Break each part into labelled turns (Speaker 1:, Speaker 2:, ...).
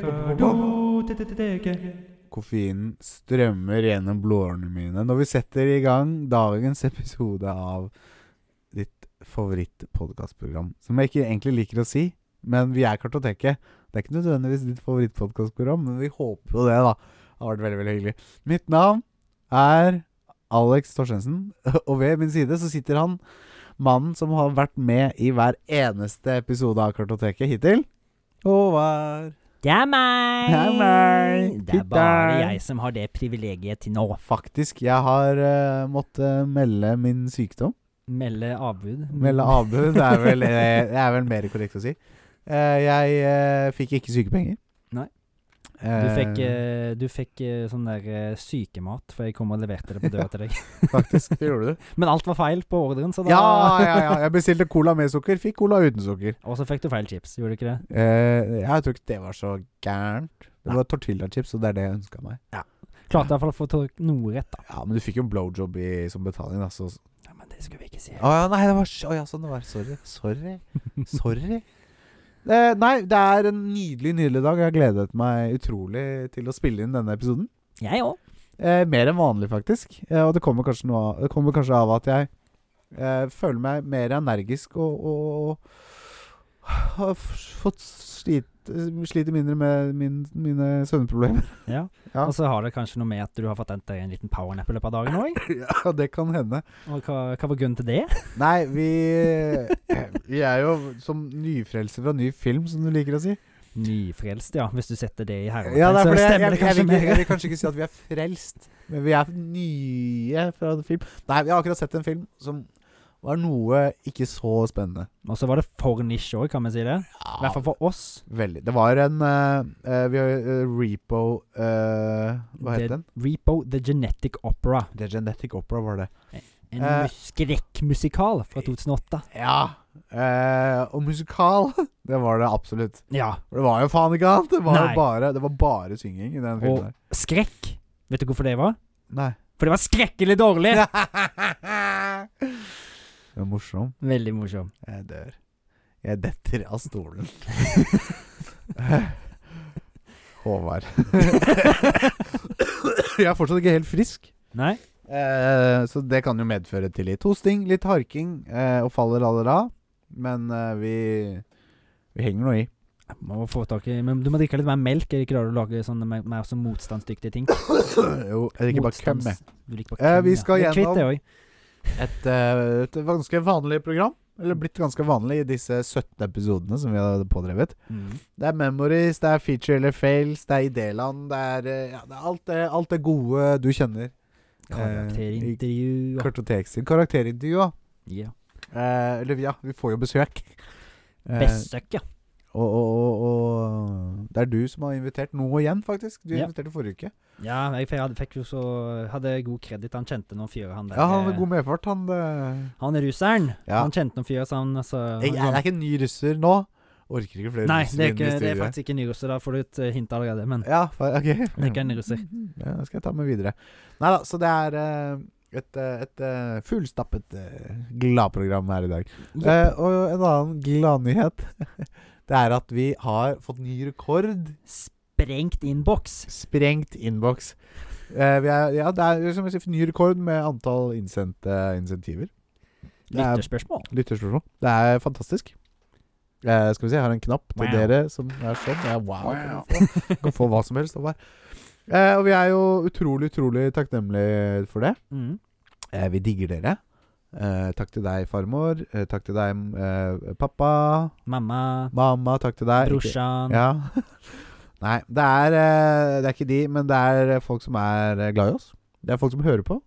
Speaker 1: du te- te- te- teke.
Speaker 2: Koffeinen strømmer gjennom blodårene mine når vi setter i gang dagens episode av ditt favorittpodkastprogram. Som jeg ikke egentlig liker å si, men vi er Kartoteket. Det er ikke nødvendigvis ditt favorittpodkastprogram, men vi håper jo det, da. Det har vært veldig, veldig hyggelig. Mitt navn er Alex Torstensen, og ved min side så sitter han mannen som har vært med i hver eneste episode av Kartoteket hittil. Håvard.
Speaker 3: Det er meg!
Speaker 2: Det er meg.
Speaker 3: Det er
Speaker 2: Titt
Speaker 3: bare
Speaker 2: der.
Speaker 3: jeg som har det privilegiet til nå.
Speaker 2: Faktisk, jeg har eh, måttet melde min sykdom.
Speaker 3: Melde avbud.
Speaker 2: Melde avbud, det er vel, eh, det er vel mer korrekt å si. Eh, jeg eh, fikk ikke sykepenger.
Speaker 3: Nei. Du
Speaker 2: Eh,
Speaker 3: fikk, eh, du fikk eh, sånn der eh, sykemat, for jeg kom og leverte det på døra til deg.
Speaker 2: Faktisk, det gjorde du.
Speaker 3: Men alt var feil på ordren, så da
Speaker 2: Ja, ja, ja. Jeg bestilte cola med sukker, fikk cola uten sukker.
Speaker 3: Og så fikk du feil chips, gjorde du ikke det?
Speaker 2: Eh, jeg tror ikke det var så gærent. Det
Speaker 3: Nei.
Speaker 2: var tortillachips, og det er det jeg ønska meg.
Speaker 3: Klarte i hvert fall å få tak- noe rett, da.
Speaker 2: Ja, Men du fikk jo en blowjob i, som betaling, da. Så Å
Speaker 3: Ja, men det skulle vi ikke si.
Speaker 2: ja, nei, det var så- å ja, sånn det var. Sorry. Sorry. Sorry. Eh, nei, det er en nydelig, nydelig dag. Jeg har gledet meg utrolig til å spille inn denne episoden.
Speaker 3: Jeg òg.
Speaker 2: Eh, mer enn vanlig, faktisk. Eh, og det kommer kanskje, noe av, det kommer kanskje av at jeg eh, føler meg mer energisk og, og, og har f- fått slit, sliter mindre med min, mine søvnproblemer.
Speaker 3: Ja.
Speaker 2: Ja.
Speaker 3: Og så har det kanskje noe med at du har fått deg en liten powernap i løpet av dagen òg.
Speaker 2: ja, det kan hende.
Speaker 3: Og hva, hva var grunnen til det?
Speaker 2: Nei, vi, Eh, vi er jo som nyfrelser fra ny film, som du liker å si.
Speaker 3: Nyfrelst, ja. Hvis du setter det i hermetegn,
Speaker 2: Ja, det er
Speaker 3: så
Speaker 2: fordi jeg,
Speaker 3: stemmer
Speaker 2: jeg, jeg,
Speaker 3: det kanskje
Speaker 2: vil, ikke- jeg
Speaker 3: mer.
Speaker 2: vil kanskje ikke si at vi er frelst, men vi er nye fra en film. Nei, vi har akkurat sett en film som var noe ikke så spennende.
Speaker 3: Og så var det for nisje òg, kan vi si det. I hvert fall for oss.
Speaker 2: Veldig. Det var en eh, eh, Vi har eh, Repo eh, Hva
Speaker 3: The
Speaker 2: het den?
Speaker 3: Repo The Genetic Opera.
Speaker 2: The Genetic Opera var det.
Speaker 3: En
Speaker 2: Eh.
Speaker 3: mus- skrekkmusikal fra 2008.
Speaker 2: Ja. eh, og musikal. Det var det absolutt.
Speaker 3: Ja.
Speaker 2: For Det var jo faen ikke annet! Det var, jo
Speaker 3: Nei.
Speaker 2: bare, det var bare synging i den
Speaker 3: Og
Speaker 2: filmen. der.
Speaker 3: skrekk. Vet du hvorfor det var?
Speaker 2: Nei.
Speaker 3: For det var skrekkelig dårlig! Eh.
Speaker 2: Det var morsom.
Speaker 3: Veldig morsom.
Speaker 2: Jeg dør. Jeg detter av stolen. Håvard. Jeg er fortsatt ikke helt frisk.
Speaker 3: Nei?
Speaker 2: Eh, så det kan jo medføre til litt hosting, litt harking eh, og faller aller av. Men eh, vi Vi henger nå i.
Speaker 3: Må få tak i Men du må drikke litt mer melk. Eller klarer du å lage sånne mer, mer sånn motstandsdyktige ting?
Speaker 2: jo, jeg drikker bare køm, jeg.
Speaker 3: Motstands- Du drikker bare
Speaker 2: Eh,
Speaker 3: køm,
Speaker 2: vi
Speaker 3: ja.
Speaker 2: skal
Speaker 3: Det er kvitt,
Speaker 2: gjennom-
Speaker 3: det også.
Speaker 2: Et, eh, et ganske vanlig program. Eller blitt ganske vanlig i disse 17 episodene som vi har pådrevet.
Speaker 3: Mm.
Speaker 2: Det er memories, det er feature eller fails, det er idéland, det er, eh, ja, det er alt, det, alt det gode du kjenner. Eh, i
Speaker 3: Karakterintervju og
Speaker 2: Kartoteksin. Karakterintervjua.
Speaker 3: ja.
Speaker 2: Eh, eller ja, vi får jo besøk. Eh,
Speaker 3: Besøk, ja.
Speaker 2: Og, og, og, og det er du som har invitert nå igjen, faktisk. Du
Speaker 3: Ja.
Speaker 2: inviterte forrige uke.
Speaker 3: Ja, jeg fikk, jeg hadde- fikk jo så Hadde god kreditt. Han kjente noen fyrer, han der. eh,
Speaker 2: Ja, han var god medfart, han. Det.
Speaker 3: Han er russeren.
Speaker 2: Ja.
Speaker 3: Han kjente noen fyrer, så han altså,
Speaker 2: Jeg, jeg er ikke en ny russer nå. Orker ikke flere
Speaker 3: Nei,
Speaker 2: russere
Speaker 3: det er,
Speaker 2: inn i
Speaker 3: ikke, det er
Speaker 2: studiet.
Speaker 3: faktisk ikke en ny russer. Da får du et eh, hint allerede. Men
Speaker 2: Ja, fa ok.
Speaker 3: det er ikke en russer.
Speaker 2: Ja, det skal jeg ta med videre. Nei da, så det er eh, et, eh, et eh, fullstappet eh, gladprogram her i dag. Eh, og en annen gladnyhet Det er at vi har fått ny rekord.
Speaker 3: Sprengt innboks.
Speaker 2: Sprengt innboks. Eh, vi er- ja, det er som jeg sier, ny rekord med antall innsendte eh, insentiver. Det er-
Speaker 3: Lytterspørsmål.
Speaker 2: Lytterspørsmål. Det er fantastisk. Eh, skal vi se, jeg har en knapp til
Speaker 3: Wow.
Speaker 2: dere som er sånn. Ja, wow. Kan du få, kan få hva som helst. over. Eh, og vi er jo utrolig, utrolig takknemlige for det.
Speaker 3: Mm.
Speaker 2: Eh, vi digger dere. Eh, takk til deg, farmor. Eh, takk til deg, m- eh, pappa.
Speaker 3: Mamma,
Speaker 2: Mamma, takk til deg. Ikke-
Speaker 3: brorsan
Speaker 2: Ja. Nei, det er, eh, det er ikke de, men det er eh, folk som er eh, glad i oss. Det er folk som hører på.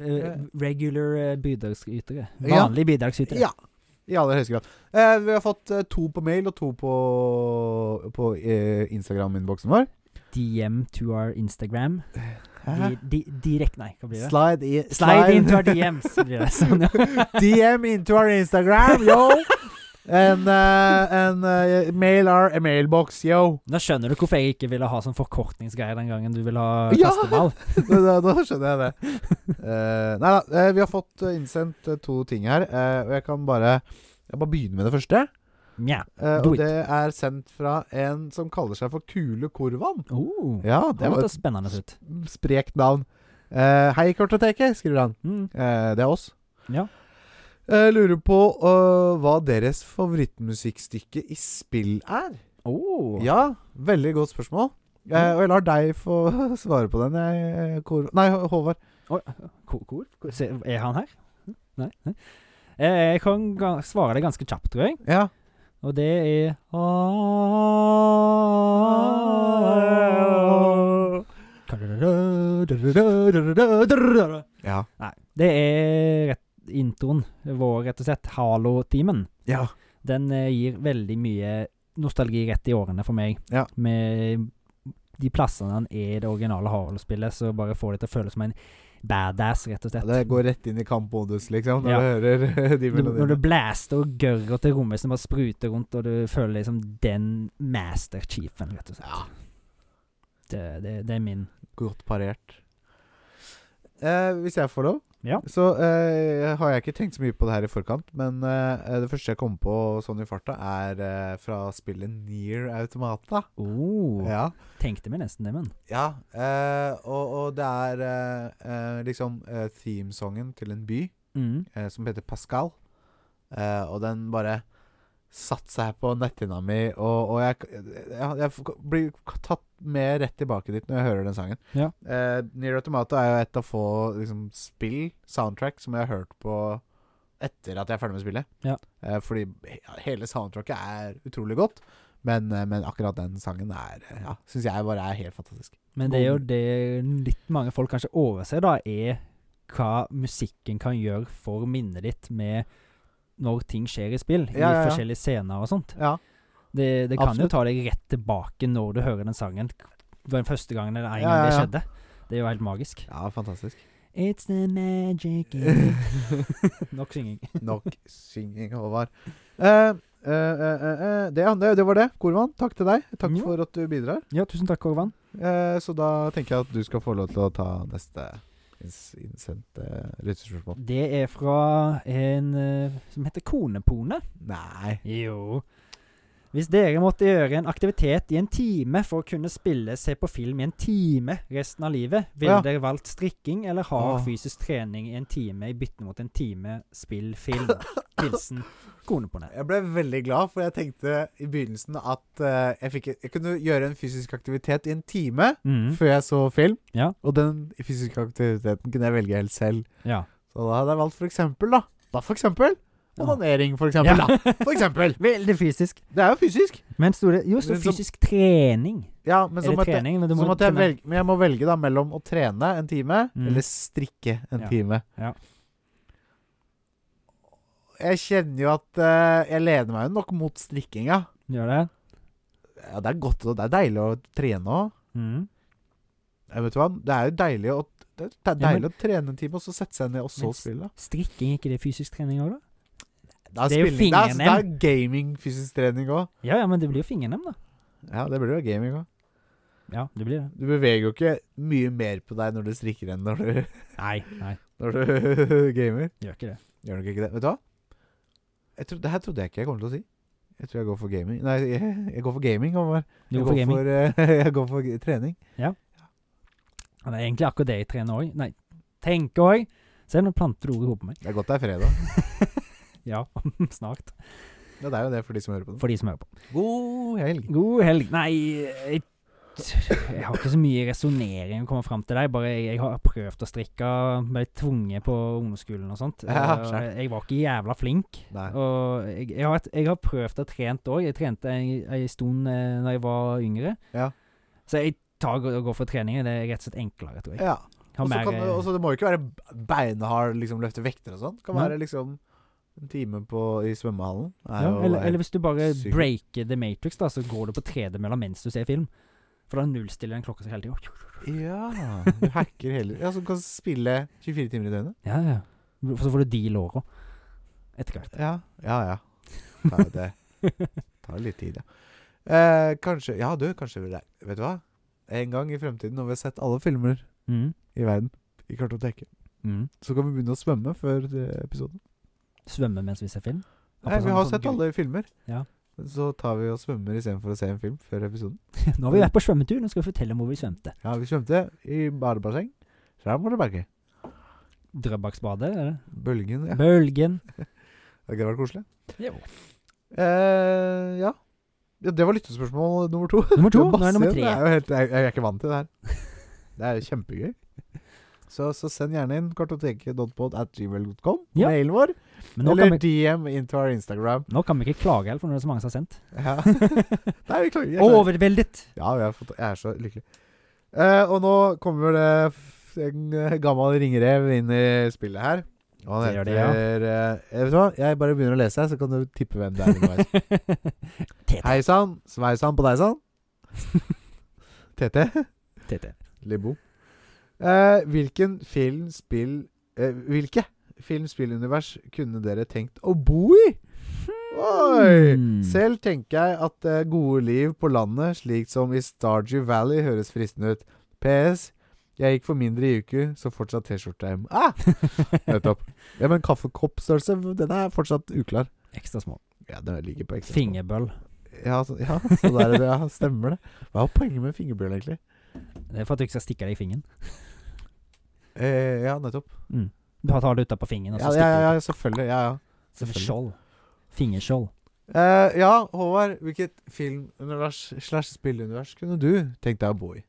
Speaker 3: eh, Regular eh, bidragsytere.
Speaker 2: Ja.
Speaker 3: Vanlige bidragsytere.
Speaker 2: Ja. I aller høyeste grad. Eh, vi har fått eh, to på mail og to på, på eh, Instagram-innboksen vår.
Speaker 3: DM to our Instagram. Di, di, direkt, nei, hva blir det?
Speaker 2: Slide, i,
Speaker 3: Slide into our DMs. Blir det. Sånn, ja.
Speaker 2: DM into our Instagram, yo! And, eh, and eh, mail our mailbox, yo.
Speaker 3: Nå skjønner du hvorfor jeg ikke ville ha sånn forkortningsgreier den gangen du ville ha
Speaker 2: Ja.
Speaker 3: kasteball.
Speaker 2: da, da, da skjønner jeg det. Eh, nei da, eh, vi har fått eh, innsendt eh, to ting her. eh, og jeg kan bare Jeg bare begynner med det første.
Speaker 3: Mjau.
Speaker 2: Eh,
Speaker 3: Do
Speaker 2: og
Speaker 3: it.
Speaker 2: det er sendt fra en som kaller seg for Kule Korvan.
Speaker 3: Oh,
Speaker 2: Ja, det
Speaker 3: det
Speaker 2: var
Speaker 3: hørtes spennende ut.
Speaker 2: et sprekt navn. Eh, Hei, Kartoteket, skriver han.
Speaker 3: Mm.
Speaker 2: Eh, det er oss.
Speaker 3: Ja.
Speaker 2: Jeg lurer på øh, hva deres favorittmusikkstykke i spill er.
Speaker 3: Oh.
Speaker 2: Ja, veldig godt spørsmål. Eh, og jeg lar deg få svare på den, jeg, eh, Kor... Nei, Håvard.
Speaker 3: Oi, Hvor? hvor? hvor- Se, er han her? Nei? nei. Eh, Jeg kan ga- svare det ganske kjapt, tror jeg.
Speaker 2: Ja.
Speaker 3: Og det er Nei,
Speaker 2: Ja.
Speaker 3: det er rett, introen vår, rett og slett. Halo-teamen.
Speaker 2: Ja.
Speaker 3: Den eh, gir veldig mye nostalgi rett i årene for meg.
Speaker 2: Ja.
Speaker 3: Med de plassene han er i det originale Halo-spillet, så bare får det til å føles som en badass, rett og slett.
Speaker 2: Det går rett inn i kampmodus, liksom, når
Speaker 3: Ja.
Speaker 2: du hører de
Speaker 3: Når- Når du
Speaker 2: melodiene.
Speaker 3: blaster og gørrer til rommet som bare spruter rundt, og du føler deg som den master chiefen, rett og slett.
Speaker 2: Ja.
Speaker 3: Det, det, det er min.
Speaker 2: Godt parert. Eh, hvis jeg får lov,
Speaker 3: Ja.
Speaker 2: så eh, har jeg ikke tenkt så mye på det her i forkant. Men eh, det første jeg kommer på sånn i farta, er eh, fra spillet Near Automata.
Speaker 3: Oh,
Speaker 2: Ja.
Speaker 3: Tenkte meg nesten det, men.
Speaker 2: Ja, eh, og, og det er eh, eh, liksom eh, themesongen til en by
Speaker 3: Mm.
Speaker 2: eh, som heter Pascal. Eh, og den bare satte seg på netthinna mi, og, og jeg, jeg, jeg f- blir k- tatt med rett tilbake dit når jeg hører den sangen.
Speaker 3: Ja.
Speaker 2: Eh, Nier Automata er jo et av få liksom, spill, soundtrack, som jeg har hørt på etter at jeg er ferdig med spillet.
Speaker 3: Ja.
Speaker 2: Eh, fordi he- hele soundtracket er utrolig godt, men, eh, men akkurat den sangen er eh, ja, syns jeg bare er helt fantastisk.
Speaker 3: Men det er jo
Speaker 2: God.
Speaker 3: det litt mange folk kanskje overser, da, er hva musikken kan gjøre for minnet ditt med når ting skjer i spill,
Speaker 2: Ja, ja, ja.
Speaker 3: i forskjellige scener og sånt.
Speaker 2: Ja.
Speaker 3: Det, det kan
Speaker 2: Absolutt.
Speaker 3: jo ta deg rett tilbake når du hører den sangen. Den første gangen eller en
Speaker 2: Ja,
Speaker 3: gang
Speaker 2: ja, ja.
Speaker 3: det skjedde. Det er jo helt magisk.
Speaker 2: ja, fantastisk.
Speaker 3: It's the magic in it. Nok synging.
Speaker 2: Nok synging, Håvard. Eh, eh, eh, eh, eh, det, ja, det, det var det. Korvan, takk til deg. Takk
Speaker 3: Ja.
Speaker 2: for at du bidrar.
Speaker 3: Ja, tusen takk, Korvan.
Speaker 2: Eh, så da tenker jeg at du skal få lov til å ta neste ins- innsendte lytterspørsmål.
Speaker 3: Det er fra en eh, som heter Konepone.
Speaker 2: Nei
Speaker 3: Jo. Hvis dere måtte gjøre en aktivitet i en time for å kunne spille, se på film i en time resten av livet, ville
Speaker 2: Ja.
Speaker 3: dere valgt strikking eller hard
Speaker 2: Åh.
Speaker 3: fysisk trening i en time i bytte mot en time spill film? Hilsen Konepone.
Speaker 2: Jeg ble veldig glad, for jeg tenkte i begynnelsen at eh, jeg, fikk, jeg kunne gjøre en fysisk aktivitet i en time
Speaker 3: Mm.
Speaker 2: før jeg så film.
Speaker 3: Ja.
Speaker 2: Og den fysiske aktiviteten kunne jeg velge helt selv.
Speaker 3: Ja.
Speaker 2: Så da hadde jeg valgt for eksempel, da. Da for eksempel.
Speaker 3: Ja.
Speaker 2: Onanering, for eksempel. Da. For eksempel.
Speaker 3: Veldig fysisk.
Speaker 2: Det er jo fysisk.
Speaker 3: Men sto det Jo, sto
Speaker 2: Men som-
Speaker 3: fysisk trening.
Speaker 2: Ja, men så
Speaker 3: Eller
Speaker 2: måtte,
Speaker 3: trening, men du
Speaker 2: så
Speaker 3: må
Speaker 2: måtte jeg
Speaker 3: kunne-
Speaker 2: velge Men jeg må velge da mellom å trene en time
Speaker 3: Mm.
Speaker 2: eller strikke en
Speaker 3: Ja.
Speaker 2: time.
Speaker 3: Ja.
Speaker 2: Jeg kjenner jo at eh, jeg lener meg jo nok mot strikkinga.
Speaker 3: Gjør det?
Speaker 2: Ja, det er godt, og det er deilig å trene òg.
Speaker 3: Mm.
Speaker 2: Vet du hva, det er jo deilig å det er det er
Speaker 3: Ja, men-
Speaker 2: deilig å trene en time, og så sette seg ned og så
Speaker 3: Men
Speaker 2: spille.
Speaker 3: Strikking, er ikke det fysisk trening òg, da?
Speaker 2: Det er,
Speaker 3: det er jo
Speaker 2: spilling, det er,
Speaker 3: fingrene.
Speaker 2: det er gaming, fysisk trening òg.
Speaker 3: Ja, ja, men det blir jo fingernem, da.
Speaker 2: Ja, det blir jo gaming òg.
Speaker 3: Ja, det blir det.
Speaker 2: Du beveger jo ikke mye mer på deg når du strikker enn når du,
Speaker 3: Nei, nei,
Speaker 2: når du gamer.
Speaker 3: gjør ikke det.
Speaker 2: Gjør nok ikke det. Vet du hva? Jeg tro, det her trodde jeg ikke jeg kom til å si. Jeg tror jeg går for gaming. Nei, jeg, jeg går for gaming. Omar.
Speaker 3: Jo,
Speaker 2: jeg,
Speaker 3: for
Speaker 2: går
Speaker 3: gaming.
Speaker 2: For, eh, jeg går for g- trening.
Speaker 3: Ja, det er egentlig akkurat det jeg trener òg. Nei, tenker òg. Se, nå planter du ord i hodet på meg.
Speaker 2: Det er godt det er fredag.
Speaker 3: Ja, snart.
Speaker 2: Ja, det er jo det for de som hører på det.
Speaker 3: For de som hører på.
Speaker 2: God helg.
Speaker 3: God helg. Nei, jeg, jeg har ikke så mye resonnering å komme fram til deg. Bare jeg, jeg har prøvd å strikke, ble tvunget på ungdomsskolen og sånt.
Speaker 2: Ja,
Speaker 3: Eh,
Speaker 2: skjønt.
Speaker 3: jeg var ikke jævla flink.
Speaker 2: Nei.
Speaker 3: Og jeg, jeg, har, jeg har prøvd og trent òg. Jeg trente ei, ei stund eh, da jeg var yngre.
Speaker 2: Ja.
Speaker 3: Så jeg tar og går for trening. Det er rett og slett enklere, tror jeg.
Speaker 2: Ja.
Speaker 3: Har
Speaker 2: Og så
Speaker 3: mer,
Speaker 2: kan du-
Speaker 3: eh,
Speaker 2: og så det må jo ikke være b- beinhard liksom løfte vekter og sånn. Det kan
Speaker 3: Nei.
Speaker 2: være liksom en time på, i svømmehallen. Det er
Speaker 3: ja,
Speaker 2: jo-
Speaker 3: eller, eller hvis du bare
Speaker 2: sykt.
Speaker 3: breaker The Matrix, da, så går du på tredemølla mens du ser film. For da nullstiller den klokka seg hele tida.
Speaker 2: Ja. Du hacker hele Ja, som kan spille 24 timer i døgnet.
Speaker 3: Ja, ja. For så får du de låra etter hvert.
Speaker 2: Ja, ja, ja. Tar jo det. Tar jo litt tid, ja. Eh, kanskje Ja, du, kanskje det er- Vet du hva? En gang i fremtiden, når vi har sett alle filmer
Speaker 3: Mm.
Speaker 2: i verden i kartoteket,
Speaker 3: Mm.
Speaker 2: så kan vi begynne å svømme før eh, episoden.
Speaker 3: Svømme mens vi ser film.
Speaker 2: Nei,
Speaker 3: Akkurat
Speaker 2: vi
Speaker 3: sånn-
Speaker 2: har
Speaker 3: sånn
Speaker 2: sett
Speaker 3: gul-
Speaker 2: alle filmer.
Speaker 3: Ja.
Speaker 2: så tar vi og svømmer istedenfor å se en film før episoden.
Speaker 3: Nå har vi vært på svømmetur, nå skal vi fortelle om hvor vi svømte.
Speaker 2: Ja, vi svømte i badebasseng. Så her må du merke.
Speaker 3: Drøbaksbadet, er det?
Speaker 2: Bølgen. Ja.
Speaker 3: Bølgen.
Speaker 2: Har ikke det vært koselig?
Speaker 3: Jo.
Speaker 2: Eh, ja. ja. Det var lyttespørsmål nummer to.
Speaker 3: Nummer to.
Speaker 2: Det
Speaker 3: Nå er det nummer
Speaker 2: masse.
Speaker 3: tre.
Speaker 2: Det er jo helt, jeg, jeg er ikke vant til det her. Det er jo kjempegøy. Så, så send gjerne inn kartoteket.pod at gmail.com.
Speaker 3: Ja.
Speaker 2: Mailen vår.
Speaker 3: Men nå
Speaker 2: eller
Speaker 3: kan, vi,
Speaker 2: DM into our Instagram.
Speaker 3: nå kan vi ikke klage, helt, for nå er det så mange som har sendt.
Speaker 2: Ja. Nei, vi klager. jeg klager.
Speaker 3: Overveldet!
Speaker 2: Ja, jeg, har fått, jeg er så lykkelig. Eh, og nå kommer det f- en eh, gammel ringrev inn i spillet her. Og han
Speaker 3: Det gjør
Speaker 2: heter
Speaker 3: det,
Speaker 2: eh, eh, Vet du hva, jeg bare begynner å lese her, så kan du tippe hvem det er. underveis.
Speaker 3: Tete.
Speaker 2: Hei sann, sveisann på deg sann. TT.
Speaker 3: Tete.
Speaker 2: Lebo. Eh, hvilken film, spill eh, Hvilke film, spillunivers kunne dere tenkt å bo i? Oi!
Speaker 3: Hmm.
Speaker 2: Selv tenker jeg at det gode liv på landet, slik som i Stardew Valley, høres fristende ut. PS. Jeg gikk for mindre i uke, så fortsatt T-skjorte hjem. Ah! Nettopp. Ja, men kaffekoppstørrelse, den er fortsatt uklar.
Speaker 3: Ekstra små.
Speaker 2: Ja, den ligger på ekstra.
Speaker 3: Fingerbøll.
Speaker 2: Ja, så, ja, så der, er det, ja, stemmer det. Hva er poenget med fingerbjørn, egentlig?
Speaker 3: Det er for at du ikke skal stikke deg i fingeren.
Speaker 2: Eh, ja, nettopp.
Speaker 3: Du tar det utapå fingeren, og
Speaker 2: Ja,
Speaker 3: så
Speaker 2: ja,
Speaker 3: stikker
Speaker 2: ja,
Speaker 3: du
Speaker 2: ja selvfølgelig. Ja, ja.
Speaker 3: Som et
Speaker 2: selvfølgelig.
Speaker 3: skjold. Fingerskjold.
Speaker 2: Eh, ja, Håvard. Hvilket filmunivers slash spillunivers kunne du tenkt deg å bo i?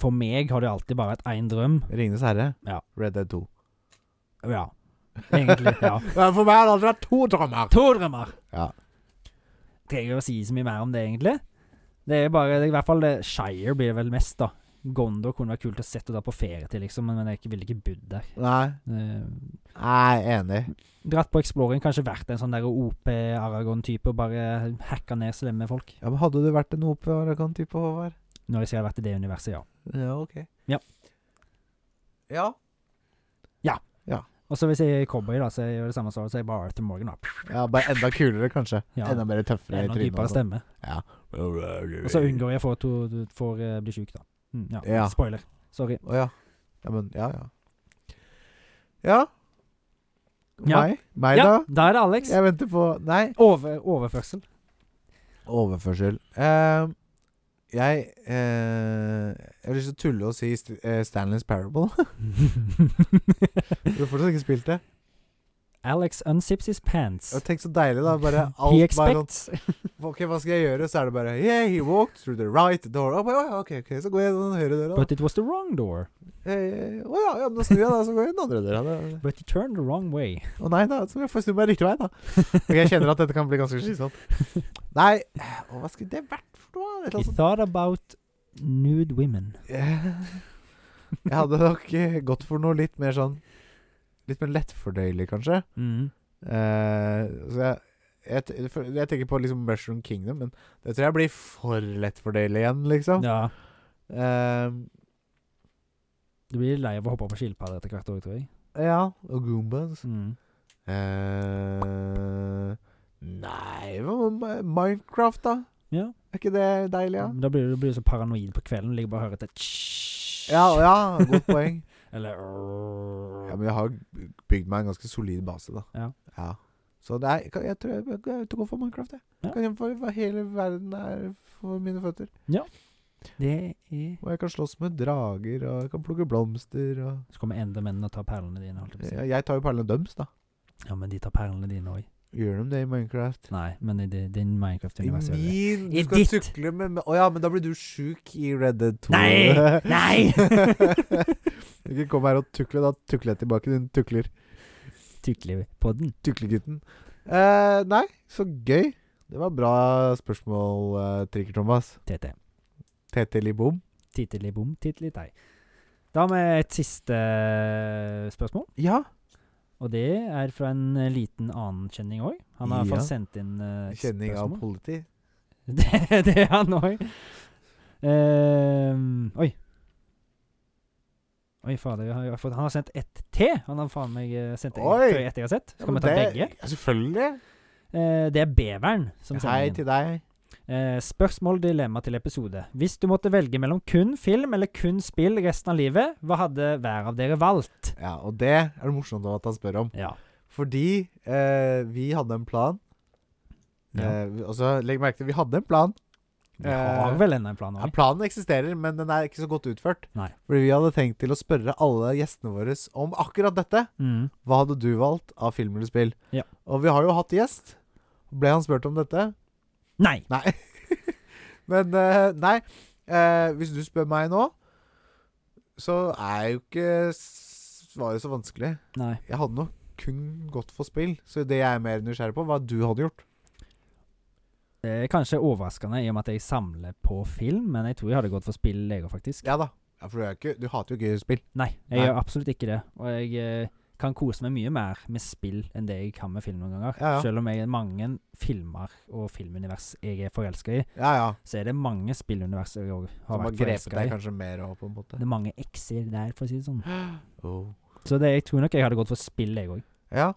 Speaker 3: For meg har det alltid bare vært én drøm.
Speaker 2: Ringenes herre?
Speaker 3: Ja.
Speaker 2: Red Dead 2?
Speaker 3: Ja. Egentlig. Ja.
Speaker 2: Ja, for meg har det alltid vært to drømmer.
Speaker 3: To drømmer!
Speaker 2: Ja.
Speaker 3: Trenger ikke å si så mye mer om det, egentlig. Det er bare det er I hvert fall det, Shire blir det vel mest, da. Gondor kunne vært kult å sette og dra på ferie til, liksom, men jeg ville ikke bodd der.
Speaker 2: Nei,
Speaker 3: Eh,
Speaker 2: jeg er enig.
Speaker 3: dratt på Exploring, kanskje vært en sånn der OP Aragon-type og bare hacka ned slemme folk.
Speaker 2: Ja, men Hadde du vært en OP-aragant-type, Håvard?
Speaker 3: Når jeg sier jeg har vært i det universet, ja.
Speaker 2: Ja, ok.
Speaker 3: Ja.
Speaker 2: Ja.
Speaker 3: Og så hvis jeg er cowboy, da, så er jeg jo det samme svaret, så er jeg bare Arthur Morgan. Da.
Speaker 2: ja bare enda kulere, kanskje.
Speaker 3: Ja.
Speaker 2: Enda mer tøffere i
Speaker 3: Enda
Speaker 2: trynet.
Speaker 3: dypere
Speaker 2: og sånn.
Speaker 3: stemme.
Speaker 2: Og
Speaker 3: Og så unngår jeg å få to- du får, eh, bli sjuk, da. Mm, ja.
Speaker 2: Ja.
Speaker 3: Spoiler. Sorry.
Speaker 2: Å ja. Ja, men Ja, ja. Ja.
Speaker 3: Ja.
Speaker 2: Meg? Meg,
Speaker 3: Ja,
Speaker 2: da?
Speaker 3: da er det Alex.
Speaker 2: Jeg venter på Nei.
Speaker 3: Over, overførsel.
Speaker 2: Overførsel. Eh, jeg eh, Jeg har lyst til å tulle og si St eh, Stanley's Parable. Du har fortsatt ikke spilt det.
Speaker 3: Alex unzips his pants.
Speaker 2: Og tenk så deilig, da. Bare
Speaker 3: He
Speaker 2: alt bare sånn
Speaker 3: expects
Speaker 2: Ok, hva skal jeg gjøre? Så er det bare Yeah, he walked through the right door. Å, ja, ja, ok, ok, så går jeg gjennom den høyre døra. da.
Speaker 3: But it was the wrong door.
Speaker 2: Eh, eh, Å ja, ja, nå snur jeg, da. Så går jeg den andre døra. da.
Speaker 3: But it turned the wrong way.
Speaker 2: Å nei, da. Så må jeg få snu meg riktig vei, da. Ok, jeg kjenner at dette kan bli ganske slitsomt. Nei, å, hva skulle det vært for noe? Et eller
Speaker 3: He
Speaker 2: annet sånt.
Speaker 3: thought about nude women.
Speaker 2: Eh, Jeg hadde nok eh, gått for noe litt mer sånn Litt mer lettfordøyelig, kanskje.
Speaker 3: Mm.
Speaker 2: Eh, så jeg, jeg, t- for- jeg tenker på liksom Mushroom Kingdom, men det tror jeg blir for lettfordøyelig igjen, liksom.
Speaker 3: Ja.
Speaker 2: Ehm,
Speaker 3: Du blir lei av å hoppe på skilpadder etter hvert år, tror jeg.
Speaker 2: ja, og Goombas.
Speaker 3: Mm.
Speaker 2: Eh, nei hva med Minecraft, da?
Speaker 3: Ja. Mm.
Speaker 2: Er ikke det deilig, ja?
Speaker 3: Da blir du blir du så paranoid på kvelden. Ligger bare og hører et tsj.
Speaker 2: Ja, og ja, godt poeng.
Speaker 3: Eller
Speaker 2: Ja, men jeg har bygd meg en ganske solid base, da.
Speaker 3: Ja.
Speaker 2: Så det er, jeg, jeg tror jeg, jeg, jeg går for Minecraft, jeg.
Speaker 3: Ja.
Speaker 2: Kan jeg for, for hele verden er for mine føtter.
Speaker 3: Det er
Speaker 2: Og jeg kan slåss med drager, og jeg kan plukke blomster, og
Speaker 3: Så kommer endermennene og tar perlene dine. Holdt jeg på å si.
Speaker 2: Ja, jeg tar jo perlene døms, da.
Speaker 3: Ja, men de tar perlene dine òg.
Speaker 2: Gjør de det i Minecraft?
Speaker 3: Nei, men i di- din Minecraft-univers gjør de det.
Speaker 2: min
Speaker 3: I
Speaker 2: Du skal
Speaker 3: ditt.
Speaker 2: sykle med med- Å ja, men da blir du sjuk i Red Dead 2.
Speaker 3: Nei! Nei!
Speaker 2: du kan komme her og tukle. Da tukler jeg tilbake, din tukler.
Speaker 3: Tyklepodden.
Speaker 2: Tuklegutten. Eh, nei, så gøy. Det var bra spørsmål, eh, Trikker Thomas.
Speaker 3: TT.
Speaker 2: TT Libom.
Speaker 3: Titteli bom, titteli tei. Da har vi et siste eh, spørsmål.
Speaker 2: Ja.
Speaker 3: Og det er fra en eh, liten annen kjenning òg. Han har i hvert
Speaker 2: Ja.
Speaker 3: fall sendt inn eh, et
Speaker 2: Kjenning av
Speaker 3: spørsmål.
Speaker 2: politi.
Speaker 3: Det, det er han òg. oi. Oi, fader. Jeg har, jeg har fått, han har sendt ett til. Han har faen meg eh, sendt det
Speaker 2: Oi.
Speaker 3: før etter jeg har sett. Skal vi ta begge?
Speaker 2: Ja, selvfølgelig.
Speaker 3: Eh, det er beveren som
Speaker 2: Hei
Speaker 3: sender
Speaker 2: til
Speaker 3: inn.
Speaker 2: deg.
Speaker 3: Eh, spørsmål, dilemma til episode. Hvis du måtte velge mellom kun film eller kun spill resten av livet, hva hadde hver av dere valgt?
Speaker 2: Ja, og det er det morsomt at han spør om.
Speaker 3: Ja.
Speaker 2: Fordi eh, vi hadde en plan
Speaker 3: Ja.
Speaker 2: Eh, vi- og så legg merke til, vi hadde en plan.
Speaker 3: Vi
Speaker 2: Eh,
Speaker 3: har vel ennå en plan
Speaker 2: Ja,
Speaker 3: òg.
Speaker 2: planen eksisterer, men den er ikke så godt utført.
Speaker 3: Nei.
Speaker 2: Fordi vi hadde tenkt til å spørre alle gjestene våre om akkurat dette.
Speaker 3: Mm.
Speaker 2: Hva hadde du valgt av film eller spill?
Speaker 3: Ja.
Speaker 2: Og vi har jo hatt gjest. Ble han spurt om dette?
Speaker 3: Nei!
Speaker 2: Nei. Men eh, nei, eh, hvis du spør meg nå, så er jo ikke svaret så vanskelig.
Speaker 3: Nei.
Speaker 2: Jeg hadde nok kun gått for spill, så det jeg er mer nysgjerrig på, hva du hadde gjort.
Speaker 3: Det er Eh, kanskje overraskende i og med at jeg samler på film, men jeg tror jeg hadde gått for spill jeg òg, faktisk.
Speaker 2: Ja da. Ja, for du, er jo ikke, du hater jo ikke spill.
Speaker 3: Nei, jeg
Speaker 2: Nei.
Speaker 3: gjør absolutt ikke det. Og jeg eh, kan kose meg mye mer med spill enn det jeg kan med film noen ganger.
Speaker 2: Ja, ja.
Speaker 3: Selv om jeg er mange filmer og filmunivers jeg er forelska i,
Speaker 2: Ja ja.
Speaker 3: så er det mange spillunivers jeg òg
Speaker 2: Som
Speaker 3: har
Speaker 2: har
Speaker 3: vært
Speaker 2: grepet
Speaker 3: forelska
Speaker 2: deg
Speaker 3: i.
Speaker 2: kanskje mer òg, på en måte.
Speaker 3: Det er mange ekser der, for å si det sånn.
Speaker 2: Oh.
Speaker 3: Så det, jeg tror nok jeg hadde gått for spill, jeg òg.
Speaker 2: Ja.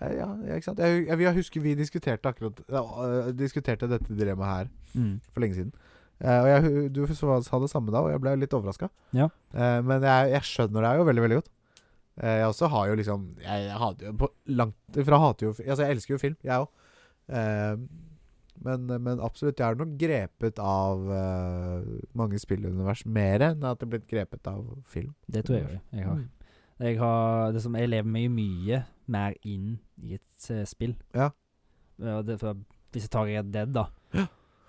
Speaker 2: Nei, ja. Ja, ikke sant. Jeg, jeg, jeg husker vi diskuterte akkurat ja, øh, Diskuterte dette dilemmaet her
Speaker 3: Mm.
Speaker 2: for lenge siden. Eh, og jeg, hu- du sa sa det samme da, og jeg ble litt overraska.
Speaker 3: Ja.
Speaker 2: men jeg, jeg skjønner deg jo veldig, veldig godt. Eh, jeg også har jo liksom Jeg, jeg hater jo på langt ifra hater jo fi- Altså, jeg elsker jo film, jeg òg. men, men absolutt, jeg er nok grepet av eh, mange spillunivers mer enn at jeg er blitt grepet av film.
Speaker 3: Det tror jeg òg. Jeg har.
Speaker 2: Mm.
Speaker 3: Jeg har det som Jeg lever meg jo mye mer inn i et eh, spill.
Speaker 2: Ja.
Speaker 3: Ja, det, for, hvis jeg tar Red Dead, da.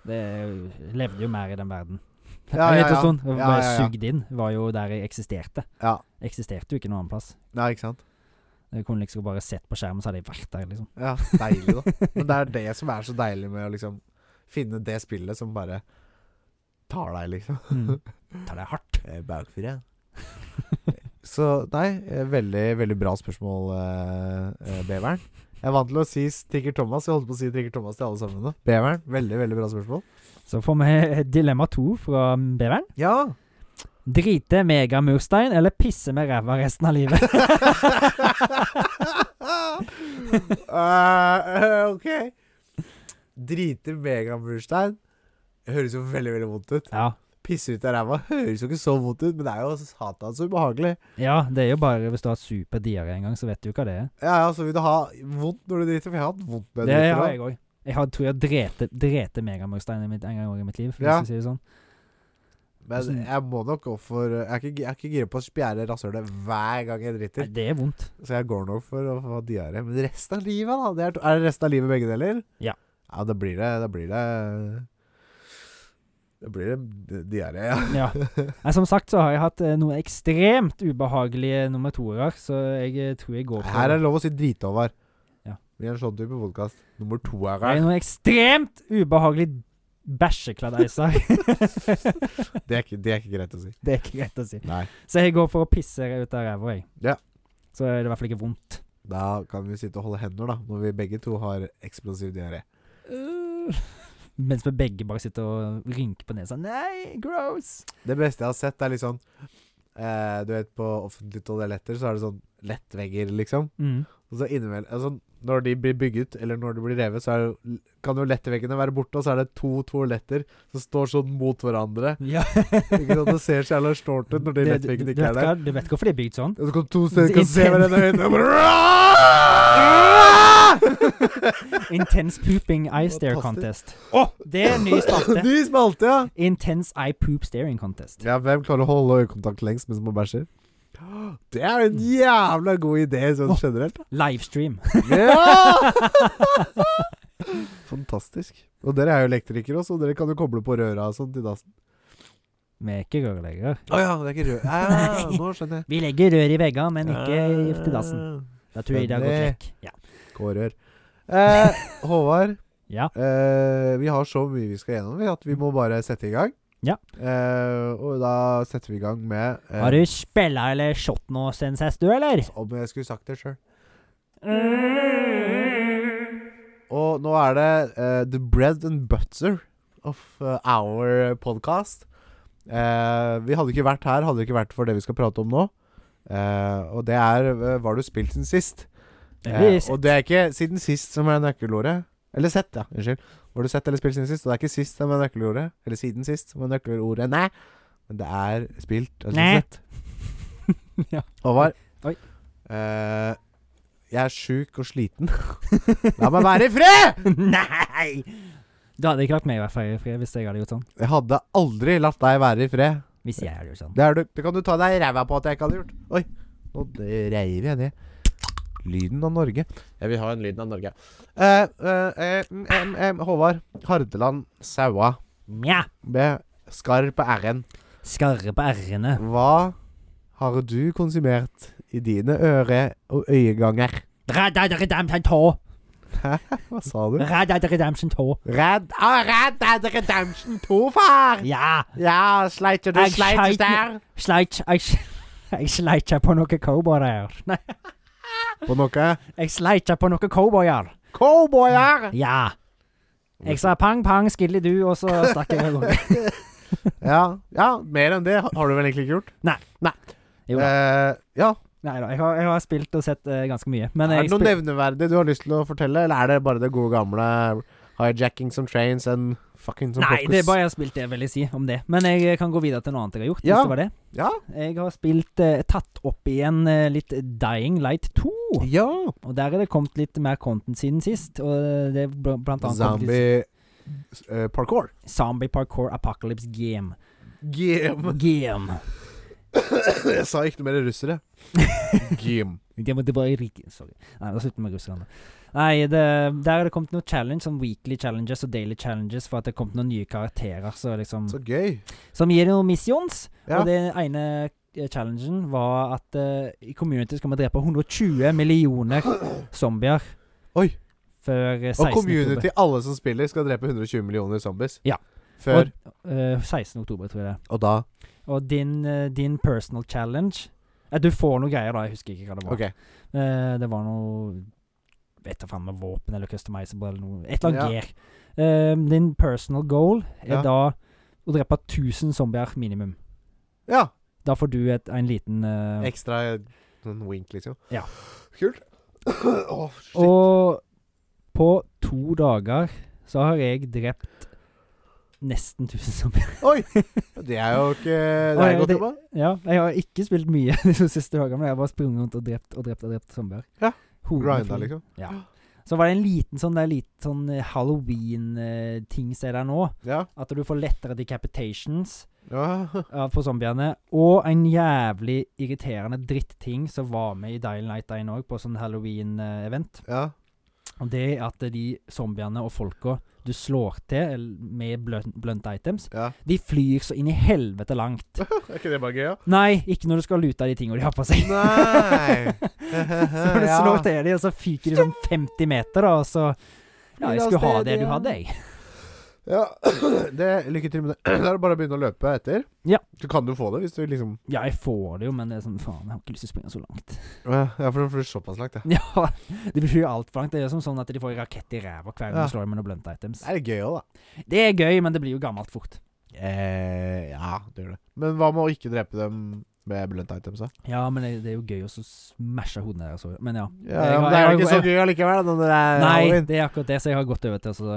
Speaker 3: Det er jo- jeg levde jo mer i den verden.
Speaker 2: Ja,
Speaker 3: En
Speaker 2: ja,
Speaker 3: liten
Speaker 2: ja.
Speaker 3: stund.
Speaker 2: Ja,
Speaker 3: Jeg Bare
Speaker 2: ja, ja.
Speaker 3: sugd inn. Var jo der jeg eksisterte.
Speaker 2: Ja.
Speaker 3: Eksisterte jo ikke noen annen plass.
Speaker 2: Nei, ikke sant?
Speaker 3: Jeg kunne liksom bare sett på skjermen, så hadde jeg vært der, liksom.
Speaker 2: Ja, deilig, da. Men det er det som er så deilig med å liksom finne det spillet som bare tar deg, liksom.
Speaker 3: Mm. Ta det hardt.
Speaker 2: Bakfyr, Så nei, eh, veldig, veldig bra spørsmål, eh, eh, Beveren. Jeg vant til å si Trigger Thomas. Jeg holdt på å si Trigger Thomas til alle sammen nå. Beveren, veldig, veldig bra spørsmål.
Speaker 3: Så får vi eh, dilemma to fra Beveren.
Speaker 2: Ja!
Speaker 3: Drite megamurstein eller pisse med ræva resten av livet?
Speaker 2: Eh, eh, ok. Drite megamurstein. Høres jo veldig, veldig vondt ut.
Speaker 3: Ja.
Speaker 2: Pisse ut av ræva høres jo ikke så vondt ut, men det er jo satan så ubehagelig.
Speaker 3: ja, det er jo bare hvis du har super diaré en gang, så vet du jo hva det er.
Speaker 2: Ja, ja, så vil du ha vondt når du driter, for jeg har hatt vondt når
Speaker 3: Det
Speaker 2: jeg driter.
Speaker 3: har
Speaker 2: da.
Speaker 3: jeg òg. Jeg har, tror jeg drete, drete megamurstein i mitt- en gang også i mitt liv. Hvis
Speaker 2: Ja.
Speaker 3: jeg sier det sånn.
Speaker 2: Men
Speaker 3: Hvordan-
Speaker 2: jeg må nok gå for Jeg er ikke, jeg er ikke gira på å spjære rasshølet hver gang jeg
Speaker 3: Nei,
Speaker 2: driter.
Speaker 3: det er vondt.
Speaker 2: Så jeg går nok for å få diaré. Men resten av livet, da? Det er, to- er det resten av livet begge deler?
Speaker 3: Ja.
Speaker 2: Ja, da blir det Da blir det Da blir det di- diaré, ja.
Speaker 3: Ja. Nei, som sagt så har jeg hatt eh, noen ekstremt ubehagelige nummer toer, så jeg eh, tror jeg går for
Speaker 2: Her er det lov å si drit, Håvard.
Speaker 3: Ja.
Speaker 2: Vi er en sånn type podkast. Nummer to er
Speaker 3: Det er
Speaker 2: her.
Speaker 3: noen ekstremt ubehagelige bæsjekladeiser.
Speaker 2: Det er, ikke, det er ikke greit å si.
Speaker 3: det er ikke greit å si.
Speaker 2: Nei.
Speaker 3: Så jeg går for å pisse ut av ræva, jeg.
Speaker 2: Ja.
Speaker 3: Så er det i hvert fall ikke vondt.
Speaker 2: Da kan vi sitte og holde hender, da, når vi begge to har eksplosiv diaré.
Speaker 3: Uh. Mens vi begge bare sitter og rynker på nesa. Nei, gross!
Speaker 2: Det beste jeg har sett, er litt sånn eh, Du vet, på offentlige toaletter så er det sånn lettvegger, liksom.
Speaker 3: Mm.
Speaker 2: Og så innimellom altså, Når de blir bygget, eller når de blir revet, så er jo, kan jo lettveggene være borte, og så er det to toaletter som står sånn mot hverandre.
Speaker 3: Ja.
Speaker 2: Ikke sant? Det ser så jævla snålt ut når
Speaker 3: Det- du-
Speaker 2: de
Speaker 3: du
Speaker 2: lettveggene ikke
Speaker 3: vet
Speaker 2: er der.
Speaker 3: hva- Du vet hvorfor de er bygd sånn?
Speaker 2: Og så kan to steder kan
Speaker 3: Intens-
Speaker 2: se hverandre i øynene og bare
Speaker 3: Intense pooping eye stare
Speaker 2: Fantastisk.
Speaker 3: contest. Det er en ny spalte.
Speaker 2: Ny spalte, ja.
Speaker 3: Intense eye poop staring contest.
Speaker 2: Ja, Hvem klarer å holde øyekontakt lengst mens man bæsjer? Det er en jævla god idé sånn generelt.
Speaker 3: Livestream.
Speaker 2: Ja! Fantastisk. Og dere er jo elektrikere også, og dere kan jo koble på røra og sånn til dassen.
Speaker 3: Vi er ikke rørleggere.
Speaker 2: Å ja, det er ikke rød.
Speaker 3: Nei.
Speaker 2: nå skjønner jeg. Ah.
Speaker 3: Vi legger rør i veggene, men ikke i- til dassen. Da tror jeg det har gått
Speaker 2: Spennende.
Speaker 3: vekk. Ja.
Speaker 2: K-rør. Eh, Håvard,
Speaker 3: ja.
Speaker 2: eh, vi har så mye vi skal gjennom, vi, at vi må bare sette i gang.
Speaker 3: Ja.
Speaker 2: Eh, og da setter vi i gang med eh,
Speaker 3: Har du spilla eller shot noe sen sist, du, eller?
Speaker 2: Om jeg skulle sagt det sjøl. Og nå er det eh, the bread and butter of eh, our podcast. Eh, vi hadde ikke vært her, hadde det ikke vært for det vi skal prate om nå. Eh, og det er eh, Hva har du spilt siden sist? Eh,
Speaker 3: Eller-
Speaker 2: og det er ikke siden sist som er nøkkelordet. Eller sett, ja. Unnskyld. Hva har du sett eller spilt siden sist? Og det er ikke sist som er nøkkelordet. Eller siden sist som er nøkkelordet. Nei. Men det er spilt. Altså
Speaker 3: Nei.
Speaker 2: sett.
Speaker 3: Ja.
Speaker 2: Håvard.
Speaker 3: Oi.
Speaker 2: Eh, Jeg er sjuk og sliten. La meg være i fred!
Speaker 3: Nei! Du hadde ikke lagt meg i hvert fall i fred hvis jeg hadde gjort sånn.
Speaker 2: Jeg hadde aldri latt deg være i fred.
Speaker 3: Hvis jeg hadde gjort sånn.
Speaker 2: Det, er du, det kan du ta deg i ræva på at jeg ikke hadde gjort. Oi, nå det reiv jeg ned. Lyden av Norge. Jeg vil ha en lyden av Norge. Eh, eh, eh, mm, mm, mm, Håvard. Hardeland Saua
Speaker 3: Mja!
Speaker 2: med skarr på r-en.
Speaker 3: Skarre på r-ene.
Speaker 2: Hva har du konsumert i dine øre- og øyeganger?
Speaker 3: Red Dead Redemption 2.
Speaker 2: Hæ? Hva sa du?
Speaker 3: Red Dead Redemption 2.
Speaker 2: Red, oh, Red Dead Redemption 2, far!
Speaker 3: Ja!
Speaker 2: Ja, sleit du
Speaker 3: Jeg
Speaker 2: sleit
Speaker 3: sleit
Speaker 2: der?
Speaker 3: Sleit Jeg, jeg sleit ikke på noen cowboyer. Nei,
Speaker 2: På noe?
Speaker 3: jeg sleit ikke på noen cowboyer.
Speaker 2: Cowboyer!
Speaker 3: Ja. Jeg sa pang, pang, skillidu, og så stakk jeg av gårde.
Speaker 2: Ja, ja, mer enn det har har du vel egentlig ikke gjort?
Speaker 3: Nei.
Speaker 2: Nei.
Speaker 3: Jo da.
Speaker 2: Eh, ja.
Speaker 3: Nei da. Jeg har, jeg har spilt og sett eh, ganske mye. Men
Speaker 2: Er
Speaker 3: jeg
Speaker 2: det noe
Speaker 3: spil-
Speaker 2: nevneverdig du har lyst til å fortelle, eller er det bare det gode gamle hijacking some trains and fucking some
Speaker 3: Nei,
Speaker 2: focus?
Speaker 3: det er bare jeg har spilt det jeg vil si om det. Men jeg eh, kan gå videre til noe annet jeg har gjort.
Speaker 2: Ja.
Speaker 3: Hvis det var det.
Speaker 2: Ja.
Speaker 3: Jeg har spilt eh, tatt opp igjen eh, litt Dying Light 2.
Speaker 2: Ja.
Speaker 3: Og der er det kommet litt mer content siden sist. Og det er bl blant annet kommet litt
Speaker 2: Zombie eh, parkour.
Speaker 3: Zombie Parkour Apocalypse Game.
Speaker 2: Game.
Speaker 3: Game.
Speaker 2: Jeg sa ikke noe mer russere. Game.
Speaker 3: Det må- det var i rik- Sorry. Nei, da slutter vi med russerne. Nei, det, der er det kommet noen challenge, sånn weekly challenges og daily challenges, for at det er kommet noen nye karakterer så liksom,
Speaker 2: Så gøy.
Speaker 3: som gir noen missions.
Speaker 2: Ja.
Speaker 3: Og det ene eh, challengen var at eh, i community skal vi drepe 120 millioner zombier
Speaker 2: Oi.
Speaker 3: før eh, 16.
Speaker 2: Og community, alle som spiller, skal drepe 120 millioner zombies.
Speaker 3: Ja.
Speaker 2: Før
Speaker 3: oktober. Eh, 16. oktober, tror jeg det er.
Speaker 2: Og da
Speaker 3: Og din, eh, din personal challenge eh, Du får noen greier, da. Jeg husker ikke hva det var.
Speaker 2: OK.
Speaker 3: Eh, det var noe Vet da faen med våpen eller customizable eller noe. Et eller annet
Speaker 2: Ja.
Speaker 3: gear. Eh, din personal goal er
Speaker 2: Ja.
Speaker 3: da å drepe 1000 zombier minimum.
Speaker 2: Ja.
Speaker 3: Da får du et, en liten eh,
Speaker 2: Ekstra sånn wink, liksom.
Speaker 3: Ja.
Speaker 2: Kult. Åh, shit.
Speaker 3: Og på to dager så har jeg drept nesten 1000 zombier.
Speaker 2: Oi! Det er jo ikke Det
Speaker 3: Oi,
Speaker 2: er godt
Speaker 3: det-
Speaker 2: jobba.
Speaker 3: Ja, jeg har ikke spilt mye de to siste dagene, men jeg har bare sprunget rundt og drept og drept og drept zombier.
Speaker 2: Ja.
Speaker 3: Hodet
Speaker 2: Grinda,
Speaker 3: full.
Speaker 2: liksom.
Speaker 3: Så var det en liten sånn, det er litt sånn eh, halloween-ting som er der nå.
Speaker 2: Ja.
Speaker 3: At du får lettere decapitations
Speaker 2: ja.
Speaker 3: ja, på zombiene. Og en jævlig irriterende dritting som var med i Dial Night 1 òg, på sånn halloween-event.
Speaker 2: ja.
Speaker 3: Og det er at de zombiene og folka du slår til eller med blunt, blunt items,
Speaker 2: Ja.
Speaker 3: de flyr så inn i helvete langt.
Speaker 2: Er ikke det bare gøy, ja?
Speaker 3: Nei, ikke når du skal lute av de tinga de har på seg.
Speaker 2: Nei.
Speaker 3: så når du
Speaker 2: Ja.
Speaker 3: slår til de, og så fyker de sånn 50 meter, da, og så Ja,
Speaker 2: Flyr
Speaker 3: jeg
Speaker 2: av
Speaker 3: skulle ha
Speaker 2: sted
Speaker 3: det du
Speaker 2: igjen.
Speaker 3: hadde, jeg.
Speaker 2: ja. Det, lykke til med det. Da er det bare å begynne å løpe etter.
Speaker 3: Ja.
Speaker 2: Så kan du få det, hvis du liksom
Speaker 3: Ja, jeg får det jo, men det er sånn faen, jeg har ikke lyst til å springe så langt.
Speaker 2: Ja, for du flyr såpass langt, ja.
Speaker 3: Ja, det betyr jo alt for langt. Det er jo som sånn at de får en rakett i ræva hver gang
Speaker 2: Ja.
Speaker 3: du slår dem med noen blunt items.
Speaker 2: Det er gøy òg, da.
Speaker 3: Det er gøy, men det blir jo gammelt fort.
Speaker 2: Eh, ja, det gjør det. Men hva med å ikke drepe dem med blunt items, da?
Speaker 3: Ja, men det, det er jo gøy å så smashe hodene deres òg. Men ja.
Speaker 2: Ja,
Speaker 3: Jeg
Speaker 2: ja,
Speaker 3: har-
Speaker 2: men
Speaker 3: jeg
Speaker 2: det er jo
Speaker 3: har-
Speaker 2: ikke så gøy allikevel, da, når det er
Speaker 3: Nei,
Speaker 2: halloween.
Speaker 3: det er akkurat det, så jeg har gått over til altså,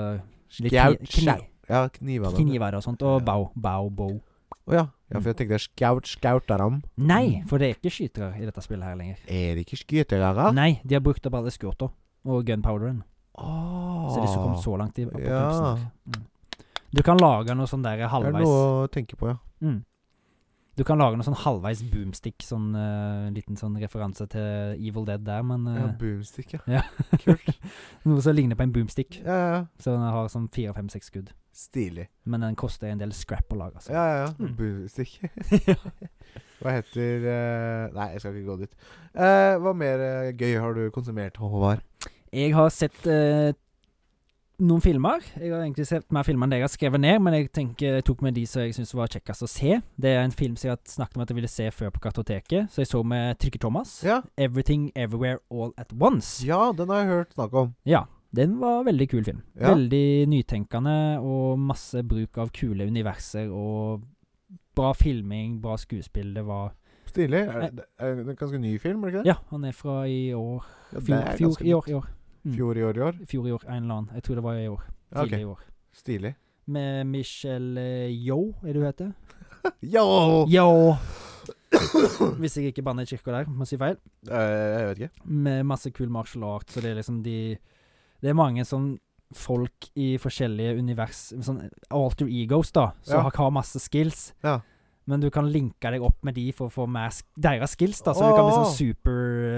Speaker 3: litt
Speaker 2: Skjaut,
Speaker 3: kni- kni-
Speaker 2: skjaut. Ja, kniver da.
Speaker 3: kniver og sånt, og
Speaker 2: Ja.
Speaker 3: bow, bow, bow.
Speaker 2: Å ja. ja, for jeg tenkte skaut, skaut er dem.
Speaker 3: Nei,
Speaker 2: Mm.
Speaker 3: for det er ikke skytere i dette spillet her lenger.
Speaker 2: Er det ikke skytere?
Speaker 3: Nei, de har brukt opp alle skjorta og gunpowderen.
Speaker 2: Oh.
Speaker 3: Så de som kom så langt i
Speaker 2: Ja.
Speaker 3: apokalypsen. Mm. Du kan lage noe sånn der
Speaker 2: Det er
Speaker 3: halvveis
Speaker 2: noe å tenke på, ja.
Speaker 3: mm. Du kan lage noe sånn halvveis boomstick, sånn eh, liten sånn referanse til Evil Dead der, men
Speaker 2: Ja,
Speaker 3: eh,
Speaker 2: boomstick, ja.
Speaker 3: noe som ligner på en boomstick.
Speaker 2: Ja, ja, ja.
Speaker 3: Så den har sånn fire, fem, seks skudd.
Speaker 2: Stilig.
Speaker 3: Men den koster en del scrap å lage, altså.
Speaker 2: Ja, ja, ja.
Speaker 3: Mm.
Speaker 2: Boomstick. Hva heter eh, Nei, jeg skal ikke gå dit. Eh, hva mer eh, gøy har du konsumert, Håvard?
Speaker 3: Jeg har sett eh, noen filmer. Jeg har egentlig sett mer filmer enn det jeg har skrevet ned, men jeg tenker jeg tok med de som jeg syntes var kjekkest å se. Det er en film som jeg har snakket om at jeg ville se før på Kartoteket, så jeg så med Trykke-Thomas.
Speaker 2: Ja.
Speaker 3: 'Everything Everywhere All At Once'.
Speaker 2: ja, den har jeg hørt snakk om.
Speaker 3: Ja. Den var veldig kul film.
Speaker 2: Ja.
Speaker 3: Veldig nytenkende og masse bruk av kule universer og bra filming, bra skuespill. Det var
Speaker 2: Stilig. Er det er det en ganske ny film, er det ikke det?
Speaker 3: Ja, han er fra i år
Speaker 2: Ja, det
Speaker 3: Fjor,
Speaker 2: er
Speaker 3: fjor
Speaker 2: ganske
Speaker 3: i
Speaker 2: nytt.
Speaker 3: år. I år. Mm.
Speaker 2: Fjor i år i år?
Speaker 3: Fjor i år, en eller annen. Jeg tror det var i år.
Speaker 2: Ja,
Speaker 3: Tidlig
Speaker 2: ok.
Speaker 3: i år.
Speaker 2: Stilig.
Speaker 3: Med Michelle eh, Yeoh, er det hun heter?
Speaker 2: Yo!
Speaker 3: Yo! Hvis jeg ikke banner i kirka der, må si feil.
Speaker 2: Eh, jeg vet ikke.
Speaker 3: Med masse kul martial art, så det er liksom de Det er mange sånn folk i forskjellige univers Sånn alter egos, da, som
Speaker 2: Ja.
Speaker 3: har, har masse skills.
Speaker 2: Ja.
Speaker 3: Men du kan linke deg opp med de for å få mer sk deres skills, da, så du kan bli sånn
Speaker 2: Åh!
Speaker 3: super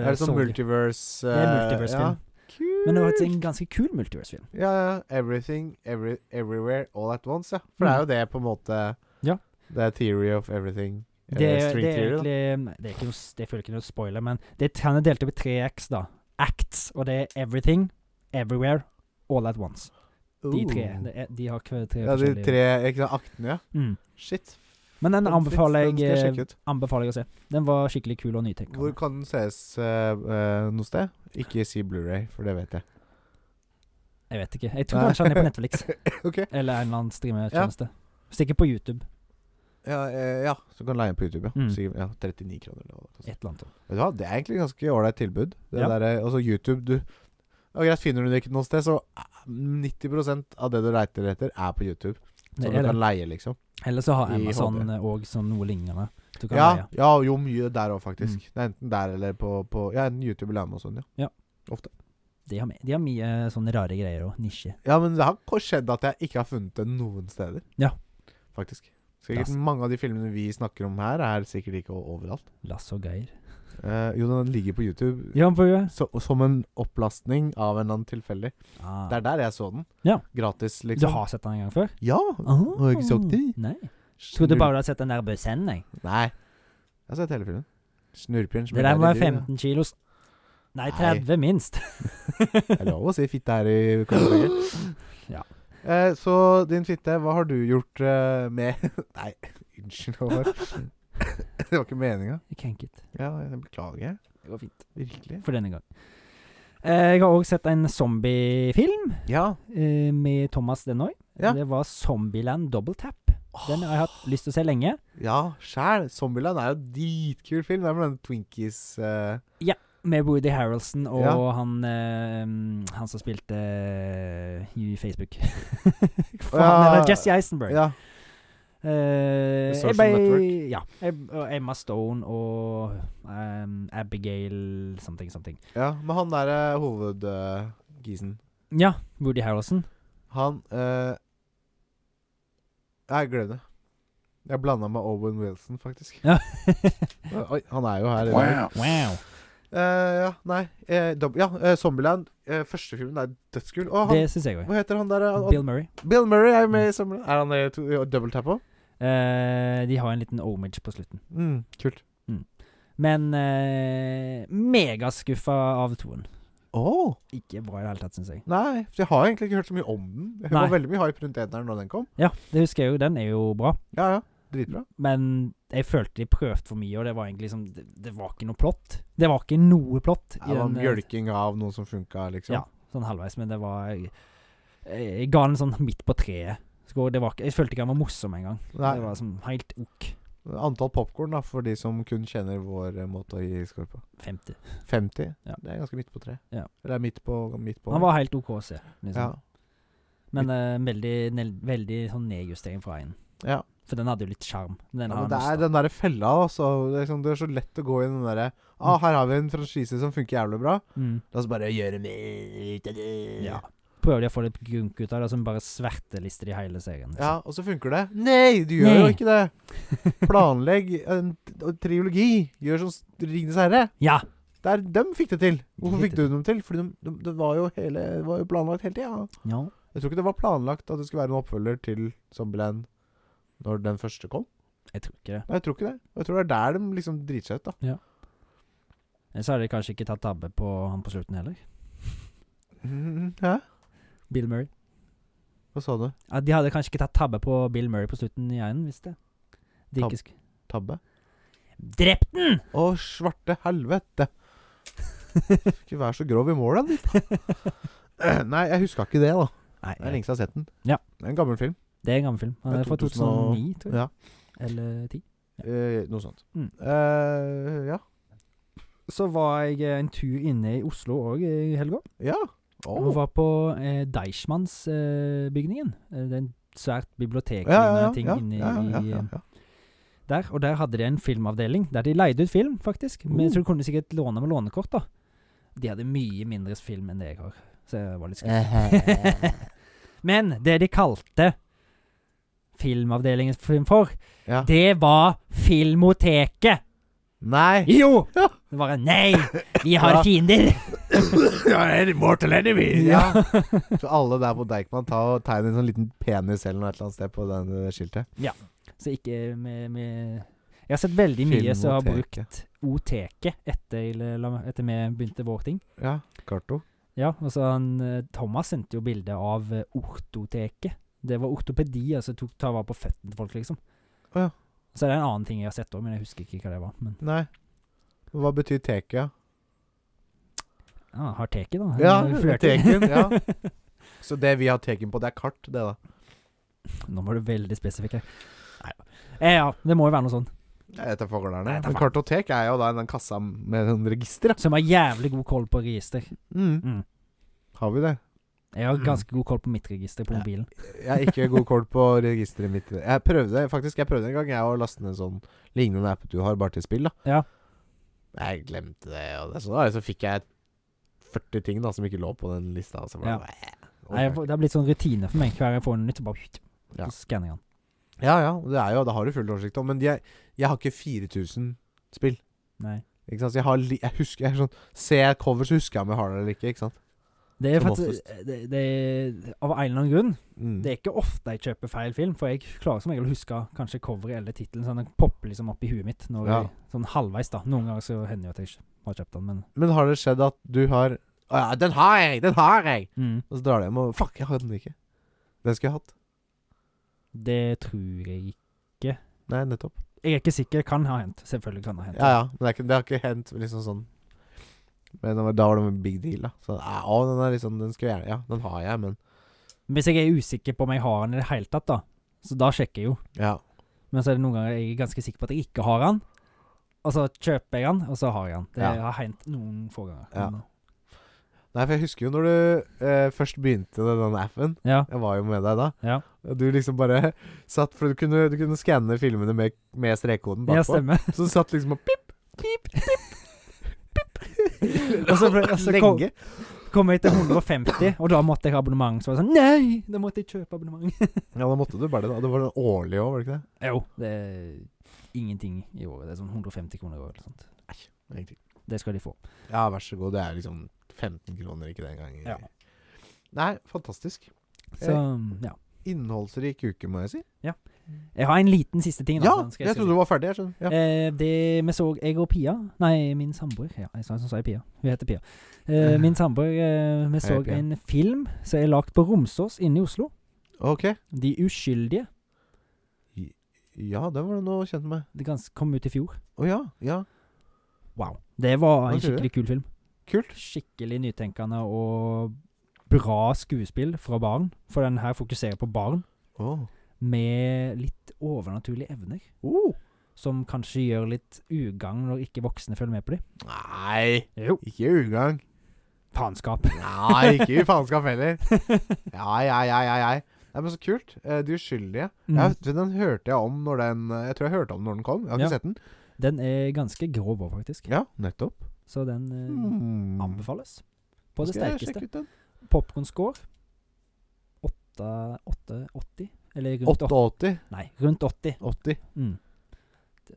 Speaker 4: Er det sånn
Speaker 3: soldier.
Speaker 4: multiverse
Speaker 3: Det er
Speaker 2: eh,
Speaker 3: multiverse-film.
Speaker 2: Kult.
Speaker 3: Men det var faktisk en ganske kul multiverse-film.
Speaker 2: Ja, ja. Everything, every, everywhere, all at once, ja. For det er jo det på en måte
Speaker 3: Mm. Ja.
Speaker 2: Det er theory of everything.
Speaker 3: Det,
Speaker 2: Eller
Speaker 3: det er
Speaker 2: da.
Speaker 3: egentlig nei, det er ikke noe, s- det føler ikke noe spoiler, men det, han er delt opp i tre X, da. Acts, og det er Everything, Everywhere, All At Once. De tre.
Speaker 2: Oh.
Speaker 3: Det er, de har hver tre
Speaker 2: Ja, de
Speaker 3: forskjellige
Speaker 2: tre ikke sant, aktene, ja.
Speaker 3: mm.
Speaker 2: Shit.
Speaker 3: Men den
Speaker 2: Den
Speaker 3: anbefaler
Speaker 2: skal jeg
Speaker 3: jeg, eh,
Speaker 2: sjekke ut.
Speaker 3: anbefaler jeg å se. Den var skikkelig kul og nytenkende.
Speaker 2: Hvor kan den ses eh, eh, noe sted? Ikke si Blu-ray, for det vet jeg.
Speaker 3: Jeg vet ikke. Jeg tror
Speaker 2: Nei.
Speaker 3: kanskje han er på Netflix
Speaker 2: Ok.
Speaker 3: eller en eller annen streamertjeneste. Sikkert på YouTube.
Speaker 2: Ja, eh, ja, så kan du leie den på YouTube, ja.
Speaker 3: Mm.
Speaker 2: Sikkert, ja 39 kroner. Eller hva det
Speaker 3: Et
Speaker 2: koster.
Speaker 3: eller annet.
Speaker 2: Vet du hva, det er egentlig ganske ålreit tilbud. Det
Speaker 3: Ja.
Speaker 2: derre- altså YouTube, du ja, greit, Finner du det ikke noe sted, så eh, 90 av det du leiter etter, er på YouTube. Så
Speaker 3: Det
Speaker 2: du
Speaker 3: er
Speaker 2: kan
Speaker 3: det.
Speaker 2: leie, liksom.
Speaker 3: Eller så har
Speaker 2: i
Speaker 3: Amazon
Speaker 2: HD.
Speaker 3: òg sånn noe lignende. Du kan
Speaker 2: Ja,
Speaker 3: leie. Mm.
Speaker 2: ja, jo mye der òg, faktisk. Det er enten der eller på, på Ja, enten YouTube eller Amazon, sånn, ja.
Speaker 3: De har, de har mye sånne rare greier og nisje.
Speaker 2: Ja, men det har ko- skjedd at jeg ikke har funnet det noen steder.
Speaker 3: Ja.
Speaker 2: Faktisk. Sikkert
Speaker 3: Das.
Speaker 2: mange av de filmene vi snakker om her, er sikkert ikke o- overalt.
Speaker 3: Lasse og Geir.
Speaker 2: Eh, jo, den ligger på YouTube
Speaker 3: Jan Bue.
Speaker 2: så, som en opplastning av en eller annen tilfeldig.
Speaker 3: Ah.
Speaker 2: Det er der jeg så den.
Speaker 3: Ja.
Speaker 2: Gratis,
Speaker 3: Du
Speaker 2: liksom.
Speaker 3: har sett den en gang før? Ah.
Speaker 2: Ja! Har jeg ikke sagt det?
Speaker 3: Nei. Trodde bare du hadde sett den der bøssen, jeg.
Speaker 2: Nei. Jeg har sett hele filmen. Snurrpjern
Speaker 3: Det der var 15 kilos. Nei,
Speaker 2: Nei.
Speaker 3: 30 minst.
Speaker 2: Det er lov å si fitte her i Kongeberget.
Speaker 3: Ja.
Speaker 2: Eh, så din fitte, hva har du gjort eh, med Nei, unnskyld, Håvard. det var ikke meninga.
Speaker 3: Krenket.
Speaker 2: Ja, jeg beklager.
Speaker 3: Det går fint.
Speaker 2: Virkelig.
Speaker 3: For denne gang. Eh, Jeg har òg sett en zombiefilm
Speaker 2: Ja.
Speaker 3: eh, med Thomas Denoy.
Speaker 2: Ja.
Speaker 3: Det var Zombieland Double Tap. Den har jeg hatt lyst til å se lenge.
Speaker 2: Ja, sjæl. Zombieland er jo en dritkul film. Det er med den Twinkies eh,
Speaker 3: Med Woody Harrelson og
Speaker 2: Ja.
Speaker 3: han eh, Han som spilte eh, i Facebook. Faen, det
Speaker 2: Ja.
Speaker 3: var Jesse Eisenberg.
Speaker 2: Ja.
Speaker 3: Eh,
Speaker 2: The Social
Speaker 3: jeg ble-
Speaker 2: Network.
Speaker 3: Ja. Em- og Emma Stone og em, Abigail something, something.
Speaker 2: ja. Men han eh, derre hovedgisen
Speaker 3: Ja, Woody Harrelson.
Speaker 2: Han eh, Jeg glem det. Jeg blanda med Owen Wilson, faktisk.
Speaker 3: Ja.
Speaker 2: Oi, han er jo her. i dag.
Speaker 3: Wow.
Speaker 2: Eh, ja, nei eh, dob- Ja, eh, Zombieland. Eh, første filmen er dødskul. Og han,
Speaker 3: Det syns jeg òg.
Speaker 2: hva heter han der? Han,
Speaker 3: Bill
Speaker 2: Bill,
Speaker 3: Murray.
Speaker 2: Murray er jo med i Zombieland. Er han i to- i double tap òg?
Speaker 3: Eh, de har en liten homage på slutten.
Speaker 2: Mm, kult.
Speaker 3: Men uh, megaskuffa av toen.
Speaker 2: Å!
Speaker 3: Ikke bra i det hele tatt, syns jeg.
Speaker 2: nei, for jeg har egentlig ikke hørt så mye om den. Det
Speaker 3: Nei.
Speaker 2: var veldig mye hype rundt eneren da den kom.
Speaker 3: Ja, det husker jeg jo. Den er jo bra.
Speaker 2: Ja, ja. Dritbra.
Speaker 3: Men jeg følte de prøvde for mye, og det var egentlig liksom Det, det var ikke noe plott. Det var ikke noe plott. i
Speaker 2: Det var
Speaker 3: den, eh,
Speaker 2: mjølking av noe som funka, liksom.
Speaker 3: Ja, sånn halvveis, men det var Jeg, jeg ga den sånn midt på treet. Skår, det var, ikke- jeg følte ikke han var morsom engang. Det
Speaker 2: Nei,
Speaker 3: var sånn helt ok.
Speaker 2: antall popkorn, da, for de som kun kjenner vår eh, måte å gi score på.
Speaker 3: 50.
Speaker 2: 50.
Speaker 3: Ja.
Speaker 2: Det er ganske midt på tre.
Speaker 3: Ja.
Speaker 2: Eller midt på midt på.
Speaker 3: Han var helt ok å se, liksom.
Speaker 2: ja.
Speaker 3: men eh, veldig, nel- veldig sånn nedjustering fra én.
Speaker 2: ja.
Speaker 3: For den hadde jo litt sjarm. Den
Speaker 2: Ja,
Speaker 3: har
Speaker 2: men det er
Speaker 3: jeg mistet.
Speaker 2: den derre fella, altså. Det er, liksom, det er så lett å gå i den derre ah, 'Her har vi en franchise som funker jævlig bra.'
Speaker 3: Mm.
Speaker 2: La oss bare gjøre mer ut av det.
Speaker 3: Ja. Prøver de å få litt gunk ut av det, som bare svertelister i hele serien.
Speaker 2: Ja,
Speaker 3: Liksom.
Speaker 2: og så funker det. Nei, du gjør jo
Speaker 3: Nei.
Speaker 2: ikke det! Planlegg en t- og triologi. Gjør som s- Ringenes herre.
Speaker 3: Ja.
Speaker 2: Der, dem fikk det til. Hvorfor
Speaker 3: fikk
Speaker 2: fikk du
Speaker 3: det
Speaker 2: dem til? Fordi de, de, det var jo, hele, det var jo planlagt hele tida.
Speaker 3: ja.
Speaker 2: Jeg tror ikke det var planlagt at det skulle være en oppfølger til Zombieland når den første kom.
Speaker 3: Jeg tror ikke det.
Speaker 2: Nei, jeg tror ikke det. Jeg tror det er der de liksom driter seg ut, da.
Speaker 3: Ellers hadde de kanskje ikke tatt tabbe på han på slutten heller.
Speaker 2: Hæ?
Speaker 3: Bill Murray.
Speaker 2: Hva sa du?
Speaker 3: Ja, de hadde kanskje ikke tatt tabbe på Bill Murray på slutten i én, hvis det. De
Speaker 2: Tab-
Speaker 3: ikke sk
Speaker 2: Tabbe?
Speaker 3: Drept den!
Speaker 2: Å, svarte helvete. Ikke vær så grov i målet, ditt. Nei, jeg huska ikke det, da.
Speaker 3: Nei,
Speaker 2: Det er lenge siden jeg har sett den.
Speaker 3: Ja.
Speaker 2: Det er en gammel film.
Speaker 3: det er en gammel film. Han
Speaker 2: Det er
Speaker 3: er fra
Speaker 2: 2009,
Speaker 3: 2009, tror jeg.
Speaker 2: Ja.
Speaker 3: Eller 10.
Speaker 2: Eh, noe sånt.
Speaker 3: Mm.
Speaker 2: Eh, ja.
Speaker 3: Så var jeg eh, en tur inne i Oslo òg i helga.
Speaker 2: Ja.
Speaker 3: Og
Speaker 2: Å.
Speaker 3: var på eh, Deichmansbygningen. Eh, det er en svært biblioteklignende
Speaker 2: Ja, ja, ja,
Speaker 3: ting
Speaker 2: ja,
Speaker 3: inne
Speaker 2: ja, ja,
Speaker 3: i
Speaker 2: ja, ja.
Speaker 3: der, og der hadde de en filmavdeling der de leide ut film, faktisk.
Speaker 2: Oh.
Speaker 3: Men jeg tror du kunne sikkert låne med lånekort, da. De hadde mye mindre film enn det jeg har, så jeg var litt skuffet. Men det de kalte filmavdelingens film for,
Speaker 2: Ja.
Speaker 3: det var Filmoteket!
Speaker 2: Nei!
Speaker 3: Jo! Det var Nei! Vi har
Speaker 2: Ja.
Speaker 3: fiender!
Speaker 2: Ja, er mortal enemy!
Speaker 3: Ja.
Speaker 2: Ja. Så alle der på Deichman ta og tegne en sånn liten penis eller noe et eller annet sted på den eh, skiltet.
Speaker 3: Så ikke med, med Jeg har sett veldig mye som har brukt
Speaker 2: Filmoteket.
Speaker 3: O-teket etter, la- etter vi begynte vår ting.
Speaker 2: Ja, Carto.
Speaker 3: Ja, og så han eh, Thomas sendte jo bilde av eh, ortoteket. Det var ortopedi, altså tok, ta vare på føttene til folk, liksom.
Speaker 2: Å ja.
Speaker 3: Så er det en annen ting jeg har sett òg, men jeg husker ikke hva det var. Men
Speaker 2: Nei. Hva betyr teke?
Speaker 3: ja, har teket, da.
Speaker 2: Ja,
Speaker 3: Eh, flørting.
Speaker 2: teken. Ja. Så det vi har teken på, det er kart, det, da.
Speaker 3: Nå var du veldig spesifikk her. Nei da. Eh, ja, det må jo være noe sånt.
Speaker 2: Jeg vet da faen hva det
Speaker 3: Nei,
Speaker 2: er.
Speaker 3: da
Speaker 2: Men
Speaker 3: faen.
Speaker 2: kartotek er jo da den kassa med sånn register, da.
Speaker 3: Som har jævlig god koll på register.
Speaker 2: Mm.
Speaker 3: Mm.
Speaker 2: Har vi det?
Speaker 3: Jeg har
Speaker 2: Mm.
Speaker 3: ganske god koll på mitt register på
Speaker 2: Ja.
Speaker 3: mobilen.
Speaker 2: Jeg har ikke god kål på registeret mitt. Jeg prøvde faktisk Jeg prøvde en gang Jeg å laste ned en sånn lignende app du har, bare til spill. da
Speaker 3: Ja.
Speaker 2: Jeg glemte det, og det, så, da, så fikk jeg 40 ting da som ikke lå på den lista. Så bare, eh,
Speaker 3: Ja.
Speaker 2: Åh,
Speaker 3: Nei, jeg, får- det har blitt sånn rutine for meg. Hver gang jeg får noe nytt, så bare
Speaker 2: Ja.
Speaker 3: så skanner jeg den.
Speaker 2: ja, ja, det er jo Det har du full oversikt om. Men jeg, jeg har ikke 4000 spill.
Speaker 3: Nei.
Speaker 2: Ikke sant? Så jeg, har li, jeg husker jeg er sånn, Ser jeg cover, så husker jeg om jeg har det eller ikke. Ikke sant?
Speaker 3: Det er
Speaker 2: Som
Speaker 3: faktisk eh, det, det, Av en eller annen grunn
Speaker 2: Mm.
Speaker 3: Det er ikke ofte jeg kjøper feil film, for jeg klarer som regel å huske kanskje coveret eller tittelen. Så den popper liksom opp i huet mitt når
Speaker 2: Ja.
Speaker 3: jeg, sånn halvveis. da Noen ganger så hender det jo at jeg ikke har kjøpt den, men
Speaker 2: Men har det skjedd at du har Å ja, den har jeg! Den har jeg!
Speaker 3: mm,
Speaker 2: Og så drar du hjem og Fuck, jeg har den ikke. Den skulle jeg hatt.
Speaker 3: det tror jeg ikke.
Speaker 2: Nei, nettopp.
Speaker 3: Jeg er ikke sikker. Kan ha hendt. Selvfølgelig kan det ha hendt.
Speaker 2: Ja, ja. Men det, er ikke, det har ikke hendt liksom sånn Men det var, da var det en big deal, da. Så ja, å, den er liksom Den skulle jeg gjerne Ja, den har jeg, men
Speaker 3: Men Hvis jeg er usikker på om jeg har den i det hele tatt, da så da sjekker jeg jo.
Speaker 2: Ja.
Speaker 3: Men så er det noen ganger jeg er ganske sikker på at jeg ikke har den. Og så kjøper jeg den, og så har jeg den. Det
Speaker 2: Ja.
Speaker 3: har hendt noen få ganger.
Speaker 2: Ja.
Speaker 3: Men- eh,
Speaker 2: Nei, for jeg husker jo når du eh, først begynte med den appen.
Speaker 3: ja.
Speaker 2: Jeg var jo med deg da.
Speaker 3: Ja.
Speaker 2: Og du liksom bare satt For du kunne, du kunne skanne filmene med, med strekkoden
Speaker 3: ja,
Speaker 2: bakpå.
Speaker 3: stemmer.
Speaker 2: så du satt liksom og pip, pip, pip. pip.
Speaker 3: Og så ble- og så kom-
Speaker 2: Lenge.
Speaker 3: Kom jeg til 150, og da måtte jeg ha abonnement. Så var det sånn Nei! Da måtte jeg kjøpe abonnement.
Speaker 2: Ja, da måtte du bare det. da Det var den årlige òg, var det ikke det?
Speaker 3: Jo, det er ingenting i året. Det er sånn 150 kroner i året eller sånt.
Speaker 2: Egentlig.
Speaker 3: Det skal de få.
Speaker 2: Ja, vær så god. Det er liksom 15 kroner, ikke den gangen.
Speaker 3: Ja.
Speaker 2: Nei, fantastisk.
Speaker 3: Så ja.
Speaker 2: Innholdsrik uke, må jeg si.
Speaker 3: Jeg har en liten siste ting. da,
Speaker 2: Ja,
Speaker 3: den skal
Speaker 2: jeg
Speaker 3: si
Speaker 2: trodde du var ferdig. Jeg skjønner. Ja.
Speaker 3: Eh, det vi så Jeg og Pia Nei, min samboer. Ja, jeg sa, så sa jeg Pia. Hun heter Pia. Eh, min samboer eh, Vi så
Speaker 2: Pia.
Speaker 3: en film som er lagd på Romsås inne i Oslo.
Speaker 2: Ok.
Speaker 3: De uskyldige.
Speaker 2: Ja, den var du nå kjent med.
Speaker 3: Det gans kom ut i fjor.
Speaker 2: Å ja. ja.
Speaker 3: Wow. Det var en
Speaker 2: Hva tror du?
Speaker 3: skikkelig kul film.
Speaker 2: Kult.
Speaker 3: Skikkelig nytenkende og bra skuespill fra barn. For den her fokuserer på barn
Speaker 2: Åh.
Speaker 3: med litt overnaturlige evner.
Speaker 2: Oh.
Speaker 3: som kanskje gjør litt ugagn når ikke voksne følger med på dem.
Speaker 2: Nei,
Speaker 3: Jo.
Speaker 2: ikke ugang.
Speaker 3: Faenskap.
Speaker 2: Nei, ikke i faenskap heller. Ja, ja, ja, ja, ja. Nei, men så kult. Eh, De uskyldige.
Speaker 3: Mm.
Speaker 2: Jeg, vet du, den hørte jeg om når den eh, Jeg tror jeg hørte om når den kom. Jeg har ikke
Speaker 3: Ja.
Speaker 2: sett den.
Speaker 3: Den er ganske grov òg, faktisk.
Speaker 2: Ja, nettopp.
Speaker 3: Så den eh,
Speaker 2: Mm.
Speaker 3: anbefales på det
Speaker 2: Skal jeg sjekke
Speaker 3: sterkeste.
Speaker 2: ut den?
Speaker 3: Popkorn-score 880? Eller rundt 80.
Speaker 2: 88.
Speaker 3: Nei, rundt 80
Speaker 2: 80.
Speaker 3: mm.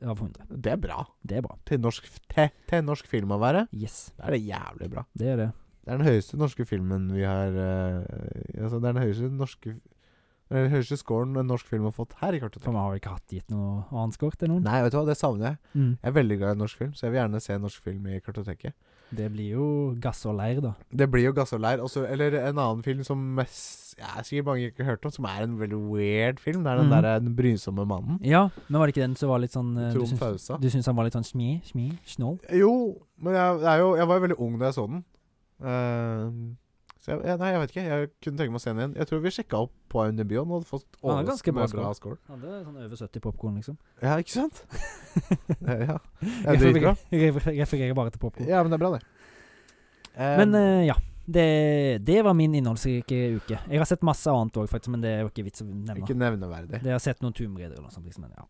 Speaker 3: av 100.
Speaker 2: Det er bra.
Speaker 3: Det er bra.
Speaker 2: til norsk, til, til norsk film å være,
Speaker 3: Yes,
Speaker 2: da er det jævlig bra.
Speaker 3: det er det.
Speaker 2: Det er den høyeste norske filmen vi har eh, Altså, det er den høyeste norske det er Den høyeste scoren en norsk film har fått her i
Speaker 3: For
Speaker 2: kartoteket.
Speaker 3: vi har ikke hatt gitt noe annet score til noen.
Speaker 2: Nei, vet du hva, det savner jeg.
Speaker 3: Mm.
Speaker 2: Jeg er veldig glad i norsk film, så jeg vil gjerne se en norsk film i kartoteket.
Speaker 3: Det blir jo gass og leir, da.
Speaker 2: Det blir jo 'Gass og leir', også, eller en annen film som mest, ja, sikkert mange ikke har hørt om, som er en veldig weird film. Det er den
Speaker 3: Mhm.
Speaker 2: derre Den brysomme mannen.
Speaker 3: Ja, men var det ikke den som var litt sånn eh, Du
Speaker 2: Trond
Speaker 3: syns-
Speaker 2: Fausa.
Speaker 3: du syns han var litt sånn smi, smi, snål?
Speaker 2: Jo, men jeg, det er jo, jeg var jo veldig ung da jeg så den. Eh, så jeg, jeg, nei, jeg vet ikke. Jeg kunne tenke meg å se den igjen. Jeg tror vi sjekka opp på IMDb, og den hadde fått
Speaker 3: Ja, det er ganske
Speaker 2: overraskende
Speaker 3: bra
Speaker 2: bra score.
Speaker 3: Hadde sånn over 70 popkorn, liksom.
Speaker 2: Ja, ikke sant? Eh, ja. Det er dritbra.
Speaker 3: Refererer, refer- refererer bare til popkorn.
Speaker 2: Ja, men det er bra, det. Eh,
Speaker 3: Men eh, ja. Det, det var min innholdsrike uke. Jeg har sett masse annet òg, faktisk, men det er jo ikke vits å nevne.
Speaker 2: Ikke nevneverdig.
Speaker 3: Det jeg har sett noen Tomb Raider eller noe sånt. Liksom, men ja.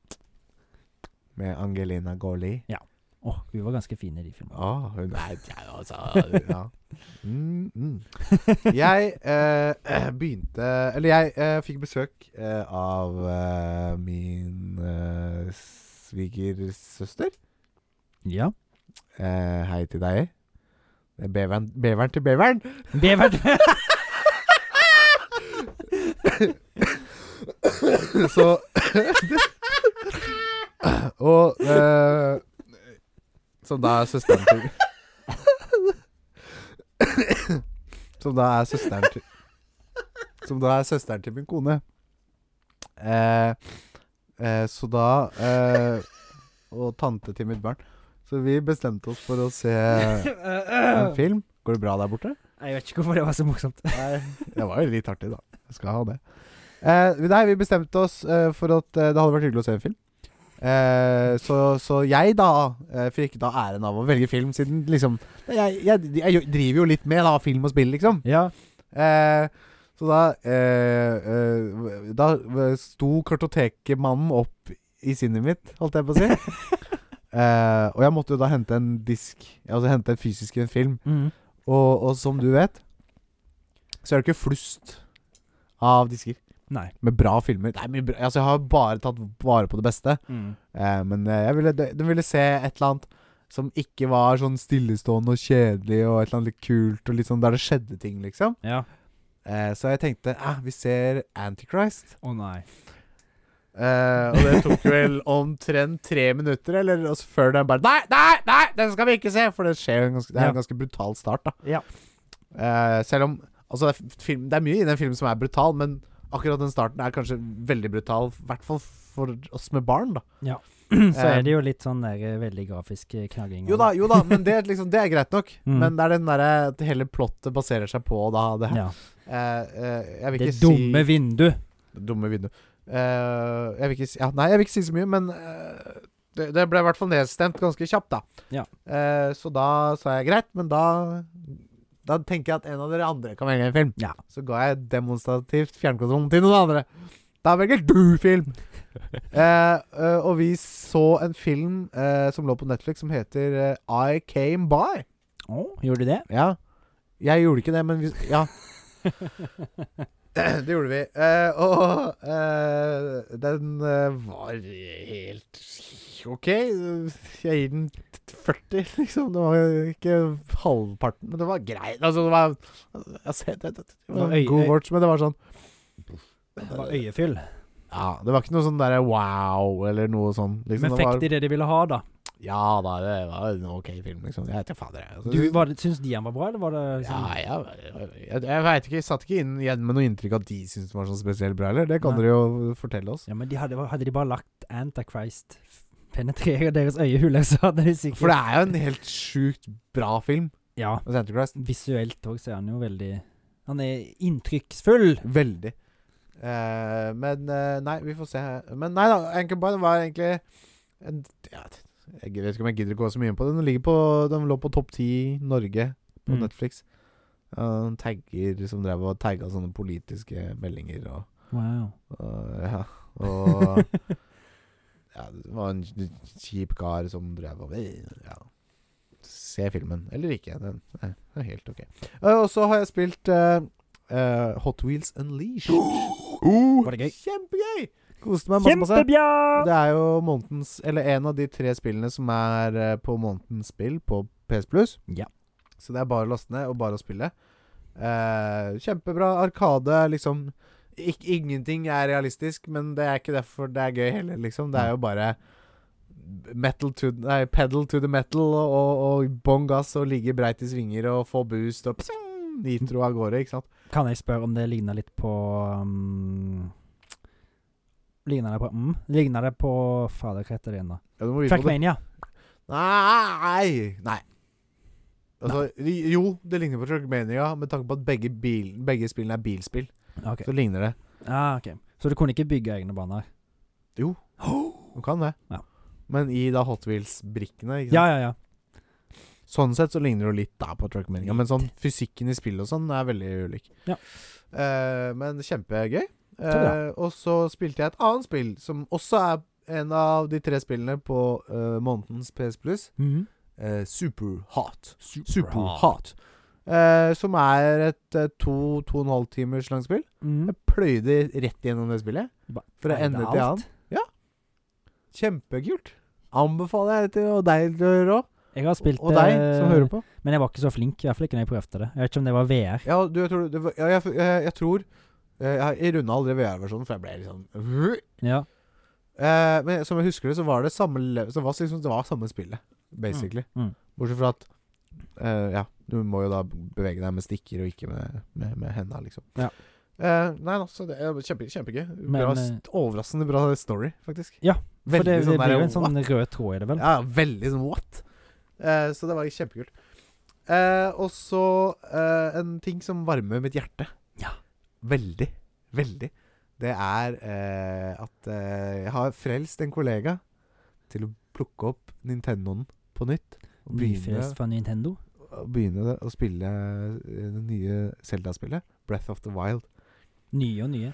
Speaker 2: med Angelina Goli.
Speaker 3: Åh, hun var ganske fin i de filmene.
Speaker 2: Ah, hun er ja, altså, ja. Mm, mm. Jeg eh, eh, begynte Eller jeg eh, fikk besøk eh, av eh, min eh, svigersøster.
Speaker 3: Ja.
Speaker 2: Eh, hei til deg. Det er Beveren, beveren til beveren.
Speaker 3: Bevert.
Speaker 2: Så Og eh, Som da er søsteren til Som da er søsteren til Som da er søsteren til min kone. Eh, eh, så da eh, Og tante til mitt barn. Så vi bestemte oss for å se en
Speaker 3: Jeg
Speaker 2: film. Går det bra der borte?
Speaker 3: vet ikke hvorfor det var så morsomt.
Speaker 2: Nei, det var jo litt artig, da. Jeg skal ha det. Eh, nei, vi bestemte oss eh, for at eh, det hadde vært hyggelig å se en film. Eh, så, så jeg da eh, fikk da æren av å velge film, siden liksom Jeg, jeg, jeg driver jo litt med da, film og spill, liksom.
Speaker 3: Ja.
Speaker 2: Eh, så da eh, eh, Da sto kartotekmannen opp i sinnet mitt, holdt jeg på å si. eh, og jeg måtte jo da hente en disk, altså hente en fysisk en film.
Speaker 3: Mm.
Speaker 2: Og, og som du vet, så er det ikke flust av disker
Speaker 3: Nei.
Speaker 2: med bra filmer. Det er mye bra. Altså, jeg har bare tatt vare på det beste.
Speaker 3: Mm.
Speaker 2: Eh, men eh, jeg ville, de ville se et eller annet som ikke var sånn stillestående og kjedelig, og et eller annet litt kult, og litt sånn der det skjedde ting, liksom.
Speaker 3: Ja.
Speaker 2: Eh, så jeg tenkte eh, vi ser Antichrist.
Speaker 3: Å nei.
Speaker 2: Eh, og det tok vel omtrent tre minutter, eller og så før den bare Nei, nei, nei, den skal vi ikke se! For det skjer jo en ganske, det er
Speaker 3: Ja.
Speaker 2: en ganske brutal start, da.
Speaker 3: Ja.
Speaker 2: Eh, selv om Altså, det er, f- film, det er mye i den filmen som er brutal, men akkurat den starten er kanskje veldig brutal. I hvert fall for oss med barn, da.
Speaker 3: Så er det jo litt sånn der, eh, veldig grafisk eh, knagging.
Speaker 2: Jo da, jo da, men det, er liksom, det er greit nok.
Speaker 3: Mm.
Speaker 2: Men det er den derre at hele plottet baserer seg på da det her.
Speaker 3: Ja.
Speaker 2: Eh, eh, jeg vil
Speaker 3: Det
Speaker 2: ikke si
Speaker 3: dumme vindu.
Speaker 2: dumme vinduet. Eh, jeg vil ikke si ja, Nei, jeg vil ikke si så mye, men eh, det, det ble i hvert fall nedstemt ganske kjapt, da.
Speaker 3: Ja.
Speaker 2: Eh, så da sa jeg greit, men da Da tenker jeg at en av dere andre kan velge en film.
Speaker 3: Ja.
Speaker 2: Så ga jeg demonstrativt fjernkontrollen til noen andre. Da velger du film! Eh, eh, og vi så en film eh, som lå på Netflix, som heter eh, I Came By.
Speaker 3: Å, gjorde du det?
Speaker 2: Ja. Jeg gjorde ikke det, men vi Ja. Det gjorde vi. Eh, og eh, den eh, var helt OK. Jeg gir den 40, liksom. Det var ikke halvparten, men det var greit. Altså, det var, jeg har sett det, det var
Speaker 3: Øy-
Speaker 2: en god
Speaker 3: øy-
Speaker 2: watch, men det var sånn
Speaker 3: Det var øyefyll.
Speaker 2: Liksom, Ja, det var ikke noe sånn derre wow, eller noe sånn. Liksom,
Speaker 3: Men
Speaker 2: det
Speaker 3: fikk
Speaker 2: var,
Speaker 3: de det de ville ha, da?
Speaker 2: Ja da, det var en OK film, liksom. Jeg vet ikke fader, jeg. Altså,
Speaker 3: Du, var det, syns de han var bra, eller var det liksom
Speaker 2: Ja, jeg, jeg, jeg veit ikke. Jeg satt ikke inn igjen med noe inntrykk at de syntes den var sånn spesielt bra, eller? Det kan
Speaker 3: Nei.
Speaker 2: dere jo fortelle oss.
Speaker 3: Ja, men de hadde, hadde de bare lagt Antichrist f- penetrere deres øyehuler, så hadde de sikkert
Speaker 2: For det er jo en helt sjukt bra film.
Speaker 3: Ja.
Speaker 2: altså Antichrist.
Speaker 3: Visuelt òg så er han jo veldig Han er inntrykksfull.
Speaker 2: Veldig. Eh, men eh, Nei, vi får se. Men nei da, Anchorboy var egentlig en, ja, Jeg vet ikke om jeg gidder å gå så mye inn på det. Den, ligger på, den lå på topp ti Norge på
Speaker 3: Mm.
Speaker 2: Netflix. Eh, tagger som drev og tagga sånne politiske meldinger og
Speaker 3: Wow.
Speaker 2: Og, Eh, ja, og ja, Det var en kjip kar som drev og ja. Se filmen, eller ikke. Den den er helt ok. Eh, Og så har jeg spilt eh, eh, Hot Wheels Unleashed.
Speaker 3: Var det gøy?
Speaker 2: Kjempegøy! Koste meg masse. masse.
Speaker 3: Kjempebjørn!
Speaker 2: Det er jo månedens, eller en av de tre spillene som er eh, på månedens spill på PS Plus.
Speaker 3: Ja.
Speaker 2: Så det er bare å laste ned og bare å spille. Eh, kjempebra arkade, liksom. Ik ingenting er realistisk, men det er ikke derfor det er gøy heller, liksom. Det er jo bare metal to, nei, pedal to the metal og, og, og bånn gass og ligge breit i svinger og få boost og pssing, nitro av gårde, ikke sant.
Speaker 3: Kan jeg spørre om det ligner litt på um, Ligner det på mm, Ligner det på Fader, hva heter det igjen, da?
Speaker 2: Ja, du må vite på det.
Speaker 3: Trackmania.
Speaker 2: Nei! Nei. Altså, ri- Jo, det ligner på Trackmania med tanke på at begge, bil, begge spillene er bilspill.
Speaker 3: Ok.
Speaker 2: Så ligner det.
Speaker 3: Ah, ok. Så du kunne ikke bygge egne baner?
Speaker 2: Du kan det.
Speaker 3: Ja.
Speaker 2: Men i da Hot Wheels-brikkene ikke sant?
Speaker 3: Ja, ja, ja.
Speaker 2: Sånn sett så ligner det jo litt da på Trackmania. Men
Speaker 3: Litt.
Speaker 2: sånn fysikken i spill og sånn er veldig ulik.
Speaker 3: Ja.
Speaker 2: Eh, men kjempegøy.
Speaker 3: bra.
Speaker 2: Eh, og så spilte jeg et annet spill som også er en av de tre spillene på eh, månedens PS Plus.
Speaker 3: Mhm.
Speaker 2: eh, Super Hot.
Speaker 3: Superhot.
Speaker 2: Eh, som er et eh, to, to og en halv timers langt spill.
Speaker 3: Mhm.
Speaker 2: Jeg pløyde rett gjennom det spillet.
Speaker 3: Ba-
Speaker 2: Fra
Speaker 3: Er det
Speaker 2: ende
Speaker 3: alt?
Speaker 2: til annen. Kjempekult. Anbefaler jeg til og deg til å gjøre òg.
Speaker 3: Jeg har spilt
Speaker 2: Og deg
Speaker 3: eh,
Speaker 2: som hører på.
Speaker 3: Men jeg var ikke så flink, i hvert fall ikke når jeg prøvde det. Jeg vet ikke om det var VR.
Speaker 2: Ja, du, jeg tror, det var, ja, jeg, jeg, jeg tror eh, Jeg, jeg runda aldri VR-versjonen, for jeg ble liksom
Speaker 3: Ja.
Speaker 2: Eh, Men som jeg husker det, så var det samme le- så var det liksom, Det var samme spillet, basically.
Speaker 3: Mm.
Speaker 2: Bortsett fra at eh, Ja, du må jo da bevege deg med stikker og ikke med, med, med henda, liksom.
Speaker 3: Ja.
Speaker 2: Eh, nei, altså, det er kjempe, kjempegøy.
Speaker 3: Men,
Speaker 2: bra,
Speaker 3: eh,
Speaker 2: st- overraskende bra story, faktisk.
Speaker 3: Ja, For
Speaker 2: Veldig
Speaker 3: det, det
Speaker 2: sånn
Speaker 3: blir
Speaker 2: der,
Speaker 3: jo en sånn
Speaker 2: what?
Speaker 3: rød tråd i det, vel.
Speaker 2: Ja, veldig sånn what? Eh, så det var kjempekult. Eh, og så eh, en ting som varmer mitt hjerte.
Speaker 3: Ja.
Speaker 2: Veldig. Veldig. Det er eh, at eh, jeg har frelst en kollega til å plukke opp Nintendoen på nytt. Og begynne,
Speaker 3: Nyfrelst fra Nintendo.
Speaker 2: og begynne å spille eh, det nye Zelda-spillet. Breath of the Wild.
Speaker 3: Nye og nye.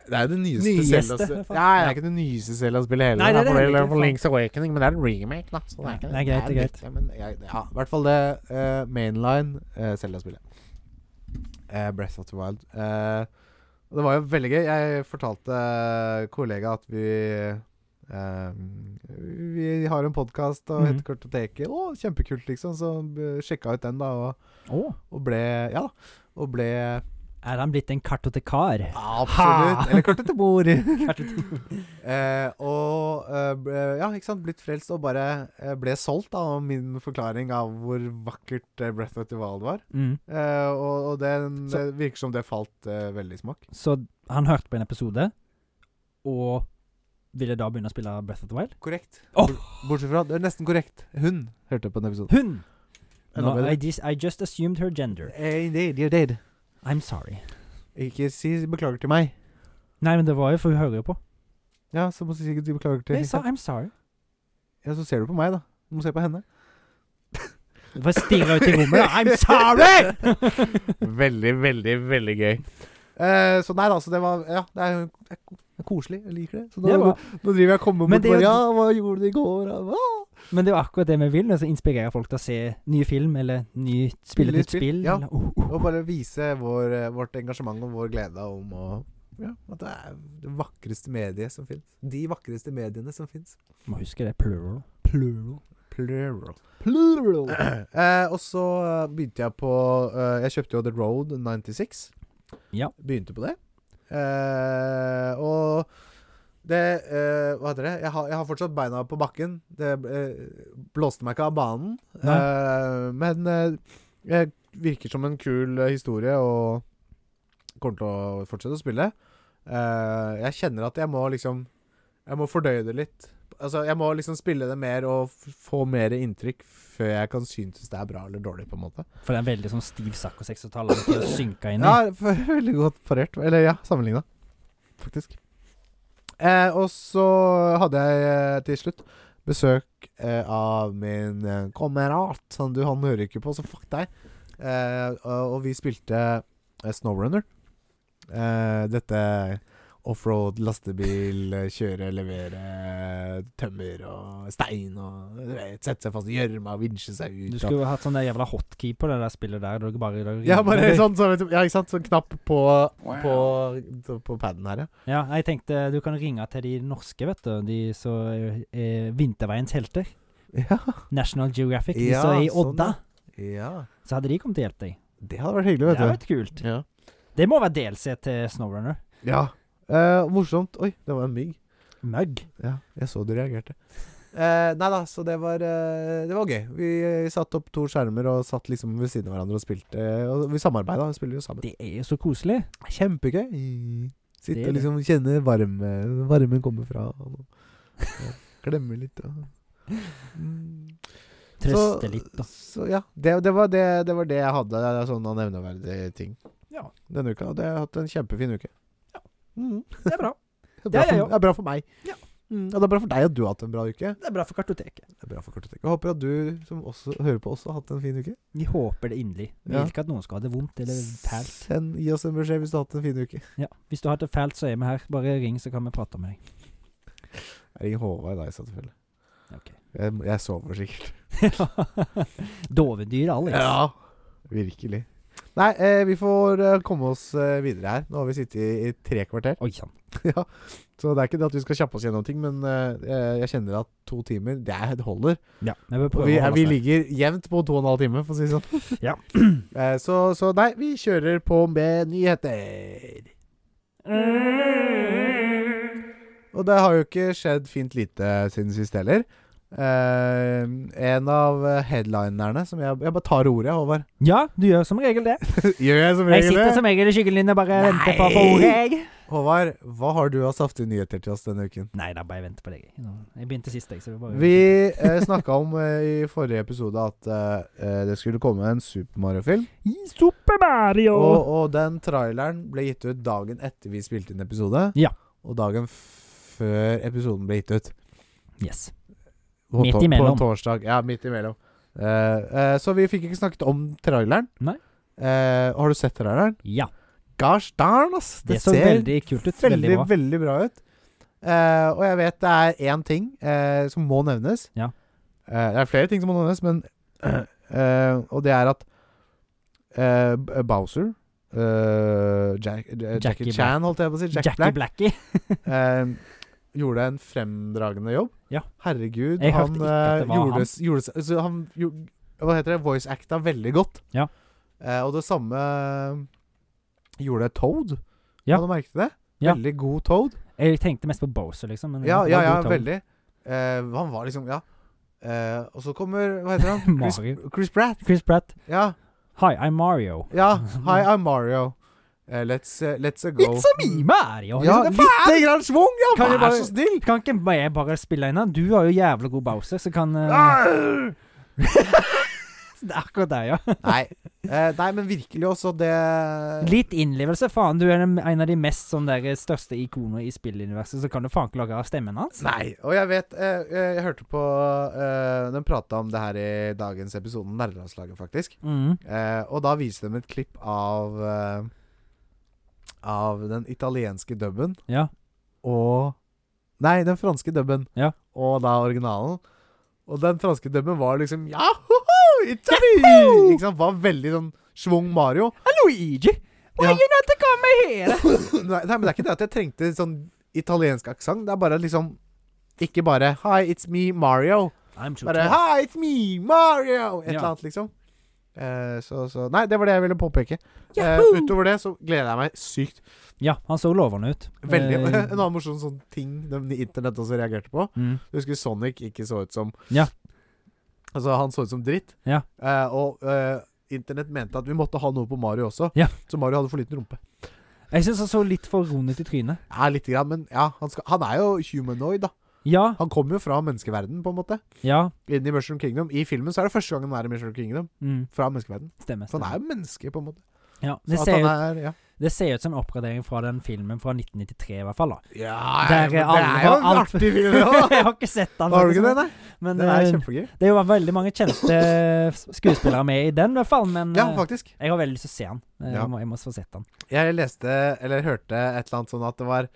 Speaker 2: Det er jo det nyeste
Speaker 3: Nyeste,
Speaker 2: Zelda-spillet.
Speaker 3: faen.
Speaker 2: Ja, det er ikke det nyeste Zelda-spillet heller.
Speaker 3: Nei, det er
Speaker 2: da, for
Speaker 3: det
Speaker 2: det
Speaker 3: heller ikke,
Speaker 2: for Link's Awakening, men det er en remake, da. Så
Speaker 3: Ja,
Speaker 2: det er ikke
Speaker 3: det er greit, det er greit.
Speaker 2: viktig, men jeg, ja, I hvert fall det eh, mainline eh, Zelda-spillet. Eh, Breath of the Wild. Eh, og det var jo veldig gøy. Jeg fortalte eh, kollega at vi eh, Vi har en podkast og heter
Speaker 3: Mhm.
Speaker 2: Kartoteket. Å, kjempekult, liksom. Så eh, sjekka ut den, da, og,
Speaker 3: Å,
Speaker 2: og ble Ja, og ble
Speaker 3: er han blitt en kartotekar?
Speaker 2: Absolutt. Eller kartet til bord.
Speaker 3: Kartotek-
Speaker 2: Eh, og eh, ble- ja, ikke sant, blitt frelst og bare eh, ble solgt av min forklaring av hvor vakkert eh, Breath of the Wild var.
Speaker 3: mm.
Speaker 2: Eh, og og den,
Speaker 3: Så-
Speaker 2: det virker som det falt eh, veldig i smak.
Speaker 3: Så han hørte på en episode, og ville da begynne å spille Breath of the Wild?
Speaker 2: Korrekt.
Speaker 3: Åh!
Speaker 2: Bortsett fra det er nesten korrekt. Hun hørte på en episode.
Speaker 3: Hun! No, I, dis- I just assumed her gender.
Speaker 2: Eh, Indeed, you did.
Speaker 3: I'm sorry.
Speaker 2: Ikke si beklager til meg.
Speaker 3: Nei, men det var jo, for hun hører jo på.
Speaker 2: Ja, så må du sikkert si beklager til
Speaker 3: Jeg sa I'm sorry.
Speaker 2: Ja, så ser du på meg, da. Du må se på henne.
Speaker 3: Bare stirre ut i rommet. I'm sorry!
Speaker 2: veldig, veldig, veldig gøy. Eh, så nei da, så det var Ja, det er, det er ko- det er koselig. Jeg liker det. Så
Speaker 3: Det
Speaker 2: nå,
Speaker 3: var-
Speaker 2: nå driver jeg og kommer
Speaker 3: Men
Speaker 2: bort
Speaker 3: det er
Speaker 2: og
Speaker 3: jo-
Speaker 2: Ja, hva gjorde du i går? Og, hva?
Speaker 3: Men det er jo akkurat det vi vil, altså inspirere folk til å se ny film eller ny, spille
Speaker 2: Spille
Speaker 3: nytt
Speaker 2: spill,
Speaker 3: spill.
Speaker 2: ja.
Speaker 3: eller- oh, oh.
Speaker 2: og bare vise vår, eh, vårt engasjement og vår glede om å ja, at det er det vakreste mediet som fins. De vakreste mediene som fins.
Speaker 3: Må huske det. Plural. Plural.
Speaker 2: Plural.
Speaker 3: Plural.
Speaker 2: Eh, og så eh, begynte jeg på eh, Jeg kjøpte jo The Road 96.
Speaker 3: Ja.
Speaker 2: Begynte på det. Eh, og det eh, Hva heter det? Jeg har, jeg har fortsatt beina på bakken. Det eh, blåste meg ikke av banen.
Speaker 3: Nei.
Speaker 2: Eh, men eh, jeg virker som en kul eh, historie og kommer til å fortsette å spille. Eh, jeg kjenner at jeg må liksom Jeg må fordøye det litt. Altså, jeg må liksom spille det mer og f få mer inntrykk før jeg kan synes det er bra eller dårlig, på en måte.
Speaker 3: For det er veldig sånn stiv sakk og 60-tallet til å synke inn i.
Speaker 2: Ja, f- veldig godt parert. Eller ja, sammenligna, faktisk. Eh, og så hadde jeg eh, til slutt besøk eh, av min eh, kamerat. Han, du, han hører ikke på, så fuck deg. Eh, og, og vi spilte eh, Snowrunner. Eh, dette offroad, lastebil, eh, kjøre, levere eh, tømmer og stein og du vet, Sette seg fast i gjørma, vinsje seg ut.
Speaker 3: Du
Speaker 2: og-
Speaker 3: skulle jo hatt sånn der jævla hotkey på det der spillet der. Du bare, du
Speaker 2: ja, bare sånn, så, vet du- ja, ikke sant? Sånn knapp på, på, på paden her, ja.
Speaker 3: Ja, jeg tenkte du kan ringe til de norske, vet du. De som er- er Vinterveiens helter.
Speaker 2: Ja.
Speaker 3: National Geographic. De
Speaker 2: Ja,
Speaker 3: som er i
Speaker 2: sånn,
Speaker 3: Odda.
Speaker 2: ja.
Speaker 3: Så hadde de kommet til å hjelpe deg.
Speaker 2: Det hadde vært hyggelig,
Speaker 3: Det
Speaker 2: vet
Speaker 3: hadde
Speaker 2: du.
Speaker 3: vært kult.
Speaker 2: Ja.
Speaker 3: Det må være DLC til Snowrunner.
Speaker 2: ja. Eh, morsomt. Oi, det var en mygg.
Speaker 3: Mugg.
Speaker 2: Ja, jeg så du reagerte. Eh, nei da, så det var eh, Det var gøy. Vi eh, satte opp to skjermer og satt liksom ved siden av hverandre og spilte. eh, og vi samarbeida, vi spiller jo sammen.
Speaker 3: Det er jo så koselig.
Speaker 2: Kjempegøy.
Speaker 3: Det
Speaker 2: Sitte
Speaker 3: er
Speaker 2: og
Speaker 3: det.
Speaker 2: liksom kjenne varme varmen kommer fra og, og klemme litt og mm.
Speaker 3: Trøste litt, da.
Speaker 2: Så ja, det, det, var det, det var det jeg hadde av sånne nevneverdige ting
Speaker 3: Ja.
Speaker 2: denne uka. Og det har jeg hatt en kjempefin uke.
Speaker 3: Ja.
Speaker 2: Mm. Det
Speaker 3: Det er bra.
Speaker 2: er
Speaker 3: Det
Speaker 2: bra
Speaker 3: er jeg
Speaker 2: for,
Speaker 3: også.
Speaker 2: det er bra for meg.
Speaker 3: Ja.
Speaker 2: Mm. Og det er bra for deg at du har hatt en bra uke.
Speaker 3: Det er bra for kartoteket.
Speaker 2: Det er bra for Kartotek. Jeg håper at du som også hører på, også har hatt en fin uke.
Speaker 3: Vi håper det inderlig. Vi
Speaker 2: Ja.
Speaker 3: vil ikke at noen skal ha det vondt eller fælt.
Speaker 2: Send, gi oss en beskjed hvis du har hatt en fin uke.
Speaker 3: Ja. Hvis du har hatt det fælt, så er vi her. Bare ring, så kan vi prate med deg.
Speaker 4: Jeg ringer Håvard da, i så tilfelle.
Speaker 3: Ok.
Speaker 4: Jeg, jeg sover sikkert.
Speaker 3: Dovendyr Alex.
Speaker 4: Ja.
Speaker 2: Virkelig. Nei, eh, vi får eh, komme oss eh, videre her. Nå har vi sittet i, i tre kvarter.
Speaker 3: Oi sann.
Speaker 2: Så det er ikke det at vi skal kjappe oss gjennom ting, men eh, jeg kjenner at to timer, det er- det holder.
Speaker 3: Ja, jeg vil
Speaker 2: Og
Speaker 3: prøve
Speaker 2: vi,
Speaker 3: å
Speaker 2: er,
Speaker 3: holde
Speaker 2: vi
Speaker 3: oss der.
Speaker 2: ligger jevnt på to og en halv time, for å si det sånn.
Speaker 3: Ja.
Speaker 2: Eh, så, så nei, vi kjører på med nyheter. Og det har jo ikke skjedd fint lite siden sist heller. Eh, en av headlinerne som jeg Jeg bare tar ordet, Håvard.
Speaker 3: Ja, du gjør som regel det.
Speaker 2: Gjør jeg som
Speaker 3: Jeg
Speaker 2: regel
Speaker 3: sitter
Speaker 2: det?
Speaker 3: som regel i skyggen din og bare
Speaker 2: Nei.
Speaker 3: venter på å få ordet, jeg.
Speaker 2: Håvard, hva har du av saftige nyheter til oss denne uken?
Speaker 3: Nei da, bare venter på deg. Jeg begynte sist, jeg, så vi bare
Speaker 2: Vi eh, snakka om eh, i forrige episode at eh, eh, det skulle komme en Super Mario-film.
Speaker 3: I Super Mario!
Speaker 2: Og, og den traileren ble gitt ut dagen etter vi spilte inn episode.
Speaker 3: Ja.
Speaker 2: Og dagen f- før episoden ble gitt ut.
Speaker 3: Yes.
Speaker 2: På
Speaker 3: Midt
Speaker 2: to- På
Speaker 3: imellom.
Speaker 2: en torsdag. Ja, midt imellom. Eh, eh, så vi fikk ikke snakket om traileren.
Speaker 3: Nei.
Speaker 2: Eh, har du sett traileren?
Speaker 3: Ja.
Speaker 2: Gosh darn, ass!
Speaker 3: Det, så veldig kult ut. Veldig,
Speaker 2: veldig,
Speaker 3: bra.
Speaker 2: veldig bra ut. Eh, og jeg vet det er én ting eh, som må nevnes.
Speaker 3: Ja.
Speaker 2: Eh, det er flere ting som må nevnes, men eh, Og det er at eh, B- Bowser eh, Jack, eh,
Speaker 3: Jackie
Speaker 2: Jackie Chan, holdt jeg på å si. Jack
Speaker 3: Jackie
Speaker 2: Black.
Speaker 3: Blackie.
Speaker 2: eh, gjorde en fremdragende jobb.
Speaker 3: Ja.
Speaker 2: Herregud.
Speaker 3: Jeg hørte
Speaker 2: han
Speaker 3: ikke at det
Speaker 2: eh,
Speaker 3: var
Speaker 2: gjorde,
Speaker 3: han.
Speaker 2: s- gjorde s- altså, Han gjo- Hva heter det? Voice acta veldig godt.
Speaker 3: Ja.
Speaker 2: Eh, og det samme eh, gjorde Toad.
Speaker 3: Ja.
Speaker 2: Har du merket det?
Speaker 3: Ja.
Speaker 2: Veldig god Toad.
Speaker 3: Jeg tenkte mest på Bowser, liksom. Men
Speaker 2: Ja,
Speaker 3: det
Speaker 2: ja,
Speaker 3: var
Speaker 2: ja,
Speaker 3: god tone.
Speaker 2: veldig. Eh, han var liksom Ja. Eh, og så kommer Hva heter han? Chris,
Speaker 3: Mario.
Speaker 2: Chris Pratt.
Speaker 3: Chris Pratt.
Speaker 2: Ja.
Speaker 3: Hi, I'm Mario.
Speaker 2: ja Hi, I'm Mario. Eh, let's, eh, let's a go.
Speaker 3: It's a me, Mario!
Speaker 2: Ja,
Speaker 3: Liksom, det faen!
Speaker 2: lite grann schwung, ja!
Speaker 3: Kan jeg
Speaker 2: Vær
Speaker 3: bare-
Speaker 2: så snill!
Speaker 3: Kan ikke bare jeg bare spille en av? Du har jo jævla god Bowser, så kan eh,
Speaker 2: Ah!
Speaker 3: Det er akkurat deg, ja.
Speaker 2: Nei. Eh, nei, men virkelig også det
Speaker 3: Litt innlevelse, faen. Du er en en av de mest sånn der, største ikoner i spilluniverset, så kan du faen ikke lage av stemmen hans.
Speaker 2: Nei. Og jeg vet eh, eh, Jeg hørte på eh, Den prata om det her i dagens episode, Nerdelandslaget, faktisk.
Speaker 3: Mm.
Speaker 2: Eh, og da viste de et klipp av eh, Av den italienske dubben
Speaker 3: Ja.
Speaker 2: og Nei, den franske dubben.
Speaker 3: Ja.
Speaker 2: Og da originalen. Og den franske dubben var liksom Ja, hoho, Italy! Ikke sant? Var veldig sånn schwung Mario.
Speaker 3: Luigi! Why
Speaker 2: Ja.
Speaker 3: you not come here?
Speaker 2: nei, nei, men det er ikke det at jeg trengte sånn italiensk aksent. Det er bare liksom Ikke bare Hi, it's me, Mario.
Speaker 3: I'm too
Speaker 2: Bare
Speaker 3: tall.
Speaker 2: Hi, it's me, Mario! Et
Speaker 3: Ja.
Speaker 2: eller annet, liksom. Eh, så, så Nei, det var det jeg ville påpeke. Eh,
Speaker 3: Yahoo!
Speaker 2: utover det så gleder jeg meg sykt
Speaker 3: Ja, han så lovende ut.
Speaker 2: Veldig.
Speaker 3: Eh,
Speaker 2: En annen morsom sånn ting de internett også reagerte på.
Speaker 3: mm.
Speaker 2: Du husker Sonic ikke så ut som
Speaker 3: Ja.
Speaker 2: Altså, han så ut som dritt.
Speaker 3: Ja.
Speaker 2: Eh, og eh, internett mente at vi måtte ha noe på Mario også,
Speaker 3: Ja.
Speaker 2: så Mario hadde for liten rumpe.
Speaker 3: Jeg syns han så litt for rund ut i trynet.
Speaker 2: Ja, lite grann, men ja, han, skal, han er jo humanoid, da.
Speaker 3: Ja,
Speaker 2: Han kommer jo fra menneskeverdenen, på en måte.
Speaker 3: ja.
Speaker 2: Inn i Mushroom Kingdom. I filmen så er det første gang han er i Mushroom Kingdom.
Speaker 3: Mm,
Speaker 2: Fra menneskeverdenen.
Speaker 3: stemmer. stemmer.
Speaker 2: Så han Sånn er jo menneske, på en måte.
Speaker 3: ja,
Speaker 2: Så
Speaker 3: det,
Speaker 2: at
Speaker 3: ser ut,
Speaker 2: han er, ja.
Speaker 3: det ser ut som en oppgradering fra den filmen fra 1993, i hvert fall. da
Speaker 2: Ja,
Speaker 3: Der
Speaker 2: men det
Speaker 3: alle
Speaker 2: er jo
Speaker 3: var
Speaker 2: en
Speaker 3: alt-
Speaker 2: artig film, det også.
Speaker 3: Jeg har ikke sett den.
Speaker 2: Har du ikke det? Nei,
Speaker 3: Men
Speaker 2: den er
Speaker 3: eh,
Speaker 2: kjempegøy.
Speaker 3: det er jo veldig mange kjente eh, skuespillere med i den, i hvert fall. Men
Speaker 2: Ja,
Speaker 3: eh,
Speaker 2: faktisk.
Speaker 3: jeg har veldig lyst til å se den. Eh,
Speaker 2: Ja.
Speaker 3: Jeg, må, jeg må få sett den.
Speaker 2: Jeg leste, eller hørte et eller annet sånn at det var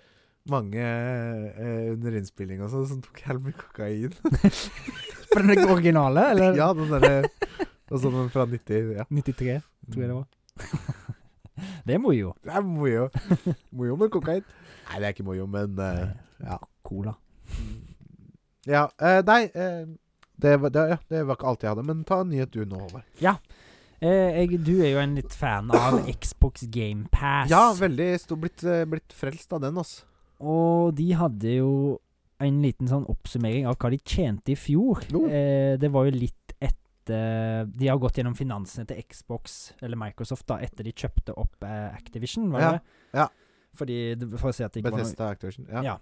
Speaker 2: mange eh, under innspilling og sånn som tok helt mye kokain.
Speaker 3: For den originale, eller?
Speaker 2: ja, den derre Og sånn den fra 90 Ja.
Speaker 3: 93, tror jeg det var. det må jo.
Speaker 2: Det er mojo. Mojo med kokain. Nei, det er ikke mojo, men eh, ja.
Speaker 3: Cola.
Speaker 2: ja eh, nei, eh, det, var, det, ja, det var ikke alt jeg hadde. Men ta en nyhet du nå, Håvard.
Speaker 3: Eh, jeg, du er jo en litt fan av Xbox Game Pass.
Speaker 2: Ja, veldig stor, blitt, eh, blitt frelst av den, altså.
Speaker 3: Og de hadde jo en liten sånn oppsummering av hva de tjente i fjor.
Speaker 2: Jo.
Speaker 3: Eh, det var jo litt etter De har gått gjennom finansene til Xbox, eller Microsoft, da, etter de kjøpte opp eh, Activision, var
Speaker 2: Ja,
Speaker 3: det?
Speaker 2: ja.
Speaker 3: Fordi, det- for å si at det ikke var noe
Speaker 2: Bethesda Activision. Ja.
Speaker 3: Ja,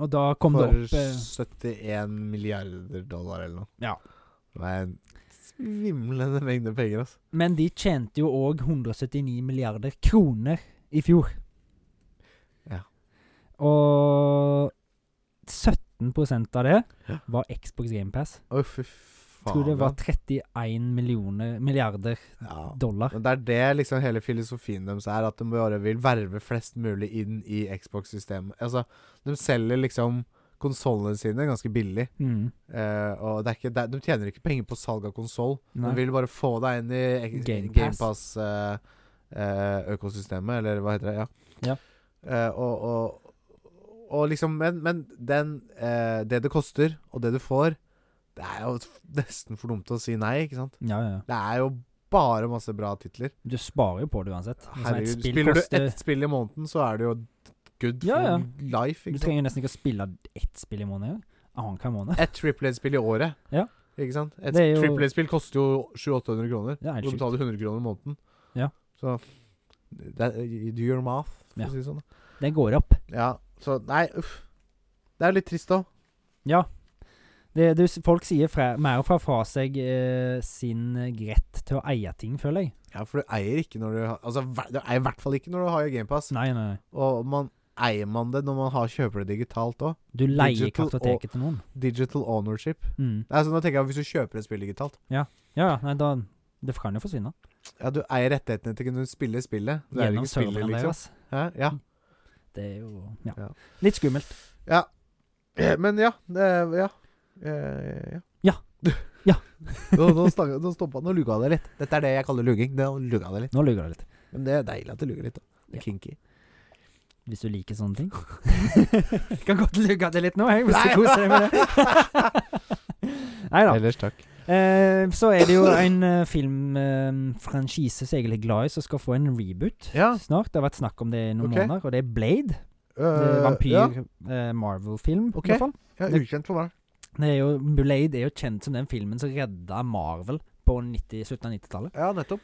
Speaker 3: Og da kom
Speaker 2: For
Speaker 3: det opp eh,
Speaker 2: 71 milliarder dollar eller noe.
Speaker 3: Ja.
Speaker 2: Det er en svimlende mengde penger, altså.
Speaker 3: Men de tjente jo òg 179 milliarder kroner i fjor.
Speaker 2: Ja.
Speaker 3: Og 17 av det
Speaker 2: Ja.
Speaker 3: var Xbox GamePass.
Speaker 2: Å, fy faen.
Speaker 3: Jeg tror det var
Speaker 2: ja.
Speaker 3: 31 millioner milliarder
Speaker 2: ja.
Speaker 3: dollar.
Speaker 2: Men det er det liksom hele filosofien deres er, at de bare vil verve flest mulig inn i Xbox-systemet. Altså, de selger liksom konsollene sine ganske billig.
Speaker 3: Mm.
Speaker 2: Eh, og det er ikke, det, er- de tjener ikke penger på salg av konsoll. De
Speaker 3: Nei.
Speaker 2: vil bare få deg inn i ek-
Speaker 3: Game
Speaker 2: Game
Speaker 3: Pass.
Speaker 2: Pass-økosystemet, eller hva heter det? Ja.
Speaker 3: Ja.
Speaker 2: Eh, og, og, og liksom Men, men den, eh, det det koster, og det du får, det er jo f- nesten for dumt å si nei, ikke sant?
Speaker 3: Ja, ja. ja.
Speaker 2: Det er jo bare masse bra titler.
Speaker 3: Du sparer jo på det uansett. Altså, et
Speaker 2: Herregud,
Speaker 3: spill
Speaker 2: spiller du
Speaker 3: koster-
Speaker 2: ett spill i måneden, så er det jo good for
Speaker 3: Ja, ja.
Speaker 2: life.
Speaker 3: Du
Speaker 2: Ikke sant?
Speaker 3: trenger jo nesten ikke å spille ett spill i måneden engang. Annenhver måned.
Speaker 2: Ett Triple spill i året.
Speaker 3: Ja.
Speaker 2: Ikke sant? Et
Speaker 3: Det er jo-
Speaker 2: Triple spill koster jo 700-800 kroner.
Speaker 3: Det er helt
Speaker 2: Du
Speaker 3: sjukt.
Speaker 2: betaler 100 kroner i måneden.
Speaker 3: Ja.
Speaker 2: Så that, Do your math, for
Speaker 3: Ja.
Speaker 2: å si det sånn.
Speaker 3: Den går opp.
Speaker 2: Ja, så Nei, uff. Det er jo litt trist òg.
Speaker 3: Ja. Det, det, folk sier fra, mer og fra fra seg eh, sin rett til å eie ting, føler jeg.
Speaker 2: Ja, for du eier ikke når du har Altså, hver- du eier i hvert fall ikke når du har GamePass.
Speaker 3: Nei, nei, nei.
Speaker 2: Og man eier man det når man har, kjøper det digitalt òg.
Speaker 3: Du leier
Speaker 2: Digital
Speaker 3: kartoteket til noen.
Speaker 2: Digital ownership.
Speaker 3: Mm.
Speaker 2: Nei, så nå tenker jeg Hvis du kjøper et spill digitalt
Speaker 3: Ja, ja. Nei, da Det kan jo forsvinne.
Speaker 2: Ja, du eier rettighetene til å kunne spille spillet. Du eier
Speaker 3: Gjennom
Speaker 2: ikke spillet,
Speaker 3: serveren
Speaker 2: liksom.
Speaker 3: deres.
Speaker 2: Hæ? Ja.
Speaker 3: Det er jo ja.
Speaker 2: Ja.
Speaker 3: Litt skummelt.
Speaker 2: Eh, Men ja. Det, ja. Eh,
Speaker 3: Ja. Ja.
Speaker 2: nå nå, stang- nå stoppa Nå luga det litt. Dette er det jeg kaller luging. Nå luga det litt.
Speaker 3: Nå luger det litt.
Speaker 2: Men det er deilig at det luger litt. da Det
Speaker 3: Ja.
Speaker 2: er Kinky.
Speaker 3: Hvis du liker sånne ting. Jeg kan godt luge det litt nå, jeg, hvis du koser deg med det. Nei da.
Speaker 2: Ellers takk.
Speaker 3: Eh, så er det jo en eh, filmfranchise som jeg er egentlig glad i, som skal få en reboot
Speaker 2: Ja.
Speaker 3: snart. Det har vært snakk om det i noen
Speaker 2: Ok.
Speaker 3: måneder, og det er Blade.
Speaker 2: øh, Ja,
Speaker 3: Vampyr-Marvel-film,
Speaker 2: Ok.
Speaker 3: eh, i hvert fall.
Speaker 2: ja, ukjent for meg.
Speaker 3: Det er jo, Blade er jo kjent som den filmen som redda Marvel på 90, slutten av 90-tallet.
Speaker 2: Ja, nettopp.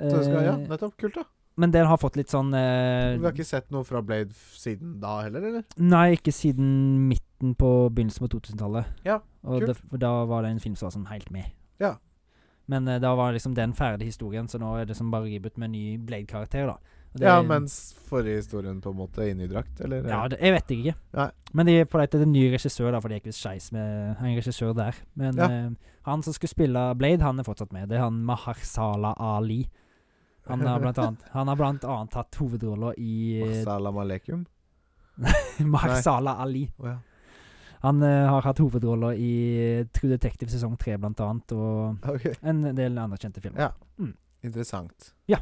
Speaker 2: Så det skal, ja,
Speaker 3: Eh,
Speaker 2: nettopp. Kult, da.
Speaker 3: men den har fått litt sånn
Speaker 2: Vi
Speaker 3: eh,
Speaker 2: har ikke sett noe fra Blade f- siden da heller, eller?
Speaker 3: Nei, ikke siden midten på begynnelsen på 2000-tallet.
Speaker 2: Ja,
Speaker 3: Og
Speaker 2: kult.
Speaker 3: det, for da var det en film som var sånn helt med.
Speaker 2: Ja.
Speaker 3: Men eh, da var liksom den ferdige historien, så nå er det som bare reboot med en ny Blade-karakter, da. Og det-
Speaker 2: Ja, mens forrige historien på en måte er inne i drakt, eller?
Speaker 3: Ja, det, jeg vet ikke.
Speaker 2: Nei.
Speaker 3: Men de er på leit etter ny regissør, da, for det gikk visst skeis med en regissør der. Men
Speaker 2: Ja.
Speaker 3: eh, han som skulle spille Blade, han er fortsatt med. Det er han Maharsala Ali. Han har blant annet, han har blant annet hatt hovedrolla i eh,
Speaker 2: Salam aleikum.
Speaker 3: Mahershala Ali.
Speaker 2: Å ja.
Speaker 3: Han eh, har hatt hovedrolla i eh, True Detective sesong tre, blant annet, og
Speaker 2: Ok,
Speaker 3: en del andre kjente filmer.
Speaker 2: Ja.
Speaker 3: Ja.
Speaker 2: interessant.
Speaker 3: Ja.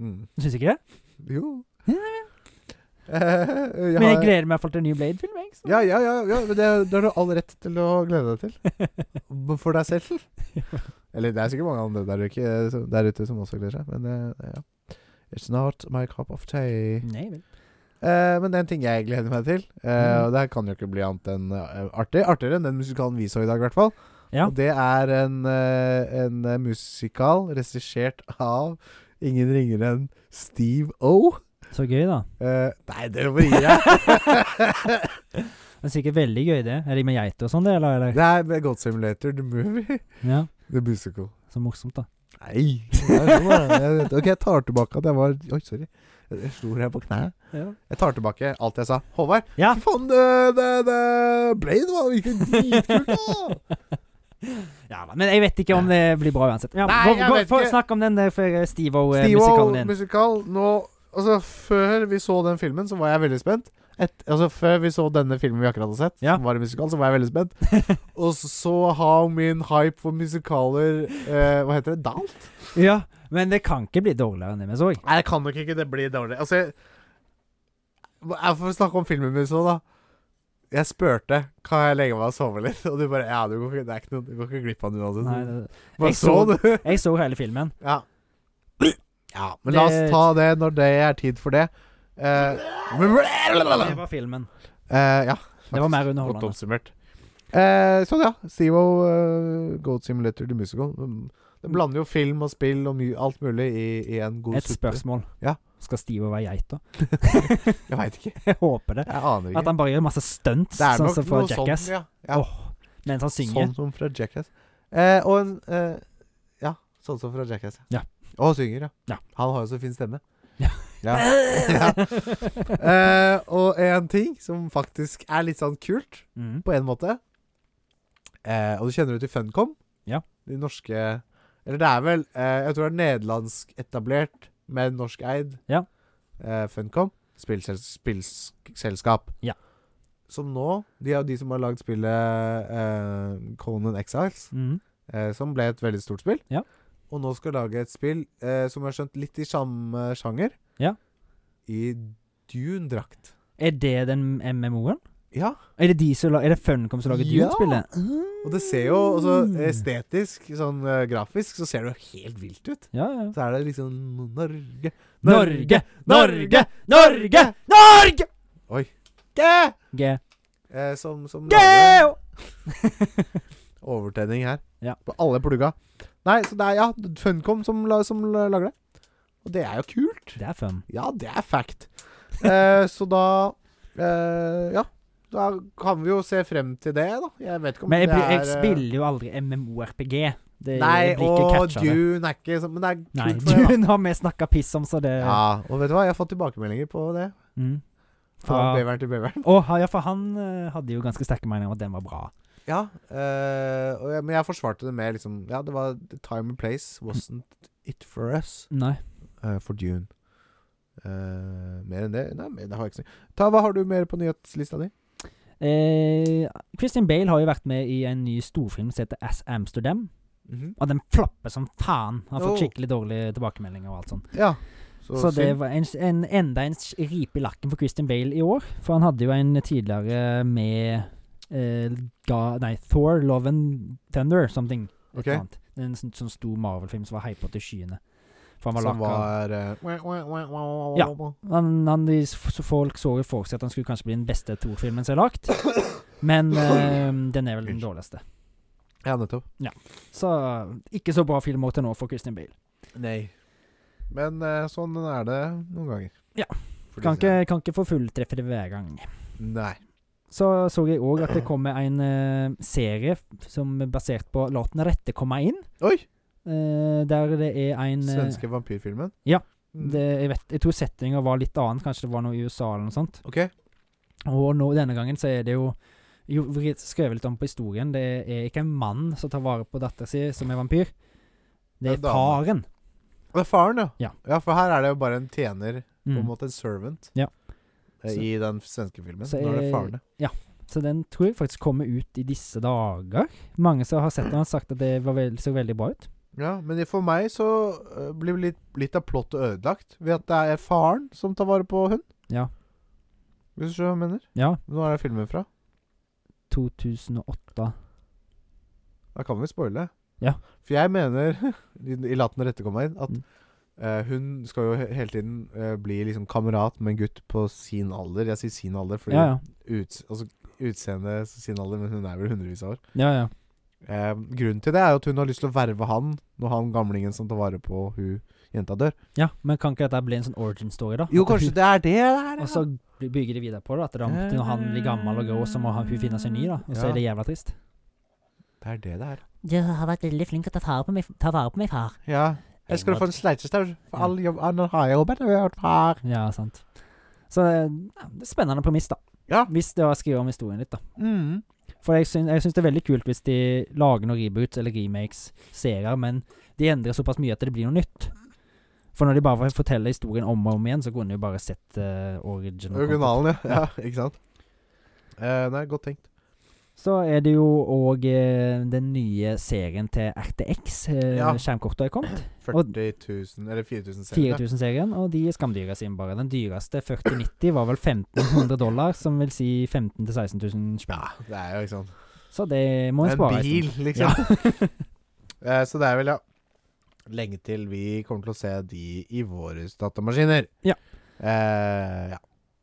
Speaker 2: Mm.
Speaker 3: Syns ikke det?
Speaker 2: Jo.
Speaker 3: Ja,
Speaker 2: Eh, jeg
Speaker 3: Men jeg
Speaker 2: har-
Speaker 3: gleder meg i hvert fall til en ny Blade-film, jeg. så-
Speaker 2: Ja, ja, ja, ja men det, det har du all rett til å glede deg til. B- For deg selv. Eller det er sikkert mange andre der, ikke, som- der ute som også gleder seg, men eh, ja. It's not my cup of tea.
Speaker 3: Nei vel.
Speaker 2: Eh, men det er en ting jeg gleder meg til, eh, og det her kan jo ikke bli annet enn eh, artig. Artigere enn den musikalen vi så i dag, i hvert fall.
Speaker 3: Ja.
Speaker 2: Og det er en, eh, en eh, musikal regissert av ingen ringere enn Steve O.
Speaker 3: Så gøy, da.
Speaker 2: Eh, nei, det må gi deg!
Speaker 3: Det er sikkert veldig gøy, det. Er de med geiter og sånn, det, eller? eller?
Speaker 2: Det er God Simulator, the movie.
Speaker 3: Ja.
Speaker 2: The musical.
Speaker 3: Så morsomt, da.
Speaker 2: Nei! det er sånn, da. Jeg vet- Ok, jeg tar tilbake at jeg var Oi, sorry. Jeg jeg slo deg på kneet.
Speaker 3: Ja.
Speaker 2: Jeg tar tilbake alt jeg sa. Håvard,
Speaker 3: Ja.
Speaker 2: fy faen, det, det, det Blade var jo ikke dritkult, da!
Speaker 3: Ja da, Men jeg vet ikke om det blir bra uansett. Ja,
Speaker 2: Nei,
Speaker 3: gå,
Speaker 2: jeg
Speaker 3: gå,
Speaker 2: vet
Speaker 3: få
Speaker 2: ikke.
Speaker 3: Snakk om den der for eh,
Speaker 2: Steve-O
Speaker 3: Steve-O-musikalen din.
Speaker 2: musikal. Nå Altså, før vi så den filmen, så var jeg veldig spent. Et, altså, før vi så denne filmen vi akkurat har sett,
Speaker 3: Ja.
Speaker 2: som var en musikal, så var jeg veldig spent. Og så har min hype for musikaler eh, Hva heter det? Dal?
Speaker 3: ja, men det kan ikke bli dårligere enn det vi så.
Speaker 2: Nei, det kan nok ikke det bli dårlig. Altså Jeg, jeg får snakke om filmen min sånn, da. Jeg spurte kan jeg legge meg og sove litt, og du bare Ja, du går ikke, det er ikke noe, du går ikke glipp av den uansett.
Speaker 3: Nei, det-
Speaker 2: Hva
Speaker 3: jeg
Speaker 2: så du?
Speaker 3: så- jeg så hele filmen.
Speaker 2: Ja. ja. Men la oss
Speaker 3: Det-
Speaker 2: ta det når det er tid for det. Eh,
Speaker 3: Det var filmen.
Speaker 2: eh, ja.
Speaker 3: Det var mer
Speaker 2: Godt
Speaker 3: underholdende.
Speaker 2: oppsummert. Eh, sånn, ja. Steve-O, eh, Goat Simulator The Musical. Mm. Det blander jo film og spill og my alt mulig i, i en god
Speaker 3: Et spørsmål.
Speaker 2: Ja.
Speaker 3: Skal Steve være geit, da?
Speaker 2: Jeg veit ikke.
Speaker 3: Jeg håper det.
Speaker 2: Jeg aner ikke.
Speaker 3: At han bare gjør masse stunts,
Speaker 2: Det er
Speaker 3: sånn
Speaker 2: nok
Speaker 3: som fra
Speaker 2: noe
Speaker 3: Jackass,
Speaker 2: sånn, ja. ja.
Speaker 3: mens han
Speaker 2: Sånn
Speaker 3: synger.
Speaker 2: som fra Jackass. Eh, og en eh, Ja, sånn som fra Jackass.
Speaker 3: Ja.
Speaker 2: Og synger, ja.
Speaker 3: Ja.
Speaker 2: Han har jo så fin stemme.
Speaker 3: Ja.
Speaker 2: Ja. Eh, og en ting som faktisk er litt sånn kult,
Speaker 3: Mm.
Speaker 2: på en måte eh, Og du kjenner jo til Funcom?
Speaker 3: Ja.
Speaker 2: De norske Eller det er vel eh, Jeg tror det er nederlandsk etablert, men norskeid.
Speaker 3: Ja.
Speaker 2: Eh, Funcom. Spillsel spillselskap.
Speaker 3: Ja.
Speaker 2: som nå De er jo de som har lagd spillet eh, Conan Exiles,
Speaker 3: Mhm.
Speaker 2: eh, som ble et veldig stort spill.
Speaker 3: Ja.
Speaker 2: Og nå skal lage et spill eh, som jeg har skjønt litt i samme sjanger.
Speaker 3: Ja.
Speaker 2: I Dune-drakt.
Speaker 3: Er det den MMO-en?
Speaker 2: Ja.
Speaker 3: Er det, de som la, er det Funcom som lager
Speaker 2: Ja.
Speaker 3: Dune-spillet?
Speaker 2: Og det ser jo altså,
Speaker 3: Mm.
Speaker 2: estetisk, sånn eh, grafisk, så ser det jo helt vilt ut.
Speaker 3: Ja, ja.
Speaker 2: Så er det liksom Norge
Speaker 3: Norge! Norge! Norge! Norge!
Speaker 2: Norge!
Speaker 3: G.
Speaker 2: Eh, som som lager
Speaker 3: Geo!
Speaker 2: overtenning her.
Speaker 3: Ja.
Speaker 2: På alle plugga. Nei, så det er ja, Funcom som, la- som la- lager det. Og det er jo kult.
Speaker 3: Det er fun.
Speaker 2: Ja, det er fact. Eh, så da eh, Ja. Da kan vi jo se frem til det, da. Jeg vet ikke om
Speaker 3: Men jeg,
Speaker 2: det
Speaker 3: blir,
Speaker 2: er
Speaker 3: jeg
Speaker 2: eh,
Speaker 3: spiller jo aldri MMORPG. Det,
Speaker 2: Nei,
Speaker 3: jeg blir ikke
Speaker 2: og
Speaker 3: catcha av det.
Speaker 2: Dune er ikke sånn Men det er kult
Speaker 3: Nei,
Speaker 2: for det,
Speaker 3: Dune har vi snakka piss om, så det
Speaker 2: da. Ja, og vet du hva? Jeg har fått tilbakemeldinger på det.
Speaker 3: mm.
Speaker 2: Fra
Speaker 3: Fra-
Speaker 2: beveren til beveren.
Speaker 3: Å, ha- ja, for han eh, hadde jo ganske sterke meninger om at den var bra.
Speaker 2: Ja, eh, og jeg, men jeg forsvarte det med liksom Ja, det var the time and place wasn't it for us.
Speaker 3: Nei.
Speaker 2: eh, for Dune. Eh, mer enn det? Nei, men det har jeg ikke sagt. Ta, hva har du mer på nyhetslista di?
Speaker 3: Eh, Christian Bale har jo vært med i en ny storfilm som heter As Amsterdam. Og den flopper som faen. Han har fått
Speaker 2: Oh.
Speaker 3: skikkelig dårlige tilbakemeldinger og alt sånt.
Speaker 2: Ja.
Speaker 3: Så det
Speaker 2: synd.
Speaker 3: var en, en, enda en s- ripe i lakken for Christian Bale i år. For han hadde jo en tidligere med eh, ga, Nei, Thor, Love and Thunder, something. Et
Speaker 2: Ok.
Speaker 3: eller annet. En sånn, sånn stor Marvel-film som var hypa til skyene. For han var
Speaker 2: Som
Speaker 3: laka
Speaker 2: var eh,
Speaker 3: Ja. han, han, de, s- f- Folk så jo for seg at han skulle kanskje bli den beste Thor-filmen som er lagt. Men eh, den er vel den dårligste.
Speaker 2: Ja, nettopp.
Speaker 3: Så ikke så bra film til nå for Christian Bale.
Speaker 2: Nei. Men eh, sånn er det noen ganger.
Speaker 3: Ja.
Speaker 2: For
Speaker 3: Kan
Speaker 2: disse her.
Speaker 3: ikke, kan ikke få fulltreffere hver gang.
Speaker 2: Nei.
Speaker 3: Så så jeg òg at det kommer en eh, serie f- som er basert på La den rette komme inn.
Speaker 2: Oi!
Speaker 3: eh, der det er en eh,
Speaker 2: Svenske vampyrfilmen?
Speaker 3: ja.
Speaker 2: Mm.
Speaker 3: det, jeg, vet, jeg tror settinga var litt annen, kanskje det var noe i USA eller noe sånt.
Speaker 2: OK.
Speaker 3: Og nå, denne gangen så er det jo jo, vri- skrevet litt om på historien. Det er ikke en mann som tar vare på dattera si som er vampyr. Det
Speaker 2: Det
Speaker 3: er
Speaker 2: er dame.
Speaker 3: faren.
Speaker 2: Det er faren, ja.
Speaker 3: Ja.
Speaker 2: For her er det jo bare en tjener, på en
Speaker 3: Mm.
Speaker 2: måte en servant,
Speaker 3: Ja.
Speaker 2: eh,
Speaker 3: Så-
Speaker 2: i den svenske filmen.
Speaker 3: så
Speaker 2: Nå er det
Speaker 3: jeg-
Speaker 2: faren, ja.
Speaker 3: Så den tror jeg faktisk kommer ut i disse dager. Mange som har sett den, har sagt at det var vel- så veldig bra ut.
Speaker 2: Ja, men for meg så øh, blir litt, litt av plottet ødelagt ved at det er faren som tar vare på hun.
Speaker 3: Ja.
Speaker 2: Hvis du skjønner hva jeg mener.
Speaker 3: Ja,
Speaker 2: Nå er det filmen fra.
Speaker 3: 2008.
Speaker 2: Da kan vi spoile.
Speaker 3: Ja.
Speaker 2: For jeg mener, i, i La den rette komme inn, at
Speaker 3: Mm.
Speaker 2: øh, hun skal jo he- hele tiden øh, bli liksom kamerat med en gutt på sin alder. Jeg sier sin alder fordi
Speaker 3: Ja, ja.
Speaker 2: Ut, altså, utseende sin alder, men hun er vel hundrevis av år.
Speaker 3: ja, ja.
Speaker 2: Eh, grunnen til det er jo at hun har lyst til å verve han når han gamlingen som tar vare på hun jenta dør.
Speaker 3: Ja, men kan ikke dette bli en sånn origin story, da?
Speaker 2: Jo,
Speaker 3: At
Speaker 2: kanskje
Speaker 3: hun-
Speaker 2: det er det det er. ja.
Speaker 3: Og så bygger de videre på det, at da, når han blir gammel og grå, så må han, hun finne seg ny, da. Og så
Speaker 2: Ja.
Speaker 3: er det jævla trist.
Speaker 2: Det er det det er.
Speaker 5: Du har vært veldig flink til å ta vare på meg, ta vare på meg far.
Speaker 2: Ja. Jeg skal få en sleitestaur. For all jobb annen har jeg jobbet, og jeg har vært far.
Speaker 3: Ja, sant. Så eh, det er spennende premiss, da.
Speaker 2: Ja.
Speaker 3: Hvis det var å skrive om historien litt, da.
Speaker 2: Mm.
Speaker 3: For jeg syns, jeg syns det er veldig kult hvis de lager noen reboots eller remakes, serier, men de endrer såpass mye at det blir noe nytt. For når de bare forteller historien om og om igjen, så kunne de jo bare sett eh, origin. og content.
Speaker 2: Originalen, ja. ja. Ikke sant? Eh, nei, godt tenkt.
Speaker 3: Så er det jo òg den nye serien til RTX. Eh,
Speaker 2: Ja.
Speaker 3: Skjermkortet har kommet.
Speaker 2: 40 000, eller 4000 serier.
Speaker 3: 4000-serien, og de er skamdyre sine bare. Den dyreste, 4090, var vel 1500 dollar, som vil si 15 000-16 000
Speaker 2: Ja,
Speaker 3: spenn.
Speaker 2: det er jo ikke sant.
Speaker 3: Så det må en
Speaker 2: En
Speaker 3: spare. en
Speaker 2: bil,
Speaker 3: stund.
Speaker 2: liksom. Eh, så det er vel, ja Lenge til vi kommer til å se de i våre datamaskiner.
Speaker 3: Ja.
Speaker 2: Eh, ja.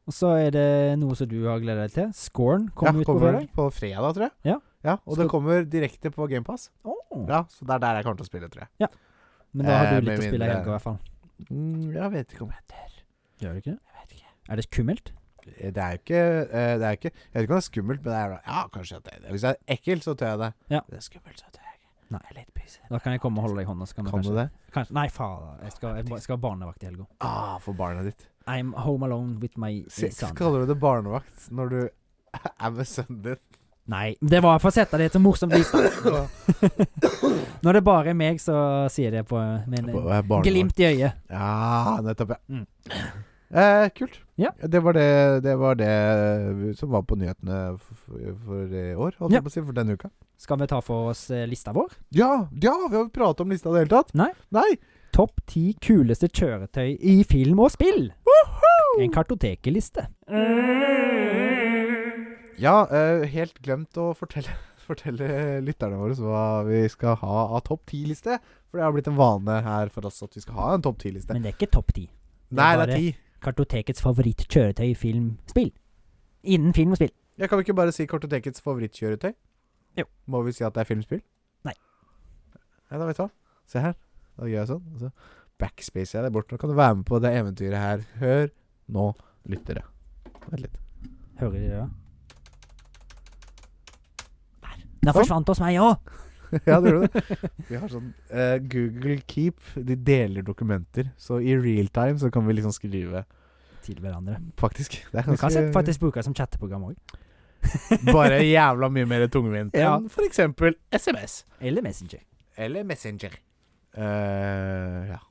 Speaker 3: Og så er det noe som du har gleda deg til. Scorn kommer
Speaker 2: ja,
Speaker 3: ut på fredag.
Speaker 2: på fredag, tror jeg.
Speaker 3: Ja.
Speaker 2: Og
Speaker 3: Skal-
Speaker 2: det kommer direkte på GamePass.
Speaker 3: Åh.
Speaker 2: Ja, så det er der jeg kommer til å spille, tror jeg.
Speaker 3: Men da har
Speaker 2: Eh,
Speaker 3: du litt
Speaker 2: med
Speaker 3: å spille i
Speaker 2: mindre-
Speaker 3: helga, i hvert fall.
Speaker 2: Mm, jeg vet ikke om jeg
Speaker 3: Gjør du ikke det? Er det skummelt?
Speaker 2: Eh, Det er jo ikke, eh, det er ikke Jeg vet ikke om det er skummelt, men det er Ja, kanskje at det er det. Hvis det er ekkelt, så tør jeg det.
Speaker 3: Ja.
Speaker 2: Det er skummelt, så tør jeg ikke.
Speaker 3: Nei.
Speaker 2: Jeg er litt pysete.
Speaker 3: Da kan jeg komme og holde deg i hånda. Så kan, vi
Speaker 2: Kan du
Speaker 3: kanskje,
Speaker 2: det?
Speaker 3: kanskje, nei, faen. Jeg skal, jeg ba- skal ha barnevakt i helga.
Speaker 2: Ah, for barnet ditt.
Speaker 3: I'm home alone with my
Speaker 2: Se,
Speaker 3: son.
Speaker 2: kaller du det barnevakt når du er med sønnen din?
Speaker 3: Nei, det var for å sette det til morsomt vis. Når det bare er meg, så sier jeg det på min
Speaker 2: Barnevakt.
Speaker 3: glimt i øyet.
Speaker 2: Ja, nettopp, ja.
Speaker 3: Mm.
Speaker 2: Eh, kult.
Speaker 3: Ja.
Speaker 2: Det, var det, det var det som var på nyhetene for, for i år, holdt
Speaker 3: Ja.
Speaker 2: jeg på å si, for denne uka.
Speaker 3: Skal vi ta for oss eh, lista vår?
Speaker 2: Ja, ja, vi har jo pratet om lista i det hele tatt.
Speaker 3: Nei.
Speaker 2: Nei.
Speaker 3: Topp ti kuleste kjøretøy i film og spill. En
Speaker 2: Mm.
Speaker 3: kartotekeliste.
Speaker 2: Ja, eh, helt glemt å fortelle, fortelle lytterne våre hva vi skal ha av topp ti-liste. For det har blitt en vane her for oss at vi skal ha en topp ti-liste.
Speaker 3: Men det er ikke topp ti.
Speaker 2: Nei, det
Speaker 3: bare-
Speaker 2: er ti.
Speaker 3: Kartotekets favorittkjøretøy i film spill. Innen film og spill.
Speaker 2: Ja, kan vi ikke bare si Kartotekets favorittkjøretøy?
Speaker 3: Jo.
Speaker 2: Må vi si at det er filmspill?
Speaker 3: Nei.
Speaker 2: Ja, da vet du hva. Se her. Da gjør jeg sånn. og Så backspacer jeg det bort. Nå kan du være med på det eventyret her. Hør nå, lyttere. Vent litt.
Speaker 3: Hører de det? da? Der
Speaker 2: Sånn.
Speaker 3: forsvant hos meg òg!
Speaker 2: ja, det gjorde det. Vi har sånn eh, Google Keep. De deler dokumenter. Så i real time så kan vi liksom skrive,
Speaker 3: Til hverandre.
Speaker 2: faktisk. Det er
Speaker 3: Du kan se-
Speaker 2: ganske
Speaker 3: faktisk bruke det som chatteprogram òg.
Speaker 2: Bare jævla mye mer tungvint
Speaker 3: Ja.
Speaker 2: enn for eksempel SMS.
Speaker 3: Eller Messenger.
Speaker 2: Eller Messenger. ja.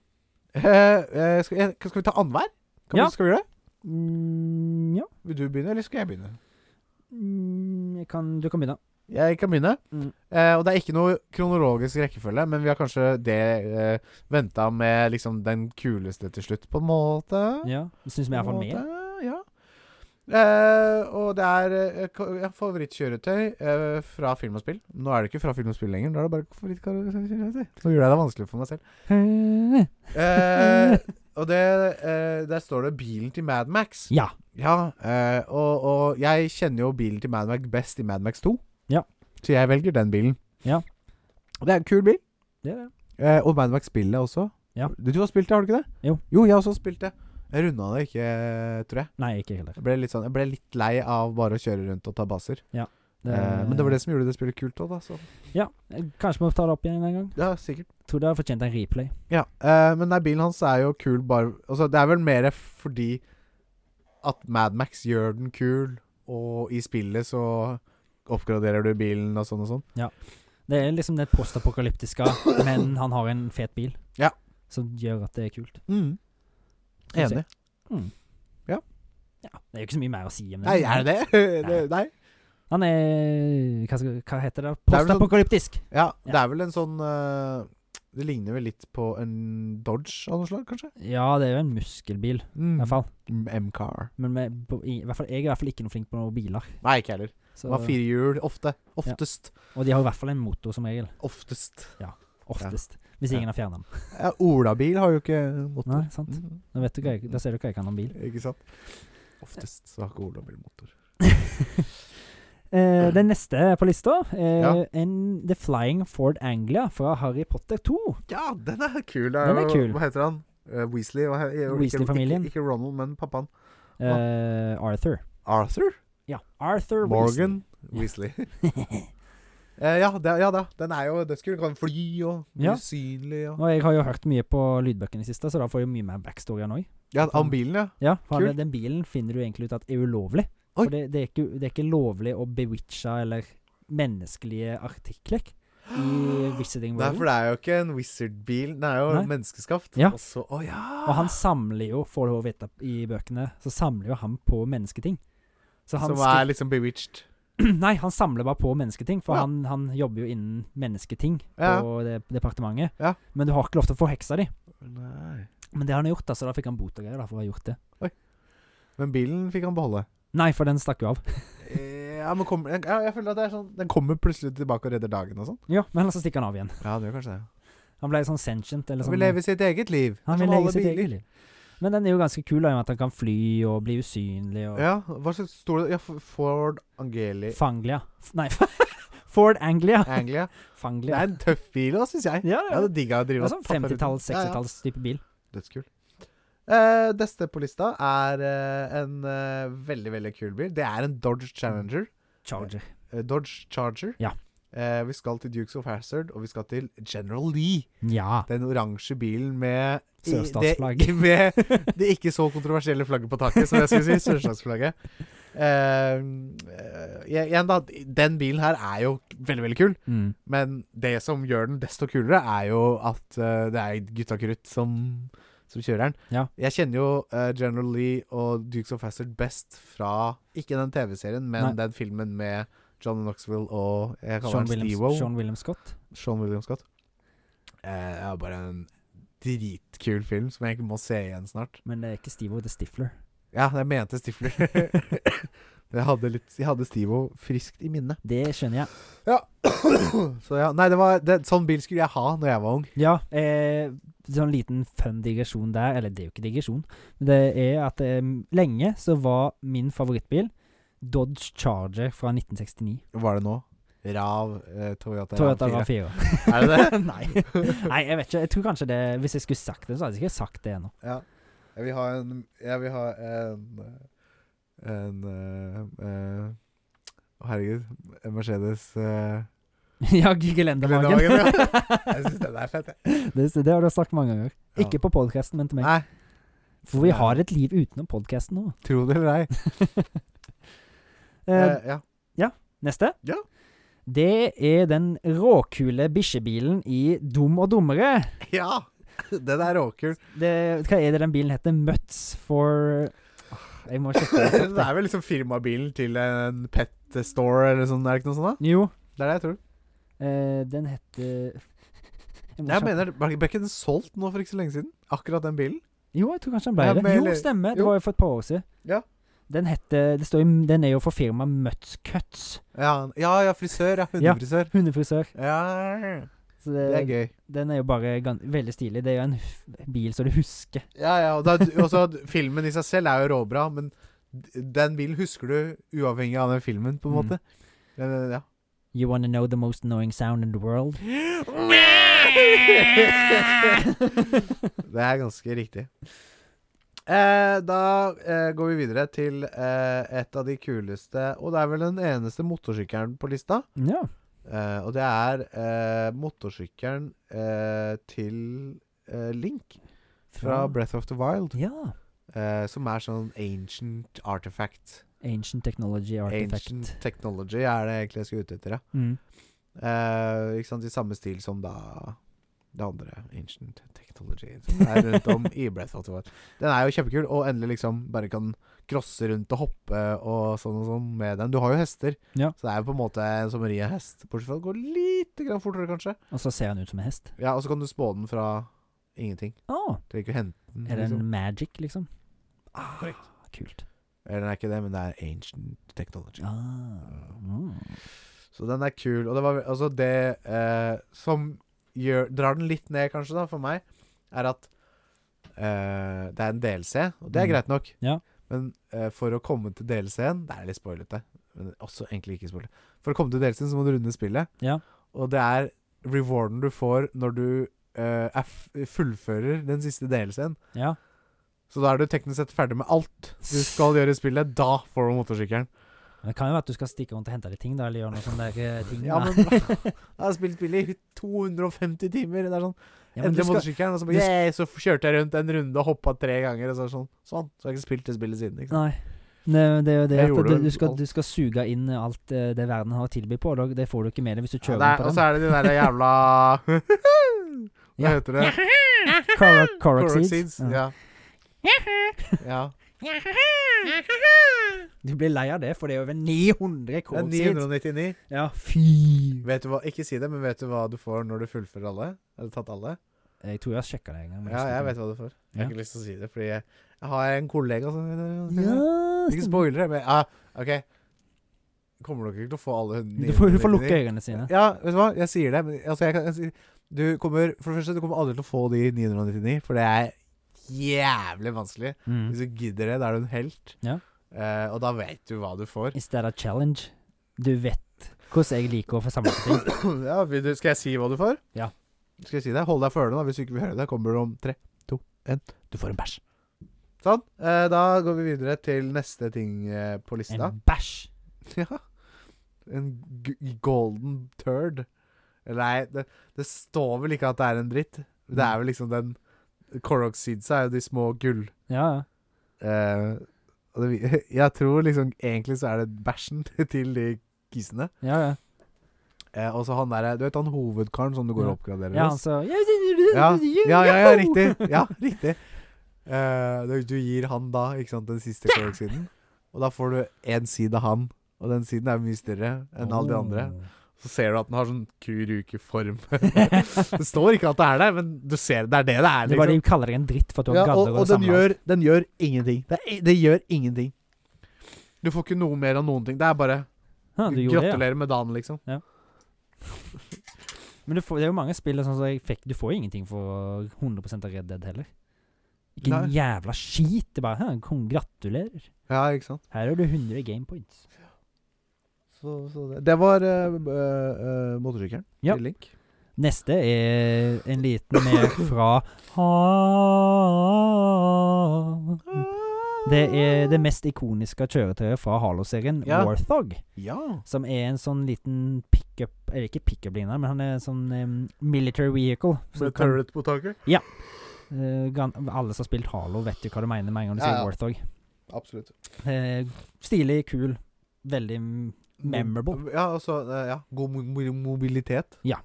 Speaker 2: Eh, eh, skal, eh, skal vi ta annenhver? Kan
Speaker 3: Ja.
Speaker 2: vi- Skal vi gjøre det?
Speaker 3: Mm, ja.
Speaker 2: Vil du begynne, eller skal jeg begynne?
Speaker 3: Mm, jeg kan, du kan begynne.
Speaker 2: Jeg kan begynne.
Speaker 3: Mm.
Speaker 2: Eh, og det er ikke noe kronologisk rekkefølge, men vi har kanskje det uh, venta med liksom den kuleste til slutt, på en måte.
Speaker 3: Ja. Syns vi er iallfall med.
Speaker 2: Ja. Eh, og det er eh, ko- ja, favorittkjøretøy eh, fra film og spill. Nå er det ikke fra film og spill lenger. Nå er det bare favorittkjøretøy. Så gjør jeg det vanskelig for meg selv. Eh, og det, eh, der står det bilen til Mad Max.
Speaker 3: Ja.
Speaker 2: Ja, eh, og, og jeg kjenner jo bilen til Mad Max best i Mad Max 2.
Speaker 3: Ja.
Speaker 2: Så jeg velger den bilen.
Speaker 3: Ja.
Speaker 2: Og det er en kul bil.
Speaker 3: Det er det.
Speaker 2: Eh, og Mad Max-spillet også.
Speaker 3: Ja.
Speaker 2: Du, du har spilt det, har du ikke det?
Speaker 3: Jo.
Speaker 2: Jo, jeg har også spilt det. Jeg runda det ikke, tror jeg.
Speaker 3: Nei, ikke heller.
Speaker 2: Jeg ble, litt sånn, jeg ble litt lei av bare å kjøre rundt og ta baser. Eh, men det var det som gjorde det spillet kult òg, da. Så.
Speaker 3: Ja. Kanskje vi må ta det opp igjen en gang.
Speaker 2: Ja, sikkert.
Speaker 3: Tror det har fortjent en replay.
Speaker 2: Ja, eh, men nei, bilen hans er jo kul bare Altså, det er vel mer fordi at Madmax gjør den kul, og i spillet så oppgraderer du bilen og sånn og sånn.
Speaker 3: Det er liksom det postapokalyptiske, men han har en fet bil.
Speaker 2: Ja.
Speaker 3: Som gjør at det er kult. Skal vi
Speaker 2: Mm. Enig.
Speaker 3: Ja, det er jo ikke så mye mer å si om det.
Speaker 2: Nei, er det det? det?
Speaker 3: Nei.
Speaker 2: Nei.
Speaker 3: Han er hva, skal, hva heter det?
Speaker 2: Det er vel sånn-
Speaker 3: Postapokalyptisk!
Speaker 2: Ja, det er vel en sånn eh, Det ligner vel litt på en Dodge av noe slag, kanskje?
Speaker 3: Ja, det er jo en muskelbil, i
Speaker 2: Mm.
Speaker 3: hvert fall.
Speaker 2: M-car.
Speaker 3: Men med, på, i, hvert fall, jeg er i hvert fall ikke noe flink på noen biler.
Speaker 2: Nei, ikke heller.
Speaker 3: Så,
Speaker 2: Det var fire hjul. Ofte. Oftest.
Speaker 3: og de har i hvert fall en motor, som regel.
Speaker 2: Oftest.
Speaker 3: Oftest. Hvis
Speaker 2: Ja.
Speaker 3: ingen har fjernet den.
Speaker 2: Ja, Olabil har jo ikke motor.
Speaker 3: Nei, sant.
Speaker 2: Mm.
Speaker 3: Da, vet du hva jeg, da ser du hva jeg kan om bil.
Speaker 2: Ikke sant? Oftest så har ikke Olabil motor.
Speaker 3: Eh, den neste på lista er
Speaker 2: Mm. Ja.
Speaker 3: en The Flying Ford Anglia fra Harry Potter 2.
Speaker 2: Ja, den er kul. Det
Speaker 3: Den er
Speaker 2: jo-
Speaker 3: kul.
Speaker 2: Hva heter han? Eh, Weasley? hva he- ikke-
Speaker 3: Weasley-familien.
Speaker 2: Ikke, ikke Ronald, men pappaen.
Speaker 3: Eh, Arthur.
Speaker 2: Arthur?
Speaker 3: Ja, Arthur Weasley.
Speaker 2: Morgan Weasley. Eh, ja, det, ja da. Den er jo dødskul. Kan fly og
Speaker 3: Ja.
Speaker 2: usynlig og
Speaker 3: Og jeg har jo hørt mye på lydbøkene i siste, så da får jeg jo mye mer backstory nå.
Speaker 2: Ja, om bilen, ja.
Speaker 3: Ja, for
Speaker 2: Kult.
Speaker 3: det- den bilen finner du egentlig ut at er ulovlig.
Speaker 2: Oi.
Speaker 3: For det, det, er ikke, det er ikke lovlig å bewitche eller menneskelige artikler i Visiting
Speaker 2: Nei, for
Speaker 3: World.
Speaker 2: det er jo ikke en wizard-bil. Den er jo
Speaker 3: Nei.
Speaker 2: menneskeskapt.
Speaker 3: Ja.
Speaker 2: Og så, å ja.
Speaker 3: Og han samler jo, får du å vite i bøkene, så samler jo han på mennesketing. Så han
Speaker 2: Som
Speaker 3: skri-
Speaker 2: er liksom bewitched.
Speaker 3: Nei, han samler bare på mennesketing, for
Speaker 2: Ja.
Speaker 3: han, han jobber jo innen mennesketing
Speaker 2: Ja.
Speaker 3: på det departementet.
Speaker 2: Ja.
Speaker 3: Men du har ikke lov til å få heksa di.
Speaker 2: Nei.
Speaker 3: Men det har han gjort, da, så da fikk han bot og greier da, for å ha gjort det.
Speaker 2: Men bilen fikk han beholde.
Speaker 3: Nei, for den stakk jo av.
Speaker 2: Eh, Ja, men kommer, ja, jeg føler at det er sånn Den kommer plutselig tilbake og redder dagen og sånn.
Speaker 3: Ja, Men så stikker han av igjen.
Speaker 2: Ja, det gjør kanskje det.
Speaker 3: Han ble sånn sentient. Eller
Speaker 2: Han
Speaker 3: sånn,
Speaker 2: vil leve sitt eget liv.
Speaker 3: Han
Speaker 2: som
Speaker 3: vil leve
Speaker 2: alle
Speaker 3: sitt
Speaker 2: biler.
Speaker 3: eget liv. Men den er jo ganske kul, da, i og med at han kan fly og bli usynlig og
Speaker 2: Ja, hva slags står det? Ja, F- Ford Angeli
Speaker 3: Fanglia. F- Nei, Ford Anglia.
Speaker 2: Anglia. Det
Speaker 3: Fanglia.
Speaker 2: er en tøff bil òg, syns jeg.
Speaker 3: Ja,
Speaker 2: Jeg hadde digga å
Speaker 3: det
Speaker 2: drive
Speaker 3: er sånn 50-talls, 60-talls type bil.
Speaker 2: Dødskul. Eh, neste på lista er eh, en eh, veldig, veldig kul bil. Det er en Dodge Challenger.
Speaker 3: Charger.
Speaker 2: Eh, Dodge Charger.
Speaker 3: Ja.
Speaker 2: Eh, vi skal til Dukes of Hazard, og vi skal til General Lee.
Speaker 3: Ja.
Speaker 2: Den oransje bilen med i-
Speaker 3: Sørstatsflagg.
Speaker 2: Det, med det ikke så kontroversielle flagget på taket, som jeg skulle si. Sørstatsflagget. Eh, eh, igjen, da. Den bilen her er jo veldig, veldig kul.
Speaker 3: Mm.
Speaker 2: Men det som gjør den desto kulere, er jo at eh, det er gutta krutt som som kjører den.
Speaker 3: Ja.
Speaker 2: Jeg kjenner jo eh, General Lee og Dukes of Hazzard best fra Ikke den TV-serien, men
Speaker 3: Nei.
Speaker 2: den filmen med John Knoxville og jeg kaller
Speaker 3: Sean
Speaker 2: han
Speaker 3: William,
Speaker 2: Steve-O.
Speaker 3: Sean William Scott.
Speaker 2: Sean William Scott. Eh, det er bare en dritkul film som jeg egentlig må se igjen snart.
Speaker 3: Men det er ikke Steve-O, det er Stifler.
Speaker 2: Ja, jeg mente Stifler. Men jeg hadde, litt- jeg hadde Stivo friskt i minnet.
Speaker 3: Det skjønner jeg.
Speaker 2: Så ja, Nei, det var det, sånn bil skulle jeg ha når jeg var ung.
Speaker 3: Ja, eh, sånn liten fun digresjon der, eller det er jo ikke digresjon, men det er at eh, lenge så var min favorittbil Dodge Charger fra 1969.
Speaker 2: Var det nå? Rav eh, Toyota,
Speaker 3: Toyota
Speaker 2: Rav
Speaker 3: Rav 4.
Speaker 2: Er det det?
Speaker 3: Nei. Nei, jeg vet ikke. Jeg tror kanskje det Hvis jeg skulle sagt det, så hadde jeg ikke sagt det ennå.
Speaker 2: Ja. Jeg vil ha en Jeg vil ha en eh, En eh, eh, Å, herregud. En Mercedes eh,
Speaker 3: ja, gelendermagen.
Speaker 2: Gelendermagen, Jeg syns den er fett, jeg.
Speaker 3: det, det har du sagt mange ganger.
Speaker 2: Ja.
Speaker 3: Ikke på podkasten, men til meg.
Speaker 2: Nei,
Speaker 3: For vi har et liv utenom podkasten nå.
Speaker 2: tro det eller ei.
Speaker 3: Eh,
Speaker 2: Eh, ja.
Speaker 3: neste.
Speaker 2: ja.
Speaker 3: Det er den råkule bikkjebilen i Dum og dummere.
Speaker 2: ja! Den er råkul.
Speaker 3: Det, hva er det den bilen heter? Mutts for Åh, Jeg må sjekke det. opp,
Speaker 2: Det er vel liksom firmabilen til en pet store eller sånn, er det ikke noe sånt?
Speaker 3: det. Jo,
Speaker 2: da? Det er det jeg tror.
Speaker 3: eh, den heter Jeg må
Speaker 2: Jeg
Speaker 3: sjekke-
Speaker 2: mener, Ble ble ikke den solgt nå for ikke så lenge siden? Akkurat den bilen?
Speaker 3: Jo, jeg tror kanskje den ble
Speaker 2: Ja,
Speaker 3: det.
Speaker 2: men-
Speaker 3: Jo, stemmer. Det
Speaker 2: jo.
Speaker 3: var jo for et par år siden.
Speaker 2: Ja.
Speaker 3: Den heter det står, jo- Den er jo for firmaet Mutts Cuts.
Speaker 2: Ja, ja, ja frisør. Ja,
Speaker 3: Ja.
Speaker 2: hundefrisør.
Speaker 3: Hundefrisør.
Speaker 2: Ja.
Speaker 3: Så
Speaker 2: Det er
Speaker 3: det,
Speaker 2: gøy.
Speaker 3: den er jo bare gan veldig stilig. Det er jo en f bil så du husker.
Speaker 2: Ja, ja, og da, også, at filmen i seg selv er jo råbra, men d- den bilen husker du uavhengig av den filmen, på en
Speaker 3: Mm.
Speaker 2: måte. Ja, ja, ja.
Speaker 3: You wanna know the most annoying sound in the world?
Speaker 2: Det er ganske riktig. Eh, da eh, går vi videre til eh, et av de kuleste, og det er vel den eneste motorsykkelen på lista.
Speaker 3: ja.
Speaker 2: Eh, og det er eh, motorsykkelen eh, til eh, Link fra Breath of the Wild,
Speaker 3: Ja.
Speaker 2: eh, som er sånn ancient artifact.
Speaker 3: Ancient technology artifact.
Speaker 2: Ancient technology er det egentlig jeg skal ut etter, ja.
Speaker 3: Mm.
Speaker 2: Eh, ikke sant, I samme stil som da det andre, ancient technology, som er rundt om i Breath of the Wild. Den er jo kjempekul, og endelig liksom bare kan crosse rundt og hoppe og sånn og sånn med den. Du har jo hester,
Speaker 3: Ja.
Speaker 2: så det er jo på en måte som å ri en hest, bortsett fra at det går lite grann fortere, kanskje.
Speaker 3: Og så ser han ut som en hest.
Speaker 2: Ja, Og så kan du spå den fra ingenting.
Speaker 3: Å!
Speaker 2: Trenger ikke å hente den.
Speaker 3: er det
Speaker 2: liksom.
Speaker 3: en magic, liksom? Ah,
Speaker 2: Korrekt.
Speaker 3: Kult.
Speaker 2: Eller den er ikke det, men det er ancient technology.
Speaker 3: Ah. Mm.
Speaker 2: Så den er kul. Og det var altså det eh, som gjør, drar den litt ned, kanskje, da, for meg, er at eh, det er en DLC, og det er
Speaker 3: Mm.
Speaker 2: greit nok.
Speaker 3: Ja.
Speaker 2: Men eh, for å komme til DLC-en Det er litt spoilete, men også egentlig ikke spoilete. For å komme til DLC-en så må du runde spillet,
Speaker 3: Ja.
Speaker 2: og det er rewarden du får når du eh, er f fullfører den siste DLC-en.
Speaker 3: Ja.
Speaker 2: Så da er du teknisk sett ferdig med alt du skal gjøre i spillet. Da får du motorsykkelen.
Speaker 3: Men det kan jo være at du skal stikke rundt og hente deg ting, da, eller gjøre noe sånne der, eh, ting.
Speaker 2: Ja,
Speaker 3: da.
Speaker 2: men jeg har spilt spillet i 250 timer. Det er sånn
Speaker 3: Ja, men du
Speaker 2: Endelig
Speaker 3: skal-
Speaker 2: motorsykkelen, og så
Speaker 3: du
Speaker 2: bare yeah, Så f- kjørte jeg rundt en runde og hoppa tre ganger, og så er det sånn. Sånn. Så har jeg ikke spilt det spillet siden. Ikke sant?
Speaker 3: Nei. Ne, det er jo det
Speaker 2: Jeg
Speaker 3: at
Speaker 2: gjorde
Speaker 3: du, du,
Speaker 2: vel
Speaker 3: skal,
Speaker 2: alt.
Speaker 3: du skal suge inn alt eh, det verden har å tilby på, og det får du ikke med deg hvis du
Speaker 2: Ja,
Speaker 3: kjører
Speaker 2: det er-
Speaker 3: på
Speaker 2: og
Speaker 3: den.
Speaker 2: så er det de der jævla Hva
Speaker 3: Ja.
Speaker 2: heter det?
Speaker 3: Cor- Coroxides.
Speaker 2: Coroxides. Ja. ja.
Speaker 3: Du blir lei av det, for det er over 900
Speaker 2: Det er
Speaker 3: Coroxides.
Speaker 2: 999.
Speaker 3: Ja, fy
Speaker 2: Vet du hva, ikke si det, men vet du hva du får når du fullfører alle? Eller tatt alle?
Speaker 3: Jeg tror jeg har sjekka det en gang. men
Speaker 2: Ja,
Speaker 3: husker
Speaker 2: jeg
Speaker 3: ikke.
Speaker 2: vet hva du får. Jeg
Speaker 3: Ja.
Speaker 2: har ikke lyst til å si det, fordi jeg, jeg har en kollega som
Speaker 3: Ja,
Speaker 2: Ikke
Speaker 3: stemmer.
Speaker 2: spoilere, men ah, OK. Kommer dere ikke til å få alle
Speaker 3: Du får, hun får lukke
Speaker 2: 999?
Speaker 3: øynene sine.
Speaker 2: Ja, vet du hva? Jeg sier det. Men, altså, jeg kan, jeg, sier- du kommer, for det første, du kommer aldri til å få de 999, for det er jævlig vanskelig.
Speaker 3: Mm.
Speaker 2: Hvis du gidder det, da er du en helt.
Speaker 3: Ja.
Speaker 2: Eh, og da vet du hva du får.
Speaker 3: Is that a challenge? Du vet hvordan jeg liker å få samlet ting.
Speaker 2: ja, vil du, skal jeg si hva du får?
Speaker 3: Ja.
Speaker 2: Skal jeg si det? Hold deg for ørene, da, hvis du ikke vil høre det. Kommer du om tre, to, én. Du får en bæsj. Sånn. Eh, da går vi videre til neste ting eh, på lista.
Speaker 3: En bæsj.
Speaker 2: Ja. En g golden turd. Eller Nei, det, det står vel ikke at det er en dritt. Det er vel liksom den Coroxides er jo de små gull...
Speaker 3: Ja, ja.
Speaker 2: eh, og det, vi- jeg tror liksom egentlig så er det bæsjen til de kisene.
Speaker 3: ja, ja.
Speaker 2: Eh, og så han derre Du vet han hovedkaren som du går og oppgraderer
Speaker 3: ja
Speaker 2: hos?
Speaker 3: altså
Speaker 2: Ja, ja, ja, ja, riktig. Ja, riktig. Eh, du- du gir han da ikke sant, den siste korksiden, og da får du én side av han. Og den siden er mye større enn alle de andre. Så ser du at den har sånn kuruke-form. det står ikke at det er der, men du ser det er det det er.
Speaker 3: Det er
Speaker 2: liksom.
Speaker 3: bare de kaller deg en dritt for at du har
Speaker 2: Ja,
Speaker 3: galler
Speaker 2: og, og den,
Speaker 3: samler alt.
Speaker 2: gjør, den gjør ingenting. Det, er, i- det gjør ingenting. Du får ikke noe mer av noen ting. Det er bare
Speaker 3: ja, du gjorde det, ja.
Speaker 2: gratulerer med dagen, liksom.
Speaker 3: Men du får, det er jo mange spill sånn som jeg fikk Du får jo ingenting for 100 av Red Dead heller. Ikke en
Speaker 2: Nei.
Speaker 3: jævla skit. Det er bare «Hæ, kong, Gratulerer.
Speaker 2: Ja, ikke sant?
Speaker 3: Her har du 100 game points.
Speaker 2: Så, så det. det var uh, uh, motorsykkelen
Speaker 3: Ja.
Speaker 2: til Link.
Speaker 3: Neste er en liten mer fra Ha- Mm. Det er det mest ikoniske kjøretøyet fra Halo-serien,
Speaker 2: Ja.
Speaker 3: Warthog.
Speaker 2: Ja.
Speaker 3: Som er en sånn liten pickup Eller ikke pickup-linje, men han er en sånn em, military vehicle. Så du
Speaker 2: Med
Speaker 3: kan,
Speaker 2: turret på taket.
Speaker 3: eh, gan, alle som har spilt Halo, vet jo hva du mener med en gang du
Speaker 2: Ja,
Speaker 3: sier
Speaker 2: ja.
Speaker 3: Warthog.
Speaker 2: Absolutt.
Speaker 3: Eh, stilig, kul, veldig mm, Memorable.
Speaker 2: Ja, altså eh, ja. God mo mo mobilitet.
Speaker 3: Ja.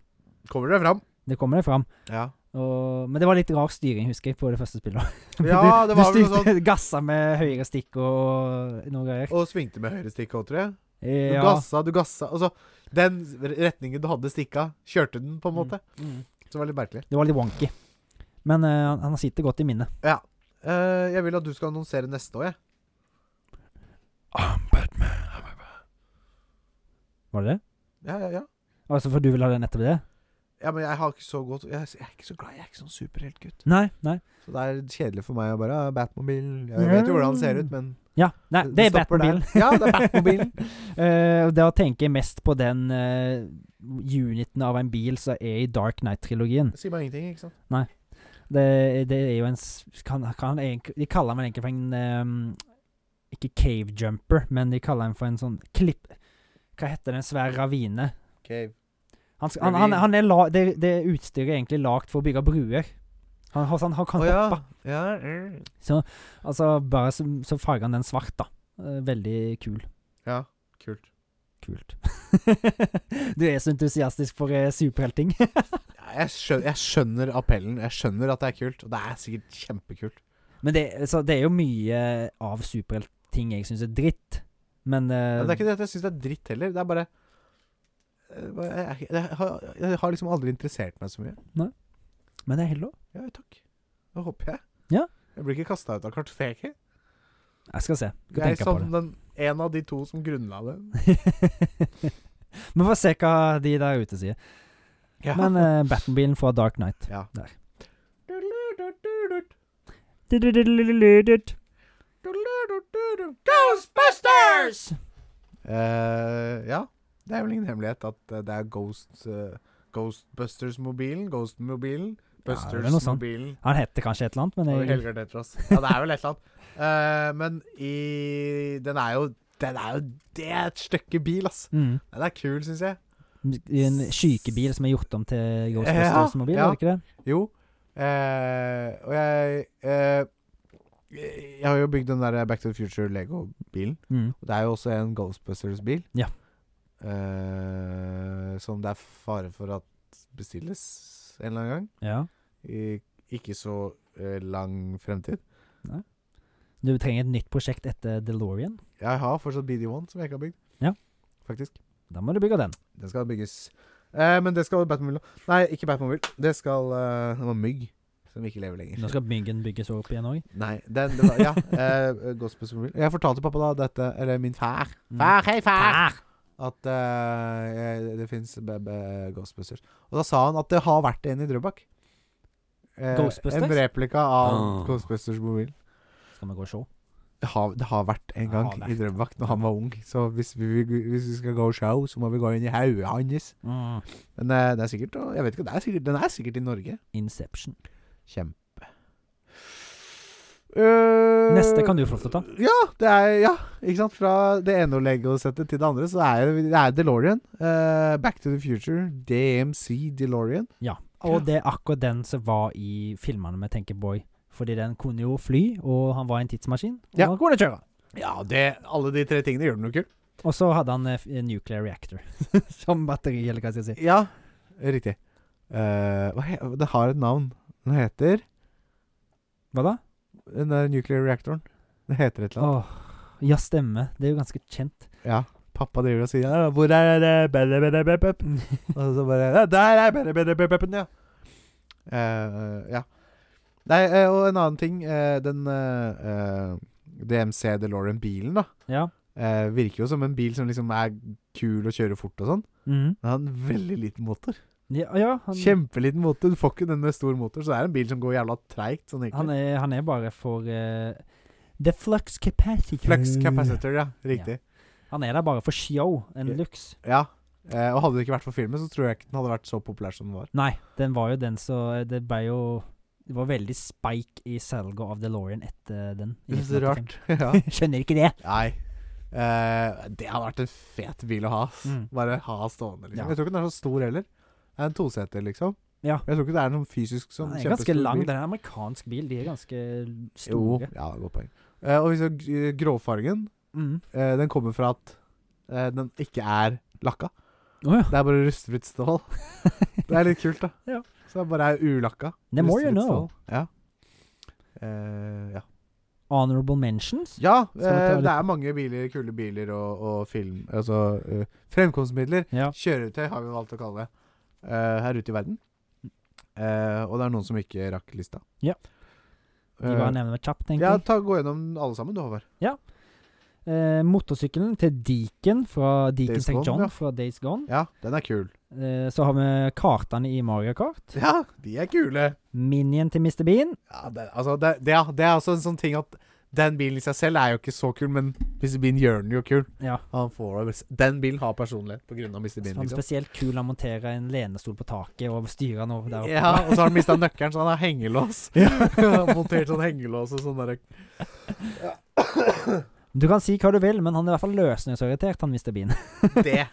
Speaker 2: Kommer det fram.
Speaker 3: Det kommer det fram.
Speaker 2: Ja.
Speaker 3: Og, men det var litt rar styring, husker jeg, på det første spillet.
Speaker 2: Ja, det var
Speaker 3: du
Speaker 2: vel noe sånt.
Speaker 3: styrte gassa med høyre stikk og noe greier.
Speaker 2: Og svingte med høyre stikk òg, tror jeg. Du
Speaker 3: Eh,
Speaker 2: gassa, du gassa. Altså, den retningen du hadde stikka, kjørte den, på en måte.
Speaker 3: Mm, mm.
Speaker 2: Så det var litt merkelig.
Speaker 3: Det var litt wonky. Men eh, han- han sitter godt i minnet.
Speaker 2: Eh, jeg vil at du skal annonsere neste år, jeg.
Speaker 3: Var det det?
Speaker 2: Ja, ja, ja.
Speaker 3: Altså, for du vil ha det nettopp det?
Speaker 2: ja men jeg har ikke så godt Jeg, jeg er ikke så glad. Jeg er ikke sånn superheltgutt.
Speaker 3: Nei. nei
Speaker 2: Så det er kjedelig for meg å bare ah, Batmobil Jeg vet jo hvordan han ser ut, men
Speaker 3: Ja, nei, det, er
Speaker 2: stopper der.
Speaker 3: Batmobilen.
Speaker 2: Ja, det er Batmobilen.
Speaker 3: Eh, og da tenker jeg mest på den eh, uniten av en bil som er i Dark Knight-trilogien.
Speaker 2: Det Sier meg ingenting, ikke sant?
Speaker 3: Det, det er jo en s- kan, kan han egentlig, De kaller den egentlig for en ehm, Ikke cave jumper, men de kaller den for en sånn klipp... Hva heter den svære ravine?
Speaker 2: Cave.
Speaker 3: Han, skal- han, han, han er la, det, det utstyret er egentlig lagd for å bygge bruer. Han, han, han,
Speaker 2: Å
Speaker 3: kan
Speaker 2: ja.
Speaker 3: hoppe.
Speaker 2: ja. mm.
Speaker 3: Så, altså, bare så, så farger han den svart, da. Eh, Veldig kul.
Speaker 2: Ja, kult.
Speaker 3: Kult. du er så entusiastisk for eh, superhelting.
Speaker 2: Ja, jeg, skjønner, jeg skjønner appellen. Jeg skjønner at det er kult. Og det er sikkert kjempekult.
Speaker 3: Men det, så det er jo mye av superheltting jeg syns er dritt. Men, eh,
Speaker 2: Men det er ikke det at jeg syns det er dritt heller. Det er bare eh, bare- jeg, er ikke- jeg, har, jeg har liksom aldri interessert meg så mye.
Speaker 3: men det er helt lov.
Speaker 2: Ja, takk. Det håper jeg.
Speaker 3: Ja.
Speaker 2: Jeg blir ikke kasta ut av kartoteket.
Speaker 3: Jeg skal se. Skal
Speaker 2: Jeg er
Speaker 3: tenke på
Speaker 2: som den, en av de to som grunnla det.
Speaker 3: det. Vi får se hva de der ute sier.
Speaker 2: Ja.
Speaker 3: Men uh, Batmobilen fra Dark Knight.
Speaker 2: ja.
Speaker 3: der.
Speaker 2: Ghostbusters! Eh, ja, det er vel ingen hemmelighet at eh, det er Ghost, eh, Ghostbusters-mobilen. Ghost-mobilen.
Speaker 3: Ja, det er noe sånt.
Speaker 2: Busters-mobilen.
Speaker 3: Han heter kanskje et eller annet,
Speaker 2: Og
Speaker 3: men jeg,
Speaker 2: Helgard etter oss. Ja, det er vel et eller annet. Eh, men i Den er jo Den er jo Det er et stykke bil, ass.
Speaker 3: mm,
Speaker 2: Den er kul, syns jeg.
Speaker 3: I en skykebil som er gjort om til Ghostbusters-mobil,
Speaker 2: Ja,
Speaker 3: er det ikke det?
Speaker 2: Jo. Eh, og jeg eh, Jeg har jo bygd den der Back to the Future-Lego-bilen.
Speaker 3: Mm.
Speaker 2: Og det er jo også en Ghostbusters-bil.
Speaker 3: Ja.
Speaker 2: Eh, som det er fare for at bestilles en eller annen gang.
Speaker 3: Ja.
Speaker 2: I ikke så eh, lang fremtid.
Speaker 3: Du trenger et nytt prosjekt etter DeLorean.
Speaker 2: Jeg har fortsatt BD1, som jeg ikke har bygd.
Speaker 3: Ja.
Speaker 2: Faktisk.
Speaker 3: Da må du bygge den.
Speaker 2: Den skal bygges. Eh, men det skal Batmobil Nei, ikke Batmobil. Det skal eh, Det var mygg som ikke lever lenger.
Speaker 3: Nå skal myggen bygges opp igjen òg.
Speaker 2: Nei, den, det var, ja. Eh, Gospel Supermobil. Jeg fortalte pappa da dette, eller min far,
Speaker 3: Mm.
Speaker 2: Mm. Far, hei, far! at eh, jeg- det fins Ghostbusters. Og da sa han at det har vært en i Drøbak. Eh,
Speaker 3: Ghostbusters?
Speaker 2: En replika av
Speaker 3: Ah.
Speaker 2: Ghostbusters-mobilen.
Speaker 3: Skal vi gå og se?
Speaker 2: Det, har- det har vært en
Speaker 3: Ah, Det har
Speaker 2: gang i Drøbak når han var ung. Så hvis vi, vi- hvis vi skal gå show, så må vi gå inn i hodet hans.
Speaker 3: Mm.
Speaker 2: Men eh, det er sikkert og Jeg vet ikke, det er sikkert, den er sikkert i Norge.
Speaker 3: Inception.
Speaker 2: Kjempe. Eh,
Speaker 3: Neste kan du få lov til å ta.
Speaker 2: Ja, det er, ja, ikke sant? Fra det ene Lego-settet til det andre, så er det, det er DeLorean. Eh, Back to the Future, DMC DeLorean.
Speaker 3: Og det er akkurat den som var i filmene med Tenkerboy. Fordi den kunne jo fly, og han var en tidsmaskin. Og
Speaker 2: Ja.
Speaker 3: han kunne kjøre.
Speaker 2: Ja, alle de tre tingene gjør den jo kul.
Speaker 3: Og så hadde han eh, f- en nuclear reactor som batteri, eller hva skal jeg si.
Speaker 2: Ja, riktig. Eh, hva he det har et navn. Den heter
Speaker 3: Hva da?
Speaker 2: Den der nuclear reactoren. Det heter et eller annet.
Speaker 3: Åh, ja, stemme. Det er jo ganske kjent.
Speaker 2: Ja. Pappa driver og sier ja, 'Hvor er det bedre, bedre, bedre, bedre?» Og så bare ja, 'Der er bedre, bedre, bedre, bedre, ja. Eh, ja. Nei, eh, og en annen ting. eh, den eh, eh, DMC DeLorean-bilen, da.
Speaker 3: ja.
Speaker 2: eh, virker jo som en bil som liksom er kul å kjøre fort og sånn.
Speaker 3: Mhm.
Speaker 2: Den har en veldig liten motor.
Speaker 3: ja, ja han,
Speaker 2: Kjempeliten motor. Du får ikke den med stor motor, så det er en bil som går jævla treigt. Sånn, egentlig.
Speaker 3: han, er, han er bare for eh, The flux capacitor.
Speaker 2: Flux capacitor, ja. Riktig.
Speaker 3: Han er der bare for show and
Speaker 2: Ja.
Speaker 3: looks.
Speaker 2: Ja. Eh, og hadde det ikke vært for filmen, så tror jeg ikke den hadde vært så populær som den var.
Speaker 3: Nei, den var jo den så eh, Det ble jo Det var veldig spike i salget av DeLorean etter den. i
Speaker 2: Det er så
Speaker 3: 1985.
Speaker 2: rart. ja.
Speaker 3: Skjønner ikke det.
Speaker 2: Nei. Eh, det hadde vært en fet bil å ha. ass.
Speaker 3: Mm.
Speaker 2: Bare ha stående, liksom.
Speaker 3: Ja.
Speaker 2: Jeg tror ikke den er så stor heller. Det er en toseter, liksom.
Speaker 3: Ja.
Speaker 2: Jeg tror ikke det er noen fysisk sånn
Speaker 3: Den er ganske lang.
Speaker 2: bil.
Speaker 3: Det er en amerikansk bil. De er ganske
Speaker 2: Jo,
Speaker 3: store.
Speaker 2: ja, godt poeng. Eh, og hvis du- eh, gråfargen,
Speaker 3: Mm.
Speaker 2: eh, den kommer fra at eh, den ikke er lakka.
Speaker 3: Å ja.
Speaker 2: Det er bare rustfritt stål. det er litt kult, da.
Speaker 3: Ja.
Speaker 2: Så det er bare ulakka.
Speaker 3: The more you
Speaker 2: rustfritt
Speaker 3: know.
Speaker 2: stål. Ja. Eh, ja.
Speaker 3: Honorable mentions.
Speaker 2: Ja,
Speaker 3: vi ta
Speaker 2: eh,
Speaker 3: litt-
Speaker 2: det er mange biler, kule biler og, og film. Altså eh, fremkomstmidler.
Speaker 3: Ja.
Speaker 2: Kjøretøy har vi valgt å kalle det eh, her ute i verden. Eh, og det er noen som ikke rakk lista.
Speaker 3: Ja. De
Speaker 2: Eh,
Speaker 3: bare nevner meg kjapt, tenker
Speaker 2: ja,
Speaker 3: jeg.
Speaker 2: ta, gå gjennom alle sammen, du, Håvard.
Speaker 3: Eh, motorsykkelen til Deacon fra Deacon
Speaker 2: Days
Speaker 3: St.
Speaker 2: Gone,
Speaker 3: John
Speaker 2: ja.
Speaker 3: fra Days Gone.
Speaker 2: Ja, den er kul.
Speaker 3: Eh, så har vi kartene i Mario Kart.
Speaker 2: Ja, de er kule.
Speaker 3: Minien til Mr. Bean.
Speaker 2: Ja, det, altså, det, det, er- det er også en sånn ting at den bilen i seg selv er jo ikke så kul, men Mr. Bean gjør den jo kul.
Speaker 3: Ja.
Speaker 2: Han får, den bilen har personlighet på grunn av Mr. Bean.
Speaker 3: Han er
Speaker 2: Liksom.
Speaker 3: spesielt kul å montere en lenestol på taket og styre den over der oppe.
Speaker 2: Ja, og så har han mista nøkkelen, så han har hengelås.
Speaker 3: Ja.
Speaker 2: Han har Montert sånn hengelås og sånn der
Speaker 3: Du kan si hva du vil, men han er i hvert fall løsningsorientert, han Mr. Bean.
Speaker 2: Det er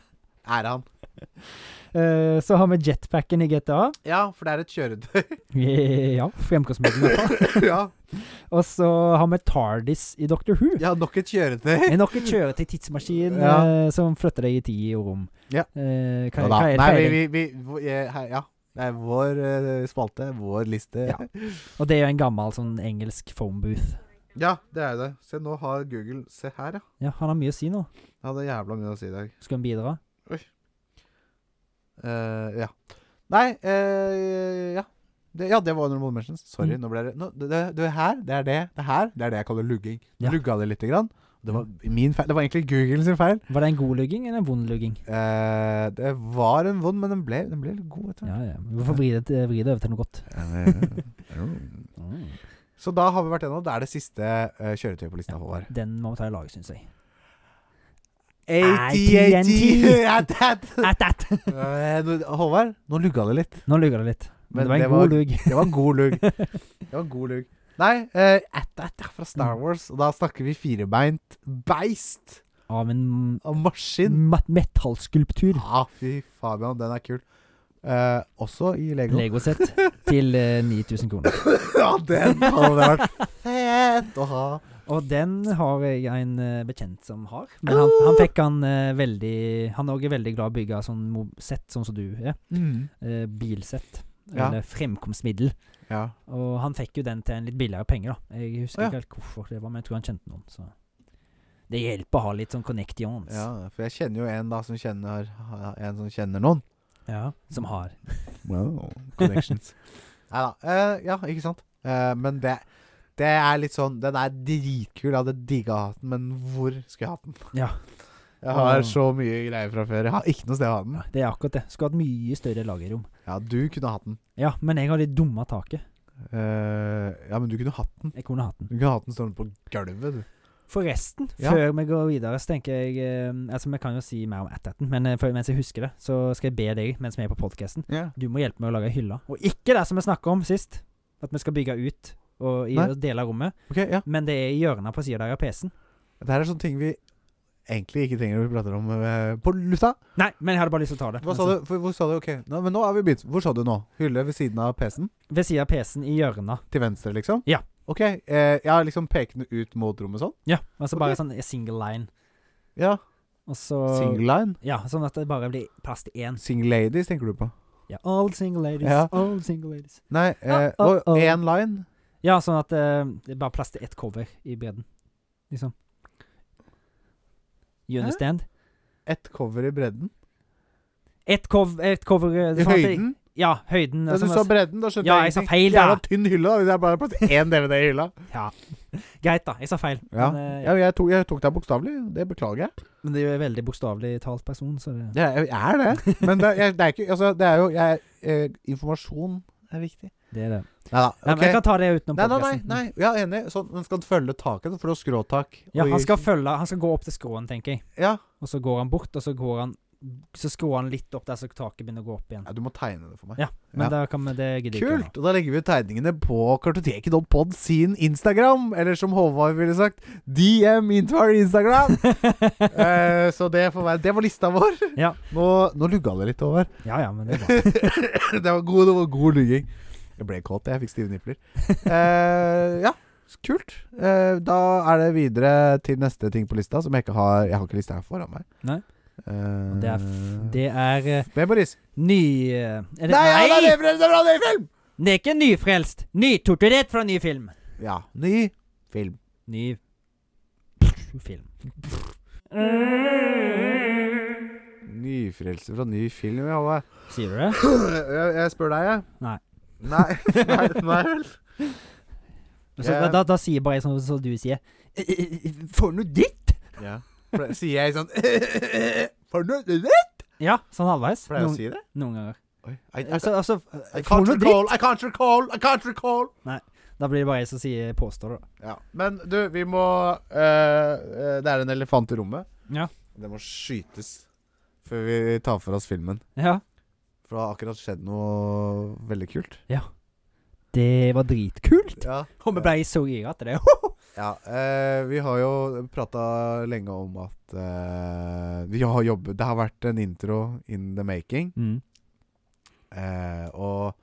Speaker 2: han.
Speaker 3: Eh, så har vi jetpacken i GTA.
Speaker 2: Ja, for det er et kjøretøy.
Speaker 3: ja, fremkomstmiddel i hvert fall.
Speaker 2: ja.
Speaker 3: Og så har vi Tardis i Doctor Who.
Speaker 2: ja, nok et kjøretøy.
Speaker 3: Men nok et kjøretøy tidsmaskin
Speaker 2: Ja.
Speaker 3: eh, som flytter deg i tid og rom.
Speaker 2: Ja.
Speaker 3: Eh, hva,
Speaker 2: Ja,
Speaker 3: hva
Speaker 2: da.
Speaker 3: er det
Speaker 2: Nei, vi,
Speaker 3: peiling?
Speaker 2: vi, vi hvor- eh, her, Ja. Det er vår eh, spalte, vår liste.
Speaker 3: Ja. Og det er jo en gammel sånn engelsk phone booth.
Speaker 2: Ja, det er det. Se, nå har Google Se her, ja.
Speaker 3: Ja, han har mye å si nå.
Speaker 2: Jeg hadde jævla mye å si i dag.
Speaker 3: Skal han bidra?
Speaker 2: Eh, ja. Nei eh, ja. Det, ja, det var honorable mentions. Sorry.
Speaker 3: Mm.
Speaker 2: Nå ble det, nå, det, det, det her, det er det. Det her, det er det jeg kaller lugging.
Speaker 3: Ja. Mm.
Speaker 2: Lugga det lite grann. Det var min feil. Det var egentlig Google sin feil.
Speaker 3: Var det en god lugging eller en vond lugging?
Speaker 2: Eh, det var en vond, men den ble, den ble litt god Eh, etter hvert.
Speaker 3: Ja, ja. Vi får vri det, vri det over til noe godt. Oh.
Speaker 2: Mm, Så da har vi vært gjennom. Det er det siste eh, kjøretøyet på lista, Håvard.
Speaker 3: Den må vi ta i lag, syns jeg.
Speaker 2: AT-AT!
Speaker 3: AT&T.
Speaker 2: At that.
Speaker 3: At that!
Speaker 2: Eh, nå- Håvard, nå lugga det litt.
Speaker 3: Nå lugger det litt. Men,
Speaker 2: Men
Speaker 3: det var en god lugg.
Speaker 2: Det var en god lugg. Det var en god lugg. Nei, eh, at that er fra Star Wars, og da snakker vi firebeint beist
Speaker 3: Av en
Speaker 2: av maskin.
Speaker 3: mat- metallskulptur.
Speaker 2: Ja, fy Fabian, den er kul. Eh, også i Lego.
Speaker 3: Legosett til eh, 9000 kroner.
Speaker 2: ja, den hadde vært fett å ha.
Speaker 3: Og den har jeg en eh, bekjent som har. Men han,
Speaker 2: Ah!
Speaker 3: han fikk han eh, veldig Han er også veldig glad i å bygge sånn mo- sett, sånn som du er. Eh, bilsett.
Speaker 2: Ja.
Speaker 3: Eller fremkomstmiddel.
Speaker 2: Ja.
Speaker 3: Og han fikk jo den til en litt billigere penge, da. Jeg husker
Speaker 2: Å, ja.
Speaker 3: ikke helt hvorfor det var, men jeg tror han kjente noen. Så det hjelper å ha litt sånn connections.
Speaker 2: ja, for jeg kjenner jo en da som kjenner En som kjenner noen.
Speaker 3: Ja, som har.
Speaker 4: Wow.
Speaker 2: Connections. Nei da. eh, ja, ikke sant. Eh, men det Det er litt sånn Den er dritkul. Jeg hadde digga å ha den, men hvor skulle jeg hatt den?
Speaker 3: Ja.
Speaker 2: Jeg har
Speaker 3: Ah.
Speaker 2: så mye greier fra før. Jeg har ikke noe sted å ha den.
Speaker 3: Det er akkurat det. Skulle hatt mye større lagerrom.
Speaker 2: Ja, du kunne hatt den.
Speaker 3: Ja, men jeg har litt dumme taket.
Speaker 2: Eh, ja, men du kunne hatt den.
Speaker 3: Jeg kunne hatt den.
Speaker 2: Du kunne hatt den stående på gulvet, du.
Speaker 3: Forresten,
Speaker 2: Ja.
Speaker 3: før vi går videre, så tenker jeg eh, Altså, vi kan jo si mer om Attaten, men eh, før, mens jeg husker det, så skal jeg be deg, mens vi er på podkasten Du må hjelpe meg å lage ei hylle. Og ikke det som vi snakka om sist, at vi skal bygge ut og i
Speaker 2: Nei.
Speaker 3: deler av rommet,
Speaker 2: Ok, ja.
Speaker 3: men det er i hjørnet på sida der av PC-en.
Speaker 2: Det her er sånne ting vi egentlig ikke trenger å prate om eh, på lufta.
Speaker 3: Nei, men jeg hadde bare lyst til å ta det. Altså,
Speaker 2: Hva sa du? For, hvor sa du? Ok, nå, men nå har vi begynt. Hvor sa du nå? Hylle ved siden av PC-en?
Speaker 3: Ved sida av PC-en, i hjørnet.
Speaker 2: Til venstre, liksom?
Speaker 3: Ja.
Speaker 2: Ok. eh, ja, liksom pekende ut mot rommet sånn?
Speaker 3: Ja, altså bare
Speaker 2: Ok.
Speaker 3: sånn single line.
Speaker 2: Ja.
Speaker 3: Og så
Speaker 2: Single line?
Speaker 3: Ja, sånn at det bare blir plass til én.
Speaker 2: Single ladies, tenker du på?
Speaker 3: Ja, all single ladies,
Speaker 2: Ja.
Speaker 3: all single ladies.
Speaker 2: Nei, eh,
Speaker 3: Ah, ah,
Speaker 2: og
Speaker 3: ah.
Speaker 2: én line?
Speaker 3: Ja, sånn at eh, det er bare plass til ett cover i bredden, liksom. You
Speaker 2: Hæ?
Speaker 3: understand?
Speaker 2: Ett cover i bredden.
Speaker 3: Ett cov et cover eh,
Speaker 2: I
Speaker 3: sånn at det-
Speaker 2: høyden.
Speaker 3: Ja, høyden.
Speaker 2: Da
Speaker 3: eh,
Speaker 2: du
Speaker 3: sånn
Speaker 2: sa
Speaker 3: at-
Speaker 2: bredden, da skjønte
Speaker 3: Ja, jeg
Speaker 2: jeg
Speaker 3: sa
Speaker 2: ingenting.
Speaker 3: feil,
Speaker 2: Jævla
Speaker 3: da.
Speaker 2: tynn hylle, da. Hvis jeg bare har plass til én DVD i hylla.
Speaker 3: ja. Greit, da. Jeg sa feil.
Speaker 4: Ja.
Speaker 3: Men, eh,
Speaker 2: Ja, men jeg, tok, jeg tok deg bokstavelig. Det beklager jeg.
Speaker 3: men det er jo en veldig bokstavelig talt person, så det
Speaker 2: Jeg, jeg er det. Men det, jeg, det er ikke Altså, det er jo jeg, eh, Informasjon er viktig.
Speaker 3: Det er det.
Speaker 2: Nei da.
Speaker 3: Nei, men jeg kan ta det utenom
Speaker 2: Nei, nei, nei,
Speaker 3: podcasten.
Speaker 2: nei. Ja, enig. Sånn, men skal den følge taket? For å skråtak.
Speaker 3: Ja,
Speaker 2: Og i-
Speaker 3: han skal følge Han skal gå opp til skråen, tenker jeg.
Speaker 2: ja.
Speaker 3: Og så går han bort, og så går han Så skrår han litt opp der så taket begynner å gå opp igjen.
Speaker 2: ja, du må tegne det for meg.
Speaker 3: Ja, Men
Speaker 2: Ja.
Speaker 3: da kan vi Det gidder jeg ikke.
Speaker 2: Kult! Og da legger vi ut tegningene på kartoteket.pod sin Instagram. Eller som Håvard ville sagt, DM Intvar Instagram.
Speaker 3: Kult!
Speaker 2: Eh, så det får være Det var lista vår.
Speaker 3: Ja.
Speaker 2: Nå, nå lugga det litt over.
Speaker 3: ja ja, men det er bra.
Speaker 2: det var god, det var god lugging. Jeg ble kåt, jeg fikk stive nipler. Eh, ja, så kult. Eh, da er det videre til neste ting på lista, som jeg ikke har Jeg har ikke lista her foran meg.
Speaker 3: Nei.
Speaker 2: Eh,
Speaker 3: Det er, f- det er eh,
Speaker 2: Memories.
Speaker 3: ny... eh, Er det,
Speaker 2: Nei, ja, det er
Speaker 3: nei!
Speaker 2: det, det er bra, det er film!
Speaker 3: Det er ikke nyfrelst. Nytorturert fra ny film.
Speaker 2: Ja. Ny film.
Speaker 3: Ny film.
Speaker 2: Nyfrelse fra ny film, ja. hva-
Speaker 3: Sier du det?
Speaker 2: Jeg, jeg spør deg, jeg.
Speaker 3: Nei.
Speaker 2: Nei, nei, nei vel.
Speaker 3: Så, da,
Speaker 2: Jeg-
Speaker 3: da, da sier bare jeg sånn som du sier. «Eh, eh, eh, For noe dritt!
Speaker 2: Ja. Ple- Sier jeg sånn For noe dritt?
Speaker 3: Ja, sånn halvveis.
Speaker 2: Pleier jeg å
Speaker 3: Noen,
Speaker 2: si det?
Speaker 3: noen ganger.
Speaker 2: Oi. I, I,
Speaker 3: Altså, altså
Speaker 2: I
Speaker 3: For
Speaker 2: can't
Speaker 3: noe dritt!
Speaker 2: recall, I can't recall, I can't recall.
Speaker 3: Da blir det bare jeg som sier påstår, da.
Speaker 2: Ja. Men du, vi må eh, eh, Det er en elefant i rommet.
Speaker 3: Ja.
Speaker 2: Det må skytes før vi tar for oss filmen.
Speaker 3: Ja.
Speaker 2: For det har akkurat skjedd noe veldig kult.
Speaker 3: Det var dritkult.
Speaker 2: Ja.
Speaker 3: Og vi ble så gira til det.
Speaker 2: ja eh, vi har jo prata lenge om at eh, vi har jobbet Det har vært en intro in the making.
Speaker 3: Mm.
Speaker 2: Eh, og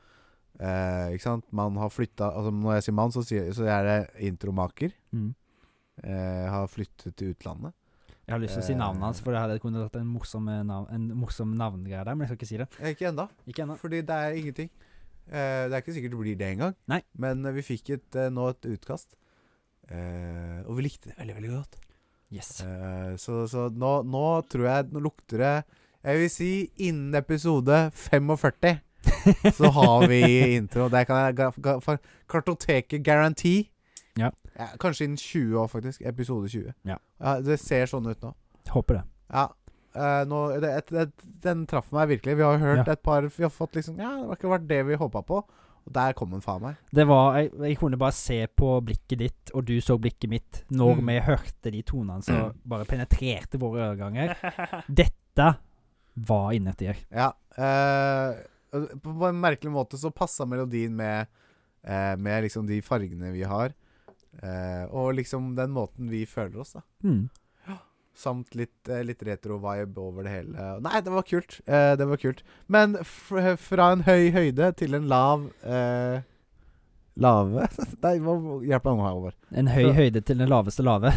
Speaker 2: eh, ikke sant Man har flytta altså Når jeg sier mann, så, sier, så er det intromaker.
Speaker 3: Mm.
Speaker 2: Eh, har flyttet til utlandet.
Speaker 3: Jeg har lyst til å si navnet hans, for det hadde kunnet vært en morsom, eh, navn, en morsom navngreie der, men jeg skal ikke si det.
Speaker 2: Eh, Ikke ennå,
Speaker 3: Ikke ennå.
Speaker 2: fordi det er ingenting. Eh, det er ikke sikkert det blir det engang.
Speaker 3: Nei.
Speaker 2: Men eh, vi fikk et, eh, nå et utkast. Eh, og vi likte det veldig, veldig godt.
Speaker 3: Yes.
Speaker 2: Eh, så så nå, nå tror jeg Nå lukter det Jeg vil si innen episode 45 så har vi intro. Der kan jeg ga, ga, for kartoteket garanti.
Speaker 3: Ja.
Speaker 2: Kanskje innen 20 år, faktisk. Episode 20.
Speaker 3: Ja.
Speaker 2: det ser sånn ut nå.
Speaker 3: Håper det.
Speaker 2: Ja. eh, nå, det, et, et, den traff meg virkelig. Vi har jo hørt et par Vi har fått liksom Ja, det var ikke vært det vi håpa på. Og der kom den faen meg.
Speaker 3: Det var jeg, jeg kunne bare se på blikket ditt, og du så blikket mitt, når
Speaker 2: Mm.
Speaker 3: vi hørte de tonene som bare penetrerte våre øreganger. Dette var innertier.
Speaker 2: Ja. eh, på, på en merkelig måte så passa melodien med, eh, med liksom de fargene vi har. eh, og liksom den måten vi føler oss, da.
Speaker 3: Mm.
Speaker 2: Samt litt, eh, litt retro-vibe over det hele. Nei, det var kult. eh, det var kult. Men f fra en høy høyde til en lav eh, Lave Nei, hva- hjelp meg nå, Halvor.
Speaker 3: En høy
Speaker 2: Så-
Speaker 3: høyde til den laveste lave.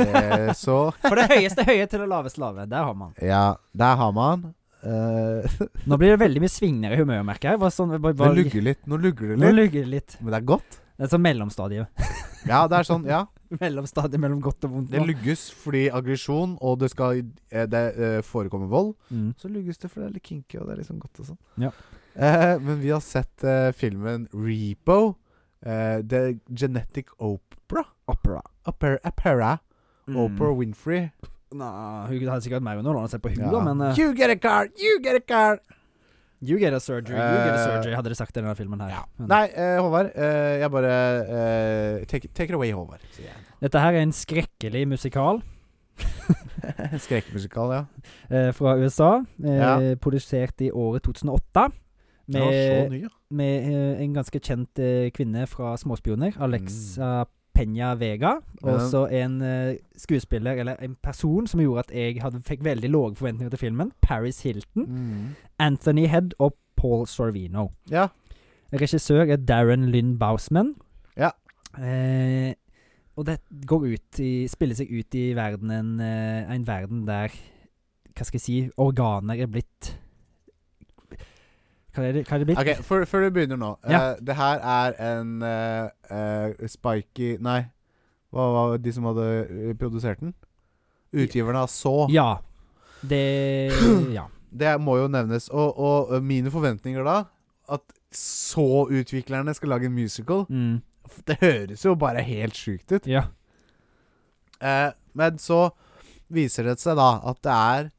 Speaker 2: Eh, så
Speaker 3: For det høyeste høye til det laveste lave. Der har man.
Speaker 2: Ja, der har man. Eh,
Speaker 3: Nå blir det veldig mye svingninger i humøret, merker jeg. Bare sånn, bare,
Speaker 2: det
Speaker 3: bare,
Speaker 2: lugger litt. Nå lugger det
Speaker 3: nå
Speaker 2: litt.
Speaker 3: lugger det litt.
Speaker 2: Men det er godt.
Speaker 3: Det er sånn mellomstadiet.
Speaker 2: Ja, det er sånn. Ja.
Speaker 3: mellomstadiet mellom godt og vondt.
Speaker 2: Det
Speaker 3: nå.
Speaker 2: lugges fordi aggresjon, og det skal eh, det, eh, forekomme vold.
Speaker 3: Mm.
Speaker 2: Så lugges det fordi det er litt kinky, og det er liksom godt og sånn.
Speaker 3: Ja.
Speaker 2: Eh, men vi har sett eh, filmen Repo. Eh, The Genetic Opera. Opera. Opera. opera.
Speaker 3: Mm.
Speaker 2: Oprah Winfrey.
Speaker 3: Nei, hun hadde sikkert mer underholdende å se på hun,
Speaker 2: Ja.
Speaker 3: da, men eh,
Speaker 2: You get a car! You get a car!
Speaker 3: You get a surgery, you get a
Speaker 2: Eh,
Speaker 3: surgery, hadde de sagt i denne filmen her. Men,
Speaker 2: Nei, eh, Håvard. Eh, jeg bare eh, take, take it away, Håvard. sier jeg.
Speaker 3: Dette her er en skrekkelig musikal
Speaker 2: Skrekkmusikal, ja.
Speaker 3: eh, fra USA, eh,
Speaker 2: Ja.
Speaker 3: produsert i året 2008.
Speaker 2: Den var
Speaker 3: Med,
Speaker 2: så ny, ja.
Speaker 3: med eh, en ganske kjent eh, kvinne fra Småspioner, Alexa Peña Vega.
Speaker 2: Mm. Ja.
Speaker 3: Og så en eh, skuespiller, eller en person, som gjorde at jeg hadde, fikk veldig lave forventninger til filmen. Paris Hilton, Anthony Head og Paul Sorvino.
Speaker 2: Mm. Ja.
Speaker 3: Regissør er Darren Lynn Bousman.
Speaker 2: Ja.
Speaker 3: Eh, og det går ut i, spiller seg ut i verdenen, eh, en verden der Hva skal jeg si Organer er blitt Hva er det, hva er det blitt?
Speaker 2: Ok, før, før du begynner nå. eh,
Speaker 3: Ja.
Speaker 2: det her er en eh, eh, spiky Nei, hva var de som hadde eh, produsert den? Utgiverne av Så.
Speaker 3: Ja. Det Ja.
Speaker 2: Det må jo nevnes. Og, og eh, mine forventninger da At Så-utviklerne skal lage en musical,
Speaker 3: Mm.
Speaker 2: det høres jo bare helt sjukt ut.
Speaker 3: Ja.
Speaker 2: Eh, men så viser det seg da at det er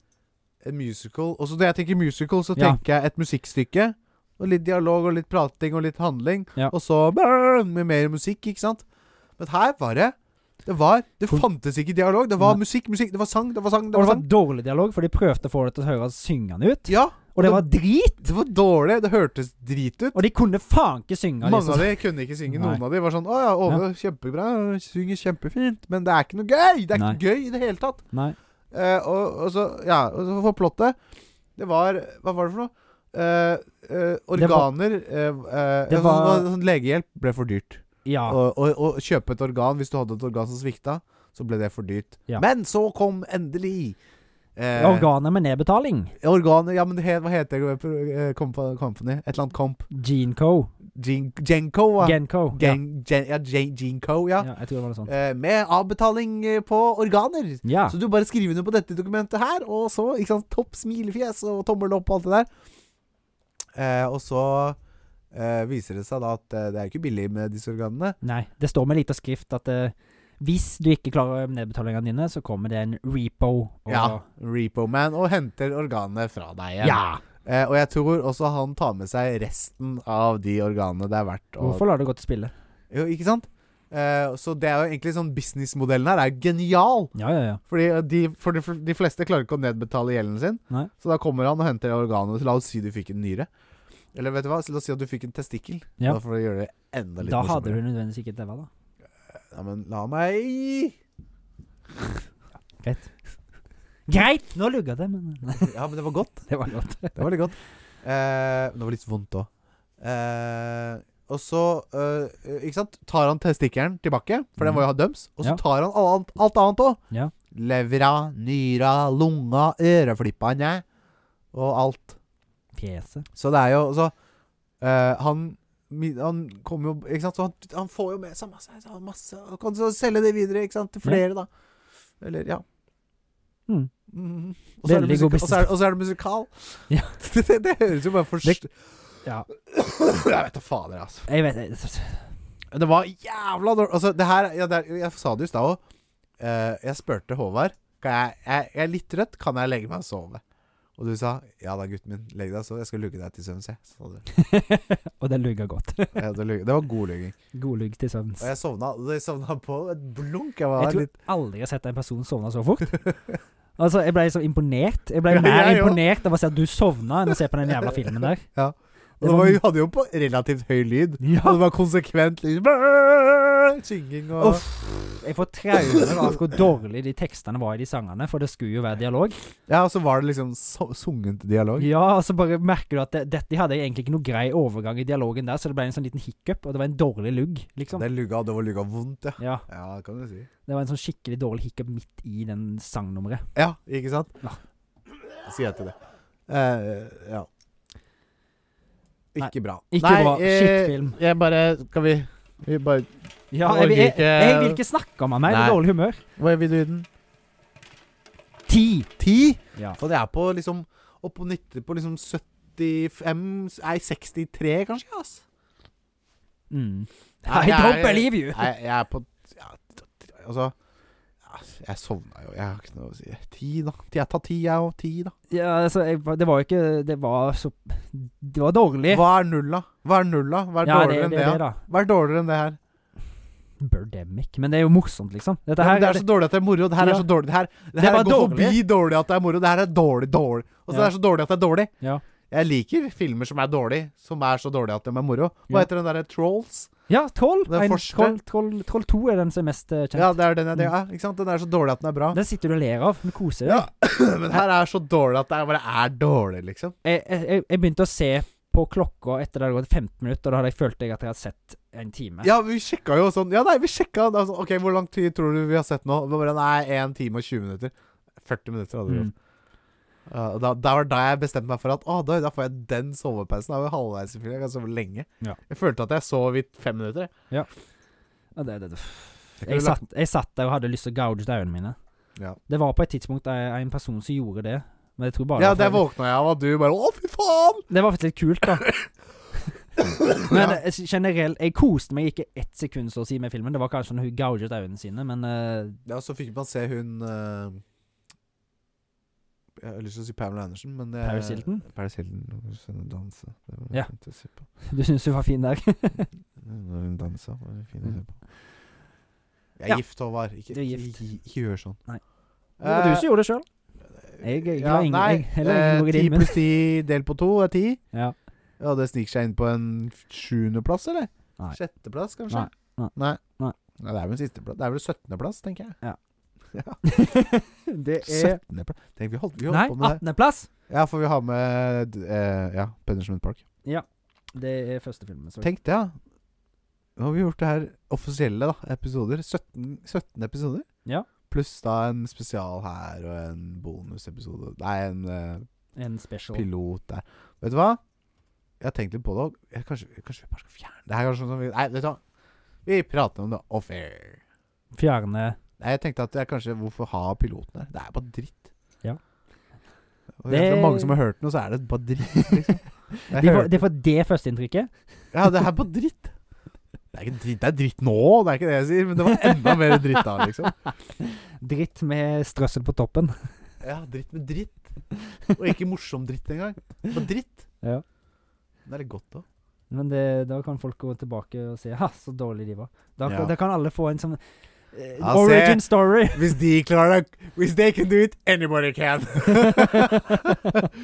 Speaker 2: en musical. Og så når jeg tenker musical, så
Speaker 3: Ja.
Speaker 2: tenker jeg et musikkstykke. Og litt dialog og litt prating og litt handling.
Speaker 3: Ja.
Speaker 2: Og så brrr, med mer musikk, ikke sant? Men her var det Det var, det
Speaker 3: For-
Speaker 2: fantes ikke dialog. Det var musikk, musikk, det var sang, det var sang.
Speaker 3: Og
Speaker 2: det var
Speaker 3: det var
Speaker 2: sang
Speaker 3: dårlig dialog, for de prøvde å få det til å høres syngende ut.
Speaker 2: Ja,
Speaker 3: Og det var drit!
Speaker 2: det var dårlig. Det hørtes drit ut.
Speaker 3: Og de kunne faen ikke synge.
Speaker 2: Mange
Speaker 3: Liksom.
Speaker 2: av de kunne ikke synge.
Speaker 3: Nei.
Speaker 2: Noen av de var sånn Å ja, Åve, kjempebra. Synger kjempefint. Men det er ikke noe gøy. Det er
Speaker 3: Nei.
Speaker 2: ikke gøy i det hele tatt.
Speaker 3: Nei.
Speaker 2: Eh, og, og så Ja, og så for plottet Det var Hva var det for noe? Eh, eh,
Speaker 3: Det var-
Speaker 2: organer eh, eh,
Speaker 3: Det
Speaker 2: sånn-
Speaker 3: var-
Speaker 2: sånn, sånn Legehjelp ble for dyrt.
Speaker 3: Ja.
Speaker 2: Å å- å kjøpe et organ hvis du hadde et organ som svikta, så ble det for dyrt.
Speaker 3: Ja.
Speaker 2: Men så kom endelig eh,
Speaker 3: Organer med nedbetaling.
Speaker 2: Organer Ja, men det het, hva heter det eh, kompa- company? Et eller annet comp.
Speaker 3: Genco.
Speaker 2: Gen, Genco, hva?
Speaker 3: Genco. Ja.
Speaker 2: Gen, gen, ja, gen, Genco, ja.
Speaker 3: ja, jeg tror det var noe sånt.
Speaker 2: Eh, med avbetaling eh, på organer.
Speaker 3: Ja.
Speaker 2: Så du bare skriver ned på dette dokumentet her, og så ikke sant, topp smilefjes og tommel opp og alt det der. Eh, og så eh, viser det seg da at eh, det er ikke billig med disse organene.
Speaker 3: Nei. Det står med liten skrift at eh, hvis du ikke klarer nedbetalingene dine, så kommer det en repo. Og,
Speaker 2: Ja. Repo Man og henter organene fra deg igjen.
Speaker 3: ja.
Speaker 2: Eh, og jeg tror også han tar med seg resten av de organene det er verdt å
Speaker 3: Hvorfor lar du gå til spille?
Speaker 2: Jo, ikke sant? Eh, så det er jo egentlig sånn businessmodellen her er jo genial.
Speaker 3: Ja, ja, ja.
Speaker 2: Fordi eh, de, for de, for de fleste klarer ikke å nedbetale gjelden sin.
Speaker 3: Nei.
Speaker 2: Så da kommer han og henter organet. La oss si du fikk en nyre. Eller vet du hva, la oss si at du fikk en testikkel.
Speaker 3: Ja.
Speaker 2: Da får du gjøre det enda litt
Speaker 3: Da hadde du nødvendigvis ikke daua, da.
Speaker 2: Ja, men la meg
Speaker 3: Greit! Nå lugga det, men
Speaker 2: Ja, men det var godt.
Speaker 3: Det var godt.
Speaker 2: Det var litt godt. Eh, men det var litt vondt òg. Eh, og så, eh, ikke sant, tar han testikkelen tilbake, for den må jo ha døms. Og så
Speaker 3: Mhm. Ja.
Speaker 2: tar han alt, annet- alt annet òg.
Speaker 3: Ja.
Speaker 2: Levra, nyra, lunga, øreflippene og alt.
Speaker 3: Fjeset.
Speaker 2: Så det er jo altså eh, Han mi- han kommer jo Ikke sant? Så han, han får jo med seg masse, så han masse og kan så selge det videre ikke sant? til flere, da. Eller, ja.
Speaker 3: Mm.
Speaker 2: Mhm. Og så er det
Speaker 3: Veldig god
Speaker 2: musika- og så er- Og så er det musikal.
Speaker 3: Ja.
Speaker 2: det, det, det høres jo bare for
Speaker 3: Det-
Speaker 2: st-
Speaker 3: ja.
Speaker 2: Jeg vet da fader, altså.
Speaker 3: Jeg vet jeg-
Speaker 2: Det var jævla dårlig Altså, det her ja, det er, Jeg sa det i stad òg. jeg spurte Håvard kan jeg, jeg, jeg er litt trøtt, kan jeg legge meg og sove? Og du sa ja da, gutten min, legg deg og sov. Jeg skal lugge deg til søvns, jeg. sa du.
Speaker 3: Og det lugga godt.
Speaker 2: Ja, det, lugg- det var god lugging.
Speaker 3: God lugg til søvns.
Speaker 2: Og jeg sovna, jeg sovna på et blunk.
Speaker 3: Jeg
Speaker 2: Jeg var
Speaker 3: tror
Speaker 2: litt
Speaker 3: aldri jeg har sett en person sovne så fort. Altså, Jeg ble så imponert. Jeg ble
Speaker 2: Ja,
Speaker 3: mer
Speaker 2: jeg òg.
Speaker 3: imponert av å se at du sovna, enn å se på den jævla filmen der.
Speaker 2: Ja.
Speaker 3: Det
Speaker 2: Og det var,
Speaker 3: var,
Speaker 2: jo- hadde jo på relativt høy lyd. Og
Speaker 3: ja.
Speaker 2: det var konsekvent liksom, brrrr, synging og
Speaker 3: Uff. Jeg får traumer av hvor dårlig de tekstene var i de sangene, for det skulle jo være dialog.
Speaker 2: Ja, og så var det liksom so sunget dialog.
Speaker 3: Ja, og så bare merker du at det, dette de hadde egentlig ikke noe grei overgang i dialogen der, så det ble en sånn liten hiccup, og det var en dårlig lugg, liksom.
Speaker 2: Det lugga, det var lugga vondt, ja.
Speaker 3: Ja,
Speaker 2: Ja, det kan du si.
Speaker 3: det var en sånn skikkelig dårlig hiccup midt i den sangnummeret.
Speaker 2: Ja, ikke sant?
Speaker 3: Ja.
Speaker 2: Sier jeg til det. Eh, ja.
Speaker 3: Nei,
Speaker 2: Ikke bra. eh,
Speaker 3: Ikke bra. Shitfilm.
Speaker 2: Jeg bare Skal vi Vi bare
Speaker 3: Ja,
Speaker 2: Jeg
Speaker 3: jeg, vil- jeg,
Speaker 2: orker ikke-
Speaker 3: jeg vil ikke snakke om han mer. det er
Speaker 2: Nei.
Speaker 3: Dårlig humør.
Speaker 2: Hva vil du gi den?
Speaker 3: Ti.
Speaker 2: Ti?
Speaker 3: Ja.
Speaker 2: For det er på liksom Opp på 90 På liksom 75 Nei, 63 kanskje, ass.
Speaker 3: Mm.
Speaker 2: Nei,
Speaker 3: I don't
Speaker 2: jeg-
Speaker 3: believe you.
Speaker 2: Nei, jeg er på ja, Altså ja, Jeg sovna jo. Jeg har ikke noe å si. Ti, da. Jeg tar ti, jeg òg. Ti, da.
Speaker 3: Ja, altså, jeg, det var jo ikke Det var så Det var dårlig.
Speaker 2: Hva er null, da? Hva er null, da? Hva er
Speaker 3: ja, det,
Speaker 2: dårligere enn
Speaker 3: det,
Speaker 2: det?
Speaker 3: det,
Speaker 2: da?
Speaker 3: da.
Speaker 2: Hva er dårligere enn det her?
Speaker 3: Birdemic. Men det er jo morsomt, liksom. Dette
Speaker 2: Ja,
Speaker 3: her
Speaker 2: men det er så dårlig at det er moro. Det her
Speaker 3: Ja.
Speaker 2: er så dårlig. Det her, det
Speaker 3: Det
Speaker 2: her
Speaker 3: var
Speaker 2: går forbi dårlig at det er moro. Det her er dårlig, dårlig. Og så
Speaker 3: Ja.
Speaker 2: det er så dårlig at det er dårlig.
Speaker 3: Ja.
Speaker 2: Jeg liker filmer som er dårlig, som er så dårlig at de er moro. Hva
Speaker 3: Ja.
Speaker 2: heter den derre Trolls?
Speaker 3: Ja, Troll.
Speaker 2: Den
Speaker 3: En-
Speaker 2: første.
Speaker 3: Troll, troll, troll 2 er den som er mest eh, kjent.
Speaker 2: Ja, det er den jeg ja, Ikke sant? Den er så dårlig at den er bra.
Speaker 3: Den sitter du og ler av. Du koser deg.
Speaker 2: Ja, men her er så dårlig at det er bare er dårlig, liksom.
Speaker 3: Jeg, jeg, jeg- jeg begynte å se på klokka etter det hadde gått 15 minutter, og da hadde jeg følt jeg at jeg hadde sett en time.
Speaker 2: Ja, vi sjekka jo sånn Ja, nei, vi sjekka da, sånn, OK, hvor lang tid tror du vi har sett nå? Det var bare, nei, 1 time og 20 minutter. 40 minutter hadde vi.
Speaker 3: Mm.
Speaker 2: Ja, og da, da var da jeg bestemte meg for at Å, da, da får jeg den sovepausen. Da var jeg halvveis i film. Jeg kan sove lenge.
Speaker 3: Ja.
Speaker 2: Jeg følte at jeg sov i fem minutter. jeg.
Speaker 3: Ja, det, det, det.
Speaker 2: Jeg kunne
Speaker 3: Jeg, satt, jeg satt der og hadde lyst til å gouge ut øynene mine.
Speaker 2: Ja.
Speaker 3: Det var på et tidspunkt der en person som gjorde det. Men jeg tror bare
Speaker 2: Ja,
Speaker 3: det,
Speaker 2: det
Speaker 3: var,
Speaker 2: våkna jeg av, og du bare Å, fy faen!
Speaker 3: det var faktisk litt kult, da. Men eh, generelt Jeg koste meg ikke ett sekund så å si med filmen. Det var kanskje når hun gouget øynene sine, men eh,
Speaker 2: Ja, så fikk man se hun eh, Jeg har lyst til å si Pamela Andersen, men jeg,
Speaker 3: Paris Hilton?
Speaker 2: Paris Hilton hun kunne danse. Det var
Speaker 3: Ja.
Speaker 2: fint å se på.
Speaker 3: du syns hun var fin der.
Speaker 2: Når hun dansa, var det fint å se på. Jeg er
Speaker 3: Mm. Ja.
Speaker 2: gift, Håvard.
Speaker 3: Du
Speaker 2: Ikke,
Speaker 3: er
Speaker 2: ikke-
Speaker 3: gift.
Speaker 2: Ikke, ikke gjør sånn.
Speaker 3: Nei. Det var du som gjorde det sjøl. Eh, Jeg- jeg la ingen- jeg- jeg la ingen ord i
Speaker 2: eh, Ti
Speaker 3: din munn.
Speaker 2: pluss ti delt på to er ti.
Speaker 3: Ja.
Speaker 2: Ja, det sniker seg inn på en sjuendeplass, eller?
Speaker 3: Nei.
Speaker 2: Sjetteplass, kanskje?
Speaker 3: Nei,
Speaker 2: Nei.
Speaker 3: nei.
Speaker 2: Ja, det er vel sisteplass. Det er vel syttendeplass, tenker jeg.
Speaker 3: det er
Speaker 2: Syttendeplass Tenk, vi holdt, vi holdt
Speaker 3: Eh. Nei,
Speaker 2: på med det.
Speaker 3: 18.-plass.
Speaker 2: Ja, for vi har med d- eh, Ja, Punishment Park.
Speaker 3: Det er første filmen. sorry.
Speaker 2: Tenk det, ja. Nå har vi gjort det her offisielle da, episoder. 17, 17 episoder.
Speaker 3: Ja.
Speaker 2: Pluss da en spesial her og en bonusepisode. Nei, en eh,
Speaker 3: En special.
Speaker 2: pilot der. Vet du hva? Jeg har tenkt litt på det òg. Kanskje, kanskje vi bare skal fjerne det her? Kanskje, sånn som vi, nei, vet du hva? Vi prater om det off air.
Speaker 3: Fjerne
Speaker 2: Nei, jeg tenkte at jeg kanskje Hvorfor ha piloten her? Det er bare dritt.
Speaker 3: Ja.
Speaker 2: Og
Speaker 3: Det-
Speaker 2: det er mange som har hørt noe, så er det bare dritt. Liksom. Jeg
Speaker 3: Det
Speaker 2: hørte-
Speaker 3: var det, var det førsteinntrykket.
Speaker 2: Ja, det er bare dritt. Det er ikke dritt, det er dritt nå, det er ikke det jeg sier, men det var enda mer dritt da, liksom.
Speaker 3: Dritt med strøssel på toppen.
Speaker 2: Ja, dritt med dritt. Og ikke morsom dritt engang. Det var dritt.
Speaker 3: Ja.
Speaker 2: Det er litt godt, da.
Speaker 3: Men det, da kan folk gå tilbake og se Ha, så dårlig de var. Da, kan-
Speaker 2: Ja.
Speaker 3: da kan alle få en sånn eh,
Speaker 2: Ja,
Speaker 3: Origin
Speaker 2: se.
Speaker 3: story.
Speaker 2: Hvis de klarer det Hvis they can do it, anybody can.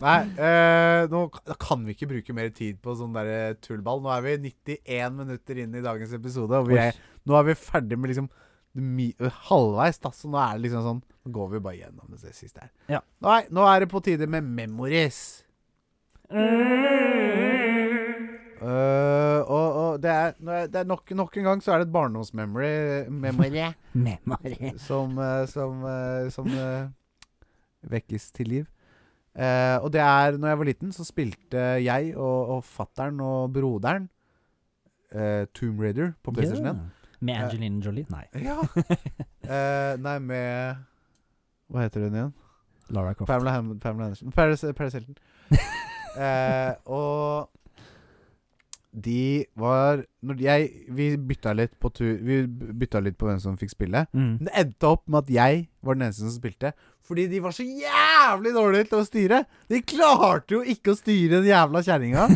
Speaker 2: Nei, eh, nå k- da kan vi ikke bruke mer tid på sånn derre tullball. Nå er vi 91 minutter inn i dagens episode, og vi er, nå er vi ferdig med liksom mi- halvveis, da, så nå er det liksom sånn Nå går vi bare gjennom det siste her.
Speaker 3: Ja.
Speaker 2: Nei, nå er det på tide med memories. Eh, og, og det er, nå er- det er nok, nok en gang så er det et barndomsmemory memory,
Speaker 3: Memory.
Speaker 2: som, eh, som, eh, som eh, vekkes til liv. Eh, og det er når jeg var liten, så spilte jeg og, og fattern og broderen eh, Tomb Raider på PlayStation 1.
Speaker 3: Med Angelina Jolie? Nei.
Speaker 2: Ja. Eh, nei, med Hva heter hun igjen?
Speaker 3: Lara Croft.
Speaker 2: Pamela, Ham Pamela Andersen. Paris, Paris Hilton. Eh, og de var Når jeg Vi bytta litt på tur Vi bytta litt på hvem som fikk spille.
Speaker 3: Mm.
Speaker 2: Men det endte opp med at jeg var den eneste som spilte. Fordi de var så jævlig dårlige til å styre! De klarte jo ikke å styre den jævla kjerringa.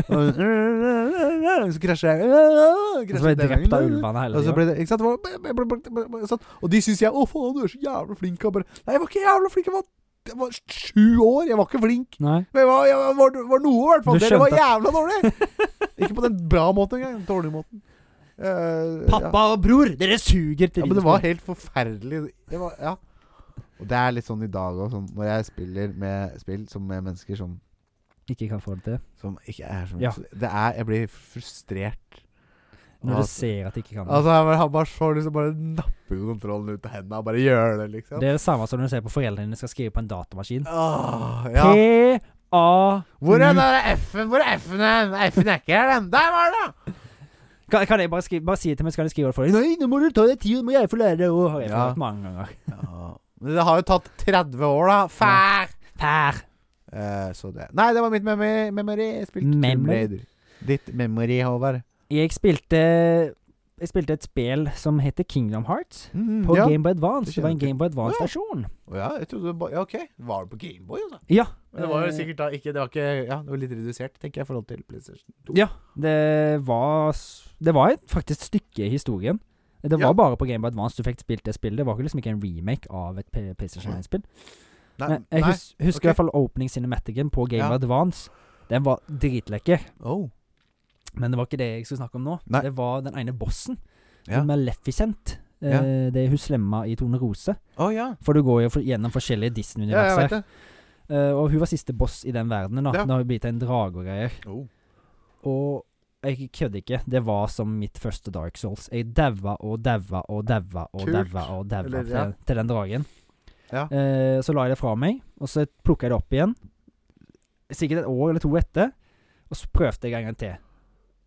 Speaker 2: Og så krasja jeg.
Speaker 3: Og så ble
Speaker 2: Krasjet
Speaker 3: jeg
Speaker 2: den
Speaker 3: drept av
Speaker 2: gangen.
Speaker 3: ulvene hele
Speaker 2: Og
Speaker 3: tida.
Speaker 2: så Altså, ble det, ikke sant? Det var- bla, bla, bla, bla, bla, sånn. Og de syns jeg Å, faen, du er så jævla flink. Og bare Nei, jeg var ikke jævla flink. Jeg var, jeg var sju år. Jeg var ikke flink.
Speaker 3: Nei.
Speaker 2: Men jeg var, jeg var, var, var noe, i hvert fall.
Speaker 3: Du
Speaker 2: Dere var
Speaker 3: skjønte
Speaker 2: jævla dårlige. ikke på den bra måten engang. Den dårlige måten. Eh, ja.
Speaker 3: Pappa og bror, dere suger til
Speaker 2: Ja, men det var helt forferdelig. Det var, ja. Og det er litt sånn i dag òg, sånn, når jeg spiller med spill som med mennesker som,
Speaker 3: Ikke kan få det til.
Speaker 2: som ikke er sånn
Speaker 3: Ja.
Speaker 2: Det er Jeg blir frustrert.
Speaker 3: Når du
Speaker 2: Altså-
Speaker 3: ser at de ikke kan det.
Speaker 2: Altså, jeg bare, han bare så liksom bare napper kontrollen ut av hendene og bare gjør det, liksom.
Speaker 3: Det er det samme som når du ser på foreldrene dine skal skrive på en datamaskin.
Speaker 2: Åh, ja.
Speaker 3: P-A...
Speaker 2: Hvor er den der F-en? Hvor er F-en? hen? F-en er ikke her, den. Der var den! da!
Speaker 3: Kan, kan jeg bare, skrive, bare si det til meg, så kan jeg skrive det for deg? Nei, nå må du ta deg tid, må jeg få lære det òg, har jeg
Speaker 2: Ja.
Speaker 3: fått mange ganger.
Speaker 2: Men det har jo tatt 30 år, da. Fær!
Speaker 3: Per.
Speaker 2: Eh, så det Nei, det var mitt memory. memory. Jeg spilte Tomb
Speaker 3: Memory?
Speaker 2: Raider. Ditt memory, Håvard.
Speaker 3: Jeg spilte Jeg spilte et spill som heter Kingdom Hearts.
Speaker 2: Mm,
Speaker 3: På
Speaker 2: ja.
Speaker 3: Game Boy Advance.
Speaker 2: det
Speaker 3: Det var en
Speaker 2: kjenner jeg
Speaker 3: Game Boy
Speaker 2: Ja.
Speaker 3: Advance-versjon.
Speaker 2: Å ja, jeg trodde det ba- Ja, OK. Var det på Gameboy, da?
Speaker 3: Ja.
Speaker 2: Men det var jo
Speaker 3: Eh,
Speaker 2: sikkert da ikke Det var ikke Ja, det var litt redusert, tenker jeg, i forhold til PlayStation 2.
Speaker 3: Ja. Det var s- Det var et, faktisk et stykke i historien. Det var
Speaker 2: Ja.
Speaker 3: bare på Game Boy Advance du fikk spilt det spillet. Det var ikke liksom ikke en remake av et P- PlayStation 1-spill.
Speaker 2: Mm. Nei,
Speaker 3: Men jeg
Speaker 2: nei.
Speaker 3: hus, husker
Speaker 2: ok.
Speaker 3: i hvert fall opening cinematiken på Game
Speaker 2: Ja.
Speaker 3: Boy Advance. Den var dritlekker.
Speaker 2: Oh.
Speaker 3: Men det var ikke det jeg skulle snakke om nå.
Speaker 2: Nei.
Speaker 3: Det var den ene bossen.
Speaker 2: Ja.
Speaker 3: Hun Maleficent. Eh, Det er hun slemma i Tone Rose.
Speaker 2: Å ja.
Speaker 3: For du går jo for, gjennom forskjellige
Speaker 2: Ja, jeg
Speaker 3: Disney-universer.
Speaker 2: vet det.
Speaker 3: Eh, og hun var siste boss i den verdenen. da
Speaker 2: Ja.
Speaker 3: Da har hun blitt en drage og greier.
Speaker 2: Oh.
Speaker 3: Og jeg kødder ikke. Det var som mitt første Dark Souls. Jeg daua og daua og daua og
Speaker 2: Kult.
Speaker 3: daua og daua
Speaker 2: Eller,
Speaker 3: til,
Speaker 2: ja.
Speaker 3: til den dragen.
Speaker 2: Ja.
Speaker 3: Eh, så la jeg det fra meg, og så plukka jeg det opp igjen. Sikkert et år eller to etter, og så prøvde jeg en gang til.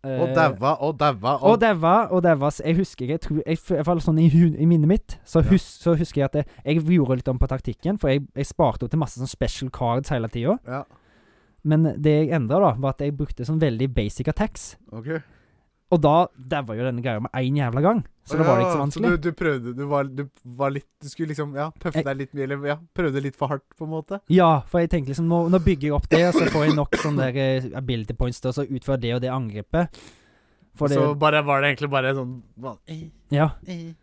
Speaker 3: Eh,
Speaker 2: Og daua og daua
Speaker 3: og daua, og daua. Så Jeg husker jeg tror, jeg, I hvert fall sånn i, hu- i minnet mitt, så, hus, så husker jeg at jeg, jeg gjorde litt om på taktikken. For jeg, jeg sparte opp til masse sånn special cards hele tida.
Speaker 2: Ja,
Speaker 3: Men det jeg endra, da, var at jeg brukte sånn veldig basic attacks.
Speaker 2: ok
Speaker 3: Og da daua jo denne greia med én jævla gang. Så det var ikke så vanskelig.
Speaker 2: du, du prøvde Du var, du var litt Du skulle liksom Ja, tøffe
Speaker 3: Jeg-
Speaker 2: deg litt mye Eller ja, prøvde litt for hardt, på en måte.
Speaker 3: Ja, for jeg tenkte liksom Nå, nå bygger jeg opp det, og så får jeg nok sånne der eh, ability points til å så utføre det og det angrepet. For det
Speaker 2: så bare var det egentlig bare sånn eh, van-
Speaker 3: Ja.
Speaker 2: eh.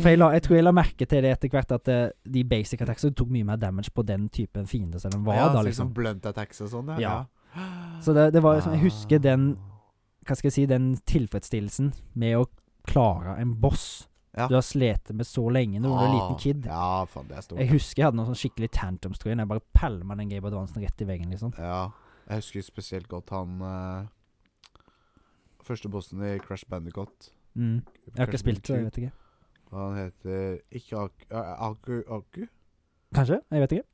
Speaker 3: For jeg, la, jeg tror jeg la merke til det etter hvert, at eh, de basic attacks tok mye mer damage på den typen fiende som den var,
Speaker 2: ja,
Speaker 3: da,
Speaker 2: så sånn
Speaker 3: liksom.
Speaker 2: Blunt attacks og sånn, ja.
Speaker 3: Ja. Så det, det var liksom Jeg
Speaker 2: Ah.
Speaker 3: husker den Hva skal jeg si Den tilfredsstillelsen med å klare en boss
Speaker 2: Ja.
Speaker 3: du har slitt med så lenge når du var en liten
Speaker 2: Ah,
Speaker 3: kid.
Speaker 2: Ja, faen, det er stort.
Speaker 3: Jeg husker jeg hadde noen sånn skikkelig tantrums, tror jeg. når Jeg bare pælma den Gabe Advancen rett i veggen, liksom.
Speaker 2: Ja. Jeg husker spesielt godt han eh, Første bossen i Crash Bandicoot.
Speaker 3: Mm. Jeg har ikke spilt, så jeg vet ikke.
Speaker 2: Han heter ikke Aku Aku, Aku?
Speaker 3: Kanskje? Jeg vet ikke.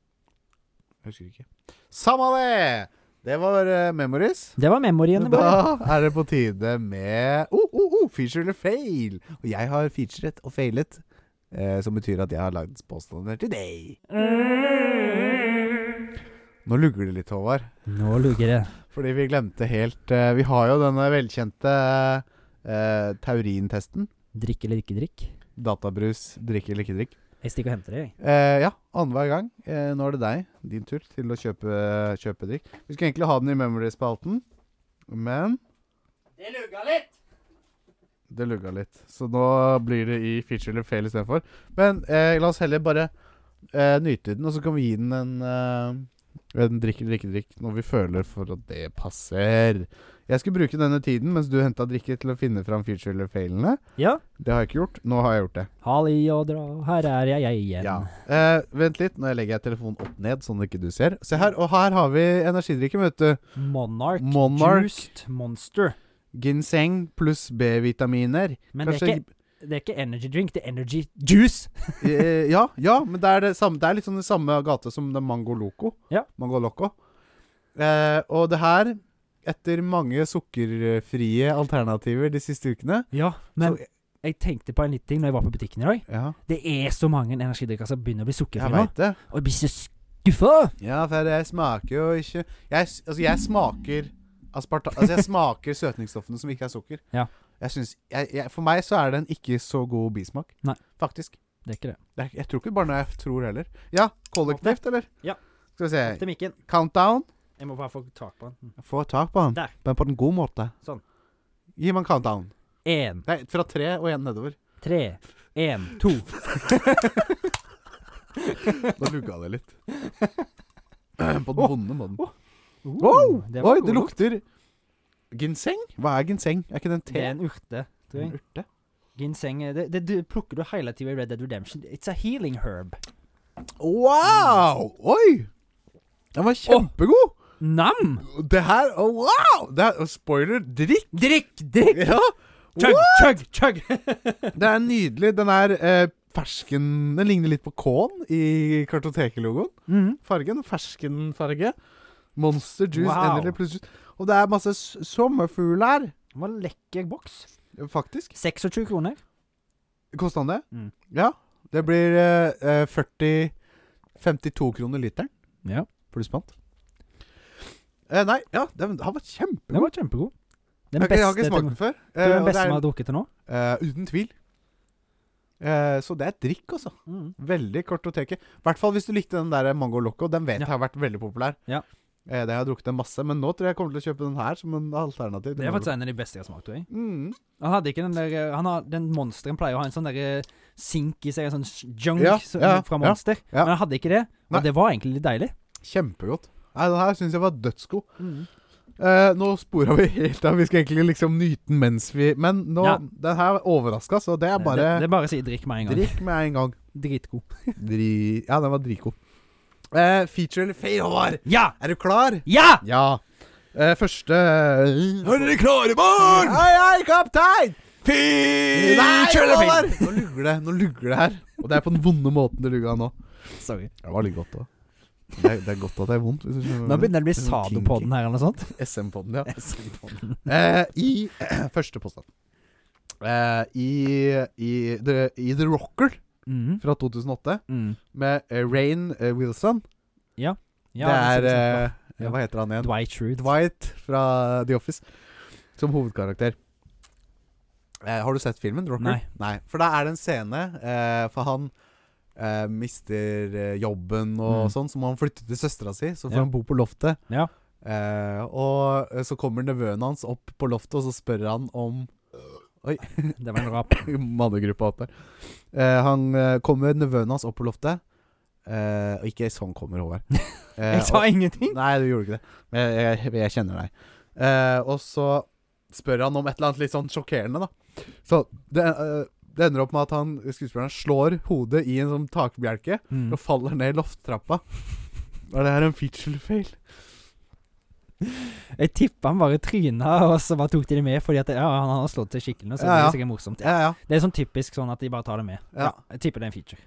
Speaker 2: Jeg husker ikke. Samme det! Det var eh, Memories.
Speaker 3: Det var memoryen. Da.
Speaker 2: Da er det på tide med oh, oh, oh, feature eller fail. Og jeg har featuret og failet, eh, som betyr at jeg har lagd påstander til deg. Nå lugger det litt, Håvard,
Speaker 3: Nå lugger det.
Speaker 2: fordi vi glemte helt eh, Vi har jo denne velkjente eh, taurintesten.
Speaker 3: Drikk eller ikke drikk.
Speaker 2: Databrus, drikke eller ikke drikk.
Speaker 3: Jeg stikker og henter det, jeg.
Speaker 2: Eh, ja, annenhver gang. Eh, nå er det deg, din tur, til å kjøpe, kjøpe drikk. Vi skulle egentlig ha den i Memory-spalten, men Det lugga litt! Det lugga litt. Så nå blir det i feature eller fail istedenfor. Men eh, la oss heller bare eh, nyte den, og så kan vi gi den en, eh, en drikk eller ikke drikk når vi føler for at det passer. Jeg skulle bruke denne tiden mens du henta drikke, til å finne fram feature eller failene.
Speaker 3: Ja.
Speaker 2: Det har jeg ikke gjort. Nå har jeg gjort det.
Speaker 3: Hal i og dra, her er jeg, jeg igjen.
Speaker 2: Ja. Eh, vent litt, nå legger jeg telefonen opp ned, sånn at ikke du ser. Se her, og her har vi energidrikken, vet du.
Speaker 3: Monarch,
Speaker 2: Monarch.
Speaker 3: Juiced Monster.
Speaker 2: Ginseng pluss B-vitaminer.
Speaker 3: Men det er,
Speaker 2: Kanskje-
Speaker 3: ikke, det er ikke energy drink, det er energy juice.
Speaker 2: Eh, ja, ja, men det er, det, samme, det er litt sånn det samme gate som den Mango Loco.
Speaker 3: Ja.
Speaker 2: Mango Loco. Eh, og det her, etter mange sukkerfrie alternativer de siste ukene
Speaker 3: Ja, men
Speaker 2: så,
Speaker 3: jeg tenkte på en liten ting når jeg var på butikken i dag.
Speaker 2: Ja,
Speaker 3: Det er så mange energidrikker som begynner å bli
Speaker 2: jeg
Speaker 3: sukkerfrie nå.
Speaker 2: veit det.
Speaker 3: Og jeg blir så skuffa!
Speaker 2: Ja, for jeg smaker jo ikke Jeg, s- altså, jeg smaker asparta... Altså, jeg smaker søtningsstoffene som ikke er sukker.
Speaker 3: Ja.
Speaker 2: Jeg synes, jeg, jeg, for meg så er det en ikke så god bismak.
Speaker 3: Nei.
Speaker 2: Faktisk.
Speaker 3: Det er ikke det.
Speaker 2: Det er, jeg tror ikke bare når jeg tror heller. Ja, kollektivt, eller?
Speaker 3: Ja.
Speaker 2: Skal vi
Speaker 3: Opp
Speaker 2: se.
Speaker 3: til mikken.
Speaker 2: Countdown.
Speaker 3: Jeg må bare få tak på den.
Speaker 2: Få tak på han,
Speaker 3: Der.
Speaker 2: men på en god måte.
Speaker 3: Sånn.
Speaker 2: Gi meg en countdown.
Speaker 3: Én,
Speaker 2: Nei, fra tre og én nedover.
Speaker 3: tre, én, to.
Speaker 2: Da lugga det litt. på den vonde måten.
Speaker 3: Wow! Oh. Det var
Speaker 2: Oi,
Speaker 3: god
Speaker 2: det lukter Ginseng? Hva er ginseng? Er ikke det en
Speaker 3: Det
Speaker 2: te?
Speaker 3: er en urte, tror jeg.
Speaker 2: urte?
Speaker 3: Ginseng eh, det, det, du plukker du hele tida i Red Dead Redemption. It's a healing herb.
Speaker 2: Wow! Oi! Den var kjempegod!
Speaker 3: Nam!
Speaker 2: Det her oh, Wow! Det her, spoiler drikk!
Speaker 3: Drikk, drikk!
Speaker 2: Ja!
Speaker 3: Chug,
Speaker 2: Wow!
Speaker 3: chug, chug!
Speaker 2: Det er nydelig. Den er eh, fersken Den ligner litt på K-en i kartoteket-logoen.
Speaker 3: Mhm.
Speaker 2: Fargen. Ferskenfarge. Monster juice,
Speaker 3: Wow.
Speaker 2: energy pluss juice. Og det er masse s- sommerfugl her,
Speaker 3: Det var en lekker boks.
Speaker 2: faktisk.
Speaker 3: 26 kroner.
Speaker 2: Kosta den det?
Speaker 3: Mm.
Speaker 2: Ja. Det blir eh, eh, 40 52 kroner literen
Speaker 3: Ja.
Speaker 2: pluss pant. Eh, nei, ja, den, den var kjempegod.
Speaker 3: Den var kjempegod. Den
Speaker 2: Jeg, jeg har ikke
Speaker 3: beste
Speaker 2: smakt
Speaker 3: til-
Speaker 2: den før.
Speaker 3: det er
Speaker 2: eh,
Speaker 3: den
Speaker 2: og
Speaker 3: beste
Speaker 2: det
Speaker 3: vi
Speaker 2: er,
Speaker 3: har drukket til nå.
Speaker 2: eh, uten tvil. Eh, så det er drikk, altså.
Speaker 3: Mm.
Speaker 2: Veldig kartoteket. I hvert fall hvis du likte den der Mango Loco. Den vet
Speaker 3: Ja.
Speaker 2: jeg har vært veldig populær.
Speaker 3: Ja.
Speaker 2: Eh, det har jeg drukket en masse, men nå tror jeg jeg kommer til å kjøpe den her som en alternativ. til
Speaker 3: Det er
Speaker 2: Mango
Speaker 3: faktisk en av de beste jeg har smakt. tror jeg.
Speaker 2: Loco. Mm.
Speaker 3: Han hadde ikke den der eh, han har, Den monsteren pleier å ha en sånn der eh, sink i seg, en sånn sh- junk
Speaker 2: Ja,
Speaker 3: som-
Speaker 2: ja,
Speaker 3: fra
Speaker 2: ja,
Speaker 3: Monster.
Speaker 2: ja.
Speaker 3: Men han hadde ikke det, og
Speaker 2: Nei.
Speaker 3: det var egentlig litt deilig.
Speaker 2: Kjempegodt. Nei, den her syns jeg var dødsgod.
Speaker 3: Mm.
Speaker 2: Eh, nå spora vi helt av. Vi skal egentlig liksom nyte den mens vi Men nå,
Speaker 3: Ja.
Speaker 2: den her overraska, så det er bare
Speaker 3: Eh, det, det er bare å si drikk med en gang.
Speaker 2: drikk med en gang.
Speaker 3: Dritgod.
Speaker 2: Dri ja, den var dritgod. Eh, feature eller fail, Håvard?
Speaker 3: Ja!
Speaker 2: Er du klar?
Speaker 3: Ja!
Speaker 2: Ja. Eh, første Er dere klare,
Speaker 1: barn?
Speaker 2: Hei, hei, kaptein!
Speaker 1: Fy!
Speaker 2: Nei,
Speaker 1: kjører
Speaker 2: Håvard! Nå lugger det nå lugger det her. Og det er på den vonde måten det lugga nå.
Speaker 3: Sorry.
Speaker 2: Det var litt godt òg. Det, er- det er godt at det er vondt. Hvis du skjønner
Speaker 3: Nå
Speaker 2: hva jeg
Speaker 3: begynner det å bli
Speaker 2: Det er sånn
Speaker 3: Sadopodden her, eller noe sånt.
Speaker 2: mener. SM-podden, ja. Eh, I første påstand eh, i, i, the, I The Rocker
Speaker 3: Mm.
Speaker 2: fra 2008
Speaker 3: Mm.
Speaker 2: med eh, Rainn eh, Wilson.
Speaker 3: Ja,
Speaker 2: det
Speaker 3: ser
Speaker 2: er
Speaker 3: ut
Speaker 2: eh,
Speaker 3: Ja.
Speaker 2: Hva heter han
Speaker 3: som-
Speaker 2: igjen?
Speaker 3: Dwight Schrute.
Speaker 2: Dwight fra The Office som hovedkarakter. Eh, har du sett filmen The Rocker?
Speaker 3: Nei.
Speaker 2: For da er det en scene eh, For han eh, mister eh, jobben
Speaker 3: Mm.
Speaker 2: og sånn, så må han flytte til søstera si, så får
Speaker 3: Ja.
Speaker 2: han bo på loftet.
Speaker 3: Ja.
Speaker 2: Eh, og eh, så kommer nevøen hans opp på loftet, og så spør han om
Speaker 3: Det var en rap.
Speaker 2: mannegruppa opp der. Eh, han eh, kommer nevøen hans opp på loftet. Eh, og ikke sånn kommer Håvard. Eh,
Speaker 3: Jeg sa
Speaker 2: og-
Speaker 3: ingenting!
Speaker 2: Nei, du gjorde ikke det. Men jeg, jeg, jeg kjenner deg. Eh, og så spør han om et eller annet litt sånn sjokkerende, da. Så det, eh, det ender opp med at han, skuespilleren slår hodet i en sånn takbjelke
Speaker 3: Mm.
Speaker 2: og faller ned lofttrappa. Og det er en feature fail.
Speaker 3: Jeg tippa han bare tryna, og så bare tok de det med fordi at ja, han har slått til skikkelig nå, så
Speaker 2: Ja,
Speaker 3: det
Speaker 2: ja.
Speaker 3: er sikkert morsomt.
Speaker 2: Ja, ja.
Speaker 3: Det er sånn typisk sånn at de bare tar det med.
Speaker 2: Ja.
Speaker 3: Jeg tipper det er en feature.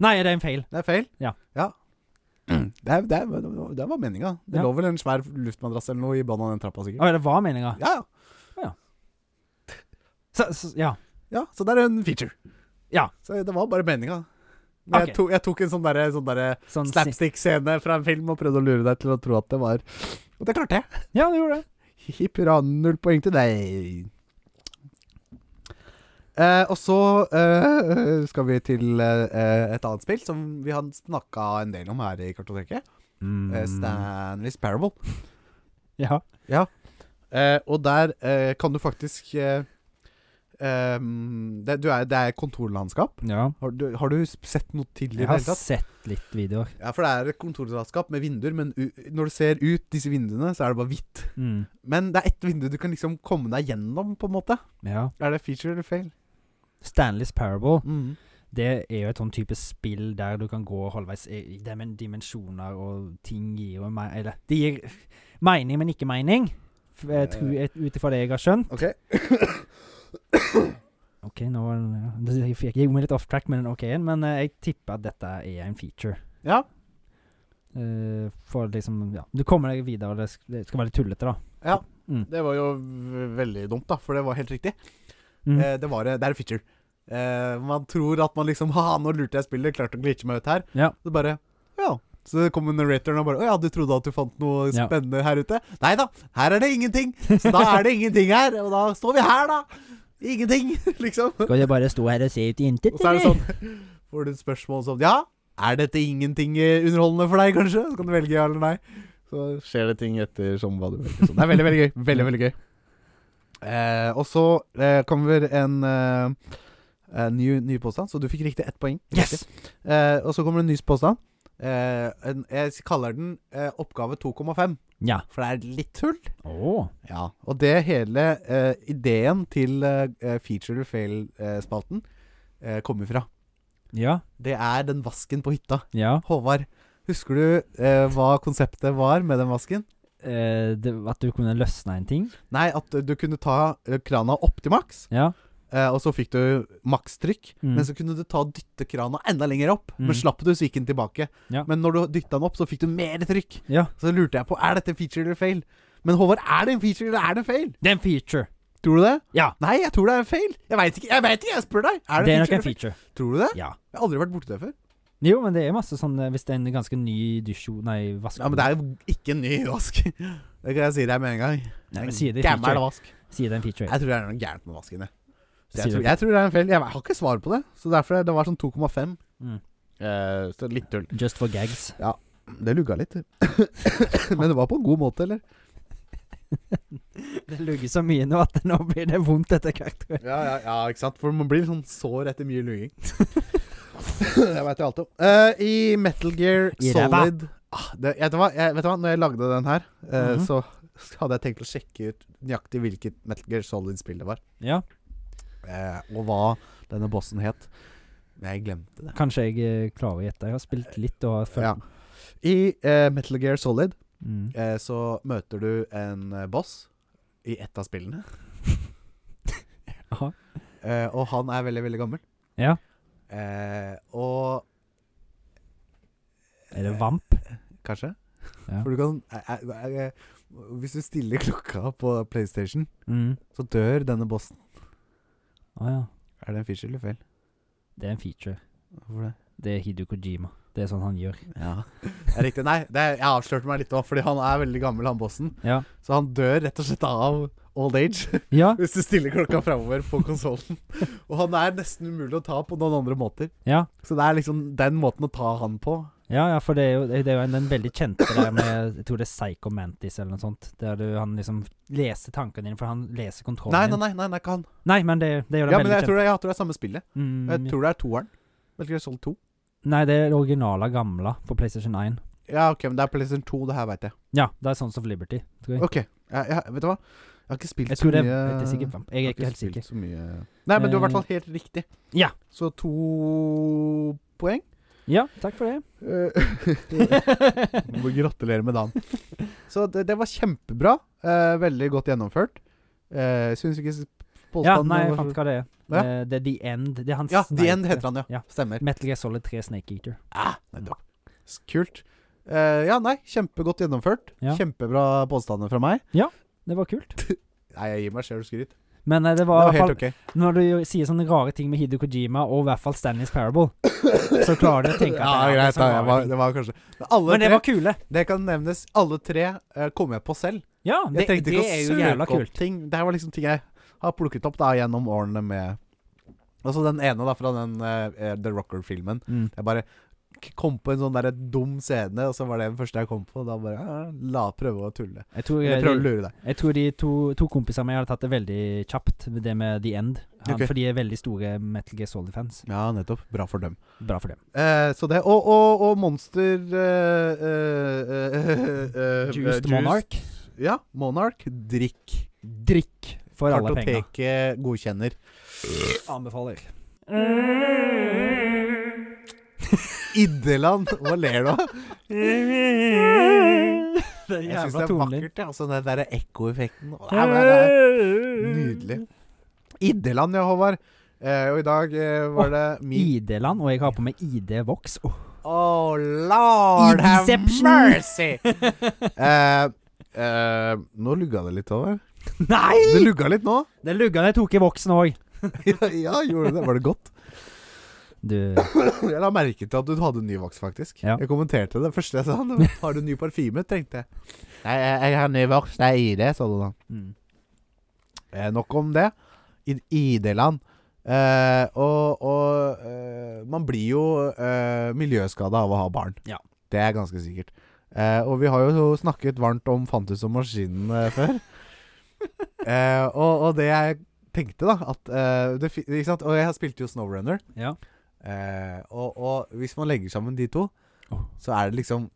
Speaker 3: Nei, det er en feil.
Speaker 2: Det er feil.
Speaker 3: Ja.
Speaker 2: Det, er, det, er, det var meninga. Det
Speaker 3: Ja.
Speaker 2: lå vel en svær luftmadrass eller noe i bånn av den trappa, sikkert.
Speaker 3: Å, det var meninga.
Speaker 2: Ja, ja.
Speaker 3: Så, så, ja.
Speaker 2: ja. Så det er en feature.
Speaker 3: Ja.
Speaker 2: Så det var bare meninga. Men
Speaker 3: Ok.
Speaker 2: jeg, to, jeg tok en sånn derre sånn derre
Speaker 3: Sånn si-
Speaker 2: slapstick-scene fra en film og prøvde å lure deg til å tro at det var Og det klarte jeg.
Speaker 3: Ja, det gjorde det.
Speaker 2: Hipp hurra, null poeng til deg. Eh, og så eh, skal vi til eh, eh, et annet spill som vi har snakka en del om her i kartoteket.
Speaker 3: Mm.
Speaker 2: Eh, Stanley's Parable.
Speaker 3: Ja.
Speaker 2: Eh, og der eh, kan du faktisk eh, eh, det, du er, det er kontorlandskap.
Speaker 3: ja.
Speaker 2: Har du, har du sett noe til
Speaker 3: Jeg
Speaker 2: i det
Speaker 3: har
Speaker 2: hele tatt?
Speaker 3: sett litt videoer.
Speaker 2: Ja, for det er et kontorlandskap med vinduer, men u når du ser ut disse vinduene, så er det bare hvitt.
Speaker 3: Mm.
Speaker 2: Men det er ett vindu du kan liksom komme deg gjennom, på en måte.
Speaker 3: Ja.
Speaker 2: Er det feature eller fail?
Speaker 3: Stanley's Parable.
Speaker 2: Mm.
Speaker 3: Det er jo et sånn type spill der du kan gå halvveis i i dem- dimensjoner, og ting gir jo me- Eller det gir mening, men ikke mening. F- jeg tror- jeg- Ut ifra det jeg har skjønt.
Speaker 2: OK.
Speaker 3: OK, nå var den- ja, det- Jeg gikk meg litt off track med den OK-en, men eh, jeg tipper at dette er en feature.
Speaker 2: Ja.
Speaker 3: Eh, for liksom Ja. Du kommer deg videre, og det sk- det skal være litt tullete, da.
Speaker 2: Ja.
Speaker 3: Mm.
Speaker 2: Det var jo v- veldig dumt, da, for det var helt riktig.
Speaker 3: Mm.
Speaker 2: Eh, det, var, det er en feature. Eh, man tror at man liksom Ha, nå lurte jeg spillet, klarte å glitche meg ut her.
Speaker 3: Ja.
Speaker 2: Så bare Ja. Så kommer narratoren og bare Å ja, du trodde at du fant noe
Speaker 3: Ja.
Speaker 2: spennende her ute? Nei da, her er det ingenting. Så da er det ingenting her. Og da står vi her, da. Ingenting, liksom.
Speaker 3: Skal jeg bare stå her og se ut i intet,
Speaker 2: Og så er det sånn Får du et spørsmål sånn Ja, er dette ingenting eh, underholdende for deg, kanskje? Så kan du velge ja eller nei. Så skjer det ting etter som hva du velger. Så det er veldig, veldig gøy. Veldig, veldig gøy. Eh, og så eh, kommer en eh, eh, ny, ny påstand, så du fikk riktig ett poeng.
Speaker 3: Yes!
Speaker 2: Eh, og så kommer det en ny påstand. Eh, en, jeg kaller den eh, oppgave 2,5,
Speaker 3: Ja.
Speaker 2: for det er litt hull.
Speaker 3: Å.
Speaker 2: Ja, og det er hele eh, ideen til eh, feature eller fail-spalten eh, kommer fra.
Speaker 3: Ja.
Speaker 2: Det er den vasken på hytta.
Speaker 3: Ja.
Speaker 2: Håvard, husker du eh, hva konseptet var med den vasken?
Speaker 3: Eh, det, at du kunne løsne en ting.
Speaker 2: Nei, at eh, du kunne ta eh, krana opp til maks,
Speaker 3: Ja.
Speaker 2: eh, og så fikk du makstrykk.
Speaker 3: Mm.
Speaker 2: Men så kunne du ta og dytte krana enda lenger opp.
Speaker 3: Mm.
Speaker 2: Men slapp du, så gikk den tilbake.
Speaker 3: Ja.
Speaker 2: Men når du dytta den opp, så fikk du mer trykk.
Speaker 3: ja.
Speaker 2: Så lurte jeg på er dette feature eller fail. Men Håvard, er det en feature eller er det en fail?
Speaker 3: Det er en feature.
Speaker 2: Tror du det?
Speaker 3: Ja.
Speaker 2: Nei, jeg tror det er en fail. Jeg veit ikke, jeg, vet ikke, jeg spør deg. Er det,
Speaker 3: det er
Speaker 2: en
Speaker 3: nok
Speaker 2: feature?
Speaker 3: en
Speaker 2: eller fail?
Speaker 3: feature.
Speaker 2: Tror du det?
Speaker 3: Ja.
Speaker 2: Jeg har aldri vært borti det før.
Speaker 3: Jo, men det er masse sånn eh, Hvis det er en ganske ny dusjo... Nei, vask...
Speaker 2: Ja, Men det er jo ikke en ny vask. Det kan jeg si deg med en gang.
Speaker 3: Nei, men
Speaker 2: En
Speaker 3: sier det i
Speaker 2: Gammel
Speaker 3: feature.
Speaker 2: vask.
Speaker 3: Sier det en feature.
Speaker 2: Jeg tror det er noe gærent med vasken. Jeg. Så
Speaker 3: Sier
Speaker 2: Jeg, tror,
Speaker 3: det.
Speaker 2: jeg tror det er en feil. Jeg har ikke svar på det. Så derfor er- det var sånn 2,5.
Speaker 3: Mm.
Speaker 2: Eh, så litt tull.
Speaker 3: Just for gags.
Speaker 2: Det lugga litt. Men det var på en god måte, eller?
Speaker 3: Det lugger så mye nå at nå blir det vondt etter hvert. tror jeg.
Speaker 2: Ja, ja, ja, ikke sant? For man blir sånn sår etter mye luging. jeg veit jo alt om. Eh, I Metal Gear
Speaker 3: I ræva.
Speaker 2: Solid ah, det, vet, du hva? Jeg, vet du hva, når jeg lagde den her, eh,
Speaker 3: Mhm.
Speaker 2: så hadde jeg tenkt å sjekke ut nøyaktig hvilket Metal Gear Solid-spill det var.
Speaker 3: Ja.
Speaker 2: Eh, og hva denne bossen het. Men jeg glemte det.
Speaker 3: Kanskje jeg eh, klarer å gjette. Jeg har spilt litt og har følt
Speaker 2: Ja. I eh, Metal Gear Solid
Speaker 3: mm.
Speaker 2: eh, så møter du en eh, boss i ett av spillene.
Speaker 3: Aha.
Speaker 2: Eh, og han er veldig, veldig gammel.
Speaker 3: Ja.
Speaker 2: Eh, og
Speaker 3: Er det Vamp?
Speaker 2: Kanskje?
Speaker 3: Ja.
Speaker 2: For du kan eh, eh, eh, Hvis du stiller klokka på PlayStation,
Speaker 3: Mm.
Speaker 2: så dør denne bossen.
Speaker 3: Å ja.
Speaker 2: Er det en feature eller feil?
Speaker 3: Det er en feature.
Speaker 2: Hvorfor det?
Speaker 3: Det er Hidu Kojima. Det er sånn han gjør.
Speaker 2: Ja. Det er riktig. Nei, det er, jeg avslørte meg litt òg, fordi han er veldig gammel, han bossen.
Speaker 3: Ja.
Speaker 2: Så han dør rett og slett av old age.
Speaker 3: Ja.
Speaker 2: Hvis du stiller klokka framover på konsollen. Og han er nesten umulig å ta på noen andre måter.
Speaker 3: Ja.
Speaker 2: Så det er liksom den måten å ta han på.
Speaker 3: Ja, ja, for det er jo, det er jo en, den veldig kjente der med Jeg tror det er Psycho Mantis eller noe sånt. Der du, han liksom leser tankene dine, for han leser kontrollen
Speaker 2: Nei,
Speaker 3: din.
Speaker 2: nei, nei, nei, nei ikke han.
Speaker 3: Nei, men det, det er jo den
Speaker 2: Ja,
Speaker 3: veldig
Speaker 2: men jeg
Speaker 3: kjente.
Speaker 2: tror, det, jeg tror det er samme spillet.
Speaker 3: Mm,
Speaker 2: Jeg tror det er toeren. Metal Gear Solid 2.
Speaker 3: Nei, det er det originale gamle på PlayStation 1.
Speaker 2: Ja, OK, men det er PlayStation 2, det her veit jeg.
Speaker 3: Ja, det er Sons of Liberty, tror jeg.
Speaker 2: OK. Jeg, jeg, vet du hva? Jeg har ikke spilt
Speaker 3: Jeg
Speaker 2: så
Speaker 3: tror det
Speaker 2: mye
Speaker 3: er, det er sikkert Vamp. Jeg
Speaker 2: har
Speaker 3: er ikke helt
Speaker 2: spilt
Speaker 3: sikker. Eh,
Speaker 2: Så mye. Nei, men du har i hvert fall helt riktig.
Speaker 3: Ja.
Speaker 2: Så to poeng.
Speaker 3: Ja, takk for det.
Speaker 2: Eh, Må gratulere med dagen. Så det, det var kjempebra. eh, veldig godt gjennomført. Uh, Syns ikke s-
Speaker 3: ja,
Speaker 2: påstanden
Speaker 3: nei, jeg
Speaker 2: var så-
Speaker 3: fant hva det er.
Speaker 2: Ja.
Speaker 3: Eh, Det er The End. Det er hans
Speaker 2: Ja, The
Speaker 3: sneike.
Speaker 2: End heter han, ja.
Speaker 3: Ja.
Speaker 2: Stemmer.
Speaker 3: Metal Gear Solid 3 Snake Eater.
Speaker 2: Ah, nettopp. S- Kult. Eh, ja, nei, kjempegodt gjennomført.
Speaker 3: Ja.
Speaker 2: Kjempebra påstander fra meg.
Speaker 3: Det var kult.
Speaker 2: Nei, jeg gir meg sjøl skryt. Det
Speaker 3: Men eh, det var, i
Speaker 2: var
Speaker 3: hvert
Speaker 2: helt
Speaker 3: fall
Speaker 2: ok.
Speaker 3: Når du sier sånne rare ting med Hidu Kojima og i hvert fall Stanley's Parable, så klarer du å tenke at
Speaker 2: Ja,
Speaker 3: det er
Speaker 2: greit,
Speaker 3: sånne
Speaker 2: da, jeg
Speaker 3: rare
Speaker 2: var,
Speaker 3: ting.
Speaker 2: det var kanskje Men alle
Speaker 3: Men det
Speaker 2: tre,
Speaker 3: var kule.
Speaker 2: det kan nevnes, alle tre eh, kom jeg på selv.
Speaker 3: Ja, det,
Speaker 2: Jeg trengte
Speaker 3: det
Speaker 2: ikke
Speaker 3: er
Speaker 2: å
Speaker 3: jo jævla
Speaker 2: søke opp
Speaker 3: kult.
Speaker 2: ting. Det her var liksom ting jeg har plukket opp da gjennom årene med Altså den ene da fra den eh, The Rocker-filmen.
Speaker 3: Mm.
Speaker 2: Jeg bare k- kom på en sånn der dum scene, og så var det den første jeg kom på. Og da bare ja, La prøve å tulle.
Speaker 3: Jeg tror,
Speaker 2: Eller prøve å
Speaker 3: de,
Speaker 2: lure deg.
Speaker 3: jeg tror de to, to kompisene mine hadde tatt det veldig kjapt, med det med The End. Han,
Speaker 2: Ok.
Speaker 3: For de er veldig store Metal Gear Solid-fans.
Speaker 2: Ja, nettopp. Bra for dem.
Speaker 3: Bra for dem.
Speaker 2: Eh, så det Og, og, og Monster eh, eh, eh, eh, eh,
Speaker 3: Juice the Monarch.
Speaker 2: Ja. Monarch. Drikk.
Speaker 3: Drikk for alle penger.
Speaker 2: Kartoteket eh, godkjenner.
Speaker 3: Anbefaler.
Speaker 2: Iddeland! Hva ler du av?
Speaker 3: Det er
Speaker 2: Jeg syns
Speaker 3: jævla
Speaker 2: det er
Speaker 3: tonen din.
Speaker 2: vakkert, ja. Altså, den derre ekkoeffekten. Å, nei, nei, nei. Nydelig.
Speaker 3: Nydelig.
Speaker 2: Iddeland, ja, Håvard. Eh, og i dag eh, var det min
Speaker 3: ID-land, og jeg har på meg ID-voks. Åh.
Speaker 2: Oh lord, have
Speaker 3: Ideception.
Speaker 2: mercy! eh, eh, nå lugga det litt, Håvard. Det
Speaker 3: Nei!
Speaker 2: lugga litt nå.
Speaker 3: Den lugga jeg tok i voksen òg.
Speaker 2: ja, ja, gjorde det. Var det godt?
Speaker 3: Du
Speaker 2: Jeg la merke til at du hadde ny voks, faktisk.
Speaker 3: Ja.
Speaker 2: Jeg kommenterte det første jeg sa. det var, Har du ny parfyme? tenkte jeg. Nei, jeg, jeg har ny voks. Det er ID, sa du da.
Speaker 3: mm.
Speaker 2: Eh, nok om det. I ID-land. Eh, og og eh, man blir jo eh, miljøskada av å ha barn.
Speaker 3: Ja.
Speaker 2: Det er ganske sikkert. Eh, og vi har jo snakket varmt om Fantus og maskinene før. eh, og, og det jeg tenkte, da at, eh, det, fi- ikke sant? Og jeg spilte jo Snowrunner.
Speaker 3: Ja.
Speaker 2: Eh, og, og hvis man legger sammen de to,
Speaker 3: Åh.
Speaker 2: så er det liksom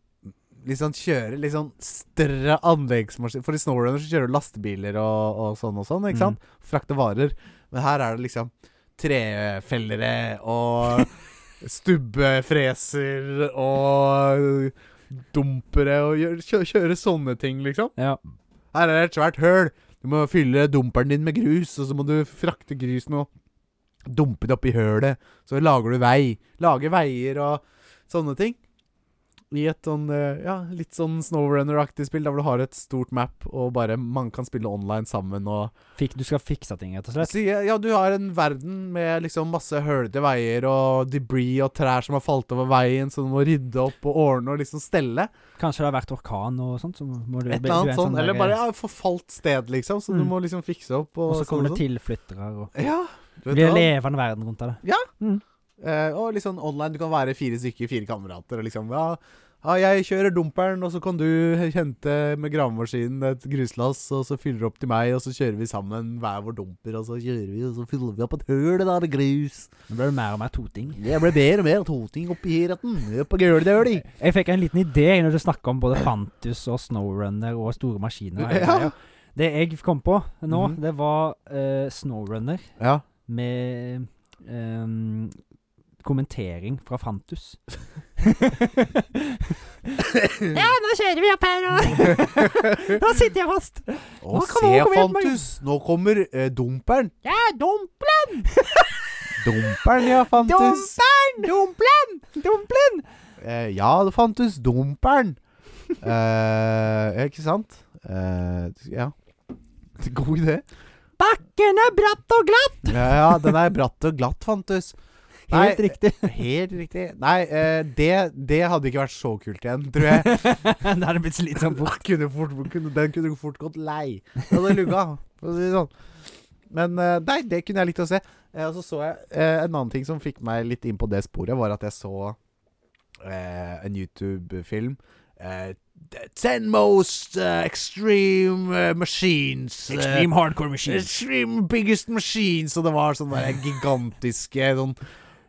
Speaker 2: Liksom kjøre litt sånn større anleggsmaskin For i Snowrunner så kjører du lastebiler og, og sånn og sånn, ikke sant? Frakte varer. Men her er det liksom trefellere og stubbefreser og dumpere og gjør, kjø, kjøre sånne ting, liksom.
Speaker 3: Ja.
Speaker 2: Her er det et svært høl. Du må fylle dumperen din med grus, og så må du frakte grusen og dumpe det oppi hølet. Så lager du vei. Lager veier og sånne ting. I et sånn eh, ja, litt sånn Snowrunner-aktig spill, der hvor du har et stort map, og bare man kan spille online sammen og
Speaker 3: Fikk, du skal fikse ting, rett og slett?
Speaker 2: så, ja, ja, du har en verden med liksom masse hølete veier og debris og trær som har falt over veien, så du må rydde opp og ordne og liksom stelle.
Speaker 3: Kanskje det har vært orkan og sånt? Så må du,
Speaker 2: Et
Speaker 3: du
Speaker 2: eller
Speaker 3: er
Speaker 2: annet
Speaker 3: en
Speaker 2: sånn. Eller
Speaker 3: der-
Speaker 2: bare ja, forfalt sted, liksom, så du
Speaker 3: Mm.
Speaker 2: må liksom fikse opp.
Speaker 3: Og
Speaker 2: Og,
Speaker 3: så kommer
Speaker 2: sånn
Speaker 3: det tilflyttere og
Speaker 2: og sånn. Ja, du vet
Speaker 3: Vi er
Speaker 2: hva?
Speaker 3: levende verden rundt av det.
Speaker 2: Eh, og litt sånn online, du kan være fire stykker, fire kamerater, og liksom ja, ja, jeg kjører dumperen, og så kan du hente med gravemaskinen et gruslass, og så fyller du opp til meg, og så kjører vi sammen hver vår dumper, og så kjører vi, og så fyller vi opp et høl der det er grus.
Speaker 3: Nå blir det mer og mer toting.
Speaker 2: Jeg ble bedre og mer toting oppi retten. På gøledøli.
Speaker 3: Jeg fikk en liten idé når du snakka om både Fantus og Snowrunner og store maskiner. og hele
Speaker 2: Ja.
Speaker 3: greia. Det jeg kom på nå,
Speaker 2: Mhm.
Speaker 3: det var eh, Snowrunner
Speaker 2: Ja.
Speaker 3: med ehm, kommentering fra Fantus.
Speaker 5: Ja, nå kjører vi opp her, og Nå sitter jeg fast. Nå kan
Speaker 2: Og se,
Speaker 5: noen komme hjem,
Speaker 2: Fantus, nå kommer eh, dumperen.
Speaker 5: Ja, dumplen!
Speaker 2: Dumperen, ja, Fantus.
Speaker 5: Dumperen! Dumplen! Dumplen!
Speaker 2: Eh, ja, det fantes dumperen! Eh, ikke sant? Eh, ja. God idé.
Speaker 5: Bakken er bratt og glatt!
Speaker 2: Ja, ja, den er bratt og glatt, fantes.
Speaker 3: Helt riktig.
Speaker 2: Helt riktig. Nei, eh, det, det hadde ikke vært så kult igjen, tror jeg.
Speaker 3: det hadde blitt slitsomt.
Speaker 2: Den kunne fort, kunne, den kunne fort gått lei. Den hadde lugga, for å si det sånn. Men eh, nei, det kunne jeg likt å se. Eh, og så så jeg eh, en annen ting som fikk meg litt inn på det sporet, var at jeg så eh, en YouTube-film. Eh, The 10 most eh, extreme eh, machines. eh,
Speaker 3: Extreme hardcore machines.
Speaker 2: Extreme biggest machines. Og det var sånne der gigantiske sånn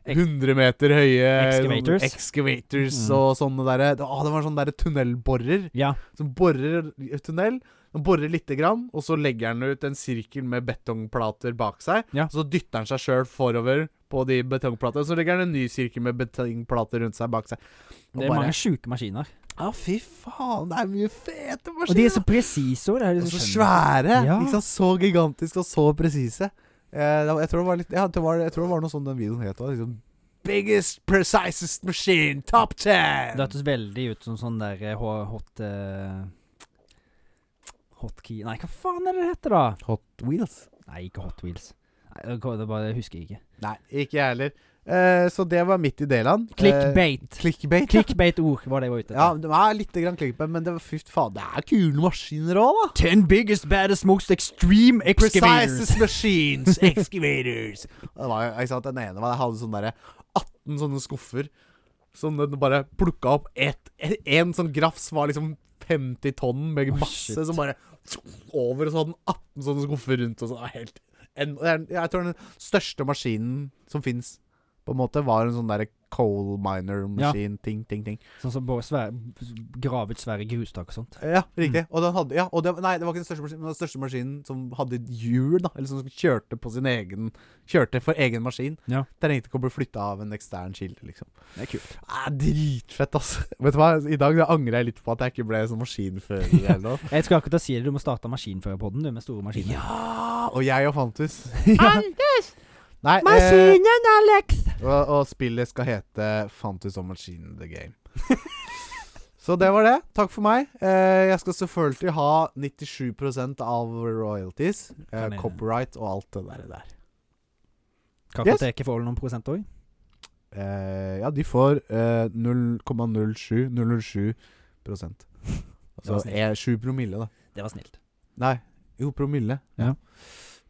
Speaker 2: 100 meter høye
Speaker 3: Excavators.
Speaker 2: sånne excavators
Speaker 3: Mm.
Speaker 2: og sånne derre Å, det var sånne derre tunnelborer.
Speaker 3: Ja.
Speaker 2: Som borer i tunnel. Han borer lite grann, og så legger han ut en sirkel med betongplater bak seg.
Speaker 3: Ja.
Speaker 2: Og Så dytter han seg sjøl forover på de betongplatene, og så legger han en ny sirkel med betongplater rundt seg bak seg. Og
Speaker 3: Det er
Speaker 2: bare-
Speaker 3: mange sjuke maskiner.
Speaker 2: Ja, fy faen, det er mye fete
Speaker 3: Og de
Speaker 2: maskiner!
Speaker 3: er liksom så presise òg.
Speaker 2: Og så svære!
Speaker 3: Ja.
Speaker 2: Ikke sant? Så gigantiske og så presise. Eh, det var- jeg tror det var litt ja, det var, Jeg tror det var noe sånn den videoen het også, Liksom, Biggest precisest machine, top ten!
Speaker 3: Det hørtes veldig ut som sånn der eh, hot hot, eh, hot key Nei, hva faen er det det heter, da?
Speaker 2: Hot wheels. Eh,
Speaker 3: Nei, ikke Hot Wheels. Nei, det går- det bare husker jeg ikke.
Speaker 2: Nei, ikke jeg heller. Eh, så det var midt i Deland.
Speaker 3: Clickbait.
Speaker 2: Clickbait. ja.
Speaker 3: Clickbait-ord var det jeg var ute
Speaker 2: Ja, det er litt grann clickbait, men det var fy faen, det er kule maskiner òg, da.
Speaker 3: Ten biggest, baddest, most extreme excavators.
Speaker 2: Precisest machines, excavators. Og Det var jo, ikke sant, Den ene var, hadde sånn derre 18 sånne skuffer som den bare plukka opp. Et, et, en sånn grafs var liksom 50 tonn med
Speaker 3: Oi,
Speaker 2: masse
Speaker 3: shit.
Speaker 2: som bare over, og så hadde den 18 sånne skuffer rundt. Og så, det var helt, en, det er- jeg tror den største maskinen som fins, på en måte, var en sånn derre coal miner-maskin. Ting, ting, ting.
Speaker 3: Sånn som bare svære, grave ut svære grustak og sånt.
Speaker 2: Ja, riktig. Og den hadde, ja, og det, nei, det var ikke den største maskinen, men den største maskinen som hadde hjul, da. Eller som kjørte på sin egen Kjørte for egen maskin.
Speaker 3: Ja.
Speaker 2: Trengte ikke å bli flytta av en ekstern kilde, liksom.
Speaker 3: Det er kult.
Speaker 2: Eh, dritfett, ass. Vet du hva, i dag angrer jeg litt på at jeg ikke ble sånn maskinfører eller noe.
Speaker 3: Jeg skal akkurat si det, du må starte maskinførerpodden du, med store maskiner.
Speaker 2: Ja! Og jeg og Fantus.
Speaker 5: Anders!
Speaker 2: Nei, eh,
Speaker 5: Maskinen, Alex!
Speaker 2: og, og spillet skal hete Fantus og Machine The Game. Så det var det. Takk for meg. Eh, jeg skal selvfølgelig ha 97 av royalties. Eh,
Speaker 3: Kan jeg-
Speaker 2: copyright og alt det der. der.
Speaker 3: Kakoteket får vel noen prosent òg?
Speaker 2: Eh, ja, de får eh, 0,07 007
Speaker 3: Det var
Speaker 2: Altså
Speaker 3: snilt.
Speaker 2: er 7 promille, da.
Speaker 3: Det var snilt.
Speaker 2: Nei, jo, promille.
Speaker 3: Ja.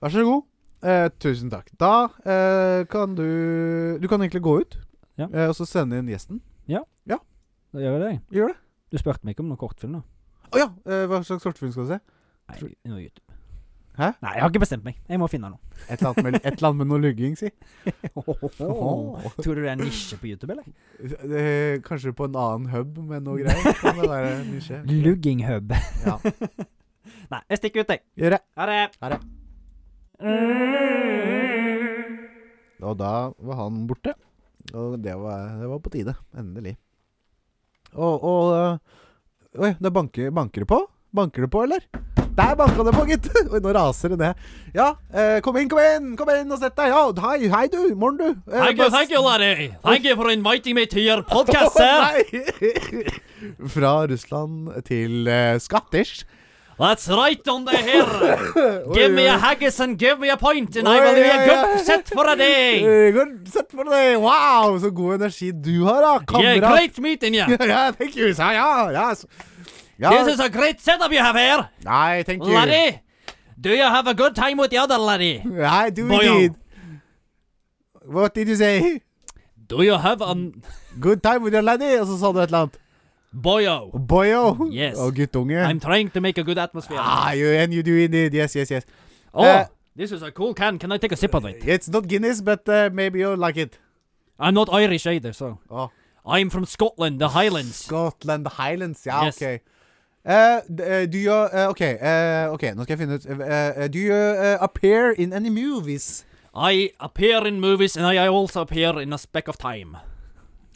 Speaker 2: Vær så god. Eh, tusen takk. Da eh, kan du Du kan egentlig gå ut,
Speaker 3: Ja.
Speaker 2: eh, og så sende inn gjesten.
Speaker 3: Da gjør jeg det. jeg.
Speaker 2: Gjør det.
Speaker 3: Du spurte meg ikke om noen kortfilm, da.
Speaker 2: Å ja! Eh, hva slags kortfilm skal du se?
Speaker 3: Nei, noe YouTube.
Speaker 2: Hæ?
Speaker 3: Nei, jeg har ikke bestemt meg. Jeg må finne noe.
Speaker 2: Et eller annet med, et eller annet med noe lugging, si.
Speaker 3: Tror du det er en nisje på YouTube, eller?
Speaker 2: Eh, kanskje på en annen hub med noe greier. Kan det være nisje?
Speaker 3: Lugging hub.
Speaker 2: Ja.
Speaker 3: Nei, jeg stikker ut, jeg.
Speaker 2: Gjør det.
Speaker 3: Ha det.
Speaker 2: Ha det. Og da var han borte. Og det var, det var på tide. Endelig. Og, og eh, Oi, det banker, banker det på? Banker det på, eller? Der banka det på, gitt! Oi, nå raser det ned. Ja, eh, kom inn, kom inn! Kom inn og sett deg! Ja, hei, hei du! Morn, du! Eh, bare-
Speaker 3: Larry. Thank you for inviting me to your
Speaker 2: Å, nei! Fra Russland til eh, Scottish.
Speaker 3: That's right on the hair.
Speaker 2: Give me a
Speaker 3: haggis and give me a pint,
Speaker 2: and I will be a good set
Speaker 3: for a day.
Speaker 2: Eh, godt Sett for deg! Wow, så god energi du har, da! Kamerat!
Speaker 3: meeting
Speaker 2: Ja, ja, thank you! sa jeg. Ja, ja. så- ja.
Speaker 3: a great setup you have here.
Speaker 2: Nei, thank you.
Speaker 3: do you have a good time with the other laddie?
Speaker 2: I do
Speaker 3: Boyo.
Speaker 2: indeed. What did you say?
Speaker 3: Do you have an
Speaker 2: Good time with your lady? Og så sa du et eller annet.
Speaker 3: boyo?
Speaker 2: Boyo.
Speaker 3: Yes.
Speaker 2: Og guttunge.
Speaker 3: I'm trying to make a good atmosphere.
Speaker 2: ah, you, and you do indeed. Yes, yes, yes.
Speaker 3: oh,
Speaker 2: eh.
Speaker 3: this is a cool can. Can I take a sip of it?
Speaker 2: It's not Guinness, but uh, maybe you'll like it.
Speaker 3: I'm not Irish either, so
Speaker 2: Oh.
Speaker 3: I'm from Scotland, the Highlands.
Speaker 2: Scotland the Highlands, ja,
Speaker 3: Yes.
Speaker 2: ok. Eh, d- eh, do you, eh, ok, eh, ok, nå skal jeg finne ut. Eh, eh, do you eh, appear in any movies?
Speaker 3: I appear in movies, and I I also appear in a speck of time.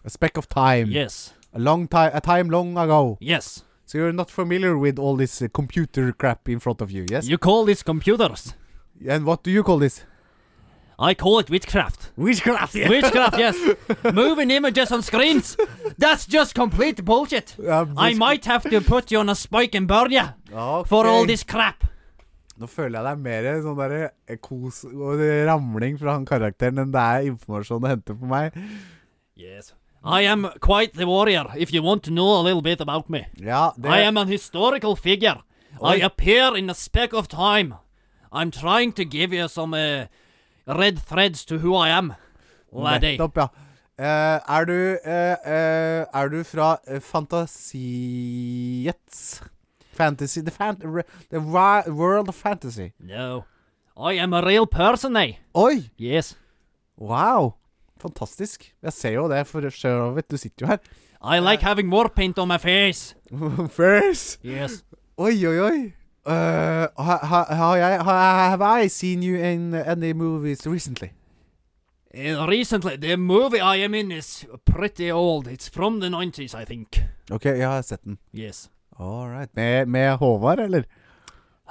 Speaker 2: A speck of time.
Speaker 3: Yes,
Speaker 2: A long time, a time long ago.
Speaker 3: yes.
Speaker 2: So you're not familiar with all this eh, computer crap in front of you, yes?
Speaker 3: You call these computers?
Speaker 2: And what do you call this?
Speaker 3: I call it witchcraft.
Speaker 2: Witchcraft! yeah.
Speaker 3: Witchcraft, yes. Moving images on screens. That's just complete bullshit.
Speaker 2: Ja,
Speaker 3: I might have to put you on a spike and burn you
Speaker 2: Ok.
Speaker 3: for all this crap.
Speaker 2: Nå føler jeg det er mer sånn derre kos og eh, ramling fra han karakteren enn det er informasjon å hente for meg.
Speaker 3: Yes. I am quite the warrior if you want to know a little bit about me.
Speaker 2: Ja, det
Speaker 3: I am an historical figure. I appear in a speck of time. I'm trying to give you some uh, red threads to who I am, laddie.
Speaker 2: Nettopp, ja. Eh, er du eh, eh, Er du fra eh, Fantasiets Fantasy The, fan, the wi- World of Fantasy.
Speaker 3: No. I am a real person, eh?
Speaker 2: Oi!
Speaker 3: Yes.
Speaker 2: Wow! Fantastisk. Jeg ser jo det, for så vidt. Du sitter jo her.
Speaker 3: I like having war paint on my face.
Speaker 2: First!
Speaker 3: Yes.
Speaker 2: Oi, oi, oi. Eh, ha, ha, har jeg, ha, have I seen you in any movies recently?
Speaker 3: Uh, recently, the movie I am in is pretty old. It's from the 90s, I think.
Speaker 2: Ok, jeg har sett den.
Speaker 3: Yes.
Speaker 2: All right. Med, med Håvard, eller?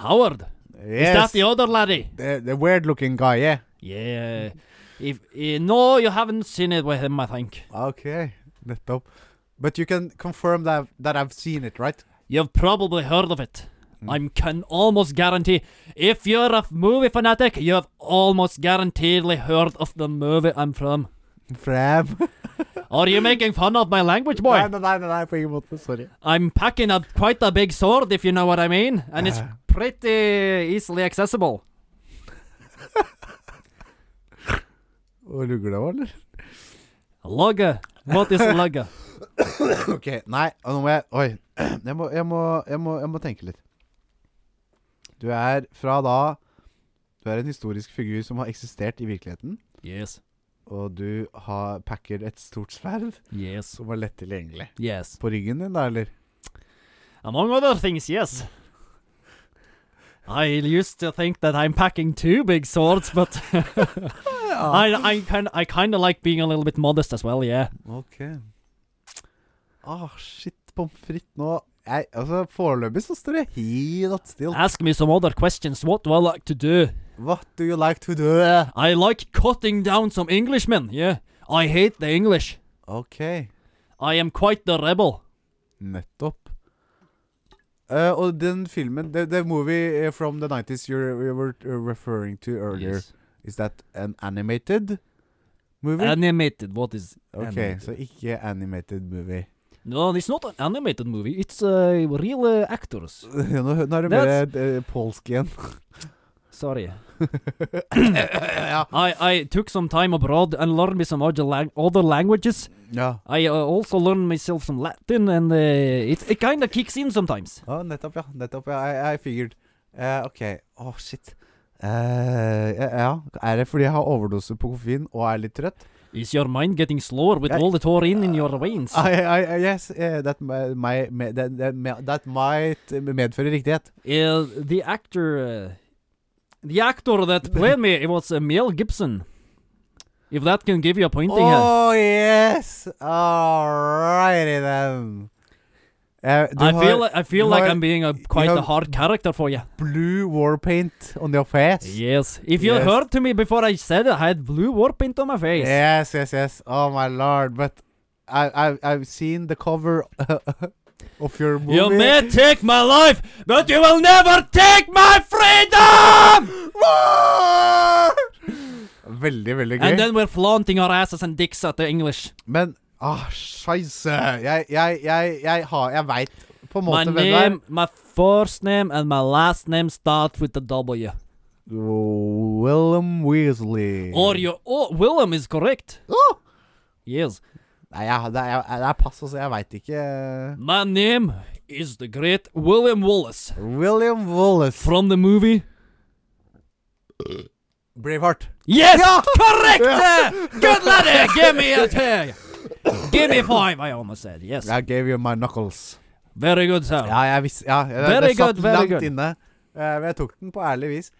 Speaker 3: Howard, is that the other laddie?
Speaker 2: the, the weird looking guy, yeah.
Speaker 3: Yeah. If uh, no, you haven't seen it with him, I think.
Speaker 2: Ok, Ah, nettopp. But you can confirm that, that I've seen it, right?
Speaker 3: You've probably heard of it. I can almost guarantee, if you're a movie fanatic, you've almost guaranteedly heard of the movie I'm from.
Speaker 2: Fram.
Speaker 3: Are you making fun of my language, boy?
Speaker 2: Nei, nei, nei, nei, nei, på ingen måte. Sorry.
Speaker 3: I'm packing a quite a big sword, if you know what I mean, and it's
Speaker 2: Yeah.
Speaker 3: pretty easily accessible.
Speaker 2: Og lugger det òg, eller?
Speaker 3: Lugger. What is lugger?
Speaker 2: Ok, nei, og nå må jeg Oi. Jeg må, jeg må, jeg må, jeg må tenke litt. Du er fra da Du er en historisk figur som har eksistert i virkeligheten.
Speaker 3: Yes.
Speaker 2: Og du har packer et stort sverd
Speaker 3: Yes.
Speaker 2: som var lett tilgjengelig.
Speaker 3: Yes.
Speaker 2: På ryggen din, da, eller?
Speaker 3: Among other things, yes. I used to think that I'm packing two big swords, but
Speaker 2: Ah.
Speaker 3: I I kind I kind of like being a little bit modest as well. Yeah.
Speaker 2: Ok. Ah, shit. Pommes frites nå jeg, altså, Foreløpig så står det helt stille.
Speaker 3: Ask me some other questions. What do I like to do?
Speaker 2: What do you like to do?
Speaker 3: I like cutting down some Englishmen. Yeah. I hate the English.
Speaker 2: Ok,
Speaker 3: I am quite the rebel.
Speaker 2: nettopp. Eh, og den filmen The, the movie eh, from the 90s you you were uh, referring to earlier
Speaker 3: Yes.
Speaker 2: Is that an animated movie?
Speaker 3: Animated. What is?
Speaker 2: ok,
Speaker 3: animated.
Speaker 2: så ikke animated movie.
Speaker 3: No, it's not an animated movie. It's uh, real uh, actors.
Speaker 2: nå, nå er det mer
Speaker 3: That's-
Speaker 2: eh, polsk igjen.
Speaker 3: Sorry.
Speaker 2: ja.
Speaker 3: I, I took some time abroad and learned me some other, lang- other languages.
Speaker 2: ja.
Speaker 3: I uh, also learned myself some Latin, and uh, it, it kind of kicks in sometimes.
Speaker 2: Ja, nettopp, ja. Nettopp, ja. I, I figured. Eh, ok. Å, shit. Eh, ja, ja. Er det fordi jeg har overdose på koffein og er litt trøtt?
Speaker 3: Is your mind getting slower with
Speaker 2: I-
Speaker 3: all the taurine in your veins?
Speaker 2: Uh, I, I, I, Ah, yes, eh, that, mi- my, me- that, that, me- that might medføre riktighet.
Speaker 3: Uh, the actor, uh, the actor that played me, it was uh, Mel Gibson. If that can give you a pointing here.
Speaker 2: Oh, yes! Alrighty then. Eh, du
Speaker 3: I
Speaker 2: har
Speaker 3: feel, I feel
Speaker 2: you
Speaker 3: like
Speaker 2: have-
Speaker 3: I'm being a quite
Speaker 2: have-
Speaker 3: a hard character for you.
Speaker 2: blue war paint on your face.
Speaker 3: Yes. If you
Speaker 2: Yes.
Speaker 3: heard to me before I said it, I had blue warp into my face.
Speaker 2: Yes, yes, yes. Oh my lord, but I, I, I've seen the cover of your movie.
Speaker 3: You may take my life, but you will never take my freedom!
Speaker 2: Veldig, veldig gøy.
Speaker 3: And then we're flaunting our asses and dicks at the English.
Speaker 2: Men ah, scheisse. Jeg, jeg, jeg, jeg har Jeg veit på en
Speaker 3: My
Speaker 2: måte hvem det er.
Speaker 3: name, my first name, and my last name start with the W.
Speaker 2: Willem Weasley.
Speaker 3: Or your oh, Willem is correct.
Speaker 2: Åh!
Speaker 3: Yes.
Speaker 2: Nei, jeg, det, er, det er pass, altså. Jeg veit ikke
Speaker 3: My name is the great William Wallace
Speaker 2: William Wallace.
Speaker 3: from the movie.
Speaker 2: Braveheart.
Speaker 3: Yes, correct. Good laddie. Give me a tag. Give me five. I almost said yes.
Speaker 2: I gave you my knuckles.
Speaker 3: Very good, sir.
Speaker 2: Ja, jeg visste ja, det,
Speaker 3: Very
Speaker 2: det satt
Speaker 3: good, very
Speaker 2: langt
Speaker 3: good.
Speaker 2: inne. Eh, Men jeg tok den på ærlig vis.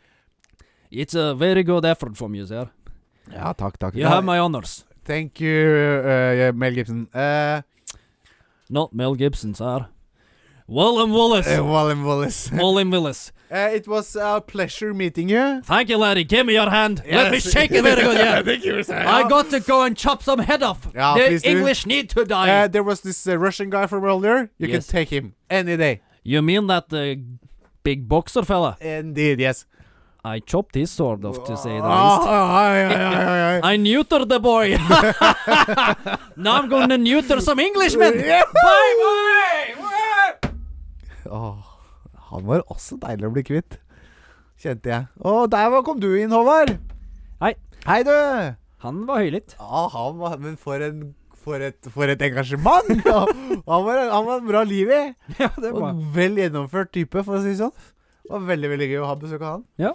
Speaker 3: It's a very good effort from you, sir.
Speaker 2: Ja, takk, takk.
Speaker 3: You
Speaker 2: Ja,
Speaker 3: have my honors.
Speaker 2: Thank you, eh, Mel Gibson. Eh,
Speaker 3: Not Mel Gibson, sir. Willem Willis.
Speaker 2: Eh, Willem Wallace.
Speaker 3: Willem Willis.
Speaker 2: Eh, it was a pleasure meeting you.
Speaker 3: Thank you, laddie. Give me your hand. Let me
Speaker 2: Yes.
Speaker 3: shake it very good. Yeah.
Speaker 2: Thank you, sir.
Speaker 3: I got to go and chop some head off.
Speaker 2: Yeah,
Speaker 3: the
Speaker 2: please do.
Speaker 3: English need to die.
Speaker 2: Uh, there was this uh, Russian guy from earlier. You
Speaker 3: Yes.
Speaker 2: can take him any day.
Speaker 3: you mean that the big boxer fella?
Speaker 2: Indeed, yes.
Speaker 3: I chopped his sword off to say the
Speaker 2: Ah,
Speaker 3: least.
Speaker 2: ah, ah, ah, ah, ah.
Speaker 3: I neutered the boy. now I'm going to neuter some Englishmen.
Speaker 2: Yeah.
Speaker 3: Bye bye.
Speaker 2: Åh, han var også deilig å bli kvitt. Kjente jeg. Å, der var- kom du inn, Håvard.
Speaker 3: Hei.
Speaker 2: Hei, du. Ja,
Speaker 3: Han var høylytt.
Speaker 2: han var Men for en for et, for et engasjement! Ja, han, var, han var en bra liv i.
Speaker 3: ja, det
Speaker 2: Og en vel gjennomført type, for å si det sånn. Det var veldig veldig gøy å ha besøk av han.
Speaker 3: Ja.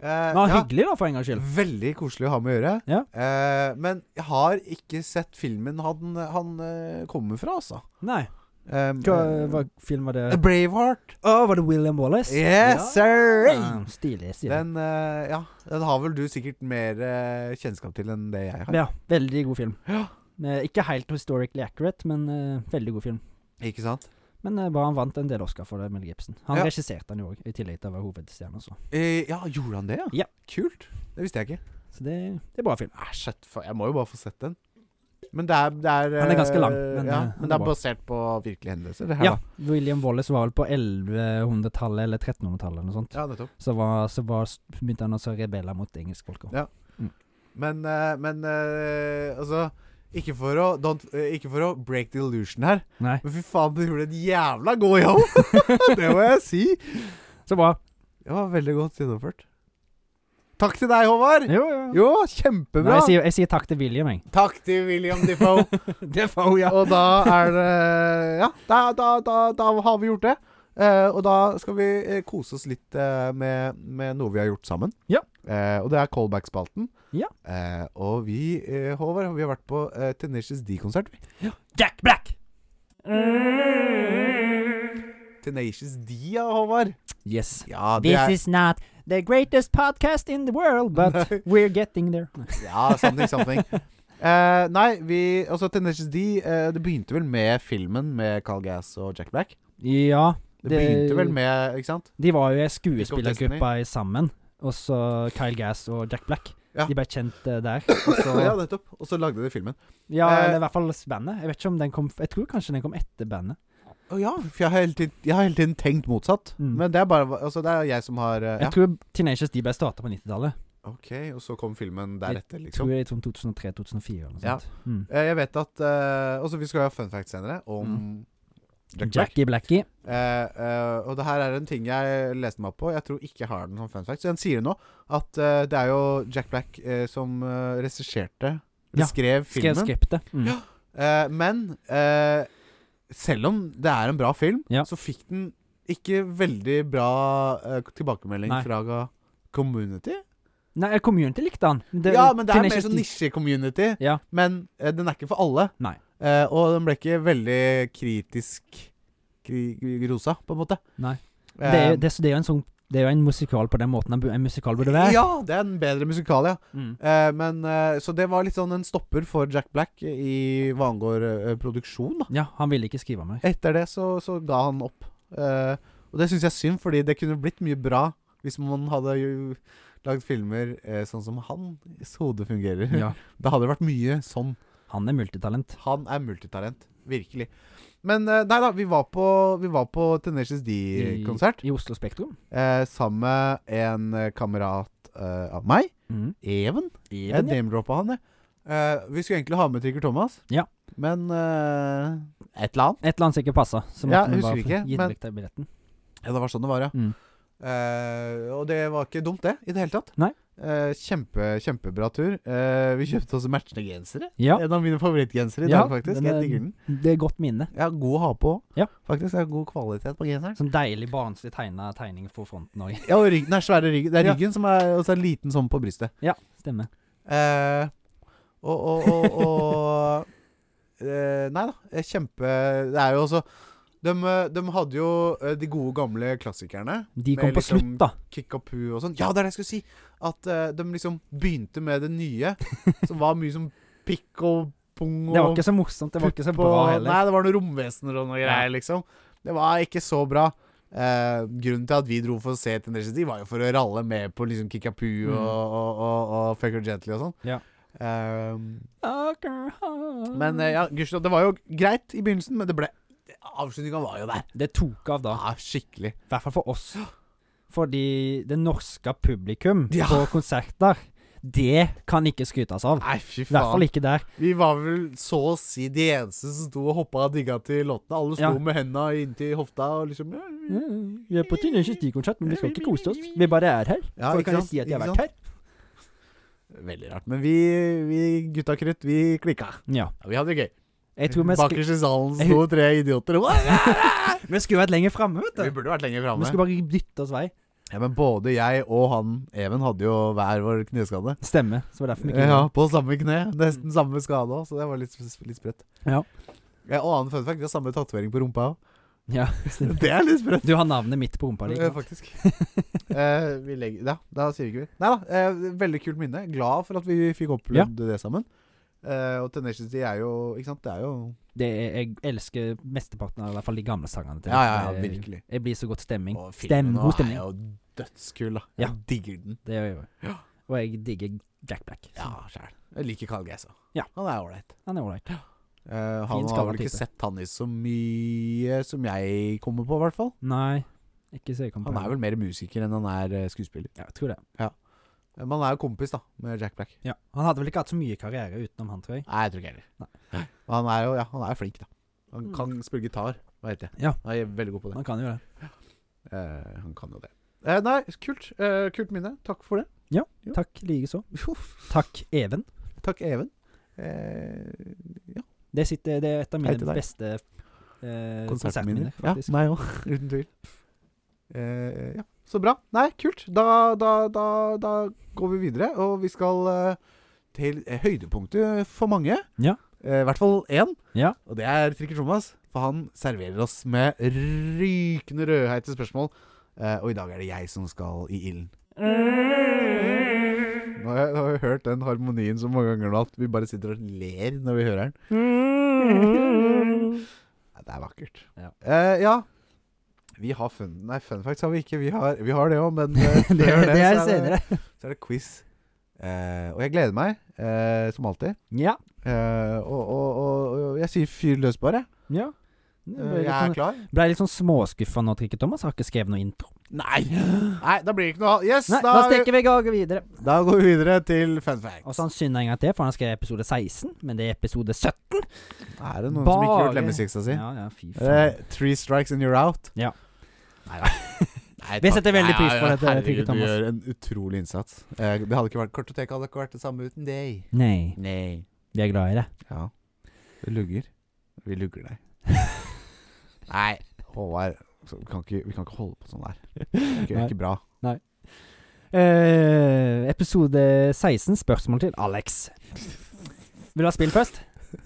Speaker 2: Eh,
Speaker 3: Han var
Speaker 2: ja.
Speaker 3: hyggelig, da, for en gangs skyld.
Speaker 2: Veldig koselig å ha med å gjøre.
Speaker 3: Ja.
Speaker 2: Eh, men jeg har ikke sett filmen han, han eh, kommer fra, altså.
Speaker 3: Nei.
Speaker 2: Um,
Speaker 3: Hva, hva film var det?
Speaker 2: eh, Braveheart.
Speaker 3: Å, var det William Wallace?
Speaker 2: Yes, sir!
Speaker 3: Ja, stilig. stilig.
Speaker 2: Den, eh, ja, den har vel du sikkert mer eh, kjennskap til enn det jeg har.
Speaker 3: Ja, veldig god film.
Speaker 2: Ja.
Speaker 3: Eh, ikke helt historically accurate, men eh, veldig god film.
Speaker 2: Ikke sant?
Speaker 3: Men eh, bare han vant en del Oscar for det, Mel Gibson. Han
Speaker 2: Ja.
Speaker 3: regisserte han jo òg, i tillegg til å være hovedstjerne. Så,
Speaker 2: Eh, ja, gjorde han det, ja?
Speaker 3: Ja.
Speaker 2: Kult. Det visste jeg ikke.
Speaker 3: så det, det er bra film.
Speaker 2: Æsj, shit, fa- jeg må jo bare få sett den. Men det er, det er
Speaker 3: Han er ganske lang,
Speaker 2: eh,
Speaker 3: men,
Speaker 2: ja,
Speaker 3: eh, han
Speaker 2: men
Speaker 3: er
Speaker 2: det er
Speaker 3: bra.
Speaker 2: basert på virkelige hendelser, det her,
Speaker 3: Ja, William Wallace var vel på 1100-tallet eller 1300-tallet eller noe sånt.
Speaker 2: da. Ja, nettopp.
Speaker 3: Så, var, så var, begynte han også å rebelle mot engelskfolka.
Speaker 2: Ja. Men, eh, men eh, altså ikke for, å, don't, eh, ikke for å break the illusion her,
Speaker 3: Nei,
Speaker 2: men fy faen, du gjorde en jævla god jobb! det må jeg si.
Speaker 3: så bra.
Speaker 2: Det var veldig godt gjennomført. Takk til deg, Håvard!
Speaker 3: Jo, jo.
Speaker 2: Jo,
Speaker 3: Nei,
Speaker 2: kjempebra!
Speaker 3: jeg, sier, jeg sier takk til William, jeg.
Speaker 2: Takk til William Defoe.
Speaker 3: Det får hun, ja.
Speaker 2: og da er det Ja, da, da, da, da har vi gjort det. Eh, og da skal vi eh, kose oss litt eh, med, med noe vi har gjort sammen.
Speaker 3: Ja.
Speaker 2: Eh, og det er callback-spalten.
Speaker 3: Ja.
Speaker 2: Eh, og vi, eh, Håvard, vi har vært på eh, Tenacious D-konsert. vi.
Speaker 3: Jack Black!
Speaker 2: Tenacious D, ja, Håvard.
Speaker 3: Yes.
Speaker 2: Ja, det
Speaker 3: This
Speaker 2: er
Speaker 3: is not the greatest podcast in the world, but we're getting there.
Speaker 2: Ja, something, something. Eh, nei, vi Altså, Tenacious D eh, Det begynte vel med filmen med Carl Gass og Jack Black?
Speaker 3: Ja,
Speaker 2: Det,
Speaker 3: Det-
Speaker 2: begynte vel med Ikke sant?
Speaker 3: de var jo i skuespillergruppa sammen. Og så Kyle Gass og Jack Black.
Speaker 2: Ja.
Speaker 3: De ble kjent eh, der.
Speaker 2: Så, ja, nettopp. Og så lagde de filmen.
Speaker 3: Ja,
Speaker 2: Eh.
Speaker 3: eller i hvert fall bandet. Jeg vet ikke om den kom Jeg tror kanskje den kom etter bandet.
Speaker 2: Å ja, for jeg har hele tiden, jeg har hele tiden tenkt motsatt.
Speaker 3: Mm.
Speaker 2: Men det er bare Altså, det er jeg som har eh,
Speaker 3: Jeg tror Teenagers de ble starta på 90-tallet.
Speaker 2: Ja. OK, og så kom filmen
Speaker 3: Jeg
Speaker 2: deretter, liksom.
Speaker 3: Tror jeg i 2003-2004 eller noe
Speaker 2: Ja.
Speaker 3: sånt. Mm.
Speaker 2: Eh, jeg vet at eh, Og så vi skal ha fun facts senere om Mm. Jack Black.
Speaker 3: Jackie Blackie.
Speaker 2: Eh, eh, og det her er en ting jeg leste meg opp på. Jeg tror ikke jeg har den som fun fact. Så den sier nå at eh, det er jo Jack Black eh, som eh, regisserte
Speaker 3: Ja,
Speaker 2: eller skrev filmen.
Speaker 3: Skrev skriptet. Mm.
Speaker 2: Ja. Eh, men eh, selv om det er en bra film,
Speaker 3: Ja.
Speaker 2: så fikk den ikke veldig bra eh, tilbakemelding
Speaker 3: Nei.
Speaker 2: fra community.
Speaker 3: Nei, eh, Community likte han. Det-
Speaker 2: ja, men det er mer
Speaker 3: Tenacious
Speaker 2: sånn
Speaker 3: D-
Speaker 2: nisje-community.
Speaker 3: Ja.
Speaker 2: Men eh, den er ikke for alle.
Speaker 3: Nei.
Speaker 2: Eh, og den ble ikke veldig kritisk kri rosa, på en måte.
Speaker 3: Nei.
Speaker 2: Eh,
Speaker 3: Det er, jo- det, er- så det er jo en sånn Det er jo en musikal på den måten en, bu- en musikal burde være.
Speaker 2: Ja, det er en bedre musikal, ja.
Speaker 3: Mm.
Speaker 2: Eh, men, eh, så det var litt sånn en stopper for Jack Black i hva angår eh, produksjon. da
Speaker 3: ja han ville ikke skrive mer.
Speaker 2: Etter det så, så ga han opp. Eh, og det syns jeg er synd, fordi det kunne blitt mye bra hvis man hadde jo lagd filmer eh, sånn som hans hode fungerer.
Speaker 3: Ja.
Speaker 2: Da hadde det vært mye sånn.
Speaker 3: Han er multitalent.
Speaker 2: Han er multitalent. Virkelig. Men eh, nei da, vi var på, vi var på Tenacious D-konsert
Speaker 3: I Oslo Spektrum.
Speaker 2: eh, sammen med en eh, kamerat eh, av meg,
Speaker 3: Mm.
Speaker 2: Even.
Speaker 3: I
Speaker 2: Jeg
Speaker 3: den, ja.
Speaker 2: name-droppa han, jeg. Eh, vi skulle egentlig ha med Trigger Thomas,
Speaker 3: Ja.
Speaker 2: men eh, Et eller annet.
Speaker 3: Et eller annet som ikke passa. Så
Speaker 2: Ja,
Speaker 3: måtte vi
Speaker 2: husker
Speaker 3: bare
Speaker 2: ikke,
Speaker 3: få gitt
Speaker 2: men-
Speaker 3: vekk den billetten.
Speaker 2: Ja, det var sånn det var, ja.
Speaker 3: Mm.
Speaker 2: Eh, og det var ikke dumt, det, i det hele tatt.
Speaker 3: Nei.
Speaker 2: Eh, kjempe, kjempebra tur. Eh, vi kjøpte også matchende gensere.
Speaker 3: Ja.
Speaker 2: En av mine favorittgensere i
Speaker 3: Ja,
Speaker 2: dag, faktisk.
Speaker 3: den er-
Speaker 2: Jeg digger den.
Speaker 3: Det er godt minne.
Speaker 2: Jeg har god å ha på òg,
Speaker 3: Ja.
Speaker 2: faktisk. Jeg har god kvalitet på genseren.
Speaker 3: Sånn deilig barnslig tegna tegning for fronten òg.
Speaker 2: Ja, og ryggen er svære ryggen. Det er
Speaker 3: Ja.
Speaker 2: ryggen som er Og så er det liten sånn på brystet.
Speaker 3: Stemmer.
Speaker 2: Eh, og og, og, og eh, Nei da. eh, Kjempe Det er jo også de, hadde jo eh, de gode, gamle klassikerne.
Speaker 3: De
Speaker 2: Med
Speaker 3: kom på
Speaker 2: liksom-
Speaker 3: slutt, da.
Speaker 2: Kickapoo og sånn. Ja, det er det jeg skulle si! At eh, de liksom begynte med det nye, som var mye som pikk og pung og
Speaker 3: Det var ikke så morsomt. Det var ikke så
Speaker 2: pupp
Speaker 3: bra
Speaker 2: og-
Speaker 3: heller.
Speaker 2: Nei, det var noen romvesener og noe greier, liksom. Det var ikke så bra. Eh, grunnen til at vi dro for å se Ten Residency, var jo for å ralle med på liksom Kikapu
Speaker 3: Mm.
Speaker 2: og, og, og, og Fucker Gently og sånn.
Speaker 3: Ja.
Speaker 2: Eh, men
Speaker 3: Men
Speaker 2: eh, ja, gudskjelov, det var jo greit i begynnelsen, men det ble Avslutninga var jo der.
Speaker 3: Det tok av da.
Speaker 2: Ja, skikkelig.
Speaker 3: I hvert fall for oss. Fordi det norske publikum
Speaker 2: Ja.
Speaker 3: på konserter, det kan ikke skrytes av.
Speaker 2: Nei, fy
Speaker 3: I hvert
Speaker 2: faen.
Speaker 3: fall ikke der.
Speaker 2: Vi var vel så å si de eneste som sto og hoppa og digga til låtene. Alle sto
Speaker 3: Ja. Mm.
Speaker 2: med henda inntil hofta og liksom
Speaker 3: Vi er på Tynnes konsert, men vi skal ikke kose oss. Vi bare er her.
Speaker 2: Ja,
Speaker 3: Folk
Speaker 2: ikke
Speaker 3: kan jo
Speaker 2: sant?
Speaker 3: si at de har
Speaker 2: Ikke
Speaker 3: vært her.
Speaker 2: Veldig rart. Men vi, vi gutta krutt, vi klikka.
Speaker 3: Ja.
Speaker 2: Ja, vi hadde det gøy.
Speaker 3: Jeg tror vi, sk
Speaker 2: Bakerst i salen sto tre idioter.
Speaker 3: vi skulle vært lenger framme, vet
Speaker 2: Vi
Speaker 3: du.
Speaker 2: burde vært lenger
Speaker 3: Vi
Speaker 2: framme.
Speaker 3: skulle bare dytte oss vei.
Speaker 2: Ja, men både jeg og han Even hadde jo hver vår kneskade.
Speaker 3: Stemme. Så det var derfor vi ikke
Speaker 2: Ja, på samme kne. Nesten samme skade òg, så det var litt, litt sprøtt.
Speaker 3: Ja.
Speaker 2: Ja, og annen fun fact, vi har samme tatovering på rumpa òg.
Speaker 3: Ja,
Speaker 2: Det er litt sprøtt.
Speaker 3: Du har navnet mitt på rumpa di.
Speaker 2: Eh, faktisk. Eh, vi legger Ja, da sier vi ikke vi. Nei da. eh, veldig kult minne. Glad for at vi fikk
Speaker 3: Ja.
Speaker 2: opplevd det sammen. Eh, og Tenacity er jo Ikke sant, det er jo
Speaker 3: Det er, jeg elsker mesteparten av i hvert fall de gamle sangene. til
Speaker 2: Ja, ja, ja
Speaker 3: det.
Speaker 2: virkelig.
Speaker 3: Jeg blir så godt stemming.
Speaker 2: Og
Speaker 3: Stem,
Speaker 2: filmen nå
Speaker 3: god stemning.
Speaker 2: er jo dødskul, da.
Speaker 3: Ja.
Speaker 2: Jeg digger den.
Speaker 3: Det gjør jeg jo.
Speaker 2: Ja.
Speaker 3: Og jeg digger Jack Black. så
Speaker 2: Ja, sjæl. Jeg liker Carl Geis òg.
Speaker 3: Ja.
Speaker 2: Han er ålreit.
Speaker 3: Han er ålreit.
Speaker 2: Eh,
Speaker 3: Fin
Speaker 2: han har vel
Speaker 3: skalla
Speaker 2: ikke
Speaker 3: type.
Speaker 2: sett han i så mye som jeg kommer på, i hvert fall.
Speaker 3: Nei, ikke så jeg kom på.
Speaker 2: Han er vel mer musiker enn han er eh, skuespiller.
Speaker 3: Ja, jeg tror det.
Speaker 2: Eh, Men han er jo kompis, da, med Jack Black.
Speaker 3: Ja. Han hadde vel ikke hatt så mye karriere utenom han, tror jeg.
Speaker 2: Nei, jeg tror ikke heller. Men Han er jo ja, han er flink, da. Han kan spille gitar, hva heter det.
Speaker 3: Ja.
Speaker 2: Han er veldig god på det.
Speaker 3: Han kan jo det.
Speaker 2: Eh, han kan jo det. Eh, nei, kult. Eh, kult minne. Takk for det. Jo.
Speaker 3: Takk likeså. Takk, Even.
Speaker 2: Takk, Even. Eh,
Speaker 3: Det, sitter, det er et av
Speaker 2: Hei til
Speaker 3: mine
Speaker 2: deg.
Speaker 3: beste eh,
Speaker 2: konsertminner.
Speaker 3: konsertminner,
Speaker 2: Ja,
Speaker 3: faktisk.
Speaker 2: meg òg. Uten tvil. Eh, ja, så bra. Nei, kult. Da, da, da, da går vi videre, og vi skal eh, til eh, høydepunktet for mange.
Speaker 3: Ja.
Speaker 2: Eh, I hvert fall én,
Speaker 3: Ja.
Speaker 2: og det er Trikker Thomas. For han serverer oss med rykende rødheite spørsmål. Eh, og i dag er det jeg som skal i ilden. Nå har jeg, nå har jeg hørt den harmonien så mange ganger nå at vi bare sitter og ler når vi hører den. Nei, Det er vakkert.
Speaker 3: Mm. Ja.
Speaker 2: Eh, ja. Vi har fun Nei, fun facts har vi ikke. Vi har, vi har det òg, men eh, før
Speaker 3: det, det er
Speaker 2: så
Speaker 3: senere.
Speaker 2: så er det quiz. Eh, og jeg gleder meg, eh, som alltid.
Speaker 3: Ja.
Speaker 2: Eh, og, og, og, og jeg sier fyr løs, bare.
Speaker 3: ja.
Speaker 2: Eh,
Speaker 3: Ble
Speaker 2: jeg
Speaker 3: litt,
Speaker 2: er
Speaker 3: sånn,
Speaker 2: klar.
Speaker 3: ble litt sånn småskuffa nå, Trikke Thomas. Har ikke skrevet noe intro.
Speaker 2: Nei! Nei, da blir det ikke noe av. Yes,
Speaker 3: Nei,
Speaker 2: da,
Speaker 3: da
Speaker 2: er vi,
Speaker 3: stikker vi i gang videre.
Speaker 2: da går vi videre til fun facts.
Speaker 3: Og så han synder en gang til, for han skrev episode 16, men det er episode 17.
Speaker 2: er det noen som ikke har
Speaker 3: Bare-
Speaker 2: gjort lemmesiksa si? Eh,
Speaker 3: Ja, ja, fy
Speaker 2: Er det
Speaker 3: faen.
Speaker 2: three strikes and you're out?
Speaker 3: Ja.
Speaker 2: Nei, da. Nei,
Speaker 3: Vi
Speaker 2: takk.
Speaker 3: setter veldig
Speaker 2: Nei,
Speaker 3: pris
Speaker 2: ja,
Speaker 3: på
Speaker 2: ja,
Speaker 3: dette, Trygve
Speaker 2: herregud,
Speaker 3: Thomas.
Speaker 2: Du gjør en utrolig innsats. Eh, Det hadde ikke vært Kartoteket hadde ikke vært det samme uten deg.
Speaker 3: Nei,
Speaker 2: Nei.
Speaker 3: vi er glad i det.
Speaker 2: Ja. Det lugger. Vi lugger deg. Nei, Håvard. så Vi kan, ikke, vi kan ikke holde på sånn der. Det er ikke, det
Speaker 3: Nei.
Speaker 2: er ikke bra.
Speaker 3: Eh, episode 16, spørsmål til Alex. Vil du ha spill først?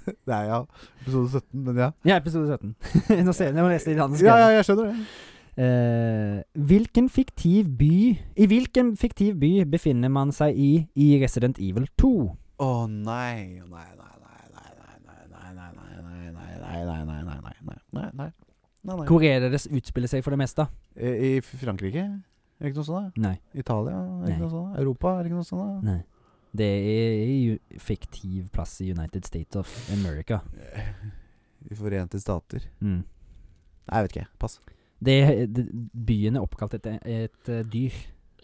Speaker 2: Det er ja, episode 17, men ja.
Speaker 3: Ja, episode 17. Nå ser jeg, jeg må lese litt annet.
Speaker 2: Ja, ja, jeg skjønner det.
Speaker 3: Eh, hvilken fiktiv by I hvilken fiktiv by befinner man seg i i Resident Evil 2?
Speaker 2: Å nei, å, nei, nei, nei, nei, nei, nei, nei, nei, nei, nei, nei, nei, nei, nei, nei, nei, nei, nei, nei, nei.
Speaker 3: Hvor er det det s- utspiller seg for det meste?
Speaker 2: I, I Frankrike? Er det ikke noe sånt? da?
Speaker 3: Nei.
Speaker 2: Italia? Er det
Speaker 3: Nei.
Speaker 2: ikke noe sånt? da? Europa? Er det ikke noe sånt? da?
Speaker 3: Nei. Det er i u- fiktiv plass i United States of America.
Speaker 2: I Forente Stater?
Speaker 3: Mm.
Speaker 2: Nei, jeg vet ikke. Pass.
Speaker 3: Det, det, byen er oppkalt etter et eh, dyr.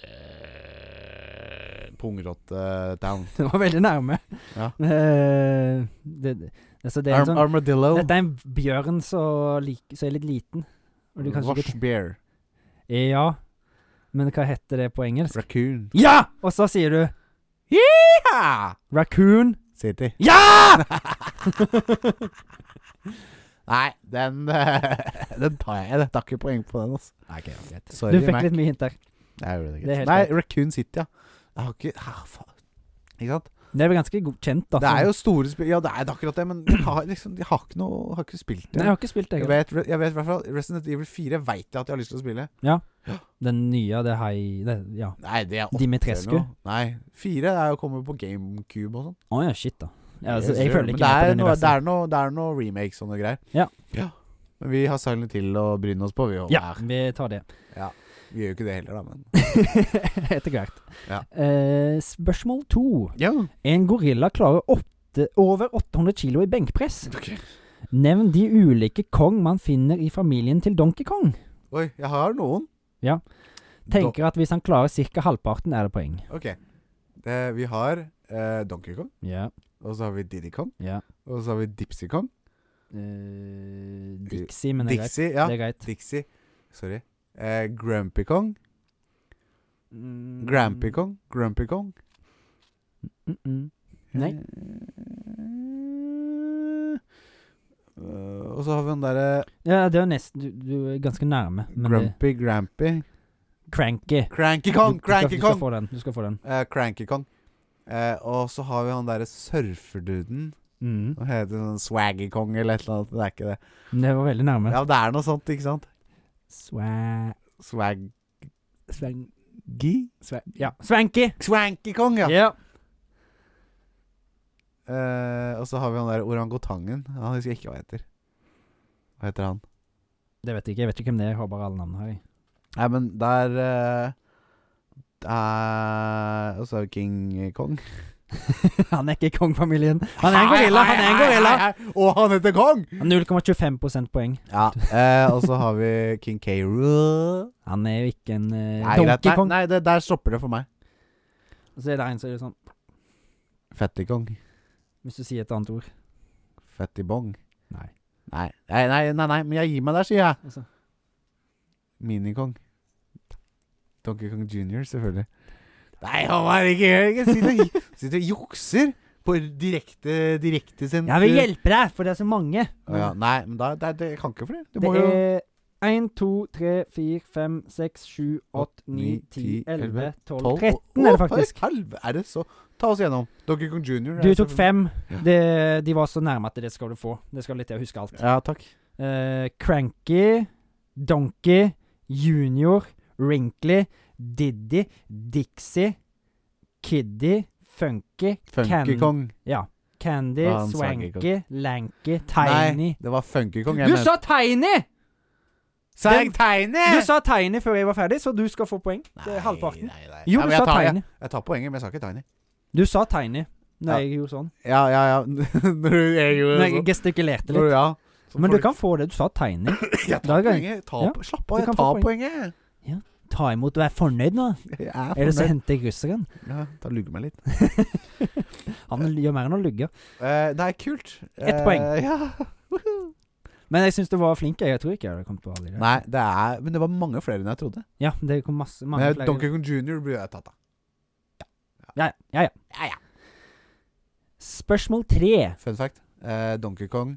Speaker 3: Eh.
Speaker 2: Pungrotte-town.
Speaker 3: Det var veldig nærme.
Speaker 2: Ja.
Speaker 3: Eh, det, det, altså det er en sånn
Speaker 2: Armadillo.
Speaker 3: Dette er en bjørn som lik- som er litt liten. Og du kanskje ikke
Speaker 2: Washbear.
Speaker 3: Ja, men hva heter det på engelsk?
Speaker 2: Raccoon.
Speaker 3: Ja! Og så sier du
Speaker 2: Yeeha!
Speaker 3: raccoon.
Speaker 2: City.
Speaker 3: Ja!
Speaker 2: Nei, den eh, Den tar jeg. Jeg tar ikke poeng på den, altså.
Speaker 3: Nei, ok, greit.
Speaker 2: Sorry,
Speaker 3: Du fikk
Speaker 2: Mac.
Speaker 3: litt mye hint der.
Speaker 2: Nei, jeg gjorde det
Speaker 3: Det er
Speaker 2: ikke.
Speaker 3: helt
Speaker 2: Nei,
Speaker 3: greit.
Speaker 2: Raccoon City, ja. Jeg har ikke ah, faen. Ikke sant?
Speaker 3: Det er vel ganske god- kjent, da.
Speaker 2: Det er jo store spill Ja, det er akkurat det, men de har, liksom, de har ikke noe Har ikke spilt det.
Speaker 3: Nei, jeg har ikke spilt det. jeg.
Speaker 2: Jeg vet, jeg vet i hvert fall Resident Evil 4 veit jeg at jeg har lyst til å spille.
Speaker 3: Den nye, det hei... Det, ja.
Speaker 2: Nei, det er åtte
Speaker 3: Dimitrescu?
Speaker 2: eller noe. Nei, 4 er jo kommet på GameCube og sånn.
Speaker 3: Å ja, shit, da. Ja, altså,
Speaker 2: Yes,
Speaker 3: jeg
Speaker 2: sure.
Speaker 3: føler
Speaker 2: Men
Speaker 3: ikke
Speaker 2: det
Speaker 3: med på
Speaker 2: er
Speaker 3: det
Speaker 2: noe, det
Speaker 3: universet.
Speaker 2: er noe, det er noe remakes og noe greier.
Speaker 3: Ja.
Speaker 2: Men vi har Silent Hill å bryne oss på, vi òg.
Speaker 3: Ja, vi tar det.
Speaker 2: Vi gjør jo ikke det heller, da, men
Speaker 3: Etter hvert.
Speaker 2: Ja.
Speaker 3: Eh, spørsmål to. En gorilla klarer åtte, over 800 kilo i benkpress. Nevn de ulike kong man finner i familien til Donkey Kong.
Speaker 2: Oi, jeg har noen.
Speaker 3: Tenker at hvis han klarer ca. halvparten, er det poeng.
Speaker 2: Ok. Eh, vi har eh, Donkey Kong,
Speaker 3: Ja,
Speaker 2: og så har vi Diddy Kong,
Speaker 3: ja.
Speaker 2: og så har vi Dipsy Kong.
Speaker 3: Dixie, men det er greit.
Speaker 2: Dixie, Eh, ja.
Speaker 3: Det er greit.
Speaker 2: Dixie. Sorry. Eh, Grumpy Kong.
Speaker 3: Mm,
Speaker 2: Grampy Kong. Grumpy Kong.
Speaker 3: mm, mm. Nei.
Speaker 2: Eh, eh, og så har vi den derre
Speaker 3: Ja, det var nesten Du, du er ganske nærme. Men det,
Speaker 2: Grumpy Grampy.
Speaker 3: cranky.
Speaker 2: Cranky
Speaker 3: Du- du
Speaker 2: Kong!
Speaker 3: skal-
Speaker 2: Cranky
Speaker 3: Du skal
Speaker 2: Kong!
Speaker 3: få den. Du skal få den.
Speaker 2: Eh, Cranky Kong. Eh, og så har vi han derre surferduden.
Speaker 3: Mm.
Speaker 2: Hva heter han? Swaggy Kong eller et eller annet? Det er ikke det.
Speaker 3: Det var veldig nærme.
Speaker 2: Ja, det er noe sånt, ikke sant?
Speaker 3: Swa...
Speaker 2: Swaggy?
Speaker 3: Swang... Swa... Ja. Swanky!
Speaker 2: Swanky Kong, ja!
Speaker 3: Ja.
Speaker 2: Eh, og så har vi han der orangutangen. Han husker jeg ikke hva heter. Hva heter han?
Speaker 3: Det vet jeg ikke. Jeg vet ikke hvem det er. Jeg har bare alle navnene her. jeg.
Speaker 2: Nei, men der eh, der- Og så er det King Kong.
Speaker 3: Han er ikke i kongfamilien. Han er en gorilla! Han er en gorilla!
Speaker 2: Og han heter Kong!
Speaker 3: 0,25 poeng.
Speaker 2: Ja, eh, og så har vi King K. Rool.
Speaker 3: Han er jo ikke en eh,
Speaker 2: Nei, greit.
Speaker 3: Donkey
Speaker 2: Nei,
Speaker 3: Kong.
Speaker 2: nei det, der stopper det for meg.
Speaker 3: Så er det en som er sånn
Speaker 2: Fattig Kong.
Speaker 3: Hvis du sier et annet ord.
Speaker 2: Fattig Bong.
Speaker 3: Nei.
Speaker 2: Nei, nei, nei, nei, nei, men jeg gir meg der, sier jeg.
Speaker 3: Altså.
Speaker 2: Minikong. Donkey Kong Junior, selvfølgelig. Nei, Håvard, ikke gjør det! Sitter og, sitter og jukser på direkte direktesendt
Speaker 3: Jeg vil hjelpe deg, for det er så mange.
Speaker 2: Å ja, nei, men da, det, det, jeg kan ikke for det. Du
Speaker 3: Det
Speaker 2: må jo
Speaker 3: er 1, 2, 3, 4, 5, 6, 7, 8, 9, 10, 11, 12, 13 er det faktisk.
Speaker 2: Helvete, er det så Ta oss gjennom. Donkey Kong Junior. er
Speaker 3: Du
Speaker 2: det
Speaker 3: tok
Speaker 2: selvfølgelig-
Speaker 3: fem.
Speaker 2: Ja.
Speaker 3: Det, de var så nærme at det skal du få. Det skal du litt til å huske alt.
Speaker 2: Ja, takk.
Speaker 3: Eh, cranky, Donkey, Junior, Wrinkly, Diddy, Dixie, Kiddy, Funky,
Speaker 2: Funky
Speaker 3: Can-
Speaker 2: Kong.
Speaker 3: Ja. Candy,
Speaker 2: Ah, han sa ikke
Speaker 3: Swanky, Lanky, Tiny.
Speaker 2: Nei, det var Funky Kong.
Speaker 3: Du sa Tiny!
Speaker 2: Sa
Speaker 3: Den-
Speaker 2: jeg Tiny?
Speaker 3: Du sa Tiny før jeg var ferdig, så du skal få poeng. Det er halvparten.
Speaker 2: Nei, nei.
Speaker 3: Jo,
Speaker 2: Nei,
Speaker 3: du
Speaker 2: men jeg
Speaker 3: sa
Speaker 2: tar- jeg-
Speaker 3: Tiny.
Speaker 2: Jeg tar poenget, men jeg sa ikke Tiny.
Speaker 3: Du sa Tiny når
Speaker 2: Ja.
Speaker 3: jeg gjorde sånn.
Speaker 2: Ja, ja, ja. Når du jeg gjorde
Speaker 3: Når jeg
Speaker 2: sånn.
Speaker 3: gestikulerte
Speaker 2: Når du-
Speaker 3: litt.
Speaker 2: Ja. Så
Speaker 3: Men
Speaker 2: får
Speaker 3: du kan få det. Du sa Tiny.
Speaker 2: Jeg
Speaker 3: Da
Speaker 2: tar
Speaker 3: er det-
Speaker 2: poenget. Ta,
Speaker 3: Ja,
Speaker 2: på- Slapp
Speaker 3: du
Speaker 2: av, jeg
Speaker 3: kan få
Speaker 2: tar
Speaker 3: poeng.
Speaker 2: poenget.
Speaker 3: Ta imot og vær fornøyd nå.
Speaker 2: Jeg er
Speaker 3: Eller så
Speaker 2: fornøyd.
Speaker 3: henter jeg russeren.
Speaker 2: Ja, da lugger meg litt.
Speaker 3: Han gjør mer enn å lugge.
Speaker 2: Eh, det er kult.
Speaker 3: Ett
Speaker 2: Eh,
Speaker 3: poeng.
Speaker 2: Ja.
Speaker 3: Men jeg syns du var flink. Jeg Jeg tror ikke jeg hadde kommet på alle de der.
Speaker 2: Nei, det er Men det var mange flere enn jeg trodde.
Speaker 3: Ja, det kom masse mange
Speaker 2: Men
Speaker 3: flere.
Speaker 2: Donkey Kong Junior burde jeg tatt, da.
Speaker 3: Ja, ja, ja.
Speaker 2: Ja, ja.
Speaker 3: Spørsmål tre.
Speaker 2: Fun fact. Eh, Donkey Kong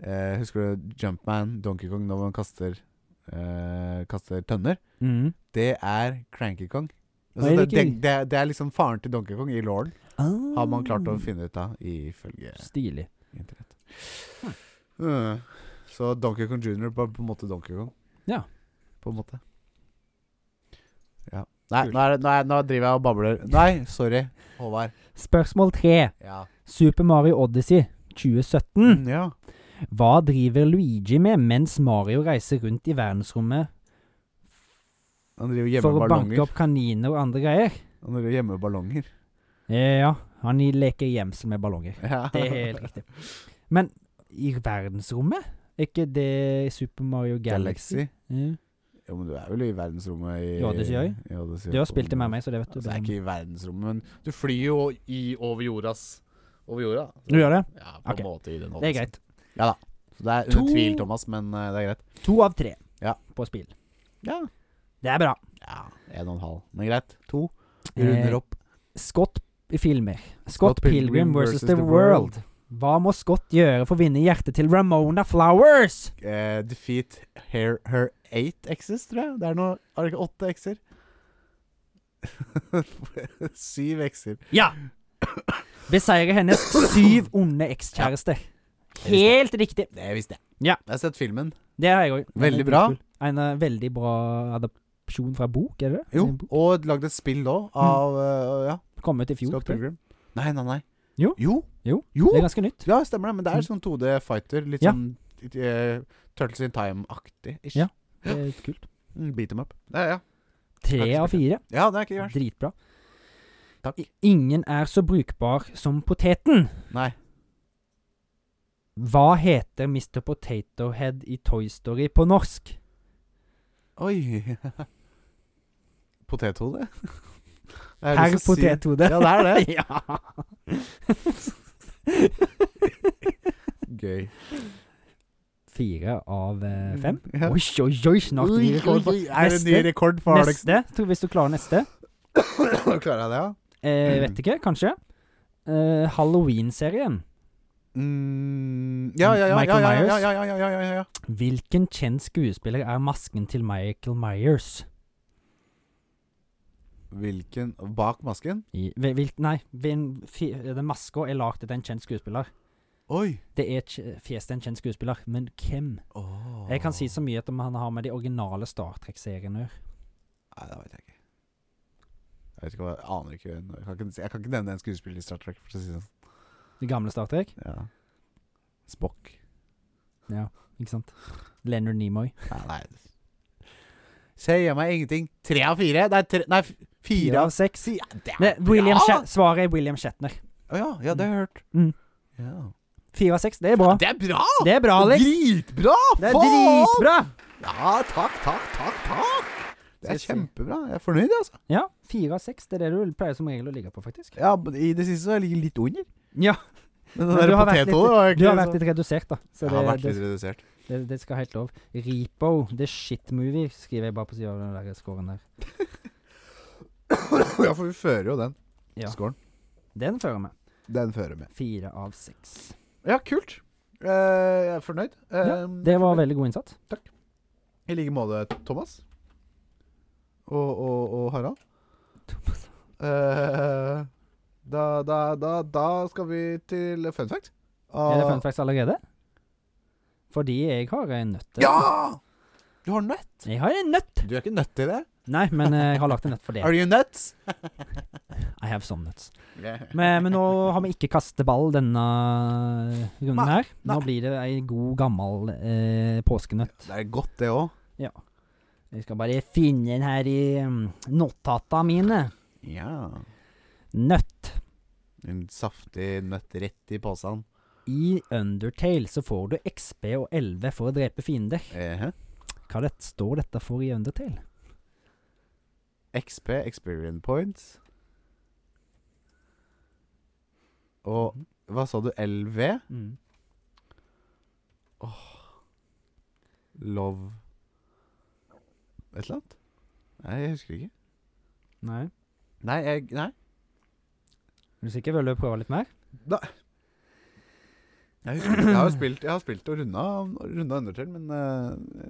Speaker 2: eh, Husker du Jumpman? Donkey Kong når man kaster eh, Kaster tønner?
Speaker 3: Mm.
Speaker 2: Det er Cranky Kong.
Speaker 3: Hva
Speaker 2: Altså,
Speaker 3: er
Speaker 2: det,
Speaker 3: det
Speaker 2: det,
Speaker 3: ikke?
Speaker 2: det, det er liksom faren til Donkey Kong i Lorden, har man klart
Speaker 3: Mm.
Speaker 2: å finne ut av ifølge
Speaker 3: Ah. Stilig.
Speaker 2: Internett. Mm. Så Donkey Kong Jr. var på en måte Donkey Kong.
Speaker 3: Ja.
Speaker 2: På en måte. Ja. Nei,
Speaker 3: Kult.
Speaker 2: nå, er det, nå, er, nå driver jeg og babler. Nei, sorry, Håvard.
Speaker 3: Spørsmål tre.
Speaker 2: Ja.
Speaker 3: Super Mario Odyssey 2017.
Speaker 2: ja.
Speaker 3: Hva driver Luigi med mens Mario reiser rundt i verdensrommet
Speaker 2: Han
Speaker 3: for
Speaker 2: driver og gjemmer
Speaker 3: å banke
Speaker 2: ballonger.
Speaker 3: opp kaniner og andre greier?
Speaker 2: Han driver og gjemmer ballonger.
Speaker 3: Eh, Ja, han i- leker gjemsel med ballonger.
Speaker 2: Ja.
Speaker 3: Det er helt riktig. Men i verdensrommet? Er ikke det Super Mario Galaxy?
Speaker 2: Galaxy.
Speaker 3: Ja.
Speaker 2: Jo, men du er vel i verdensrommet i
Speaker 3: I Odyssey også?
Speaker 2: i Odyssey
Speaker 3: Du har
Speaker 2: på
Speaker 3: spilt det
Speaker 2: en
Speaker 3: med
Speaker 2: måte.
Speaker 3: meg, så det vet du.
Speaker 2: Altså, det er ikke i verdensrommet, men du flyr jo i over jordas Over jorda. Så-
Speaker 3: Du gjør det?
Speaker 2: Ja, på
Speaker 3: Ok.
Speaker 2: en måte i den
Speaker 3: Det er
Speaker 2: Odyssey.
Speaker 3: greit.
Speaker 2: Så det er under
Speaker 3: To-
Speaker 2: tvil, Thomas, men eh, det er greit.
Speaker 3: To av tre
Speaker 2: Ja.
Speaker 3: på spill.
Speaker 2: Ja.
Speaker 3: Det er bra.
Speaker 2: Ja, en og en halv. Men greit. To. Vi
Speaker 3: Eh,
Speaker 2: Runder opp.
Speaker 3: Scott i filmer. Scott,
Speaker 2: Scott
Speaker 3: Pilgrim,
Speaker 2: Pilgrim
Speaker 3: versus
Speaker 2: versus
Speaker 3: The
Speaker 2: The
Speaker 3: World. Hva må Scott gjøre for å vinne hjertet til Ramona Flowers?
Speaker 2: Eh, defeat her, her eight x's, tror jeg. Det er noe Har det ikke åtte x-er? Syv x-er.
Speaker 3: Ja! Beseire hennes syv onde ekskjærester. Helt riktig.
Speaker 2: Det visste jeg.
Speaker 3: Ja.
Speaker 2: Jeg har sett filmen.
Speaker 3: Det har jeg òg.
Speaker 2: Veldig bra.
Speaker 3: En eh, veldig bra adopsjon fra bok, er det det?
Speaker 2: Jo,
Speaker 3: En bok.
Speaker 2: og lagd et spill òg, av eh, ja,
Speaker 3: Kom ut i fjor.
Speaker 2: Scott
Speaker 3: tror jeg.
Speaker 2: Pilgrim. Nei, nei, nei.
Speaker 3: Jo.
Speaker 2: Jo.
Speaker 3: Jo.
Speaker 2: jo.
Speaker 3: Det er ganske nytt.
Speaker 2: Ja, stemmer det. Men det er sånn 2D fighter. Litt
Speaker 3: Ja.
Speaker 2: sånn eh, Turtles in Time-aktig. ish.
Speaker 3: Ja. Det er kult.
Speaker 2: Mm, Beat them up. Det, er- ja.
Speaker 3: Tre av fire.
Speaker 2: ja, det er ikke verst.
Speaker 3: Dritbra.
Speaker 2: Takk.
Speaker 3: I- Ingen er så brukbar som poteten.
Speaker 2: Nei.
Speaker 3: Hva heter Mr. Potato Head i Toy Story på norsk?
Speaker 2: Oi. Potethode? Jeg har
Speaker 3: Herr
Speaker 2: lyst til å si-
Speaker 3: potethode.
Speaker 2: Ja, det er det.
Speaker 3: ja.
Speaker 2: Gøy.
Speaker 3: Fire av eh, fem.
Speaker 2: Mm. Ja.
Speaker 3: Oi, oi, oi, snart ny rekord. for-
Speaker 2: Er det en ny
Speaker 3: Neste.
Speaker 2: rekord for Alex?
Speaker 3: Neste. Tror hvis du klarer neste.
Speaker 2: Klarer jeg det, ja?
Speaker 3: Eh, vet ikke, kanskje. Eh, Halloween-serien.
Speaker 2: Mm, ja, ja, ja, ja,
Speaker 3: Michael
Speaker 2: ja, ja,
Speaker 3: Myers?
Speaker 2: ja, ja, ja, ja, ja, ja, ja.
Speaker 3: Hvilken kjent skuespiller er masken til Michael Myers?
Speaker 2: Hvilken Bak masken?
Speaker 3: I, hvil, hvil- nei, hvil, fi, den maska er lagd etter en kjent skuespiller.
Speaker 2: Oi!
Speaker 3: Det er kj- fjeset til en kjent skuespiller, men hvem?
Speaker 2: Åh.
Speaker 3: Jeg kan si så mye at om han har med de originale Star Trek-seriene å gjøre.
Speaker 2: Nei, det vet jeg ikke. Jeg vet ikke hva, jeg aner ikke Jeg kan ikke, jeg kan ikke nevne en skuespiller i Star Trek. For å si det sånn.
Speaker 3: De gamle Star Trek,
Speaker 2: ja. Spock.
Speaker 3: ikke sant? Leonard Nimoy.
Speaker 2: Nei, nei. Sier meg ingenting. Tre av fire? Nei, tre, nei f-
Speaker 3: Fire
Speaker 2: fire
Speaker 3: av
Speaker 2: av
Speaker 3: seks.
Speaker 2: si- ja, det er
Speaker 3: Nei, William
Speaker 2: bra! altså.
Speaker 3: Shat- svaret er William Shatner.
Speaker 2: Å ja, ja, det har jeg hørt.
Speaker 3: Mm.
Speaker 2: Ja.
Speaker 3: Fire av seks, det er bra.
Speaker 2: Det er bra!
Speaker 3: Det er bra, Alex.
Speaker 2: Dritbra!
Speaker 3: Det er
Speaker 2: faen!
Speaker 3: dritbra!
Speaker 2: Ja, takk, takk, takk, takk! Det er
Speaker 3: Skal jeg
Speaker 2: kjempebra. Jeg er fornøyd, altså.
Speaker 3: Ja, fire av seks. Det er det du pleier som regel å ligge på, faktisk.
Speaker 2: Ja, men I det siste så har jeg ligget litt under.
Speaker 3: Ja,
Speaker 2: Men
Speaker 3: Men
Speaker 2: den der
Speaker 3: du har vært
Speaker 2: potethodet var
Speaker 3: du
Speaker 2: egentlig
Speaker 3: har vært
Speaker 2: så-
Speaker 3: litt redusert, da. Så det,
Speaker 2: Jeg har vært
Speaker 3: det,
Speaker 2: litt redusert.
Speaker 3: det, det skal helt lov. Repo, the shit movie, skriver jeg bare på sida av den der scoren der.
Speaker 2: ja, for vi fører jo den
Speaker 3: Ja.
Speaker 2: scoren.
Speaker 3: Den fører vi.
Speaker 2: Den fører vi.
Speaker 3: Fire av seks.
Speaker 2: Ja, kult. Eh, jeg er fornøyd. Eh,
Speaker 3: Ja, Det var veldig god innsats.
Speaker 2: I like måte, Thomas. Og, og, og Harald. Eh, da, da, da, da skal vi til fun fact.
Speaker 3: Er det
Speaker 2: Ah,
Speaker 3: fun facts allerede? Fordi jeg har en nøtt.
Speaker 2: Ja! Du har nøtt.
Speaker 3: Jeg har en nøtt!
Speaker 2: Du er ikke nødt til det.
Speaker 3: Nei, men eh, jeg har lagt en nøtt for det.
Speaker 2: Are you nuts?
Speaker 3: I have some nuts. Men, men nå har vi ikke kasteball denne runden
Speaker 2: Nei,
Speaker 3: her. Nå
Speaker 2: nei.
Speaker 3: blir det ei god, gammel eh, påskenøtt.
Speaker 2: Det er godt, det òg.
Speaker 3: Jeg skal bare finne den her i mm, notata mine.
Speaker 2: Ja.
Speaker 3: Nøtt.
Speaker 2: En saftig nøtt rett i posen.
Speaker 3: I Undertale så får du XB og 11 for å drepe fiender.
Speaker 2: Eh,
Speaker 3: Hva det, står dette for i Undertale?
Speaker 2: XP, experience points. Og hva sa du? LV?
Speaker 3: Mm.
Speaker 2: Love Et eller annet? Nei, jeg husker ikke.
Speaker 3: Nei.
Speaker 2: Nei, jeg Nei.
Speaker 3: Er du sikker? Vil du prøve litt mer?
Speaker 2: Jeg, husker ikke. jeg har jo spilt Jeg har spilt og runda, runda Undertale, men eh,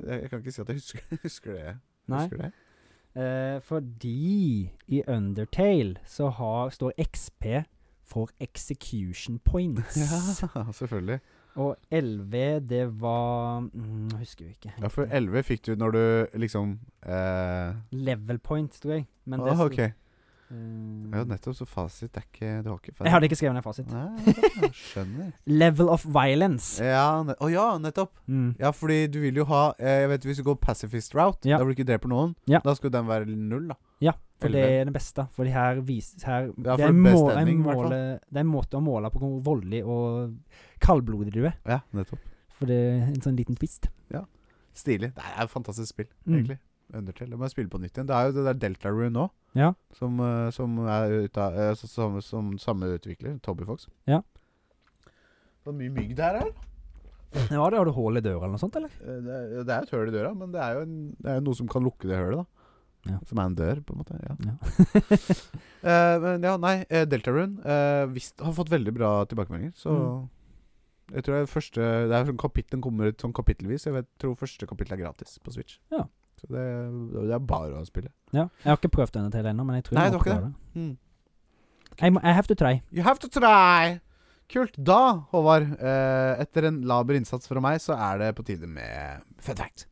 Speaker 2: jeg, jeg kan ikke si at jeg husker, husker det.
Speaker 3: Nei.
Speaker 2: Husker det.
Speaker 3: Eh, fordi i Undertale så har, står XP for execution points.
Speaker 2: Ja, selvfølgelig.
Speaker 3: Og 11, det var mm, jeg Husker jo ikke.
Speaker 2: Ja, for 11 fikk du når du liksom eh,
Speaker 3: Level point, tror jeg. Men det
Speaker 2: ah,
Speaker 3: sto-
Speaker 2: ok.
Speaker 3: eh,
Speaker 2: Ja, nettopp, så fasit det er ikke Du har ikke fasit.
Speaker 3: jeg hadde ikke skrevet ned fasit.
Speaker 2: Nei, jeg skjønner.
Speaker 3: Level of violence.
Speaker 2: Ja, ne å ja, nettopp.
Speaker 3: Mm.
Speaker 2: Ja, fordi du vil jo ha eh, Jeg vet Hvis du går pacifist route,
Speaker 3: Ja.
Speaker 2: da hvor du ikke dreper noen,
Speaker 3: Ja.
Speaker 2: da skal den være null, da.
Speaker 3: For det
Speaker 2: Elleve.
Speaker 3: er det beste. For det her vises her
Speaker 2: for
Speaker 3: det, er en
Speaker 2: best
Speaker 3: må, en
Speaker 2: ending, i hvert fall.
Speaker 3: måle, det er en måte å måle på hvor voldelig og kaldblodig du er.
Speaker 2: Ja, nettopp.
Speaker 3: For det er en sånn liten twist.
Speaker 2: Stilig. Det er et fantastisk spill,
Speaker 3: Mm.
Speaker 2: egentlig. Undertale. Det må jeg spille på nytt igjen. Det er jo det der Deltarune nå,
Speaker 3: Ja.
Speaker 2: som, eh, som er ut av eh, så- som, som samme utvikler, Toby Fox.
Speaker 3: Ja.
Speaker 2: Det er mye mygg der, her.
Speaker 3: Ja, det har du hull i døra eller noe sånt, eller?
Speaker 2: Eh, Det er, det er jo et høl i døra, men det er jo en, det er jo noe som kan lukke det hølet, da.
Speaker 3: Ja.
Speaker 2: Som er en dør, på en måte. Ja.
Speaker 3: Ja.
Speaker 2: Eh, men ja, nei. eh, Deltarune eh, visst- har fått veldig bra tilbakemeldinger, så
Speaker 3: Mm.
Speaker 2: Jeg tror det er første Det er sånn kapitlen kommer ut sånn kapittelvis. Jeg vet, tror første kapittel er gratis på Switch.
Speaker 3: Ja.
Speaker 2: Så det, det er bare å spille.
Speaker 3: Ja. Jeg har ikke prøvd denne til ennå, men jeg tror
Speaker 2: Nei,
Speaker 3: jeg
Speaker 2: du
Speaker 3: må
Speaker 2: har ikke
Speaker 3: prøve det. I, må- I have to try.
Speaker 2: You have to try! Kult. Da, Håvard, eh, etter en laber innsats fra meg, så er det på tide med fun fact.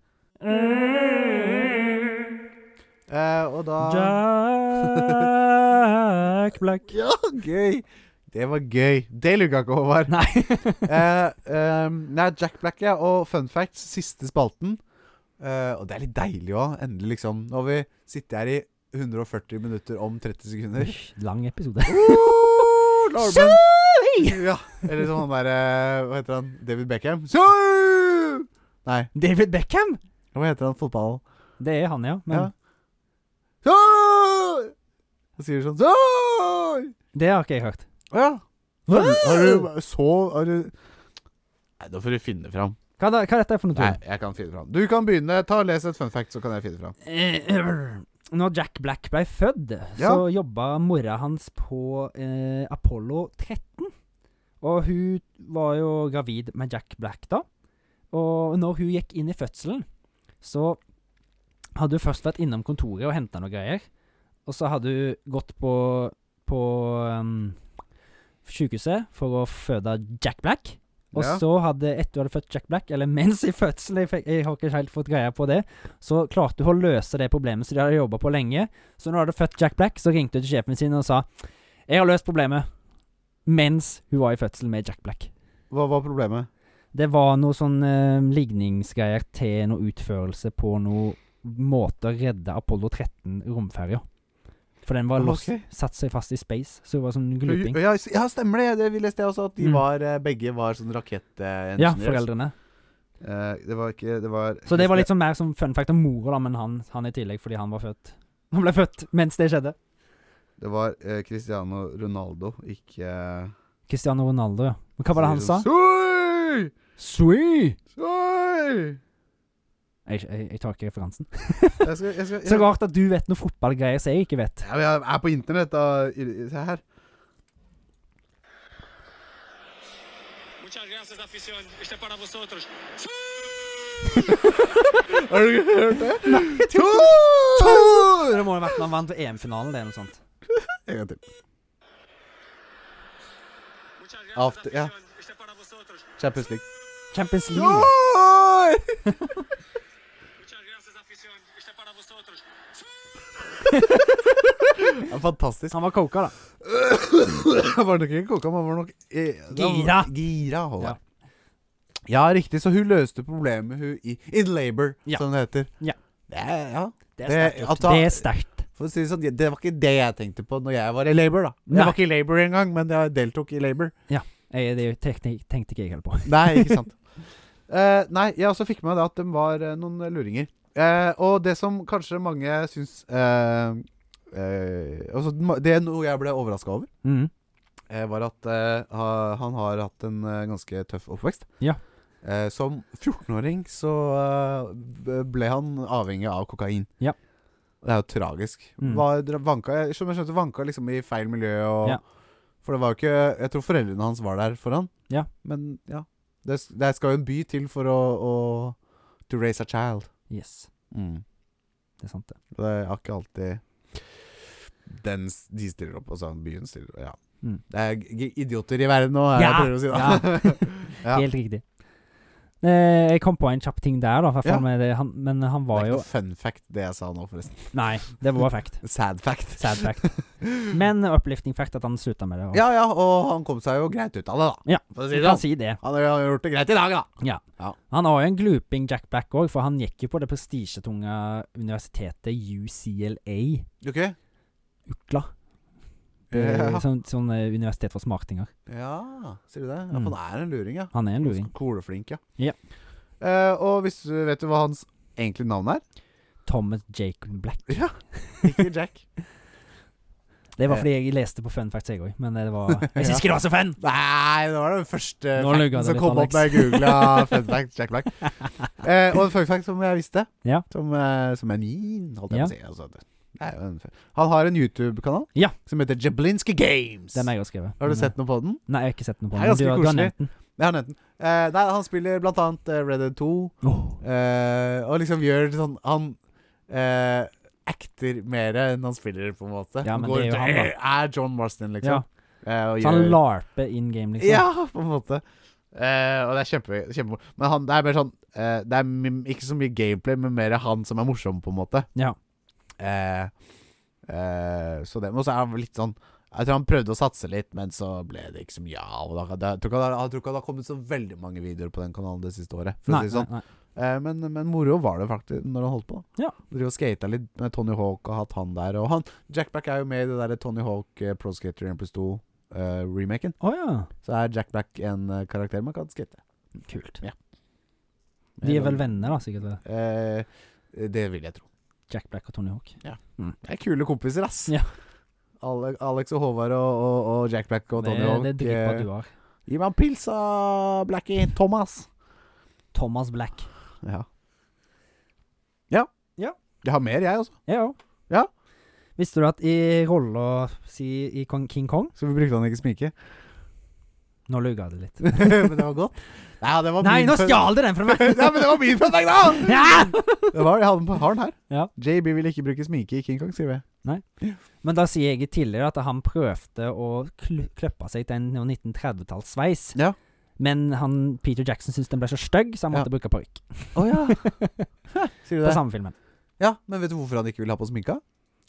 Speaker 2: Eh, og da
Speaker 3: Jack Black.
Speaker 2: Ja, gøy! Det var gøy. Det lugga ikke, Håvard.
Speaker 3: Nei.
Speaker 2: Eh, eh, nei, Jack Black ja, og Fun Facts, siste spalten. Eh, og det er litt deilig òg. Endelig, liksom. Nå har vi sittet her i 140 minutter om 30 sekunder.
Speaker 3: Uff, Lang episode.
Speaker 2: Oh, Larman.
Speaker 3: Sorry!
Speaker 2: Ja, eller som han derre Hva heter han? David Beckham? Sorry! Nei,
Speaker 3: David Beckham!
Speaker 2: hva heter han fotball?
Speaker 3: Det er han, ja. Men
Speaker 2: Ja. Sorry! Han sier sånn Sorry!
Speaker 3: det har ikke jeg hørt.
Speaker 2: Å ja. Har du, har du så har du Nei, da får du finne fram.
Speaker 3: Hva, da, hva er dette for noe
Speaker 2: Nei,
Speaker 3: tull?
Speaker 2: jeg kan finne fram. Du kan begynne. Ta og Les et fun fact, så kan jeg finne fram.
Speaker 3: Eh, Når Jack Black ble født, så jobba mora hans på eh, Apollo 13. Og hun var jo gravid med Jack Black da. Og når hun gikk inn i fødselen, så hadde hun først vært innom kontoret og henta noe greier. Og så hadde hun gått på, på um, sykehuset for å føde Jack Black. Og
Speaker 2: Ja.
Speaker 3: så hadde etter hun hadde født Jack Black, eller mens i fødselen, jeg, fikk, jeg har ikke helt fått greie på det, så klarte hun å løse det problemet som de hadde jobba på lenge. Så når hun hadde født Jack Black, så ringte hun til sjefen sin og sa Jeg har løst problemet. Mens hun var i fødsel med Jack Black.
Speaker 2: Hva var problemet?
Speaker 3: Det var noe sånn eh, ligningsgreier til noe utførelse på noe måte å redde Apollo 13-romferja. For den var lost,
Speaker 2: Ah, Ok.
Speaker 3: satt seg fast i space, så det var sånn gluping.
Speaker 2: Ja, s- ja, stemmer det. Det vi leste jeg også, at de
Speaker 3: Mm.
Speaker 2: var, eh, begge var sånn rakettengineer.
Speaker 3: Ja, foreldrene.
Speaker 2: det var ikke Det var
Speaker 3: Så det var litt sånn mer som fun fact om mora, da, men han, han i tillegg fordi han var født. Han ble født mens det skjedde.
Speaker 2: Det var eh, Cristiano Ronaldo, ikke eh,
Speaker 3: Cristiano Ronaldo, ja. Men hva var det han sa?
Speaker 2: sier sånn,
Speaker 3: Sweet!
Speaker 2: «Sui! Sui!»
Speaker 3: Jeg, jeg, jeg tar ikke referansen.
Speaker 2: Jeg skal, jeg skal,
Speaker 3: Så
Speaker 2: jeg,
Speaker 3: rart at du vet noe fotballgreier som jeg ikke vet.
Speaker 2: Ja, men jeg er på internett, da. I- i- Se her.
Speaker 6: Muchas gracias, afición. Este es para vosotros.
Speaker 2: Har du ikke hørt det?
Speaker 3: Det må ha vært når han vant EM-finalen, det, eller noe sånt.
Speaker 2: En gang til.
Speaker 6: Muchas gracias,
Speaker 2: After- ja.
Speaker 6: afición. Este es para vosotros.
Speaker 2: Champions League.
Speaker 3: Champions League.
Speaker 2: Sui!
Speaker 6: Muchas gracias, afición. Este es para vosotros.
Speaker 2: Ja, fantastisk.
Speaker 3: Han var coka, da.
Speaker 2: Han var nok ikke koka, men han var nok eh, han var-
Speaker 3: Gira.
Speaker 2: Gira, Håvard. Ja. riktig. Så hun løste problemet hun i In labor,
Speaker 3: Ja.
Speaker 2: som det heter.
Speaker 3: Ja.
Speaker 2: Det, er- ja.
Speaker 3: Det
Speaker 2: Det- altså-
Speaker 3: er sterkt. gjort.
Speaker 2: at han-
Speaker 3: Det er sterkt.
Speaker 2: For å si det sånn, det var ikke det jeg tenkte på når jeg var i labor, da. Jeg
Speaker 3: Nei.
Speaker 2: var ikke i labor engang, men jeg deltok i labor.
Speaker 3: Jeg, det tenkte, tenkte ikke jeg heller på.
Speaker 2: Nei, ikke sant. Eh, nei, jeg også fikk med meg det at de var eh, noen luringer. Eh, og det som kanskje mange syns eh, eh, altså, Det er noe jeg ble overraska over.
Speaker 3: Mm.
Speaker 2: eh, var at eh, ha, han har hatt en eh, ganske tøff oppvekst.
Speaker 3: Ja.
Speaker 2: Eh, som 14-åring så eh, b- ble han avhengig av kokain.
Speaker 3: Ja.
Speaker 2: Det er jo tragisk.
Speaker 3: Mm.
Speaker 2: Var, dra- vanka, jeg- som jeg skjønte, vanka liksom i feil miljø. Og,
Speaker 3: Ja.
Speaker 2: For det var jo ikke Jeg tror foreldrene hans var der for han.
Speaker 3: Ja.
Speaker 2: Men ja. Det, s- det skal jo en by til for å, å To raise a child.
Speaker 3: Yes,
Speaker 2: Mm.
Speaker 3: det er sant, det.
Speaker 2: Det er ikke alltid den, s- De stiller opp, og så byen stiller opp. Ja.
Speaker 3: Mm.
Speaker 2: Det er g- idioter i verden nå,
Speaker 3: Ja,
Speaker 2: er det jeg prøver å si. Da. Ja.
Speaker 3: Helt riktig. Eh, jeg kom på en kjapp ting der, da. i hvert fall
Speaker 2: Ja.
Speaker 3: Med det. Han, men han
Speaker 2: det
Speaker 3: var
Speaker 2: er ikke
Speaker 3: jo
Speaker 2: noe fun fact, det jeg sa nå, forresten.
Speaker 3: Nei, det var fact.
Speaker 2: Sad fact.
Speaker 3: Sad fact. Men uplifting fact at han slutta med det. og-
Speaker 2: Ja, ja, og han kom seg jo greit ut av det, da.
Speaker 3: Ja,
Speaker 2: For å si
Speaker 3: Du
Speaker 2: det
Speaker 3: kan
Speaker 2: sånn.
Speaker 3: si det.
Speaker 2: Han har gjort det greit i dag, da.
Speaker 3: Han har jo en gluping Jack Black òg, for han gikk jo på det prestisjetunge universitetet UCLA,
Speaker 2: Ok.
Speaker 3: Ukla. Det er
Speaker 2: Ja.
Speaker 3: Sånn, sånn eh, universitet for smartinger.
Speaker 2: ja, sier du det? Ja,
Speaker 3: Mm.
Speaker 2: for han er en luring, ja.
Speaker 3: Han er en luring.
Speaker 2: Koleflink, ja.
Speaker 3: Ja.
Speaker 2: Eh, og hvis du vet du hva hans egentlige navn er?
Speaker 3: Thomas Jake Black.
Speaker 2: Ja. Ikke Jack.
Speaker 3: Det var
Speaker 2: Eh.
Speaker 3: fordi jeg leste på fun facts, jeg òg, men det var Jeg syns ikke det var så fun!
Speaker 2: Nei, det var den første
Speaker 3: Nå lugga
Speaker 2: facten
Speaker 3: det
Speaker 2: som
Speaker 3: litt,
Speaker 2: kom opp
Speaker 3: Alex.
Speaker 2: da jeg googla fun fact Jack Black. Eh, og en fun fact som jeg visste,
Speaker 3: Ja.
Speaker 2: som, eh, som er min, holdt jeg
Speaker 3: Ja.
Speaker 2: på å si. Altså, det det er jo en fun- han har en YouTube-kanal
Speaker 3: Ja.
Speaker 2: som heter Jablinski Games.
Speaker 3: Den har jeg også skrevet.
Speaker 2: Har du
Speaker 3: men, eh,
Speaker 2: sett noe på den?
Speaker 3: Nei, jeg har ikke sett den på
Speaker 2: Det
Speaker 3: den.
Speaker 2: er
Speaker 3: men Du,
Speaker 2: ganske
Speaker 3: har- du har
Speaker 2: koselig.
Speaker 3: nevnt den.
Speaker 2: Jeg har nevnt den. Eh, nei, han spiller blant annet eh, Red Dead 2,
Speaker 3: Åh.
Speaker 2: eh, og liksom gjør sånn Han eh, acter mer enn han spiller, på en måte.
Speaker 3: Ja, men det er jo han, da.
Speaker 2: Er John Marston,
Speaker 3: Ja.
Speaker 2: liksom. Eh, og
Speaker 3: Så han
Speaker 2: gjør-
Speaker 3: larper in game, liksom.
Speaker 2: Ja, på en måte. Eh, og det er kjempe, kjempemor- Men han, det er mer sånn eh, Det er mi- ikke så mye gameplay, men mer han som er morsom, på en måte.
Speaker 3: Ja.
Speaker 2: Eh, eh, så det, men også er han vel litt sånn Jeg tror han prøvde å satse litt, men så ble det ikke så mye av det. Jeg tror ikke det- jeg tror ikke det har kommet så veldig mange videoer på den kanalen det siste året. For å si det sånn.
Speaker 3: nei.
Speaker 2: Eh, men, men moro var det faktisk når han holdt på.
Speaker 3: Ja.
Speaker 2: Driver og skata litt med Tony Hawk og hatt han der. Og han, Jack Black er jo med i det der Tony Hawk eh, Pro Skater 1 pluss 2 eh, remaken.
Speaker 3: Å ja.
Speaker 2: Så er Jack Black en eh, karakter man kan skate.
Speaker 3: Kult.
Speaker 2: Ja.
Speaker 3: De er vel venner, da, sikkert. eller?
Speaker 2: Eh, det vil jeg tro.
Speaker 3: Jack Black og Tony Hawk.
Speaker 2: Det er kule kompiser, ass.
Speaker 3: Ja.
Speaker 2: Ale- Alex og Håvard og, og, og Jack Black og Tony
Speaker 3: det,
Speaker 2: Hawk.
Speaker 3: det er dritbra
Speaker 2: eh,
Speaker 3: du har.
Speaker 2: Gi meg en pils av Blackie Thomas.
Speaker 3: Thomas Black.
Speaker 2: Ja. Ja.
Speaker 3: Ja.
Speaker 2: Jeg har mer, jeg altså. også.
Speaker 3: Jeg òg.
Speaker 2: Ja.
Speaker 3: Visste du at i rolla si i Kong- King Kong
Speaker 2: Så vi brukte han ikke sminke.
Speaker 3: Nå luga det litt.
Speaker 2: men det var godt. Nei, det var
Speaker 3: Nei,
Speaker 2: min
Speaker 3: nå
Speaker 2: fun-
Speaker 3: stjal du den fra meg!
Speaker 2: Nei, men det var min fun fact, da!
Speaker 3: Ja!
Speaker 2: Det var, jeg hadde den på har den her.
Speaker 3: Ja.
Speaker 2: JB vil ikke bruke sminke i King Kong, skriver jeg.
Speaker 3: Men da sier jeg tidligere at han prøvde å kl kløppe seg til en 1930-tallssveis.
Speaker 2: Ja.
Speaker 3: Men han, Peter Jackson syntes den ble så stygg, så han
Speaker 2: Ja.
Speaker 3: måtte bruke parykk.
Speaker 2: Å ja. Sier du
Speaker 3: På
Speaker 2: det?
Speaker 3: samme filmen.
Speaker 2: Ja, men vet du hvorfor han ikke vil ha på sminka?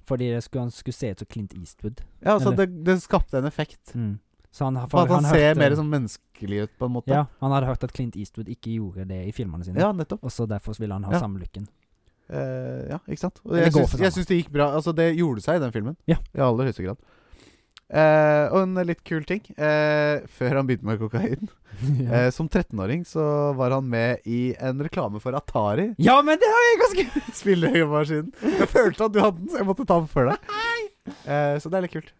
Speaker 3: Fordi det skulle, han skulle se ut som Clint Eastwood.
Speaker 2: Ja, altså,
Speaker 3: Eller-
Speaker 2: det, det skapte en effekt.
Speaker 3: Mm. Så han,
Speaker 2: For
Speaker 3: for
Speaker 2: at han, ser
Speaker 3: hørte-
Speaker 2: mer sånn menneskelig ut, på en måte.
Speaker 3: Ja, han hadde hørt at Clint Eastwood ikke gjorde det i filmene sine.
Speaker 2: Ja, nettopp.
Speaker 3: Og så derfor ville han ha
Speaker 2: Ja.
Speaker 3: samme looken.
Speaker 2: Eh, ja, ikke sant? Og
Speaker 3: Eller
Speaker 2: jeg
Speaker 3: gå
Speaker 2: syns,
Speaker 3: for
Speaker 2: jeg
Speaker 3: samme.
Speaker 2: syns det gikk bra. Altså, det gjorde seg i den filmen.
Speaker 3: Ja.
Speaker 2: I aller høyeste grad. Eh, og en litt kul ting. Eh, før han begynte med kokain, eh, som 13-åring, så var han med i en reklame for Atari.
Speaker 3: Ja, men det har jeg ganske
Speaker 2: Spilleøyemaskinen. Jeg følte at du hadde den, så jeg måtte ta den for deg. Eh, så det er litt kult.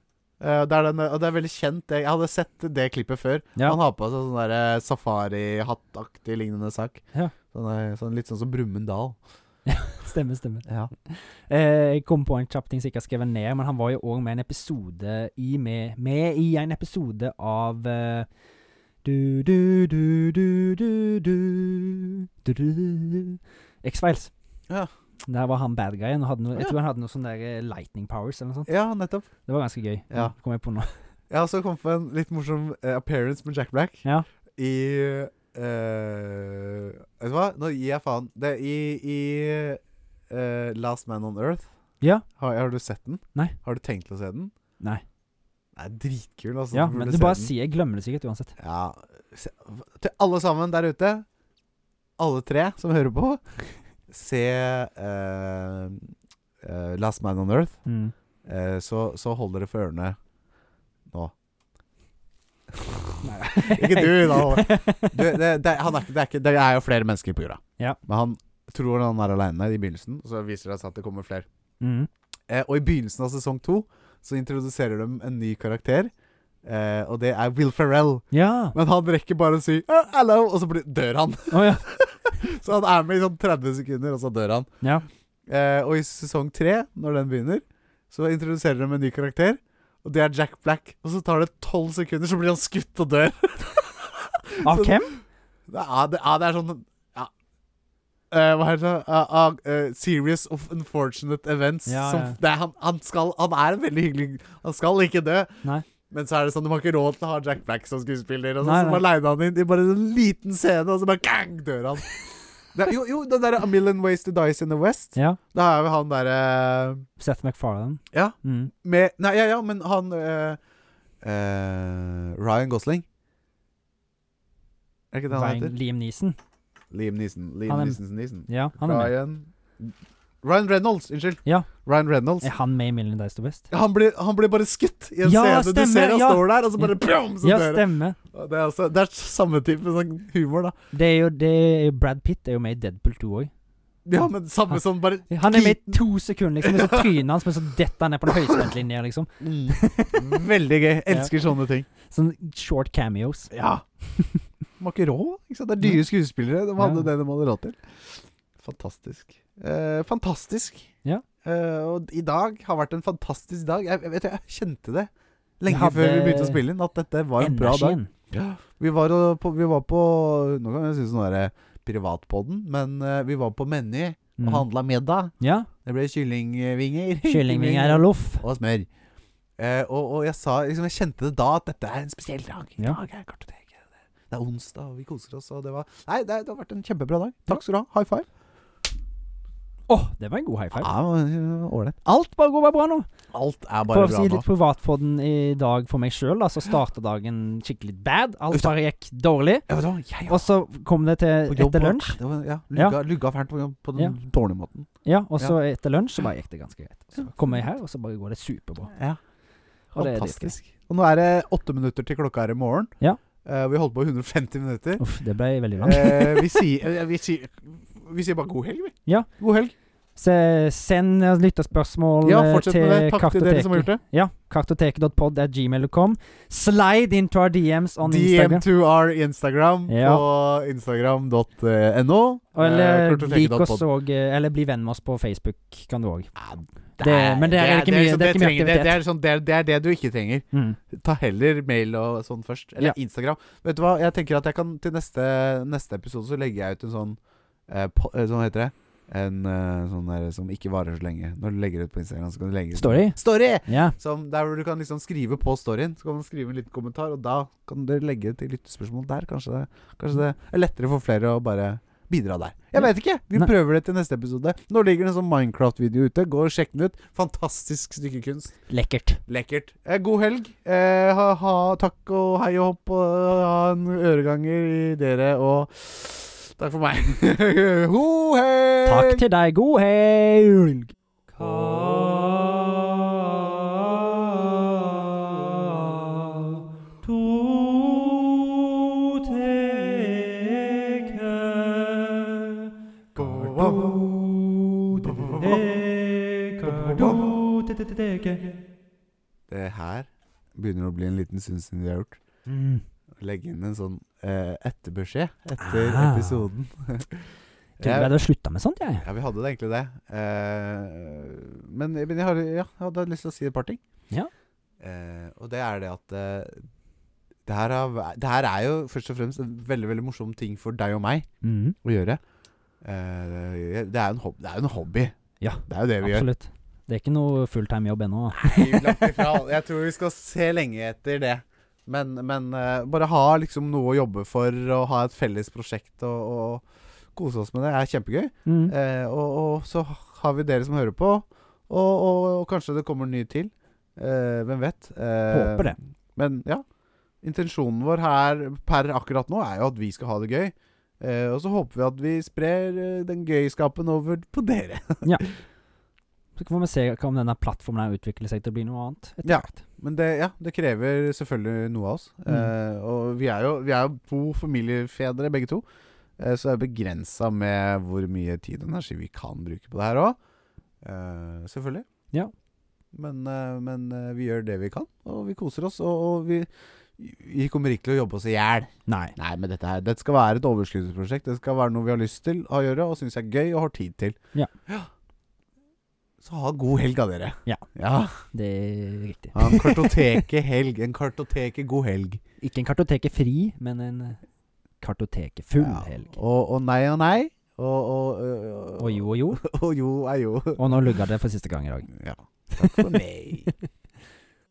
Speaker 2: Eh, det er den, og det er veldig kjent. Jeg jeg hadde sett det klippet før.
Speaker 3: Ja.
Speaker 2: Han har på seg sånn der, eh, safarihattaktig lignende sak.
Speaker 3: Ja.
Speaker 2: Sånn, eh, sånn, litt sånn som Brumund Dal.
Speaker 3: Stemmer, stemmer.
Speaker 2: Ja.
Speaker 3: Eh, jeg kom på en kjapp ting som jeg ikke har skrevet ned, men han var jo òg med, en episode i- med, med i en episode av eh, du, du, du, du, du, du, du, du, du, du. X-Files.
Speaker 2: Ja.
Speaker 3: Der var han bad guyen. og Hadde noe, jeg
Speaker 2: Ja.
Speaker 3: tror han hadde noe sånn der eh, lightning powers eller noe sånt.
Speaker 2: ja, nettopp.
Speaker 3: Det var ganske gøy.
Speaker 2: Ja.
Speaker 3: Kom jeg på nå.
Speaker 2: Jeg har også kommet på en litt morsom eh, appearance med Jack Black
Speaker 3: Ja.
Speaker 2: i eh, Vet du hva? Nå gir jeg faen. Det er i, i eh, Last Man on Earth.
Speaker 3: Ja.
Speaker 2: Har, har du sett den?
Speaker 3: Nei.
Speaker 2: Har du tenkt til å se den?
Speaker 3: Nei.
Speaker 2: Det er dritkul, altså.
Speaker 3: Ja,
Speaker 2: burde
Speaker 3: men
Speaker 2: se
Speaker 3: du bare
Speaker 2: den.
Speaker 3: sier Jeg glemmer det sikkert uansett.
Speaker 2: Ja. Se, til alle sammen der ute, alle tre som hører på, se eh, eh, Last Man on Earth.
Speaker 3: Mm.
Speaker 2: Eh, så, så hold dere for ørene nå.
Speaker 3: Nei.
Speaker 2: Ikke du, da. Håvard. Du, det, det, han er, ikke- det, er ikke, det er jo flere mennesker på jorda.
Speaker 3: Ja.
Speaker 2: Men han tror han er aleine i begynnelsen, og så viser det seg at det kommer flere.
Speaker 3: Mm.
Speaker 2: Eh, og i begynnelsen av sesong to så introduserer de en ny karakter, eh, og det er Will Ferrell.
Speaker 3: Ja.
Speaker 2: Men han rekker bare å si «Ah, 'hello', og så blir, dør han.
Speaker 3: Å ja.
Speaker 2: Så han er med i sånn 30 sekunder, og så dør han.
Speaker 3: ja.
Speaker 2: Eh, og i sesong tre, når den begynner, så introduserer de en ny karakter. Og det er Jack Black. Og så tar det tolv sekunder, så blir han skutt og dør.
Speaker 3: Av
Speaker 2: Så-
Speaker 3: hvem?
Speaker 2: Det er, det er, det er sånn ja. Eh, Hva heter det? Eh, ah, eh, series of unfortunate events.
Speaker 3: Ja,
Speaker 2: som,
Speaker 3: ja.
Speaker 2: Det er, han, han, skal, han er en veldig hyggelig Han skal ikke dø.
Speaker 3: Nei.
Speaker 2: Men så er det sånn, du har ikke råd til å ha Jack Black som skuespiller. Og så,
Speaker 3: Nei,
Speaker 2: så
Speaker 3: nei.
Speaker 2: bare leide han inn i bare en liten scene, og så bare gang, dør han. Det er, jo, jo, den derre A Million Ways to Dies in the West.
Speaker 3: Ja.
Speaker 2: Da er jo han eh, derre
Speaker 3: Seth MacFarlane.
Speaker 2: Ja.
Speaker 3: Mm.
Speaker 2: med Nei, ja, ja, men han eh, eh, Ryan Gosling. Er det ikke det han
Speaker 3: Ryan-
Speaker 2: heter?
Speaker 3: Liam Neeson.
Speaker 2: Liam Neeson.
Speaker 3: Han
Speaker 2: Liam
Speaker 3: er-
Speaker 2: Neesons Neeson.
Speaker 3: Ja, han er med.
Speaker 2: Ryan Ryan Reynolds, unnskyld.
Speaker 3: Ja.
Speaker 2: Ryan Reynolds.
Speaker 3: Er han med i Million Days to Best?
Speaker 2: Han blir, han blir bare skutt i en
Speaker 3: Ja, stemmer,
Speaker 2: scene. du ser han
Speaker 3: ja.
Speaker 2: står der, og så bare pjom, så
Speaker 3: Ja,
Speaker 2: dør han.
Speaker 3: stemmer.
Speaker 2: Og Det er, altså, det er samme type sånn humor, da.
Speaker 3: Det er jo, det er, Brad Pitt er jo med i Deadpool 2 òg.
Speaker 2: Ja, men
Speaker 3: Han-
Speaker 2: samme sånn bare
Speaker 3: Han er med i to sekunder, liksom. Og så trynet hans, men så detter han ned på den høyspentlinja, liksom.
Speaker 2: mm. Veldig gøy. Elsker sånne ting.
Speaker 3: Sånn short cameos.
Speaker 2: Ja. De har ikke råd. Ikke sant? Det er dyre skuespillere. De hadde
Speaker 3: Ja.
Speaker 2: det de hadde råd til. Fantastisk. Eh, fantastisk.
Speaker 3: Ja.
Speaker 2: Eh, og i dag har vært en fantastisk dag. Jeg, jeg, vet, du, jeg kjente det
Speaker 3: Jeg
Speaker 2: lenge
Speaker 3: hadde
Speaker 2: før vi begynte å spille inn, at dette var en bra dag.
Speaker 3: Energien.
Speaker 2: Vi var, og på, vi var på Nå kan jeg synes nå er det eh, privatpodden, men eh, vi var på Meny og
Speaker 3: Mm.
Speaker 2: handla middag.
Speaker 3: Ja.
Speaker 2: Det ble kyllingvinger.
Speaker 3: Kyllingvinger og loff.
Speaker 2: Og smør. Eh, og, og jeg sa liksom, Jeg kjente det da at dette er en spesiell dag. I
Speaker 3: Ja.
Speaker 2: dag er kartoteket. Det, det er onsdag, og vi koser oss, og det var Nei, det, det har vært en kjempebra dag. Takk skal du ha. High five.
Speaker 3: Åh, det var en god high five.
Speaker 2: Ja, men, øh, Ålreit.
Speaker 3: Alt bare går bare bra nå.
Speaker 7: Alt er
Speaker 3: For
Speaker 7: bare
Speaker 3: å
Speaker 7: bra
Speaker 3: si
Speaker 7: nå.
Speaker 3: litt privat for den i dag for meg sjøl, så starta dagen skikkelig bad. Alt bare gikk dårlig.
Speaker 2: Ja, vet du hva, jeg
Speaker 3: Og så kom det til
Speaker 2: på jobb
Speaker 3: etter
Speaker 2: og-
Speaker 3: lunsj.
Speaker 2: Det var, ja,
Speaker 3: Ja.
Speaker 2: lugga, lugga fælt på, jobb på den
Speaker 3: Ja.
Speaker 2: dårlige måten.
Speaker 3: Ja, og så etter lunsj så bare gikk det ganske greit. Så kommer jeg her, og så bare går det superbra.
Speaker 2: Ja.
Speaker 3: Og det er
Speaker 2: Fantastisk. Og nå er det åtte minutter til klokka er i morgen.
Speaker 3: Ja.
Speaker 2: Eh, vi holdt på i 150 minutter.
Speaker 3: Uff, det ble veldig langt.
Speaker 2: Eh, vi, sier, eh, vi, sier, vi sier bare god helg, vi.
Speaker 3: Ja.
Speaker 2: God helg.
Speaker 3: Se, send eh, lytterspørsmål
Speaker 2: Ja,
Speaker 3: eh,
Speaker 2: fortsett med det. Takk til dere som har
Speaker 3: kartoteket.
Speaker 2: gjort det.
Speaker 3: Ja, kartoteket.pod.gmail.com. Slide into our DMs on Instagram.
Speaker 2: DM2R i Instagram
Speaker 3: Ja.
Speaker 2: på instagram.no.
Speaker 3: Eller,
Speaker 2: Eh,
Speaker 3: lik oss
Speaker 2: kartoteket.pod.
Speaker 3: og, eh, eller bli venn med oss på Facebook, kan du òg.
Speaker 2: Ja,
Speaker 3: Det- men det er ikke mye-
Speaker 2: liksom
Speaker 3: det er ikke mye
Speaker 7: trenger- det, det, er sånn, det, er, det er det du ikke trenger.
Speaker 3: Mm.
Speaker 2: Ta heller mail og sånn først. Eller
Speaker 3: Ja.
Speaker 2: Instagram. Vet du hva, jeg tenker at jeg kan til neste, neste episode så legger jeg ut en sånn eh, po, eh, Sånn heter det. En eh, sånn der som ikke varer så lenge. Når du legger ut på Instagram, så kan du legge ut
Speaker 3: Story?
Speaker 2: Story!
Speaker 3: Ja.
Speaker 2: Som der hvor du kan liksom skrive på storyen. Så kan man skrive en liten kommentar, og da kan dere legge til lyttespørsmål der. Kanskje det, kanskje det er lettere for flere å bare bidra der. Jeg
Speaker 3: Ja.
Speaker 2: vet ikke! Vi
Speaker 3: Nei.
Speaker 2: prøver det til neste episode. Nå ligger det en sånn Minecraft-video ute. Gå og sjekk den ut. Fantastisk stykke kunst.
Speaker 3: Lekkert.
Speaker 2: Lekkert. Eh, god helg. Eh, ha, ha, takk og hei og hopp. Og ha en øreganger i dere, og takk for meg. Ho hei!
Speaker 3: Takk til deg. God helg!
Speaker 2: Det her begynner å bli en liten stund siden vi har gjort. Legge inn en sånn eh, etterbeskjed etter
Speaker 3: Ah.
Speaker 2: episoden.
Speaker 3: Tror jeg hadde slutta med sånt, jeg.
Speaker 2: Ja, vi hadde det egentlig det. Eh, men men jeg, har, ja, jeg hadde lyst til å si et par ting.
Speaker 3: Ja.
Speaker 2: Eh, og det er det at eh, det, her har, væ- det her er jo først og fremst en veldig veldig morsom ting for deg og meg
Speaker 3: Mm.
Speaker 2: å gjøre. Eh, det er jo en, hob det er jo en hobby.
Speaker 3: Ja,
Speaker 2: Det er jo det vi gjør.
Speaker 3: Absolutt. Det er ikke noe fulltime-jobb ennå.
Speaker 2: Vi langt ifra. Jeg tror vi skal se lenge etter det. Men, men eh, bare ha liksom noe å jobbe for, og ha et felles prosjekt og, og kose oss med det, er kjempegøy.
Speaker 3: Mm.
Speaker 2: Eh, og, og så har vi dere som hører på, og, og, og kanskje det kommer en ny til. Eh, hvem vet? Eh,
Speaker 3: Håper det.
Speaker 2: Men ja. Intensjonen vår her per akkurat nå er jo at vi skal ha det gøy. Eh, og så håper vi at vi sprer eh, den gøyskapen over på dere.
Speaker 3: Så får vi se hva om denne plattformen her utvikler seg til å bli noe annet. etter
Speaker 2: Ja.
Speaker 3: hvert.
Speaker 2: Men det, ja, det krever selvfølgelig noe av oss.
Speaker 3: Mm.
Speaker 2: Eh, og vi er jo vi er jo to familiefedre, begge to. Eh, så det er begrensa med hvor mye tid og energi vi kan bruke på det her òg. Eh, selvfølgelig.
Speaker 3: Ja.
Speaker 2: Men, eh, men eh, vi gjør det vi kan, og vi koser oss. Og, og vi, vi kommer ikke til å jobbe oss i hjel.
Speaker 3: Nei.
Speaker 2: Nei, men dette her Dette skal være et overskuddsprosjekt. Det skal være noe vi har lyst til å gjøre, og syns er gøy og har tid til.
Speaker 3: Ja.
Speaker 2: Så ha god helg, da, dere.
Speaker 3: Ja.
Speaker 2: ja.
Speaker 3: Det er riktig.
Speaker 2: Ha en kartoteket-helg. En kartoteket-god helg.
Speaker 3: Ikke en kartoteket-fri, men en eh, kartoteket-full helg.
Speaker 2: Og, og nei og nei. Og, og, øh,
Speaker 3: Og jo og jo.
Speaker 2: og jo er jo.
Speaker 3: Og nå lugga det for siste gang i dag.
Speaker 2: Ja. Takk for meg.